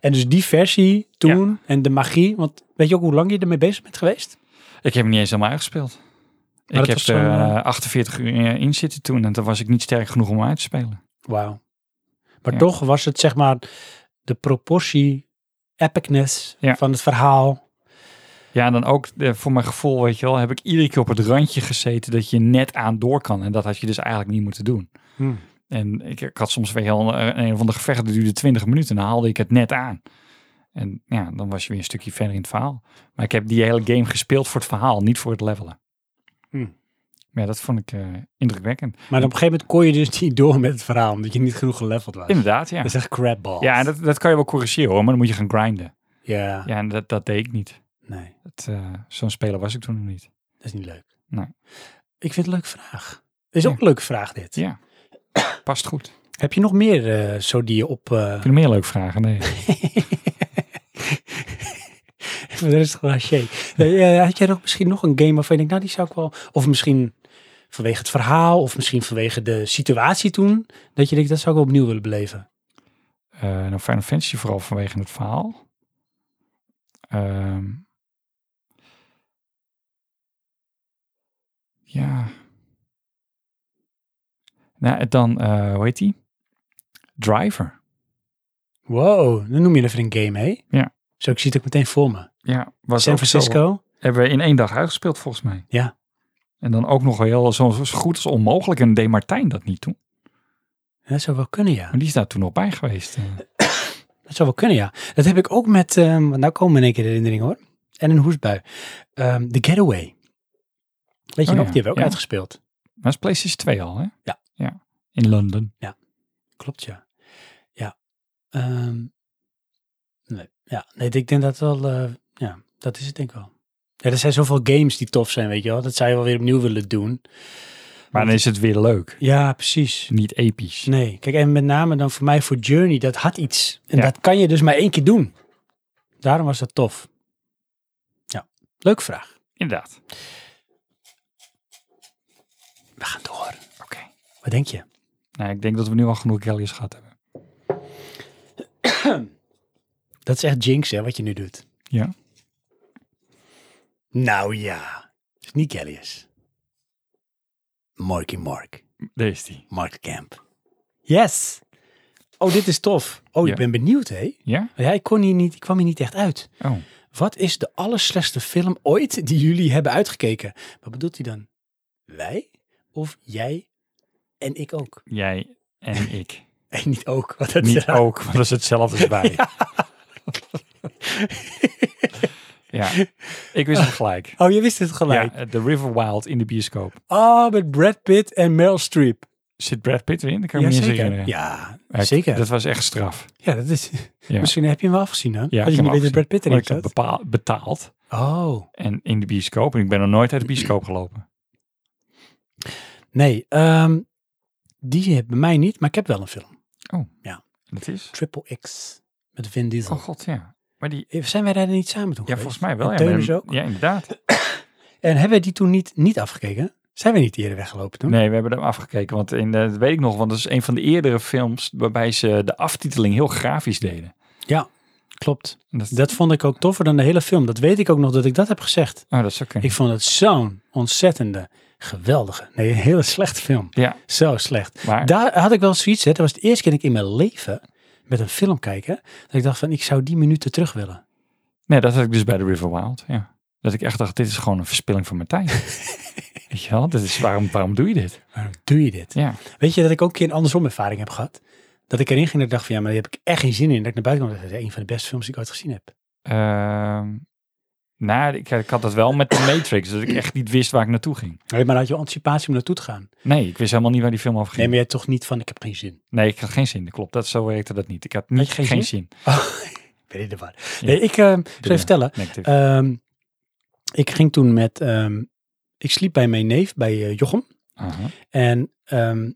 A: En dus die versie toen en de magie. Want weet je ook hoe lang je ermee bezig bent geweest?
C: Ik heb hem niet eens helemaal uitgespeeld.
A: dat
C: ik heb
A: was
C: er
A: zo'n, eh,
C: eh, 48 uur eh, in zitten toen en toen was ik niet sterk genoeg om hem uit te spelen.
A: Wauw. Maar
C: Ja.
A: toch was het, zeg maar, de proportie, epicness
C: Ja.
A: van het verhaal.
C: Ja, en dan ook eh, voor mijn gevoel, weet je wel, heb ik iedere keer op het randje gezeten dat je net aan door kan. En dat had je dus eigenlijk niet moeten doen. En ik, ik had soms weer heel een, een van de gevechten dat duurde 20 minuten en dan haalde ik het net aan. En ja, dan was je weer een stukje verder in het verhaal. Maar ik heb die hele game gespeeld voor het verhaal, niet voor het levelen.
A: Hmm.
C: Maar Ja, dat vond ik eh, indrukwekkend.
A: Maar op een gegeven moment kon je dus niet door met het verhaal, omdat je niet genoeg geleveld was.
C: Inderdaad, ja.
A: Dat is echt crapball.
C: Ja, en dat, dat kan je wel corrigeren hoor, maar dan moet je gaan grinden.
A: ja,
C: Ja, en dat, dat deed ik niet.
A: nee.
C: Dat, eh, Zo'n speler was ik toen nog niet.
A: Dat is niet leuk.
C: Nee.
A: Ik vind het een leuke vraag. Is
C: Ja.
A: ook een leuke vraag dit.
C: Ja. Past goed. Heb
A: Heb je nog meer eh, zo die je op... eh
C: je nog meer leuke vragen? Nee.
A: voor de rest gewoon haché. Nee, eh, had jij nog misschien nog een game waarvan je denkt, nou die zou ik wel... Of misschien vanwege het verhaal, of misschien vanwege de situatie toen. Dat je denkt, dat zou ik wel opnieuw willen beleven.
C: Eh, nou, Final Fantasy vooral vanwege het verhaal. Ehm. ja. Nou, en dan, eh, hoe heet die? Driver.
A: Wow, dan noem je even een game, hè?
C: Ja.
A: Zo, ik zie het ook meteen voor me.
C: Ja, was
A: San
C: ook zo-
A: Francisco.
C: hebben we in één dag uitgespeeld volgens mij.
A: Ja.
C: En dan ook nog heel zo, zo goed als onmogelijk. En deed Martijn dat niet toen.
A: Dat zou wel kunnen, ja.
C: Maar die is daar toen nog bij geweest. eh.
A: Dat zou wel kunnen, ja. Dat heb ik ook met, ehm, want nou komen in één keer herinneringen hoor. En een hoestbui. Ehm The Getaway. Weet je
C: Oh
A: nog, die
C: ja,
A: hebben we ook
C: ja.
A: uitgespeeld.
C: Maar dat is PlayStation 2 al, hè?
A: Ja.
C: ja. In Londen.
A: Klopt, ja. Ja. Ehm, nee, ja. nee, ik denk dat wel, eh, ja, dat is het denk ik wel. Ja, er zijn zoveel games die tof zijn, weet je wel. Dat zou je wel weer opnieuw willen doen.
C: Maar dan is het weer leuk.
A: Ja, precies.
C: Niet episch.
A: Nee, kijk, en met name dan voor mij voor Journey, dat had iets. En
C: Ja.
A: dat kan je dus maar één keer doen. Daarom was dat tof. Ja, leuke vraag.
C: Inderdaad.
A: We gaan door.
C: Oké.
A: Wat denk je?
C: Nou, ik denk dat we nu al genoeg Kelly's gehad hebben.
A: Dat is echt jinx, hè, wat je nu doet.
C: Ja.
A: Nou ja. Het is niet Kelly's. Marky Mark.
C: Daar is die.
A: Mark Camp. Yes. Oh, dit is tof. Oh,
C: Ja.
A: ik ben benieuwd, hè.
C: Ja?
A: Hij kon hier niet, ik kwam hier niet echt uit.
C: Oh.
A: Wat is de allerslechtste film ooit die jullie hebben uitgekeken? Wat bedoelt hij dan? Wij? Of jij? En ik ook.
C: Jij en ik.
A: En niet ook. Wat dat
C: Niet ook, want dat is hetzelfde als wij. Ja. Ik wist het gelijk.
A: Oh, je wist het gelijk.
C: Ja, The River Wild in de bioscoop.
A: Oh, met Brad Pitt en Meryl Streep.
C: Zit Brad Pitt erin? Dat kan ik me niet eens herinneren.
A: Ja,
C: Maar ik-
A: zeker.
C: Dat was echt straf.
A: ja, dat is,
C: Ja.
A: Misschien heb je hem wel afgezien, hè?
C: Ja,
A: Had
C: ik
A: je
C: heb
A: niet weten dat Brad Pitt
C: Want
A: erin
C: ik heb
A: zat?
C: bepaal- betaald
A: Oh,
C: en in de bioscoop. En ik ben nog nooit uit de bioscoop gelopen.
A: nee. ehm, die heb bij mij niet, maar ik heb wel een film.
C: En dat is?
A: Triple X met Vin Diesel.
C: Oh god, ja. Maar die...
A: Eh, Zijn wij daar niet samen toen
C: Ja,
A: geweest?
C: volgens mij
A: En
C: wel. Ja,
A: Teunis
C: maar-
A: ook.
C: Ja, inderdaad.
A: En hebben we die toen niet, niet afgekeken? Zijn we niet eerder weggelopen toen?
C: Nee, we hebben hem afgekeken. Want in, eh, dat weet ik nog, want dat is een van de eerdere films waarbij ze de aftiteling heel grafisch deden.
A: Ja, klopt.
C: En dat,
A: Dat vond ik ook toffer dan de hele film. Dat weet ik ook nog dat ik dat heb gezegd.
C: oh, dat zou kunnen.
A: Ik vond het zo'n ontzettende, geweldige, nee, een hele slechte film.
C: ja,
A: Zo slecht.
C: maar
A: Daar had ik wel zoiets, hè. dat was het eerste keer dat ik in mijn leven met een film kijken, dat ik dacht van, ik zou die minuten terug willen.
C: nee, dat had ik dus bij The River Wild. Ja. Dat ik echt dacht, dit is gewoon een verspilling van mijn tijd. weet je wel? Dit is, waarom, waarom doe je dit?
A: Waarom doe je dit?
C: Ja,
A: Weet je dat ik ook een keer een andersom ervaring heb gehad? Dat ik erin ging en ik dacht van, ja, maar daar heb ik echt geen zin in. Dat ik naar buiten kwam en dacht, dit is een van de beste films die ik ooit gezien heb.
C: ehm, nou, ik, ik had dat wel met de Matrix, dat ik echt niet wist waar ik naartoe ging.
A: Nee, maar dan had je wel anticipatie om naartoe te gaan.
C: Nee, ik wist helemaal niet waar die film over
A: Nee,
C: ging.
A: maar jij toch niet van, ik heb geen zin.
C: Nee, ik had geen zin, dat klopt. Dat, zo werkte dat niet. Ik had, niet,
A: je geen
C: geen,
A: zin?
C: zin.
A: Weet je de waar?
C: Ja.
A: Nee, ik ehm, zal
C: Doe
A: je
C: je.
A: vertellen.
C: Negatief.
A: Ehm, ik ging toen met, ehm, ik sliep bij mijn neef, bij eh, Jochem.
C: Aha.
A: En ehm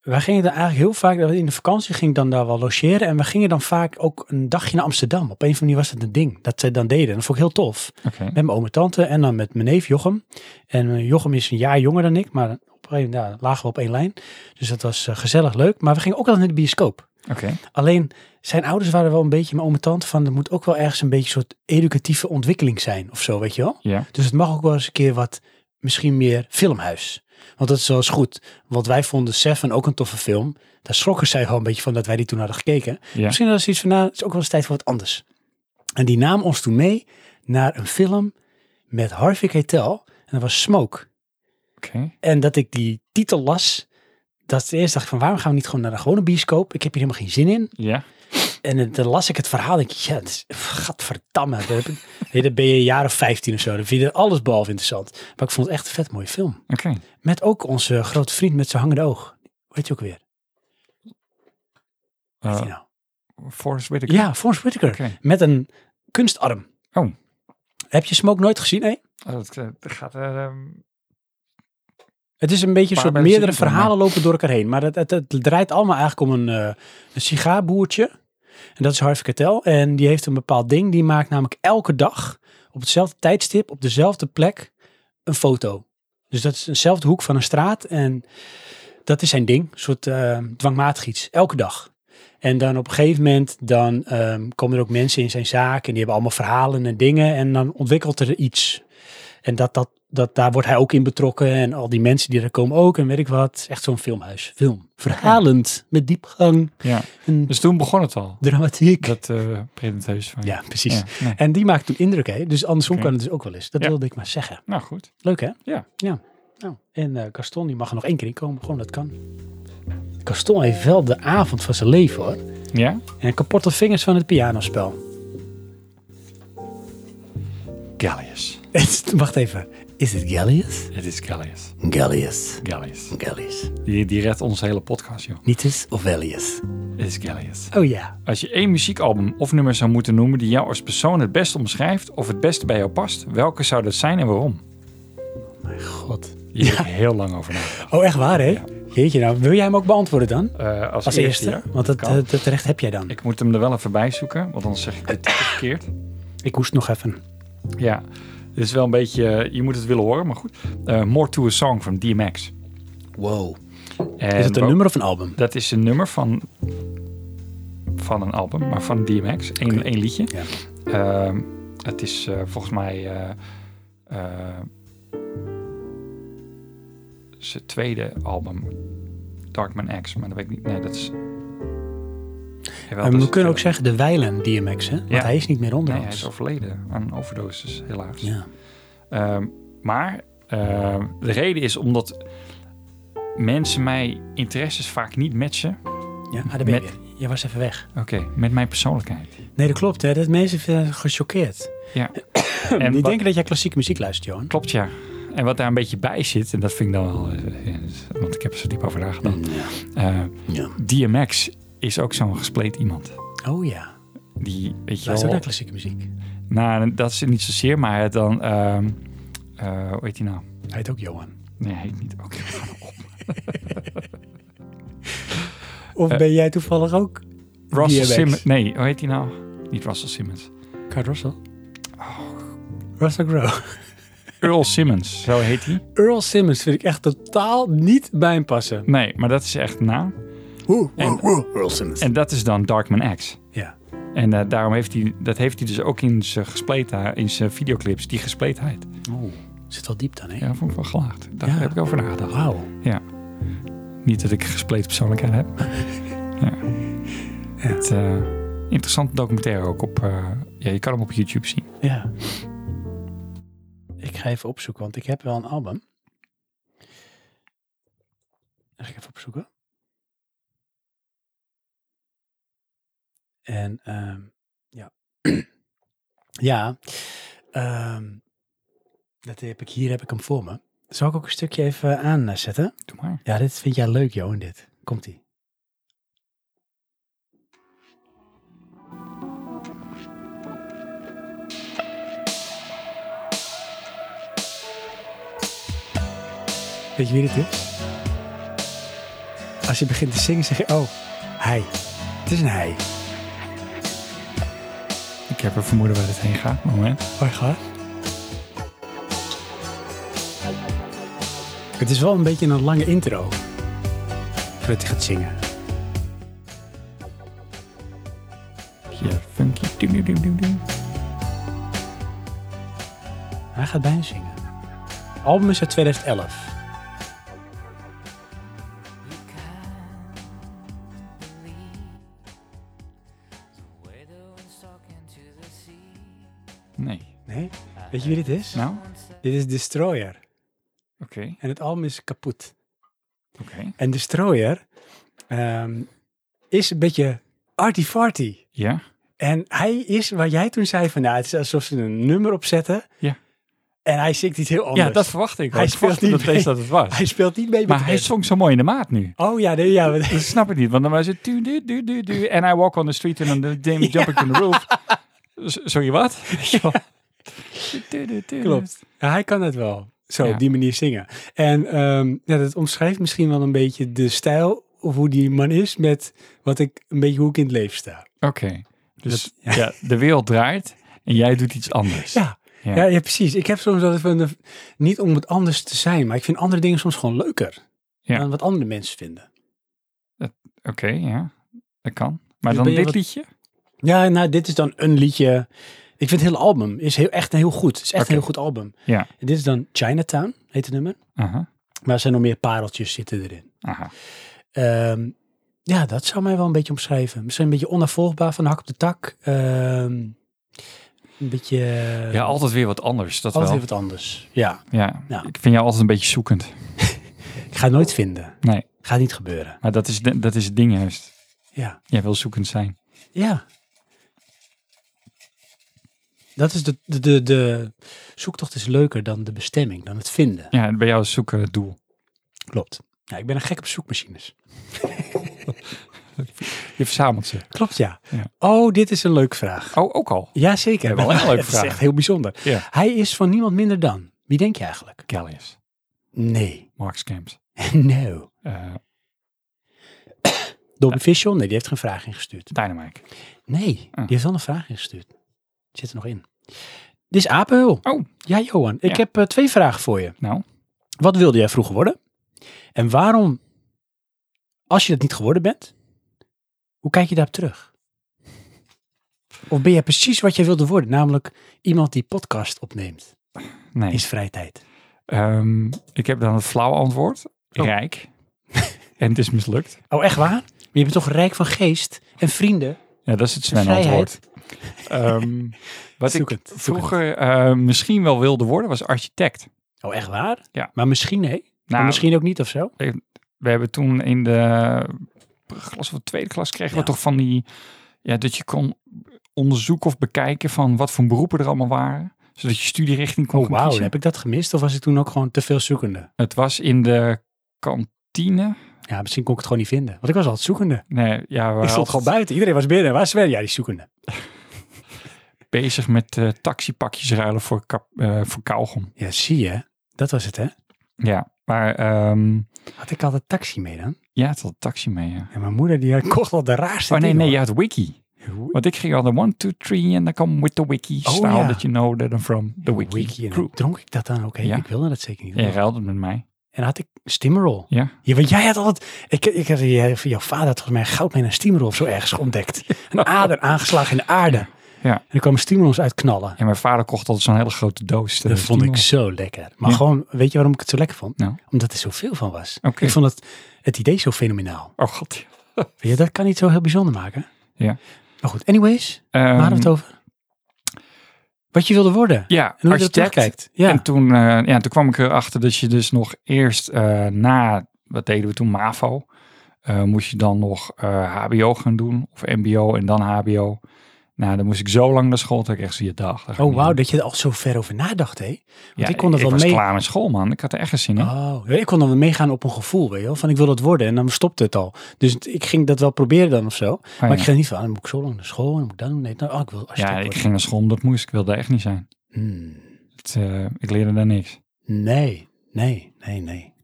A: wij gingen dan eigenlijk heel vaak, in de vakantie ging ik dan daar wel logeren. En we gingen dan vaak ook een dagje naar Amsterdam. Op een of andere manier was dat een ding dat zij dan deden. En dat vond ik heel tof.
C: Oké.
A: Met mijn oom en tante en dan met mijn neef Jochem. En eh, Jochem is een jaar jonger dan ik, maar op een, ja, lagen we op één lijn. Dus dat was eh, gezellig leuk. Maar we gingen ook altijd naar de bioscoop.
C: Oké.
A: Alleen zijn ouders waren wel een beetje mijn oom en tante van, er moet ook wel ergens een beetje een soort educatieve ontwikkeling zijn of zo, weet je wel.
C: Ja.
A: Dus het mag ook wel eens een keer wat, misschien meer filmhuis. Want dat is wel eens goed. Want wij vonden Seven ook een toffe film. Daar schrokken zij gewoon een beetje van dat wij die toen hadden gekeken.
C: Ja.
A: Misschien hadden ze iets van, nou, het is ook wel eens tijd voor wat anders. En die nam ons toen mee naar een film met Harvey Keitel. En dat was Smoke.
C: Oké.
A: En dat ik die titel las, dat ik eerst dacht ik van, waarom gaan we niet gewoon naar een gewone bioscoop? Ik heb hier helemaal geen zin in.
C: Ja.
A: En eh, dan las ik het verhaal en denk ik, ja, dat is, gadverdamme. Daar heb ik- Nee, dan ben je een jaar of 15 of zo. Dan vind je alles behalve interessant. Maar ik vond het echt een vet mooie film.
C: Oké. Eh,
A: Met ook onze grote vriend met zijn hangende oog. Weet je ook weer? Weet
C: Eh,
A: je nou?
C: Forrest Whitaker.
A: Ja, Forrest Whitaker.
C: Oké.
A: Met een kunstarm.
C: Oh.
A: Heb je Smoke nooit gezien? Nee?
C: Oh, dat, eh, dat gaat er... ehm,
A: Het is een beetje een
C: Paar
A: soort
C: mensen
A: meerdere
C: die het doen,
A: verhalen lopen door elkaar heen. Maar het, het, het draait allemaal eigenlijk om een, eh, een sigaarboertje. En dat is Harvey Keitel. En die heeft een bepaald ding. Die maakt namelijk elke dag op hetzelfde tijdstip, op dezelfde plek, een foto. Dus dat is eenzelfde hoek van een straat. En dat is zijn ding. Een soort eh, dwangmatig iets. Elke dag. En dan op een gegeven moment dan ehm, komen er ook mensen in zijn zaak. En die hebben allemaal verhalen en dingen. En dan ontwikkelt er iets. En dat, dat, dat, daar wordt hij ook in betrokken. En al die mensen die er komen ook. En weet ik wat. Het is Echt zo'n filmhuis. Film. Verhalend. Met diepgang.
C: ja.
A: En
C: Dus toen begon het al.
A: dramatiek.
C: Dat eh presenteus van je.
A: ja, precies.
C: Ja, nee.
A: En die maakt toen indruk, hè? Dus andersom
C: Oké.
A: kan het dus ook wel eens. Dat
C: Ja.
A: wilde ik maar zeggen.
C: Nou goed.
A: Leuk, hè?
C: Ja.
A: Ja. Nou, en eh Gaston, die mag er nog één keer in komen. Gewoon, dat kan. Gaston heeft wel de avond van zijn leven, hoor.
C: Ja?
A: En kapotte vingers van het pianospel.
C: Gallius.
A: Wacht even. Is het Gallius?
C: Het is Gallius.
A: Gallius.
C: Gallius.
A: Gallius.
C: Die, die redt onze hele podcast, joh.
A: Nietes of Velius?
C: Het is Gallius.
A: Oh ja.
C: Als je één muziekalbum of nummer zou moeten noemen die jou als persoon het best omschrijft of het beste bij jou past, welke zou dat zijn en waarom?
A: God.
C: Hier heb ik heel lang over nagedacht.
A: Oh, echt waar, hè?
C: Ja.
A: Jeetje, nou, wil jij hem ook beantwoorden dan?
C: Eh, als,
A: Als eerste?
C: ja.
A: Want dat,
C: kan.
A: dat, dat recht heb jij dan. Ik,
C: Ik moet hem er wel even bij zoeken, want anders zeg ik het verkeerd.
A: hoest nog even.
C: Ja, dit is wel een beetje, eh, je moet het willen horen, maar goed. Eh, More to a Song van DMX.
A: Wow.
C: En
A: Is het een
C: wa-
A: nummer of een album?
C: Dat is een nummer van, van een album, maar van DMX. Eén
A: Oké.
C: één liedje.
A: Ja.
C: Ehm, het is eh, volgens mij eh, eh, zijn tweede album, Darkman X. Maar dat weet ik niet. Nee, dat is... Jawel,
A: En
C: dat is
A: we
C: het
A: kunnen ook
C: tweede.
A: zeggen de Weilen DMX, hè? Want
C: Ja.
A: hij is niet meer onder
C: Nee, hij
A: ons.
C: is overleden aan een overdosis, helaas.
A: Ja.
C: Ehm, maar ehm, de reden is omdat mensen mij interesses vaak niet matchen.
A: ja, ah, daar ben je
C: Met-
A: weer. Je was even weg.
C: Oké, met mijn persoonlijkheid.
A: Nee, dat klopt, hè? Dat mensen zijn gechoqueerd.
C: Ja.
A: Die
C: en wat-
A: denken dat jij klassieke muziek luistert, Johan.
C: Klopt, ja. En wat daar een beetje bij zit, en dat vind ik dan wel... eh, eh, Want ik heb er zo diep over nagedacht.
A: Ja.
C: Eh,
A: Ja.
C: DMX is ook zo'n gespleten iemand.
A: Oh ja.
C: Die, weet je
A: Luister
C: wel...
A: naar klassieke muziek.
C: Nou, dat is het niet zozeer, maar het dan... ehm, eh, hoe heet hij nou?
A: Hij heet ook Johan.
C: Nee, hij heet niet. Oké, ga nou op.
A: Of
C: Eh.
A: ben jij toevallig ook
C: Russell
A: DMX?
C: Simmons. Nee, hoe heet hij nou? Niet Russell Simmons.
A: Kurt Russell?
C: Oh.
A: Russell Crowe.
C: Earl Simmons, zo heet hij.
A: Earl Simmons vind ik echt totaal niet bij hem passen.
C: Nee, maar dat is echt een naam. En-
A: Earl Simmons.
C: En dat is dan Darkman X.
A: ja.
C: En eh, daarom heeft hij, dat heeft hij dus ook in zijn gespleten, in zijn videoclips, die gespletenheid.
A: Oh, zit wel diep dan, hè?
C: Ja, vond ik wel gelaagd. Daar
A: Ja.
C: heb ik over nagedacht.
A: Wauw.
C: Niet dat ik een gespleten persoonlijkheid heb. ja. Het, eh, interessante documentaire ook op, eh, ja, je kan hem op YouTube zien.
A: Ja. Ik ga even opzoeken, want ik heb wel een album. Dan ga ik even opzoeken. En ehm, ja. ja. ehm, dat heb ik, hier heb ik hem voor me. Zal ik ook een stukje even eh, aanzetten?
C: Doe maar.
A: Ja, dit vind jij leuk, Johan, dit. Komt-ie. Weet je wie dit is? Als je begint te zingen, zeg je, oh, hij. Het is een hij.
C: Ik heb een vermoeden waar dit heen gaat. Moment.
A: Waar gaat? Het is wel een beetje een lange intro. Voordat hij gaat zingen.
C: Ja, funky. Doem, doem, doem, doem, doem.
A: Hij gaat bijna zingen. Album is uit 2011.
C: Nee.
A: Nee? Weet je wie dit is?
C: Nou,
A: Dit is Destroyer.
C: oké.
A: En het album is kapot.
C: Oké.
A: En Destroyer ehm, is een beetje arty-farty.
C: Ja.
A: En hij is waar jij toen zei van, nou, het is alsof ze een nummer opzetten.
C: Ja.
A: En hij zingt iets heel anders.
C: Ja, dat verwacht ik.
A: Hij
C: Hij ik
A: speelt
C: verwacht niet
A: niet
C: dat deze
A: mee.
C: dat het was.
A: Hij speelt niet mee met
C: maar hij
A: het.
C: zong zo mooi in de maat nu.
A: Oh ja, nee, ja. maar-
C: Dat snap ik niet, want dan was het... du- du- du- du- du- En I walk on the street and then the jump jumping to the roof. Z- Sorry, wat?
A: Klopt. Ja, hij kan het wel. Zo,
C: Ja.
A: op die manier zingen. En ehm, ja, dat omschrijft misschien wel een beetje de stijl of hoe die man is met wat ik een beetje hoe ik in het leven sta.
C: Oké. Dus ja. de wereld draait en jij doet iets anders.
A: Ja,
C: Ja.
A: ja. ja, precies. Ik heb soms dat van de- niet om het anders te zijn, maar ik vind andere dingen soms gewoon leuker
C: Ja.
A: dan wat andere mensen vinden.
C: Oké, ja. Dat kan. Maar
A: Dus
C: dan
A: ben je
C: dit
A: wat-
C: liedje?
A: Ja, nou, dit is dan een liedje. Ik vind het hele album is heel, echt heel goed. Het is echt
C: Oké.
A: een heel goed album.
C: Ja.
A: En dit is dan Chinatown, heet het nummer.
C: Aha.
A: Maar er zijn nog meer pareltjes zitten erin.
C: Aha.
A: Ehm, ja, dat zou mij wel een beetje omschrijven. Misschien een beetje onafvolgbaar van de hak op de tak. Ehm, een beetje.
C: Ja, altijd weer wat anders. Dat
A: Eh, altijd
C: wel.
A: even wat anders. Ja,
C: Ja.
A: Ja.
C: Ik vind jou altijd een beetje zoekend.
A: ik ga het nooit vinden.
C: Nee,
A: Gaat niet gebeuren.
C: maar dat is, de- dat is het ding juist.
A: Ja.
C: Jij wil zoekend zijn.
A: Ja. Dat is de, de, de, de zoektocht is leuker dan de bestemming, dan het vinden.
C: Ja, en bij jou is zoeken het doel.
A: Klopt. Ja, ik ben een gek op zoekmachines.
C: Je verzamelt ze.
A: Klopt, ja.
C: Ja.
A: Oh, dit is een leuke vraag.
C: Oh, ook al.
A: Jazeker.
C: Wel een leuke
A: Het is
C: vraag.
A: echt heel bijzonder.
C: Ja.
A: Hij is van niemand minder dan. Wie denk je eigenlijk?
C: Gallius.
A: Nee.
C: Mark Scamps.
A: no.
C: eh
A: Dobby Fischel? Nee, die heeft geen vraag ingestuurd.
C: Dynamite.
A: Nee,
C: Ah.
A: die heeft wel een vraag ingestuurd. Zit er nog in. Dit is Apenhul.
C: Oh.
A: Ja, Johan. Ik
C: Ja.
A: heb eh, twee vragen voor je.
C: Nou,
A: Wat wilde jij vroeger worden? En waarom, als je dat niet geworden bent, hoe kijk je daarop terug? Of ben jij precies wat jij wilde worden? Namelijk iemand die podcast opneemt
C: nee.
A: in zijn vrije tijd.
C: Ehm, ik heb dan het flauwe antwoord.
A: Oh.
C: Rijk. en het is mislukt.
A: Oh, echt waar? Maar je bent toch rijk van geest en vrienden?
C: Ja, dat is het
A: En
C: Sven antwoord. Ehm, wat
A: Zoekend,
C: ik
A: zoekend.
C: vroeger eh, misschien wel wilde worden, was architect.
A: Oh, echt waar?
C: Ja.
A: Maar misschien nee.
C: Nou,
A: maar misschien ook niet of zo.
C: we hebben toen in de klas of tweede klas kregen
A: Ja.
C: we toch van die... Ja, dat je kon onderzoeken of bekijken van wat voor beroepen er allemaal waren. Zodat je studierichting kon
A: Oh,
C: gaan
A: wauw.
C: kiezen.
A: Heb ik dat gemist? Of was ik toen ook gewoon te veel zoekende?
C: Het was in de kantine.
A: Ja, misschien kon ik het gewoon niet vinden. Want ik was altijd zoekende.
C: Nee, ja, we
A: ik stond
C: altijd
A: gewoon buiten. Iedereen was binnen. Waar is Sven? Ja, die is zoekende.
C: bezig met eh, taxipakjes ruilen voor, kap, eh, voor kauwgom.
A: Ja, zie je. Dat was het, hè?
C: Ja, maar ehm
A: Had ik altijd taxi mee dan?
C: jij had al een taxi mee, ja.
A: En mijn moeder die eh, kocht al de raarste
C: Oh nee,
A: dingen,
C: nee, je had wiki.
A: hoor.
C: Want ik ging al de 1, 2, 3 en dan kwam with the wiki.
A: Oh,
C: style
A: ja.
C: that you know that I'm from the wiki,
A: Wiki. En
C: crew.
A: dan dronk ik dat dan ook heen?
C: Ja.
A: Ik wilde dat zeker niet.
C: En je ruilde het met mij.
A: En had ik Stimmerol.
C: Ja.
A: Ja, want jij had altijd... Ik, ik had, jij- jouw vader had volgens mij een goudmijn en Stimmerol of zo ergens ontdekt. Een ader aangeslagen in de aarde.
C: Ja.
A: En er kwamen Stimmerols uit knallen.
C: En mijn vader kocht altijd zo'n hele grote doos.
A: Dat vond ik
C: Oké.
A: zo lekker. Maar
C: Ja.
A: gewoon, weet je waarom ik het zo lekker vond?
C: Nou.
A: Omdat er zoveel van was. Ik vond het, het idee zo fenomenaal.
C: Oh god.
A: Weet je, dat kan niet zo heel bijzonder maken.
C: Ja.
A: Maar goed, anyways,
C: Ehm,
A: waar hadden we het over? Wat je wilde worden.
C: Ja,
A: En hoe je
C: architect.
A: dat kijkt. Ja. Oh,
C: En toen, eh, ja, toen kwam ik erachter dat je dus nog eerst eh, na, wat deden we toen, MAVO, eh, moest je dan nog eh, HBO gaan doen of MBO en dan HBO. Nou, dan moest ik zo lang naar school, dat ik echt zie je dag. dat ga ik
A: oh,
C: niet
A: wauw,
C: doen.
A: dat je er al zo ver over nadacht, hè? Want
C: Ja,
A: ik kon er
C: ik
A: wel
C: was
A: mee.
C: klaar met school, man. Ik had er echt geen zin in.
A: Oh, ja, ik kon dan wel meegaan op een gevoel, weet je wel. Van ik wil dat worden en dan stopte het al. Dus het- ik ging dat wel proberen dan of zo.
C: Ah,
A: Maar
C: ja.
A: ik ging niet van, ah, dan moet ik zo lang naar school en dan moet ik dat doen. Nee, nou, oh, ik wil architect
C: ja, ik
A: worden.
C: ging naar school omdat het moest. Ik wilde er echt niet zijn.
A: Hmm,
C: Het, eh, ik leerde daar niks.
A: nee, nee, nee, nee.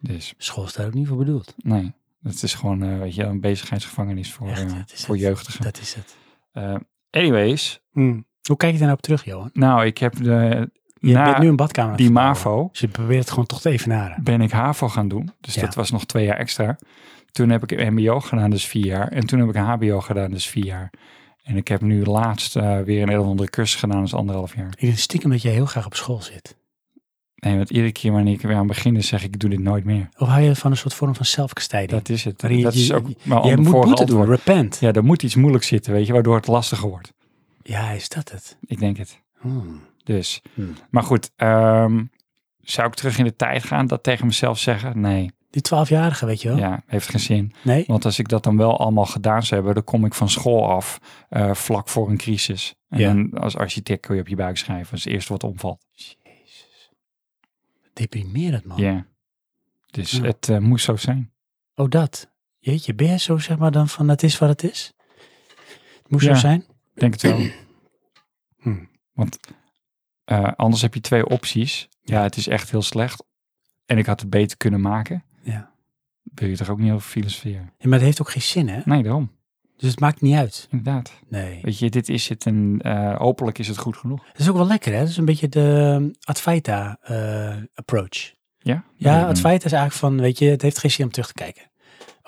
C: Dus
A: School is daar ook niet voor bedoeld.
C: nee, het is gewoon eh, weet je, een bezigheidsgevangenis voor,
A: Echt,
C: eh,
A: dat is
C: voor
A: het.
C: jeugdigen.
A: Dat is het.
C: Eh, anyways,
A: Hoe kijk je daar nou op terug, Johan?
C: nou, ik heb de,
A: Je bent
C: na
A: nu een badkamer. aan
C: die
A: het verbouwen.
C: MAVO
A: Dus je probeert het gewoon toch te evenaren.
C: ben ik HAVO gaan doen. Dus
A: Ja.
C: dat was nog twee jaar extra. Toen heb ik een MBO gedaan, dus vier jaar. En toen heb ik een HBO gedaan, dus vier jaar. En ik heb nu laatst eh, weer een hele andere cursus gedaan, dus anderhalf jaar.
A: Ik denk stiekem dat jij heel graag op school zit.
C: Nee, want iedere keer wanneer ik weer aan begin, zeg ik, ik doe dit nooit meer.
A: Of hou je van een soort vorm van zelfkastijding?
C: Dat is het.
A: Waarin je-
C: dat is
A: je-
C: ook mijn
A: jij
C: ander-
A: moet
C: vorige
A: boete doen,
C: antwoord.
A: repent. Ja.
C: Ja, er moet iets moeilijks zitten, weet je, waardoor het lastiger wordt.
A: is dat het?
C: Ik denk het.
A: Hmm.
C: Dus.
A: Hmm.
C: Maar goed, ehm, zou ik terug in de tijd gaan, dat tegen mezelf zeggen? Nee,
A: Die twaalfjarige, weet je wel?
C: ja, heeft geen zin.
A: Nee?
C: Want als ik dat dan wel allemaal gedaan zou hebben, dan kom ik van school af eh, vlak voor een crisis. En
A: Ja.
C: dan als architect kun je op je buik schrijven als het eerste wat omvalt.
A: Deprimerend, man.
C: Ja. Dus
A: Ah. Ja.
C: het eh, moest zo zijn.
A: Oh, dat. Jeetje, ben jij zo zeg maar dan van het is wat het is? Het moest
C: Ja.
A: zo zijn?
C: Ik denk het wel.
A: Hmm.
C: Want Eh, anders heb je twee opties. Ja, het is echt heel slecht. En ik had het beter kunnen maken.
A: Ja.
C: Wil je toch ook niet over filosoferen?
A: Ja, maar het heeft ook geen zin, hè?
C: Nee, daarom.
A: Dus het maakt niet uit.
C: Inderdaad.
A: Nee.
C: Weet je, dit is het en eh, hopelijk is het goed genoeg.
A: Dat is ook wel lekker, hè? Dat is een beetje de ehm, Advaita-approach.
C: Ja?
A: eh, ja,
C: Nee,
A: het feit is eigenlijk van, weet je, het heeft geen zin om terug te kijken.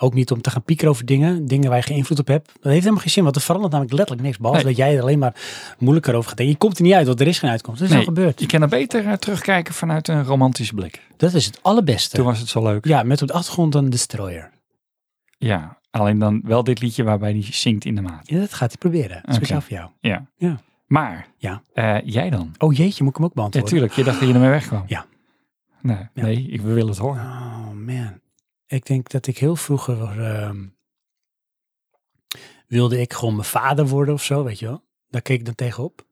A: Ook niet om te gaan piekeren over dingen, dingen waar je geen invloed op hebt. Dat heeft helemaal geen zin, want er verandert namelijk letterlijk niks. Behalve
C: Nee.
A: dat jij er alleen maar moeilijker over gaat denken. Je komt er niet uit, want er is geen uitkomst. Dat is
C: Nee.
A: al gebeurd.
C: Je kan er beter eh, terugkijken vanuit een romantische blik.
A: Dat is het allerbeste.
C: Toen was het zo leuk.
A: Ja, met op de achtergrond dan Destroyer.
C: Ja, alleen dan wel dit liedje waarbij die zingt in de maat.
A: Ja, dat gaat hij proberen. Speciaal
C: Oké.
A: voor jou.
C: Ja.
A: Ja.
C: Maar,
A: Ja.
C: eh, jij dan?
A: Oh jeetje, moet ik hem ook beantwoorden?
C: Natuurlijk, je dacht dat je ermee wegkwam.
A: Ja.
C: Nee,
A: Ja.
C: nee ik wil het horen.
A: Oh man. Ik denk dat ik heel vroeger ehm, wilde ik gewoon mijn vader worden of zo, weet je wel. Daar keek ik dan tegenop.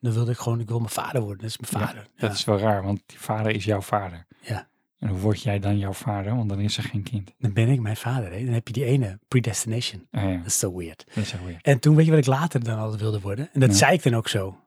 A: Dan wilde ik gewoon, ik wil mijn vader worden. Dat is mijn
C: Ja,
A: vader. Ja,
C: Dat is wel raar, want die vader is jouw vader.
A: Ja.
C: En hoe word jij dan jouw vader? Want dan is er geen kind.
A: Dan ben ik mijn vader. Hè? Dan heb je die ene predestination.
C: Ah ja,
A: Dat is zo weird.
C: dat is wel weer.
A: En toen weet je wat ik later dan altijd wilde worden. En dat
C: Ja.
A: zei ik dan ook zo.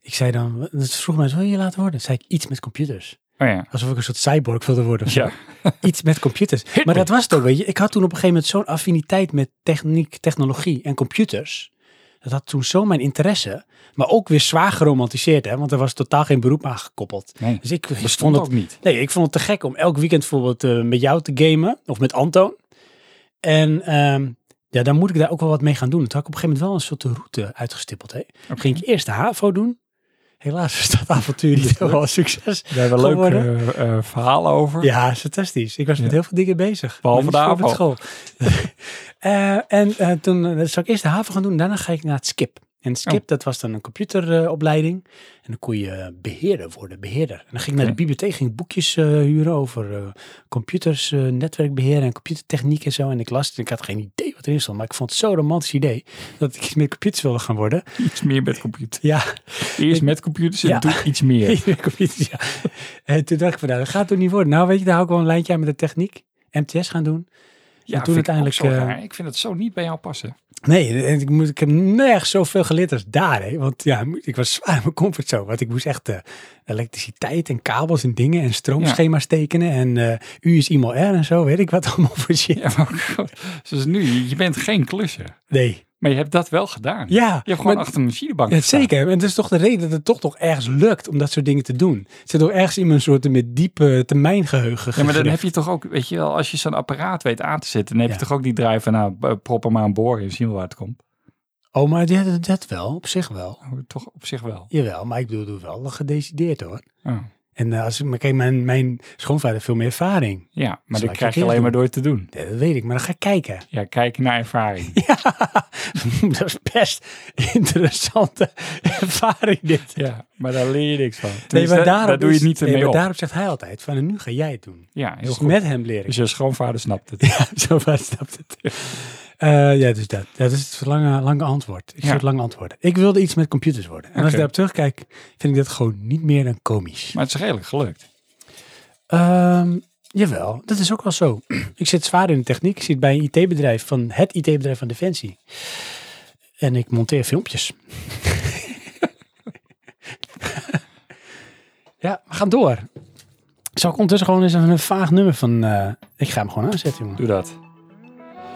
A: Ik zei dan, dat vroeg mij, wat wil je laten worden? Zei ik iets met computers.
C: Oh ja.
A: Alsof ik een soort cyborg wilde worden. of zo.
C: Ja,
A: iets met computers. Maar
C: me.
A: dat was het ook, weet je. Ik had toen op een gegeven moment zo'n affiniteit met techniek, technologie en computers. Dat had toen zo mijn interesse, maar ook weer zwaar geromantiseerd, hè. Want er was totaal geen beroep aan gekoppeld.
C: nee.
A: Dus ik
C: Bestond
A: vond het,
C: ook niet.
A: nee, ik vond het te gek om elk weekend bijvoorbeeld eh, met jou te gamen. Of met Anton. En ehm, ja, dan moet ik daar ook wel wat mee gaan doen. Toen had ik op een gegeven moment wel een soort route uitgestippeld, hè.
C: Oké.
A: Ging ik eerst de HAVO doen. Helaas is dat avontuur niet helemaal een succes.
C: We hebben
A: Gewoon
C: leuke eh, eh, verhalen over.
A: Ja, is fantastisch. Ik was met
C: Ja.
A: heel veel dingen bezig.
C: Behalve
A: Maar niet
C: de
A: zoveel met school. Eh, en eh, toen eh, zou ik eerst de haven gaan doen. Daarna ga ik naar het skip. En skip,
C: Oh.
A: dat was dan een computeropleiding. en dan kon je eh, beheerder worden, beheerder. En dan ging ik naar de
C: Oké.
A: bibliotheek, ging boekjes eh, huren over eh, computers, eh, netwerkbeheer en computertechniek en zo. En ik las het en ik had geen idee wat erin stond. Maar ik vond het zo'n romantisch idee dat ik iets meer computers wilde gaan worden.
C: Iets meer met computers.
A: Ja,
C: Eerst met computers en
A: Ja.
C: toen iets meer.
A: Ja, computers, ja. En toen dacht ik van, nou, dat gaat toch niet worden. Nou, weet je, daar hou ik wel een lijntje aan met de techniek. MTS gaan doen.
C: Ja,
A: toen
C: vind ik ook
A: uiteindelijk,
C: zo
A: eh,
C: raar. Ik vind het zo niet bij jou passen.
A: Nee, en ik, moet, ik heb nergens zoveel geleerd als daar. Hè? Want ja, ik was zwaar in mijn comfortzone. Want ik moest echt eh, elektriciteit en kabels en dingen en stroomschema's tekenen. En eh U is iemand R en zo, weet ik wat allemaal voor shit.
C: Ja, maar goed. Zoals nu, je bent geen klusser.
A: Nee,
C: Maar je hebt dat wel gedaan.
A: ja.
C: Je hebt gewoon
A: maar-
C: achter een machinebank
A: ja,
C: gestaan.
A: zeker. En dat is toch de reden dat het toch nog ergens lukt om dat soort dingen te doen. Het zit toch ergens in mijn soort met diepe eh, termijngeheugen
C: Ja, maar dan
A: gegrift.
C: heb je toch ook, weet je wel, als je zo'n apparaat weet aan te zetten, dan heb je
A: Ja.
C: toch ook die draai van, nou, eh, prop hem maar aan boren en zien we waar het komt.
A: Oh, maar ja, dat, dat wel, op zich wel.
C: Oh, Toch op zich wel.
A: Jawel, maar ik bedoel, doe wel gedecideerd hoor.
C: Oh.
A: En eh, als ik, maar kijk, mijn, mijn schoonvader heeft veel meer ervaring.
C: Ja, maar
A: Zal
C: dat
A: ik
C: krijg je
A: het
C: alleen
A: eerst
C: maar door te doen.
A: Ja, dat weet ik, maar dan ga ik kijken.
C: Ja, kijken naar ervaring.
A: Ja, dat is best interessante ervaring dit.
C: ja, maar daar leer je niks van. Tenminste, daar doe je
A: is-
C: het niet
A: dus- nee,
C: mee
A: maar
C: op.
A: daarop zegt hij altijd van en nu ga jij het doen.
C: Ja, heel
A: Dus
C: goed.
A: met hem leer ik.
C: Dus je schoonvader snapt het.
A: Zo ver snapt het. Eh, ja, dus dat. Dat is het lange, lange antwoord. Ik
C: Ja.
A: zou het lange antwoorden. Ik wilde iets met computers worden. En als
C: Oké.
A: ik daarop terugkijk, vind ik dat gewoon niet meer dan komisch.
C: Maar het is redelijk gelukt.
A: Ehm, jawel, dat is ook wel zo. ik zit zwaar in de techniek. Ik zit bij een IT-bedrijf van het IT-bedrijf van Defensie. En ik monteer filmpjes. ja, we gaan door. Zal ik ondertussen gewoon eens even een vaag nummer van... eh, ik ga hem gewoon aanzetten, jongen.
C: Doe dat.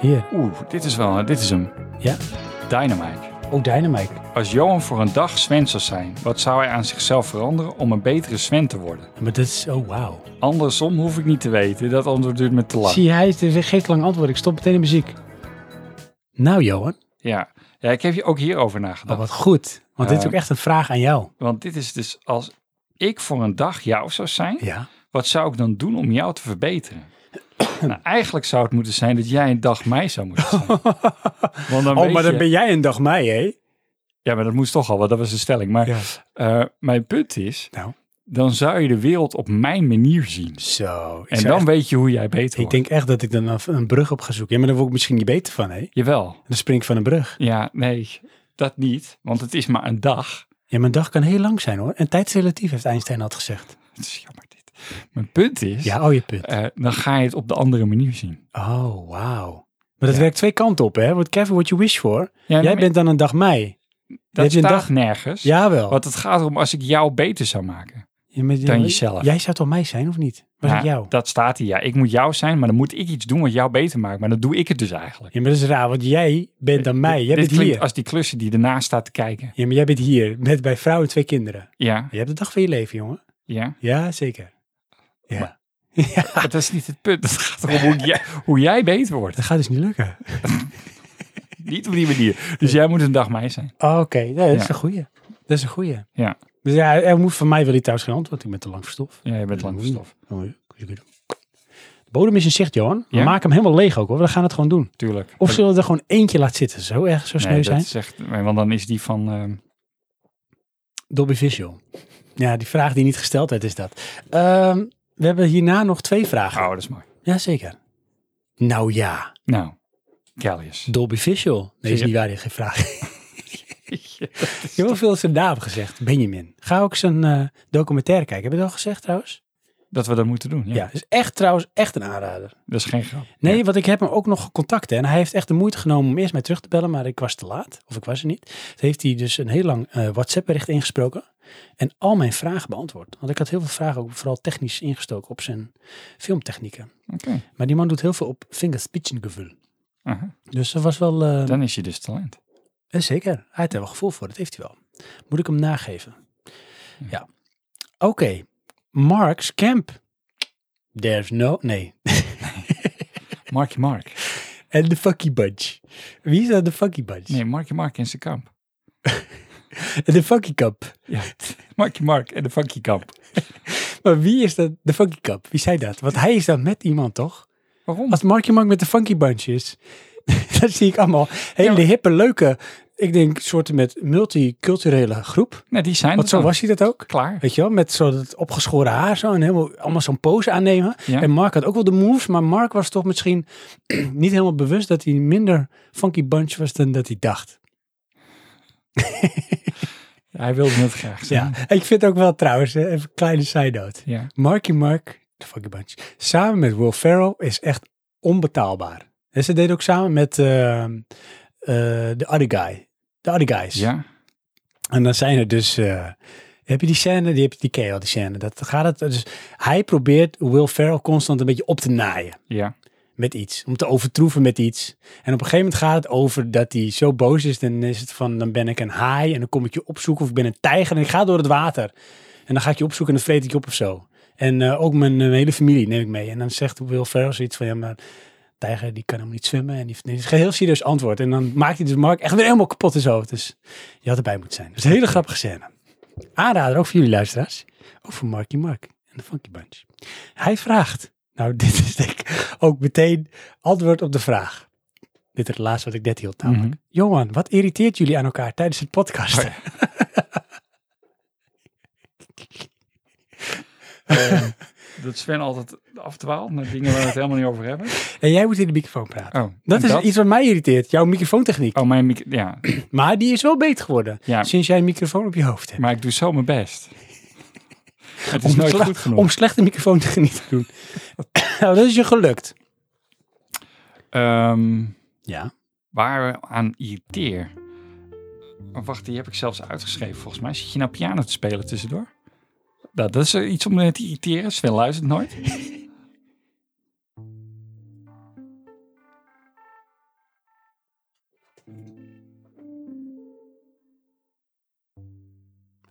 A: Hier.
C: Oeh, dit is wel, dit is hem.
A: Ja.
C: Dynamite.
A: Oh, Dynamite.
C: Als Johan voor een dag Sven zou zijn, wat zou hij aan zichzelf veranderen om een betere Sven te worden?
A: Maar dat is... Oh, wauw.
C: Andersom hoef ik niet te weten, dat antwoord duurt me te lang.
A: Zie je, hij is- hij geeft lang antwoord. Ik stop meteen de muziek. Nou, Johan.
C: Ja. ja, ik heb je ook hierover
A: Oh,
C: nagedacht.
A: wat goed. Want dit is
C: Ja.
A: ook echt een vraag aan jou.
C: Want dit is dus als ik voor een dag jou zou zijn,
A: Ja.
C: wat zou ik dan doen om jou te verbeteren? nou, eigenlijk zou het moeten zijn dat jij een dag mij zou moeten zijn. Want dan
A: Oh,
C: weet
A: maar
C: je-
A: dan ben jij een dag mij, hè?
C: Ja, maar dat moest toch al, want dat was een stelling. Maar eh, mijn punt is,
A: Nou.
C: dan zou je de wereld op mijn manier zien.
A: Zo. Ik
C: En
A: zou
C: dan
A: echt-
C: weet je hoe jij beter
A: ik
C: wordt.
A: denk echt dat ik dan een- een brug op ga zoeken. Ja, maar daar word ik misschien niet beter van, hè?
C: Jawel.
A: Dan spring ik van een brug.
C: Ja, nee, dat niet. Want het is maar een dag.
A: Ja, mijn dag kan heel lang zijn, hoor. En tijd is relatief, heeft Einstein altijd gezegd.
C: Het is jammer dit. Mijn punt is,
A: Ja, oh, je punt.
C: eh, dan ga je het op de andere manier zien.
A: Oh, wauw. Maar dat
C: Ja.
A: werkt twee kanten op, hè? Want Kevin, what you wish for.
C: Ja,
A: Jij
C: nee,
A: bent dan een dag mij.
C: Dat
A: heb je een
C: staat
A: dag-
C: nergens.
A: Jawel.
C: Want het gaat erom als ik jou beter zou maken
A: Ja, maar-
C: dan jezelf.
A: Jij zou toch mij zijn, of niet? Was
C: Ja,
A: ik jou?
C: Dat staat hier. Ja, ik moet jou zijn, maar dan moet ik iets doen wat jou beter maakt. Maar dan doe ik het dus eigenlijk.
A: Ja, maar dat is raar, want jij bent dan mij. Jij
C: Eh, Dit
A: bent
C: klinkt
A: hier.
C: als die klussen die ernaast staat te kijken.
A: Ja, maar jij bent hier, met bij vrouw en twee kinderen.
C: Ja,
A: Je hebt de dag van je leven, jongen.
C: ja.
A: Ja, zeker. Ja. ja.
C: Maar dat is niet het punt. Het gaat erom hoe jij, hoe jij beter wordt.
A: Dat gaat dus niet lukken.
C: Niet op die manier. Dus jij moet een dag mij zijn.
A: Oh, Oké, nee, dat is
C: Ja.
A: een goeie. Dat is een goeie.
C: Ja.
A: Dus ja, hij, hij moet van mij wil hij thuis geen antwoord. Ik ben te lang verstof.
C: Ja, je bent lang van stof.
A: Oh, ja. De bodem is in zicht, Johan.
C: Ja?
A: We maken hem helemaal leeg ook hoor. We gaan het gewoon doen.
C: Tuurlijk.
A: Of zullen we er gewoon eentje laten zitten? Zo erg, zo sneu
C: nee,
A: zijn.
C: dat is echt, nee, want dan is die van... ehm,
A: Dolby Visual. Ja, die vraag die niet gesteld werd is dat. Ehm, we hebben hierna nog twee vragen.
C: oh, dat is mooi.
A: Jazeker. Nou ja,
C: Nou, Callius.
A: Dolby Visual. Nee, is
C: Zie je?
A: niet waar, die heeft geen vraag. Je hebt wel veel zijn naam gezegd, Benjamin. Ga ook zijn eh, documentaire kijken. Heb je dat al gezegd trouwens?
C: Dat we dat moeten doen. Ja.
A: Ja, is echt trouwens echt een aanrader.
C: Dat is geen grap.
A: Nee,
C: Ja.
A: want ik heb hem ook nog contact. En hij heeft echt de moeite genomen om eerst mij terug te bellen, maar ik was te laat. Of ik was er niet. Toen heeft hij dus een heel lang eh, WhatsApp-bericht ingesproken. En al mijn vragen beantwoord. Want ik had heel veel vragen, ook vooral technisch ingestoken op zijn filmtechnieken.
C: Oké.
A: Maar die man doet heel veel op vingerspitsengevoel.
C: Aha.
A: Dus dat was wel... eh,
C: Dan is je dus talent.
A: eh, zeker. Hij heeft er wel gevoel voor. Dat heeft hij wel. Moet ik hem nageven?
C: Hm.
A: Ja. Oké. Mark's Camp. There's no... Nee.
C: Marky Mark.
A: En de Fucky Bunch. Wie is dat de Fucky Bunch?
C: Nee, Marky Mark en zijn kamp.
A: De Funky Cup.
C: Ja. Marky Mark en de funky kamp.
A: Maar wie is dat? De Funky Cup. Wie zei dat? Want hij is dan met iemand, toch?
C: Waarom?
A: Als Marky Mark met de Funky Bunch is, dan zie ik allemaal hele
C: Ja, maar-
A: hippe, leuke, ik denk soorten met multiculturele groep.
C: Nou, die zijn
A: Want
C: er
A: zo
C: dan.
A: was hij dat ook.
C: Klaar.
A: Weet je wel, met zo dat opgeschoren haar zo en helemaal allemaal zo'n pose aannemen.
C: Ja.
A: En Mark had ook wel de moves, maar Mark was toch misschien niet helemaal bewust dat hij minder funky bunch was dan dat hij dacht.
C: Hij wilde het graag
A: Ja,
C: zijn.
A: ik vind ook wel trouwens, hè, even een kleine side note.
C: Ja.
A: Marky Mark, de fucking bunch, samen met Will Ferrell is echt onbetaalbaar. En ze deden ook samen met eh, eh, de other guy. De other guys.
C: Ja.
A: En dan zijn er dus... eh, heb je die scène? Die, heb je, die ken je al, die scène. Dat gaat het, dus hij probeert Will Ferrell constant een beetje op te naaien
C: Ja.
A: met iets. Om te overtroeven met iets. En op een gegeven moment gaat het over dat hij zo boos is. Dan is het van, dan ben ik een haai en dan kom ik je opzoeken. Of ik ben een tijger en ik ga door het water. En dan ga ik je opzoeken en dan vreet ik je op of zo. En eh, ook mijn, eh, mijn hele familie neem ik mee. En dan zegt Will Ferrell zoiets van, ja maar tijger die kan helemaal niet zwemmen. En die heeft het is een heel serieus antwoord. En dan maakt hij dus Mark echt weer helemaal kapot en zo. Dus je had erbij moeten zijn. Dus een hele grappige scène. Aanrader, ook voor jullie luisteraars. Ook voor Marky Mark en de Funky Bunch. Hij vraagt. Nou, dit is denk ik ook meteen antwoord op de vraag. Dit is het laatste wat ik net hield namelijk. Johan, wat irriteert jullie aan elkaar tijdens het podcast?
C: Oh Ehm, dat Sven altijd afdwaalt naar dingen waar we het helemaal niet over hebben.
A: En jij moet in de microfoon praten.
C: Oh,
A: Dat Ah.
C: en
A: is iets wat mij irriteert, jouw microfoontechniek.
C: Oh, mijn mic- ja.
A: Maar die is wel beter geworden
C: ja,
A: sinds jij een microfoon op je hoofd hebt.
C: maar ik doe zo mijn best. Het is
A: om,
C: nooit
A: sle-
C: goed genoeg.
A: om slechte microfoontechniek te doen. nou, dat is je gelukt.
C: Ehm,
A: Ja.
C: waar we aan irriteer. Oh, wacht, die heb ik zelfs uitgeschreven volgens mij. Zit je nou piano te spelen tussendoor? Nou, dat is eh, iets om eh, te irriteren. Sven luistert nooit.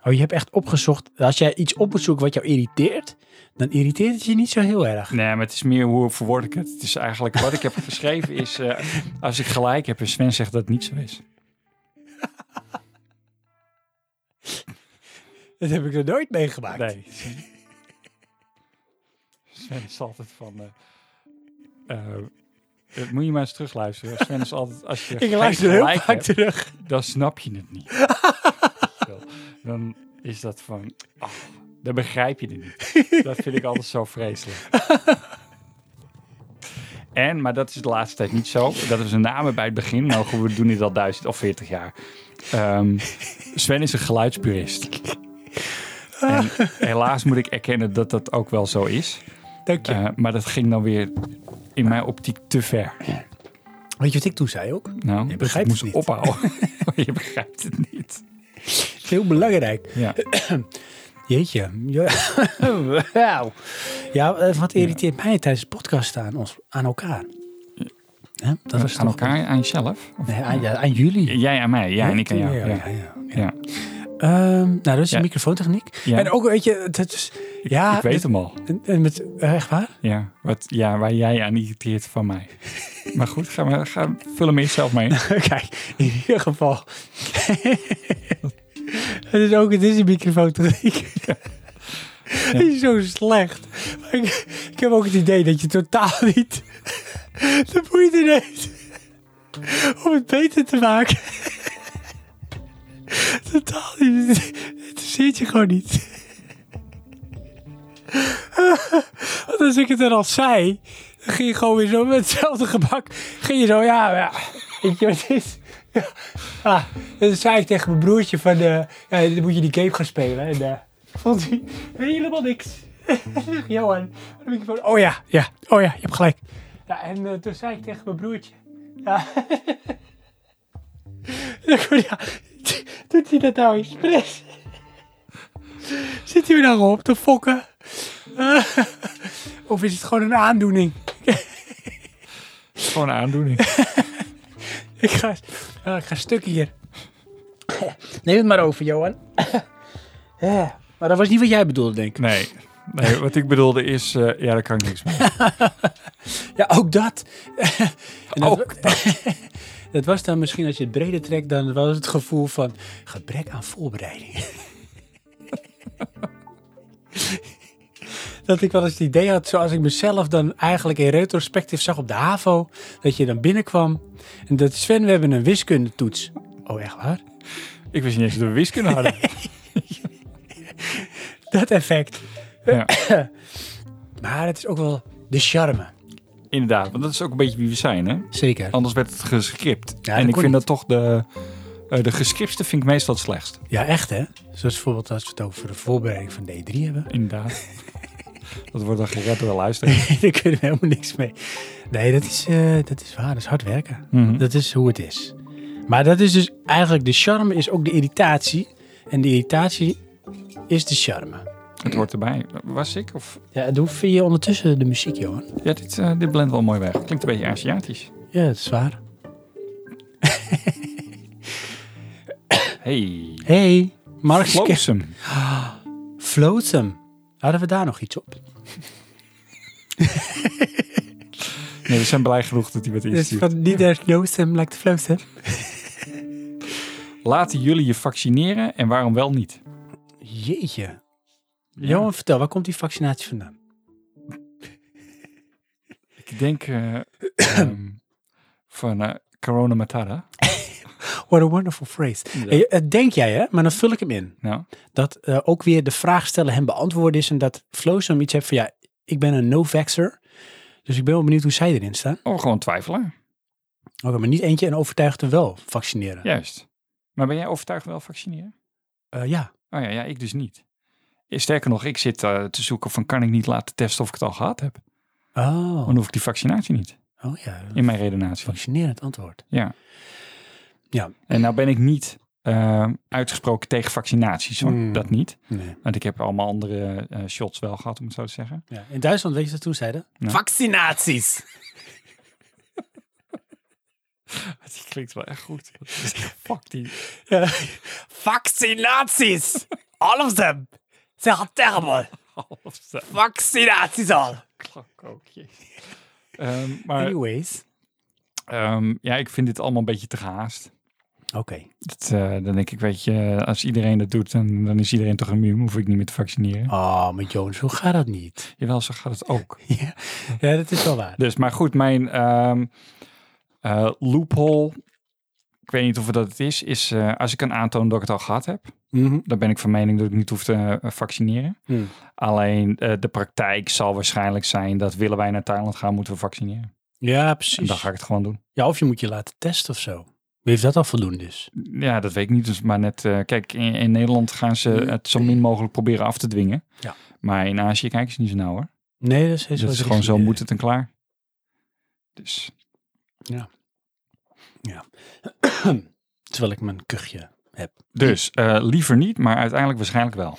A: Oh, je hebt echt opgezocht. Als jij iets op moet zoeken wat jou irriteert, dan irriteert het je niet zo heel erg.
C: Nee, maar het is meer hoe verwoord ik het. Het is eigenlijk wat ik heb geschreven is... eh, als ik gelijk heb en Sven zegt dat het niet zo is.
A: Dat heb ik nog nooit meegemaakt.
C: Nee. Sven is altijd van. eh, eh, dat moet je maar eens terugluisteren. Sven is altijd. Als je
A: Ik
C: geen
A: luister heel
C: gelijk
A: vaak
C: hebt,
A: terug.
C: dan snap je het niet. Zo. dan is dat van. ah, dan begrijp je het niet. Dat vind ik altijd zo vreselijk. En, maar dat is de laatste tijd niet zo. Dat is een namen bij het begin. Nou, goed, we doen dit al duizend of veertig jaar. Ehm, Sven is een geluidspurist. En helaas moet ik erkennen dat dat ook wel zo is.
A: Dank je.
C: Eh, maar dat ging dan weer in mijn optiek te ver.
A: Weet je wat ik toen zei ook?
C: Nou,
A: Je
C: dus ik
A: begrijpt
C: moest
A: het niet.
C: ophouden. je begrijpt het niet.
A: Heel belangrijk.
C: Ja.
A: Jeetje. Ja, Wauw. ja eh, wat irriteert mij tijdens de podcast aan, ons, aan elkaar? Hè? Dat was
C: aan
A: toch-
C: elkaar, aan jezelf? Of-
A: Nee, aan, ja, aan jullie.
C: Jij aan mij, ja, en ik aan jou.
A: Ja,
C: Ja.
A: ja, ja, ja.
C: Ja.
A: Ehm, nou, dat is
C: Ja.
A: de microfoontechniek.
C: Ja.
A: En ook, weet je, het, het is... Ja,
C: ik weet
A: het-
C: hem al.
A: en- en met, eh, echt waar?
C: Ah, dus Ja, wat, ja, waar jij aan irriteert van mij. maar goed, ga, maar, ga, vul hem eerst zelf mee.
A: Kijk, in ieder geval... het is ook, het is een microfoontechniek. Het is zo slecht. Maar ik, ik heb ook het idee dat je totaal niet de moeite neemt om het beter te maken. totaal niet. Het interesseert je gewoon niet. Want als Dus ik het er al zei, dan ging je gewoon weer zo met hetzelfde gebak. Ging je zo, ja, ja. Weet je wat het is? Ja. Ah, dan zei ik tegen mijn broertje van, eh, ja, dan moet je die game gaan spelen. En eh, vond hij helemaal niks. Johan, dan ik van, oh ja, ja, oh ja, je hebt gelijk. Ja, en eh, toen zei ik tegen mijn broertje, ja. Dan kon- ja, doet hij dat nou expres? Zit hij me nou op te fokken? Eh, of is het gewoon een aandoening?
C: Gewoon een aandoening.
A: Ik ga, ah, ik ga stuk hier. Neem het maar over, Johan. Ja, maar dat was niet wat jij bedoelde, denk ik.
C: Nee. nee, wat ik bedoelde is, eh, ja, daar kan ik niks mee.
A: Ja, ook dat. En dat,
C: Ook
A: dat was dan misschien, als je het breder trekt, dan was het gevoel van gebrek aan voorbereiding. dat ik wel eens het idee had, zoals ik mezelf dan eigenlijk in retrospectief zag op de HAVO, dat je dan binnenkwam en dat Sven, we hebben een wiskundetoets. Oh, echt waar?
C: Ik wist niet eens dat we wiskunde hadden.
A: Dat effect.
C: Ja,
A: Maar het is ook wel de charme.
C: inderdaad, want dat is ook een beetje wie we zijn, hè?
A: Zeker.
C: Anders werd het gescript.
A: dat
C: en ik
A: kon
C: vind
A: niet.
C: dat toch de... eh, de gescriptste vind ik meestal het slechtst.
A: Ja, echt hè? Zoals bijvoorbeeld als we het over de voorbereiding van D3 hebben.
C: Inderdaad. dat wordt dan gered door de luisteraar.
A: Daar kunnen we helemaal niks mee. Nee, dat is, eh, dat is waar. Dat is hard werken.
C: Mhm.
A: Dat is hoe het is. Maar dat is dus eigenlijk de charme is ook de irritatie. En de irritatie is de charme.
C: Het hoort erbij. Was ik? Of...
A: Ja, en hoe vind je ondertussen de muziek, Johan?
C: Ja, dit, eh, dit blendt wel mooi weg. Klinkt een beetje Aziatisch.
A: Ja, dat is waar.
C: Hey.
A: Hey, Mark Ske-
C: Flotsam.
A: Floatsum. Hadden we daar nog iets op?
C: Nee, we zijn blij genoeg dat hij wat
A: Dus
C: instuurt.
A: van niet als Floatsum lijkt Floatsum.
C: Laten jullie je vaccineren en waarom wel niet?
A: Jeetje.
C: Ja.
A: Johan, vertel, waar komt die vaccinatie vandaan?
C: Ik denk eh, ehm, van eh, Corona Matara.
A: What a wonderful phrase. Hey, eh, denk jij hè, maar dan vul ik hem in.
C: Nou,
A: dat eh, ook weer de vraag stellen hem beantwoorden is. En dat Floosum iets heeft van ja, ik ben een no-vaxxer. Dus ik ben wel benieuwd hoe zij erin staan.
C: oh, gewoon twijfelaar.
A: Oké, maar niet eentje en overtuigd er wel vaccineren. Ja.
C: Juist. Maar ben jij overtuigd wel vaccineren?
A: Eh, ja.
C: Oh ja, ja ik dus niet. Eh, Sterker nog, ik zit eh, te zoeken van kan ik niet laten testen of ik het al gehad heb.
A: Oh.
C: Dan hoef ik die vaccinatie niet,
A: oh ja,
C: in mijn redenatie.
A: vaccinerend antwoord.
C: Ja.
A: Ja.
C: En nou ben ik niet eh, uitgesproken tegen vaccinaties, hoor.
A: Mm.
C: dat niet.
A: Nee.
C: Want ik heb allemaal andere eh, shots wel gehad, om het zo te zeggen.
A: Ja. In Duitsland, weet je wat ze toen zeiden?
C: Ja.
A: Vaccinaties!
C: Het klinkt wel echt goed. Fuck die.
A: Ja. Vaccinaties! All of them! Ze are terrible! Vaccinaties all!
C: maar
A: Anyways.
C: ehm, ja, ik vind dit allemaal een beetje te gehaast.
A: Oké.
C: Dat, eh, dan denk ik, weet je, als iedereen dat doet, dan, dan is iedereen toch immuun. Hoef ik niet meer te vaccineren.
A: Oh, maar Jones, hoe gaat dat niet?
C: Jawel, zo gaat het ook.
A: ja. ja, dat is wel waar.
C: Dus, maar goed, mijn ehm, eh, loophole, ik weet niet of het dat het is, is eh, als ik kan aantonen dat ik het al gehad heb,
A: Mhm.
C: dan ben ik van mening dat ik niet hoef te eh, vaccineren.
A: Hm.
C: Alleen eh, de praktijk zal waarschijnlijk zijn dat willen wij naar Thailand gaan, moeten we vaccineren.
A: Ja,
C: En dan
A: precies.
C: ga ik het gewoon doen.
A: Ja, of je moet je laten testen of zo. Wie heeft dat al voldoende is?
C: Ja, dat weet ik niet. Dus maar net, eh, kijk, in, in Nederland gaan ze het zo min mogelijk proberen af te dwingen.
A: Ja.
C: Maar in Azië kijken ze niet zo nauw hoor.
A: Nee, dat is,
C: dat is gewoon zo moet het en klaar. Dus
A: Ja. Terwijl ik mijn kuchje heb.
C: Dus eh, liever niet, maar uiteindelijk waarschijnlijk wel.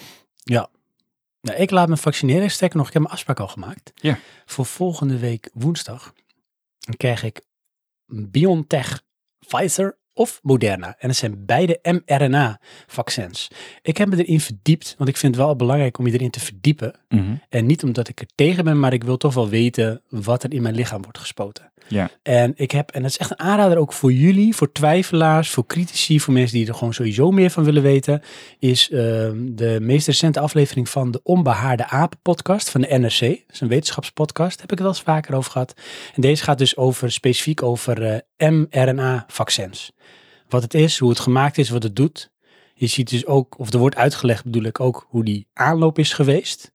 A: Nou, ik laat me vaccineren. Sterker nog, ik heb mijn afspraak al gemaakt.
C: Ja.
A: Voor volgende week woensdag. Dan krijg ik BioNTech, Pfizer of Moderna. En het zijn beide mRNA-vaccins. Ik heb me erin verdiept, want ik vind het wel belangrijk om je erin te verdiepen. En niet omdat ik er tegen ben, maar ik wil toch wel weten wat er in mijn lichaam wordt gespoten.
C: Ja.
A: En ik heb, en dat is echt een aanrader ook voor jullie, voor twijfelaars, voor critici, voor mensen die er gewoon sowieso meer van willen weten, is ehm, de meest recente aflevering van de Onbehaarde Apen podcast van de NRC. Dat is een wetenschapspodcast, heb ik het wel eens vaker over gehad. En deze gaat dus over, specifiek over eh, mRNA-vaccins. Wat het is, hoe het gemaakt is, wat het doet. Je ziet dus ook, of er wordt uitgelegd bedoel ik ook, hoe die aanloop is geweest.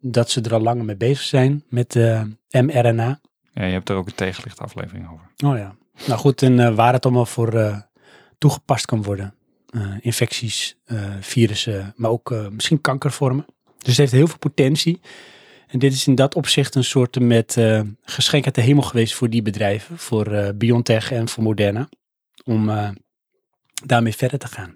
A: Dat ze er al langer mee bezig zijn met eh, mRNA.
C: Ja, je hebt er ook een tegenlicht aflevering over.
A: Oh ja. Nou goed, en eh, waar het allemaal voor eh, toegepast kan worden. Eh, infecties, eh, virussen, maar ook eh, misschien kankervormen. Dus het heeft heel veel potentie. En dit is in dat opzicht een soort met eh, geschenk uit de hemel geweest voor die bedrijven. Voor eh, BioNTech en voor Moderna. Om eh, daarmee verder te gaan.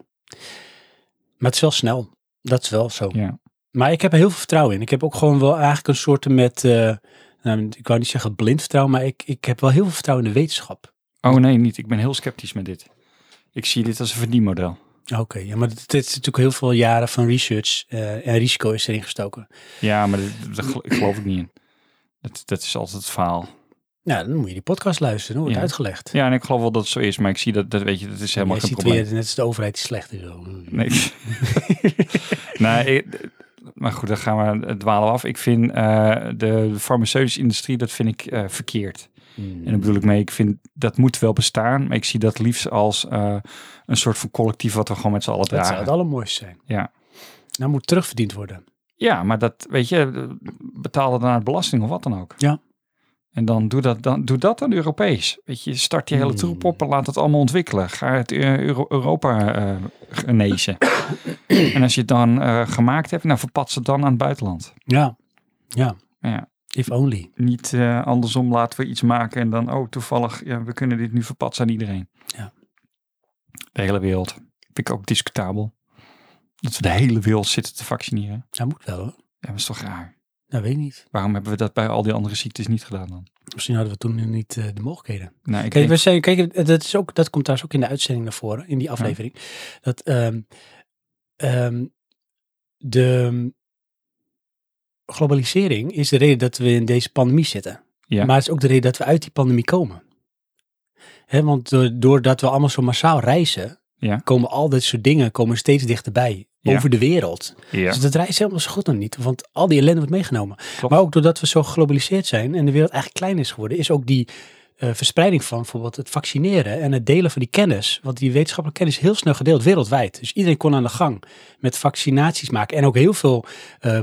A: Maar het is wel snel. Dat is wel zo.
C: Ja.
A: Maar ik heb er heel veel vertrouwen in. Ik heb ook gewoon wel eigenlijk een soort met, eh, nou, ik wou niet zeggen blind vertrouwen, maar ik, ik heb wel heel veel vertrouwen in de wetenschap.
C: Oh nee, niet. Ik ben heel sceptisch met dit. Ik zie dit als een verdienmodel.
A: Oké, ja, maar dit dit is natuurlijk heel veel jaren van research eh, en risico is erin gestoken.
C: Ja, maar dit- daar gel- ik geloof ik niet in. Dat, dat is altijd het verhaal.
A: Nou, dan moet je die podcast luisteren, dan wordt
C: Ja.
A: uitgelegd.
C: Ja, en ik geloof wel dat het zo is, maar ik zie dat, dat weet je, dat is helemaal
A: je
C: geen
A: ziet
C: probleem.
A: weer, net als de overheid die slecht is. Hmm. Zo.
C: Nee. nee, ik- maar goed, dan gaan we eh, dwalen we af. Ik vind eh, de farmaceutische industrie, dat vind ik eh, verkeerd.
A: Hmm.
C: En daar bedoel ik mee, ik vind dat moet wel bestaan. Maar ik zie dat liefst als eh, een soort van collectief wat we gewoon met z'n allen
A: Dat zou
C: dragen.
A: het allermooiste zijn.
C: Ja.
A: Nou moet terugverdiend worden.
C: Ja, maar dat, weet je, betaal dat naar belasting of wat dan ook.
A: Ja.
C: En dan doe dat dan, doe dat dan Europees. Weet je, start die hele
A: Hmm.
C: troep op en laat het allemaal ontwikkelen. Ga het eh, Euro- Europa eh, genezen. en als je het dan eh, gemaakt hebt, nou verpats het dan aan het buitenland.
A: Ja, ja.
C: Ja.
A: If only.
C: Niet eh, andersom laten we iets maken en dan, oh toevallig, ja, we kunnen dit nu verpatsen aan iedereen.
A: Ja.
C: De hele wereld. Vind ik ook discutabel. Dat we de hele wereld zitten te vaccineren.
A: Dat Nou, moet wel hoor.
C: Ja, maar dat is toch raar.
A: Nou weet ik niet.
C: Waarom hebben we dat bij al die andere ziektes niet gedaan dan?
A: Misschien hadden we toen nu niet eh, de mogelijkheden.
C: Nou, ik
A: Kijk,
C: denk,
A: we zijn, kijk dat, is ook, dat komt trouwens ook in de uitzending naar voren, in die aflevering. Dat ehm, ehm, de ehm, globalisering is de reden dat we in deze pandemie zitten.
C: Ja.
A: Maar het is ook de reden dat we uit die pandemie komen. Hè, want do- doordat we allemaal zo massaal reizen,
C: Ja.
A: komen al dit soort dingen komen steeds dichterbij.
C: Ja.
A: Over de wereld.
C: ja,
A: Dus dat reizen helemaal zo goed nog niet. Want al die ellende wordt meegenomen.
C: klopt.
A: Maar ook doordat we zo geglobaliseerd zijn en de wereld eigenlijk klein is geworden, is ook die eh, verspreiding van bijvoorbeeld het vaccineren en het delen van die kennis. Want die wetenschappelijke kennis is heel snel gedeeld wereldwijd. Dus iedereen kon aan de gang met vaccinaties maken. En ook heel veel eh,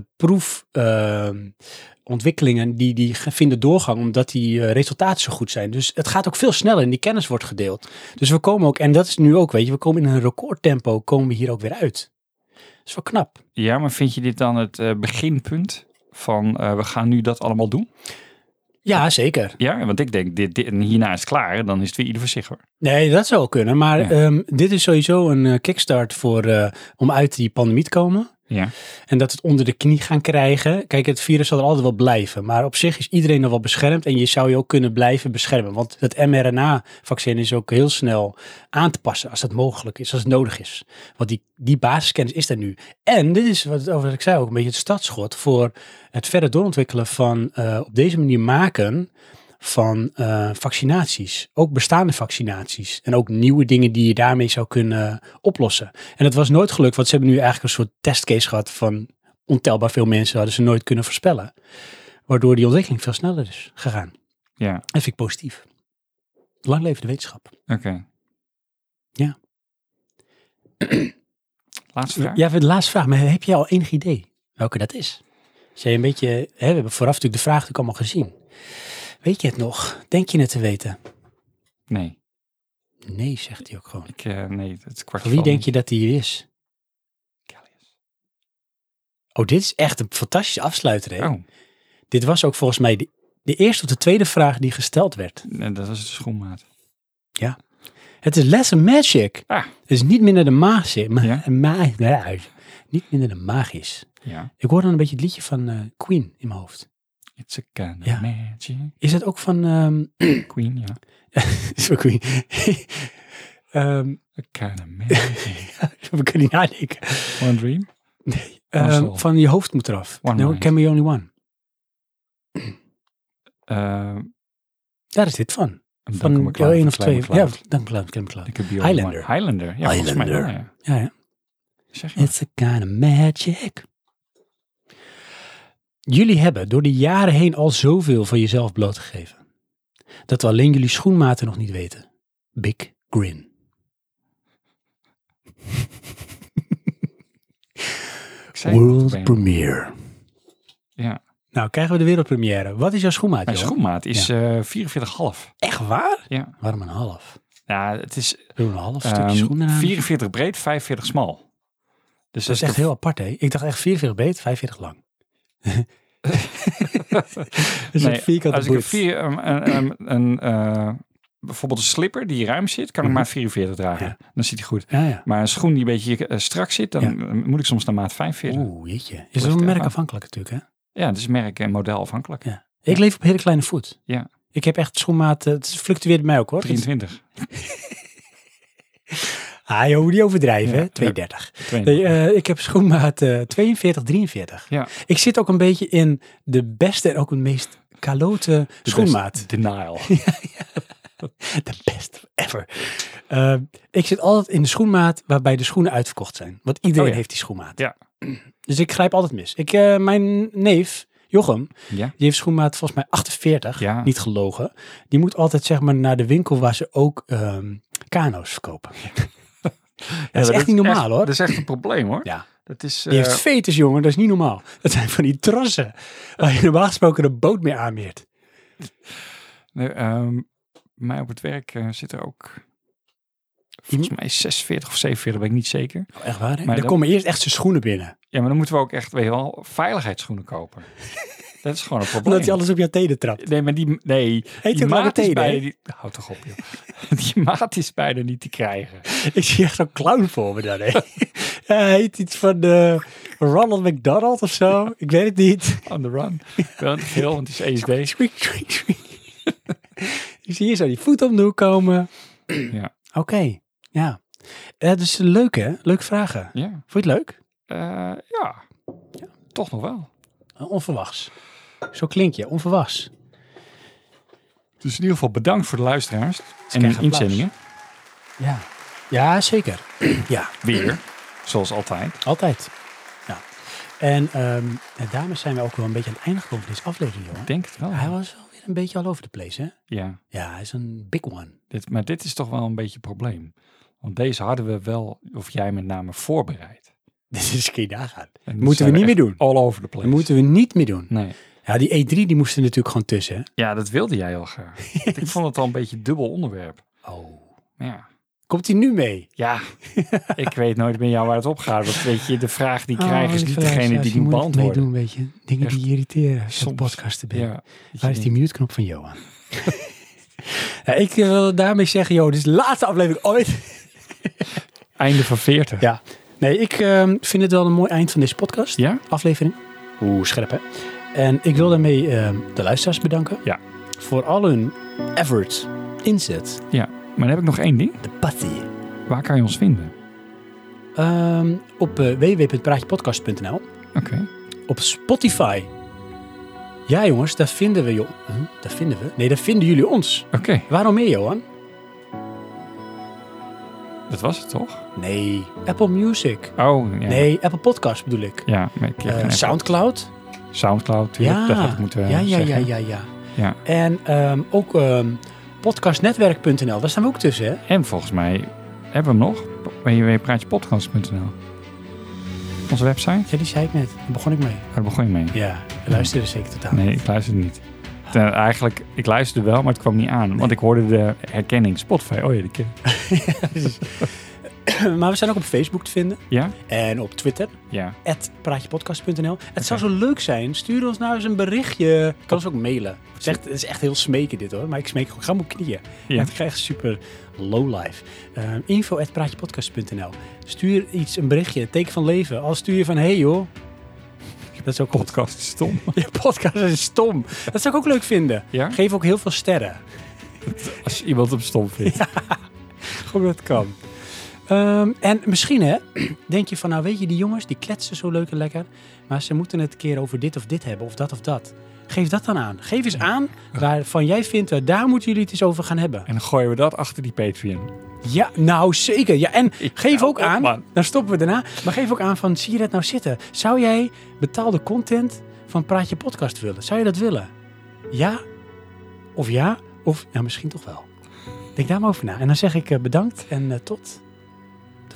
A: proefontwikkelingen die, die ge- vinden doorgang omdat die eh, resultaten zo goed zijn. Dus het gaat ook veel sneller en die kennis wordt gedeeld. Dus we komen ook, en dat is nu ook, weet je, we komen in een recordtempo, komen we hier ook weer uit. Dat is wel knap.
C: ja, maar vind je dit dan het eh, beginpunt van eh, we gaan nu dat allemaal doen?
A: Ja, zeker.
C: Ja, want ik denk dit, dit en hierna is het klaar. Dan is het weer ieder voor zich hoor.
A: Nee, dat zou wel kunnen. Maar
C: Ja.
A: ehm, dit is sowieso een eh, kickstart voor, eh, om uit die pandemie te komen.
C: Ja,
A: En dat we het onder de knie gaan krijgen. Kijk, het virus zal er altijd wel blijven. Maar op zich is iedereen nog wel beschermd. En je zou je ook kunnen blijven beschermen. Want het mRNA-vaccin is ook heel snel aan te passen. Als dat mogelijk is, als het nodig is. Want die, die basiskennis is er nu. En dit is wat, over wat ik zei ook een beetje het startschot voor het verder doorontwikkelen van eh, op deze manier maken van eh, vaccinaties. Ook bestaande vaccinaties. En ook nieuwe dingen die je daarmee zou kunnen oplossen. En dat was nooit gelukt, want ze hebben nu eigenlijk een soort testcase gehad van ontelbaar veel mensen hadden ze nooit kunnen voorspellen. Waardoor die ontwikkeling veel sneller is gegaan.
C: ja,
A: Dat vind ik positief. Lang leven de wetenschap.
C: oké.
A: Ja.
C: Laatste vraag.
A: Ja, de laatste vraag. Maar heb jij al enig idee welke dat is? Als jij een beetje, hè, we hebben vooraf natuurlijk de vraag natuurlijk allemaal gezien. Weet je het nog? Denk je het te weten?
C: Nee,
A: Nee, zegt hij ook gewoon.
C: ik, eh, nee, het is kwart
A: Van wie denk je dat die is? Oh, dit is echt een fantastische afsluiter. Hè?
C: Oh,
A: Dit was ook volgens mij de, de eerste of de tweede vraag die gesteld werd.
C: nee, dat was de schoenmaat.
A: Ja. Het is less a magic.
C: Ah.
A: Het is niet minder de magie. Ma
C: Ja.
A: ma- nee, niet minder de magisch.
C: Ja.
A: Ik hoor dan een beetje het liedje van eh, Queen in mijn hoofd.
C: It's a kind of
A: Ja.
C: magic.
A: Is dat ook van... ehm,
C: Queen, ja.
A: is van Queen. Ehm,
C: A kind of magic.
A: we kunnen niet nadenken.
C: One dream.
A: Ehm,
C: Marcel.
A: van je hoofd moet eraf.
C: One
A: no,
C: mind.
A: can be only one.
C: Eh,
A: Daar is dit van.
C: een
A: Van
C: Duncan
A: jou
C: MacLeod,
A: één of
C: Klein
A: twee.
C: MacLeod.
A: Ja, Duncan MacLeod, Klein MacLeod.
C: Ik heb hier
A: Highlander.
C: allemaal- Highlander, ja. volgens mij wel,
A: Highlander.
C: ja.
A: Ja, ja.
C: Zeg je
A: It's a kind of magic. Jullie hebben door de jaren heen al zoveel van jezelf blootgegeven. Dat we alleen jullie schoenmaten nog niet weten. Big grin.
C: maar. Ik zei het
A: World
C: meteen.
A: premiere.
C: Ja.
A: Nou, krijgen we de wereldpremière. Wat is jouw schoenmaat,
C: Mijn
A: Johan?
C: schoenmaat is eh 44,5.
A: Echt waar?
C: Ja.
A: Waarom een half?
C: ja, het is
A: Doe een half
C: ehm,
A: stukje schoenen aan.
C: 44 breed, 45 smal. Dus
A: Dat is echt heel apart, hè? Ik dacht echt 44 breed, 45 lang. dat is
C: Nee,
A: een vierkante
C: Als ik een,
A: boord.
C: vier, een, een, een, een, eh, bijvoorbeeld een slipper die ruim zit, kan ik maar 44 dragen. Dan zit hij goed.
A: Mhm. Ja, ja.
C: Maar een schoen die een beetje eh, strak zit, dan
A: Ja.
C: eh, moet ik soms naar maat 45.
A: Oeh, jeetje. Is
C: Ligt
A: er een
C: eraan.
A: merk afhankelijk natuurlijk, hè?
C: Ja, dus merk en model afhankelijk.
A: Ja. Ik leef op hele kleine voet.
C: Ja.
A: Ik heb echt schoenmaat, eh, het fluctueert mij ook hoor.
C: 23.
A: Ah joh, die overdrijven,
C: Ja,
A: hè? 230.
C: 22.
A: Nee, eh, ik heb schoenmaat eh, 42, 43.
C: Ja.
A: Ik zit ook een beetje in de beste en ook het meest kalote schoenmaat.
C: De Denial.
A: De best ever. Eh, ik zit altijd in de schoenmaat waarbij de schoenen uitverkocht zijn. Want iedereen
C: Oh ja.
A: heeft die schoenmaat.
C: Ja.
A: Dus ik grijp altijd mis. Ik, eh, mijn neef, Jochem,
C: Ja.
A: die heeft schoenmaat volgens mij 48.
C: Ja.
A: Niet gelogen. Die moet altijd zeg maar naar de winkel waar ze ook ehm kano's verkopen. dat is echt dus, niet normaal hoor.
C: Dat is echt een probleem hoor.
A: Ja.
C: Dat is,
A: Die
C: eh,
A: heeft fetus, jongen. Dat is niet normaal. Dat zijn van die trassen waar je normaal gesproken de boot mee aanmeert.
C: nee, ehm, bij mij op het werk eh, zit er ook, volgens mij 46 of 47, ben ik niet zeker.
A: Oh, echt waar, hè? Oh,
C: Maar
A: Daar
C: dat-
A: komen eerst echt zijn schoenen binnen.
C: Ja, maar dan moeten we ook echt, weet je wel, veiligheidsschoenen kopen. dat is gewoon een probleem.
A: Omdat hij alles op jouw teden trapt.
C: Nee, maar die, nee,
A: Heet
C: die
A: ook lange
C: maat is
A: tenen, hè?
C: bijna niet... Houd toch op, joh. die maat is bijna niet te krijgen.
A: Ik zie echt zo'n clown voor me dan, hè. Ja, hij heet iets van eh, Ronald McDonald of zo. Ik weet het niet.
C: On the run. Wel in het geel, want het is E ESD.
A: Tweak, tweak, tweak. Ik zie hier zo die voet om de hoek komen.
C: Ja.
A: Oké, ja. Eh dus leuk, hè? Leuke vragen.
C: Ja.
A: Vond je het leuk?
C: Eh, ja. toch nog wel.
A: Eh, Onverwachts. Zo klink je, onverwachts.
C: Dus in ieder geval bedankt voor de luisteraars en
A: krijgen
C: hun
A: applaus.
C: inzendingen.
A: Ja. Ja, zeker. ja,
C: Weer, zoals altijd.
A: altijd. Ja. En ehm, en daarmee zijn we ook wel een beetje aan het einde gekomen van deze aflevering, jongen.
C: Ik denk het wel.
A: Hij was wel weer een beetje all over the place, hè?
C: Ja,
A: Ja, hij is een big one.
C: dit, maar dit is toch wel een beetje een probleem. Want deze hadden we wel, of jij met name, voorbereid.
A: Dit is geen nagaan.
C: En nu
A: Moeten we
C: zijn
A: niet meer
C: echt
A: doen.
C: All over the
A: Dat
C: place.
A: moeten we niet meer doen.
C: Nee.
A: Ja, die E3 die moest er natuurlijk gewoon tussen. hè?
C: Ja, dat wilde jij heel graag. Want ik vond het al een beetje een dubbel onderwerp.
A: Oh.
C: Maar ja.
A: Komt hij nu mee?
C: Ja, ik weet nooit meer jou waar het op gaat. Want weet je, de vraag die ik krijg
A: krijgen
C: is niet degene die ik moet beantwoorden.
A: meedoen, weet je. Dingen
C: Echt.
A: die irriteren als je
C: Soms.
A: op podcasten bent.
C: Ja,
A: Waar is die mute-knop van Johan? ja, ik eh, wil daarmee zeggen, joh, dit is de laatste aflevering ooit.
C: Einde van 40.
A: Ja. Nee, ik ehm, vind het wel een mooi eind van deze podcast.
C: Ja?
A: aflevering. Oeh, scherp hè? En ik wil daarmee ehm, de luisteraars bedanken.
C: Ja.
A: Voor al hun effort, inzet,
C: Ja. Maar dan heb ik nog één ding.
A: de passie.
C: Waar kan je ons vinden?
A: Ehm, op eh, www.praatjepodcast.nl.
C: Oké.
A: Op Spotify. Ja jongens, daar vinden we... joh. Hm, daar vinden we? Nee, daar vinden jullie ons.
C: Oké,
A: Waarom meer, Johan?
C: dat was het toch?
A: Nee, Apple Music.
C: Oh, ja.
A: Nee, Apple Podcast bedoel ik.
C: Ja, maar ik heb
A: Eh,
C: geen app.
A: Soundcloud.
C: Soundcloud, tuurlijk,
A: Ja.
C: dat had ik moeten
A: ja, ja, ja,
C: zeggen.
A: ja, ja.
C: Ja.
A: En ehm, ook ehm, podcastnetwerk.nl. Daar staan we ook tussen, hè?
C: En volgens mij hebben we hem nog. www.praatjepodcast.nl Onze website?
A: Ja, die zei ik net. Daar begon ik mee.
C: Daar begon je mee.
A: Ja, je luisterde zeker totaal.
C: Nee, ik luisterde niet. Ten- eigenlijk, ik luisterde wel, maar het kwam niet aan. Want ik hoorde de herkenning Spotify. Oh ja, die keer.
A: Dus, maar we zijn ook op Facebook te vinden
C: Ja?
A: en op Twitter,
C: Ja.
A: praatjepodcast.nl. Het zou zo leuk zijn. Stuur ons nou eens een berichtje. Je kan ons ook mailen. Het is, echt, het is echt heel smeken dit hoor, maar ik smeek gewoon. Ik ga op mijn knieën.
C: Ja.
A: Het krijgt super low life. Ehm info at praatjepodcast.nl. Stuur iets, een berichtje, een teken van leven. Al stuur je van, hey joh. Dat is ook goed.
C: Podcast is stom.
A: Je podcast is stom. Dat zou ik ook leuk vinden.
C: Ja?
A: Geef ook heel veel sterren.
C: Als je iemand op stom vindt.
A: Gewoon dat kan. Ehm, en misschien hè, denk je van nou weet je die jongens die kletsen zo leuk en lekker. Maar ze moeten het een keer over dit of dit hebben of dat of dat. Geef dat dan aan. Geef eens aan waarvan jij vindt eh, daar moeten jullie het eens over gaan hebben.
C: En dan gooien we dat achter die Patreon.
A: Ja, nou zeker. Ja, en geef
C: hou
A: ook
C: op,
A: aan,
C: oh, man.
A: dan stoppen we daarna. Maar geef ook aan van zie je dat nou zitten? Zou jij betaalde content van Praatje Podcast willen? Zou je dat willen? Ja? Of ja? Of ja, misschien toch wel. Denk daar maar over na. En dan zeg ik eh, bedankt en eh, tot de
C: De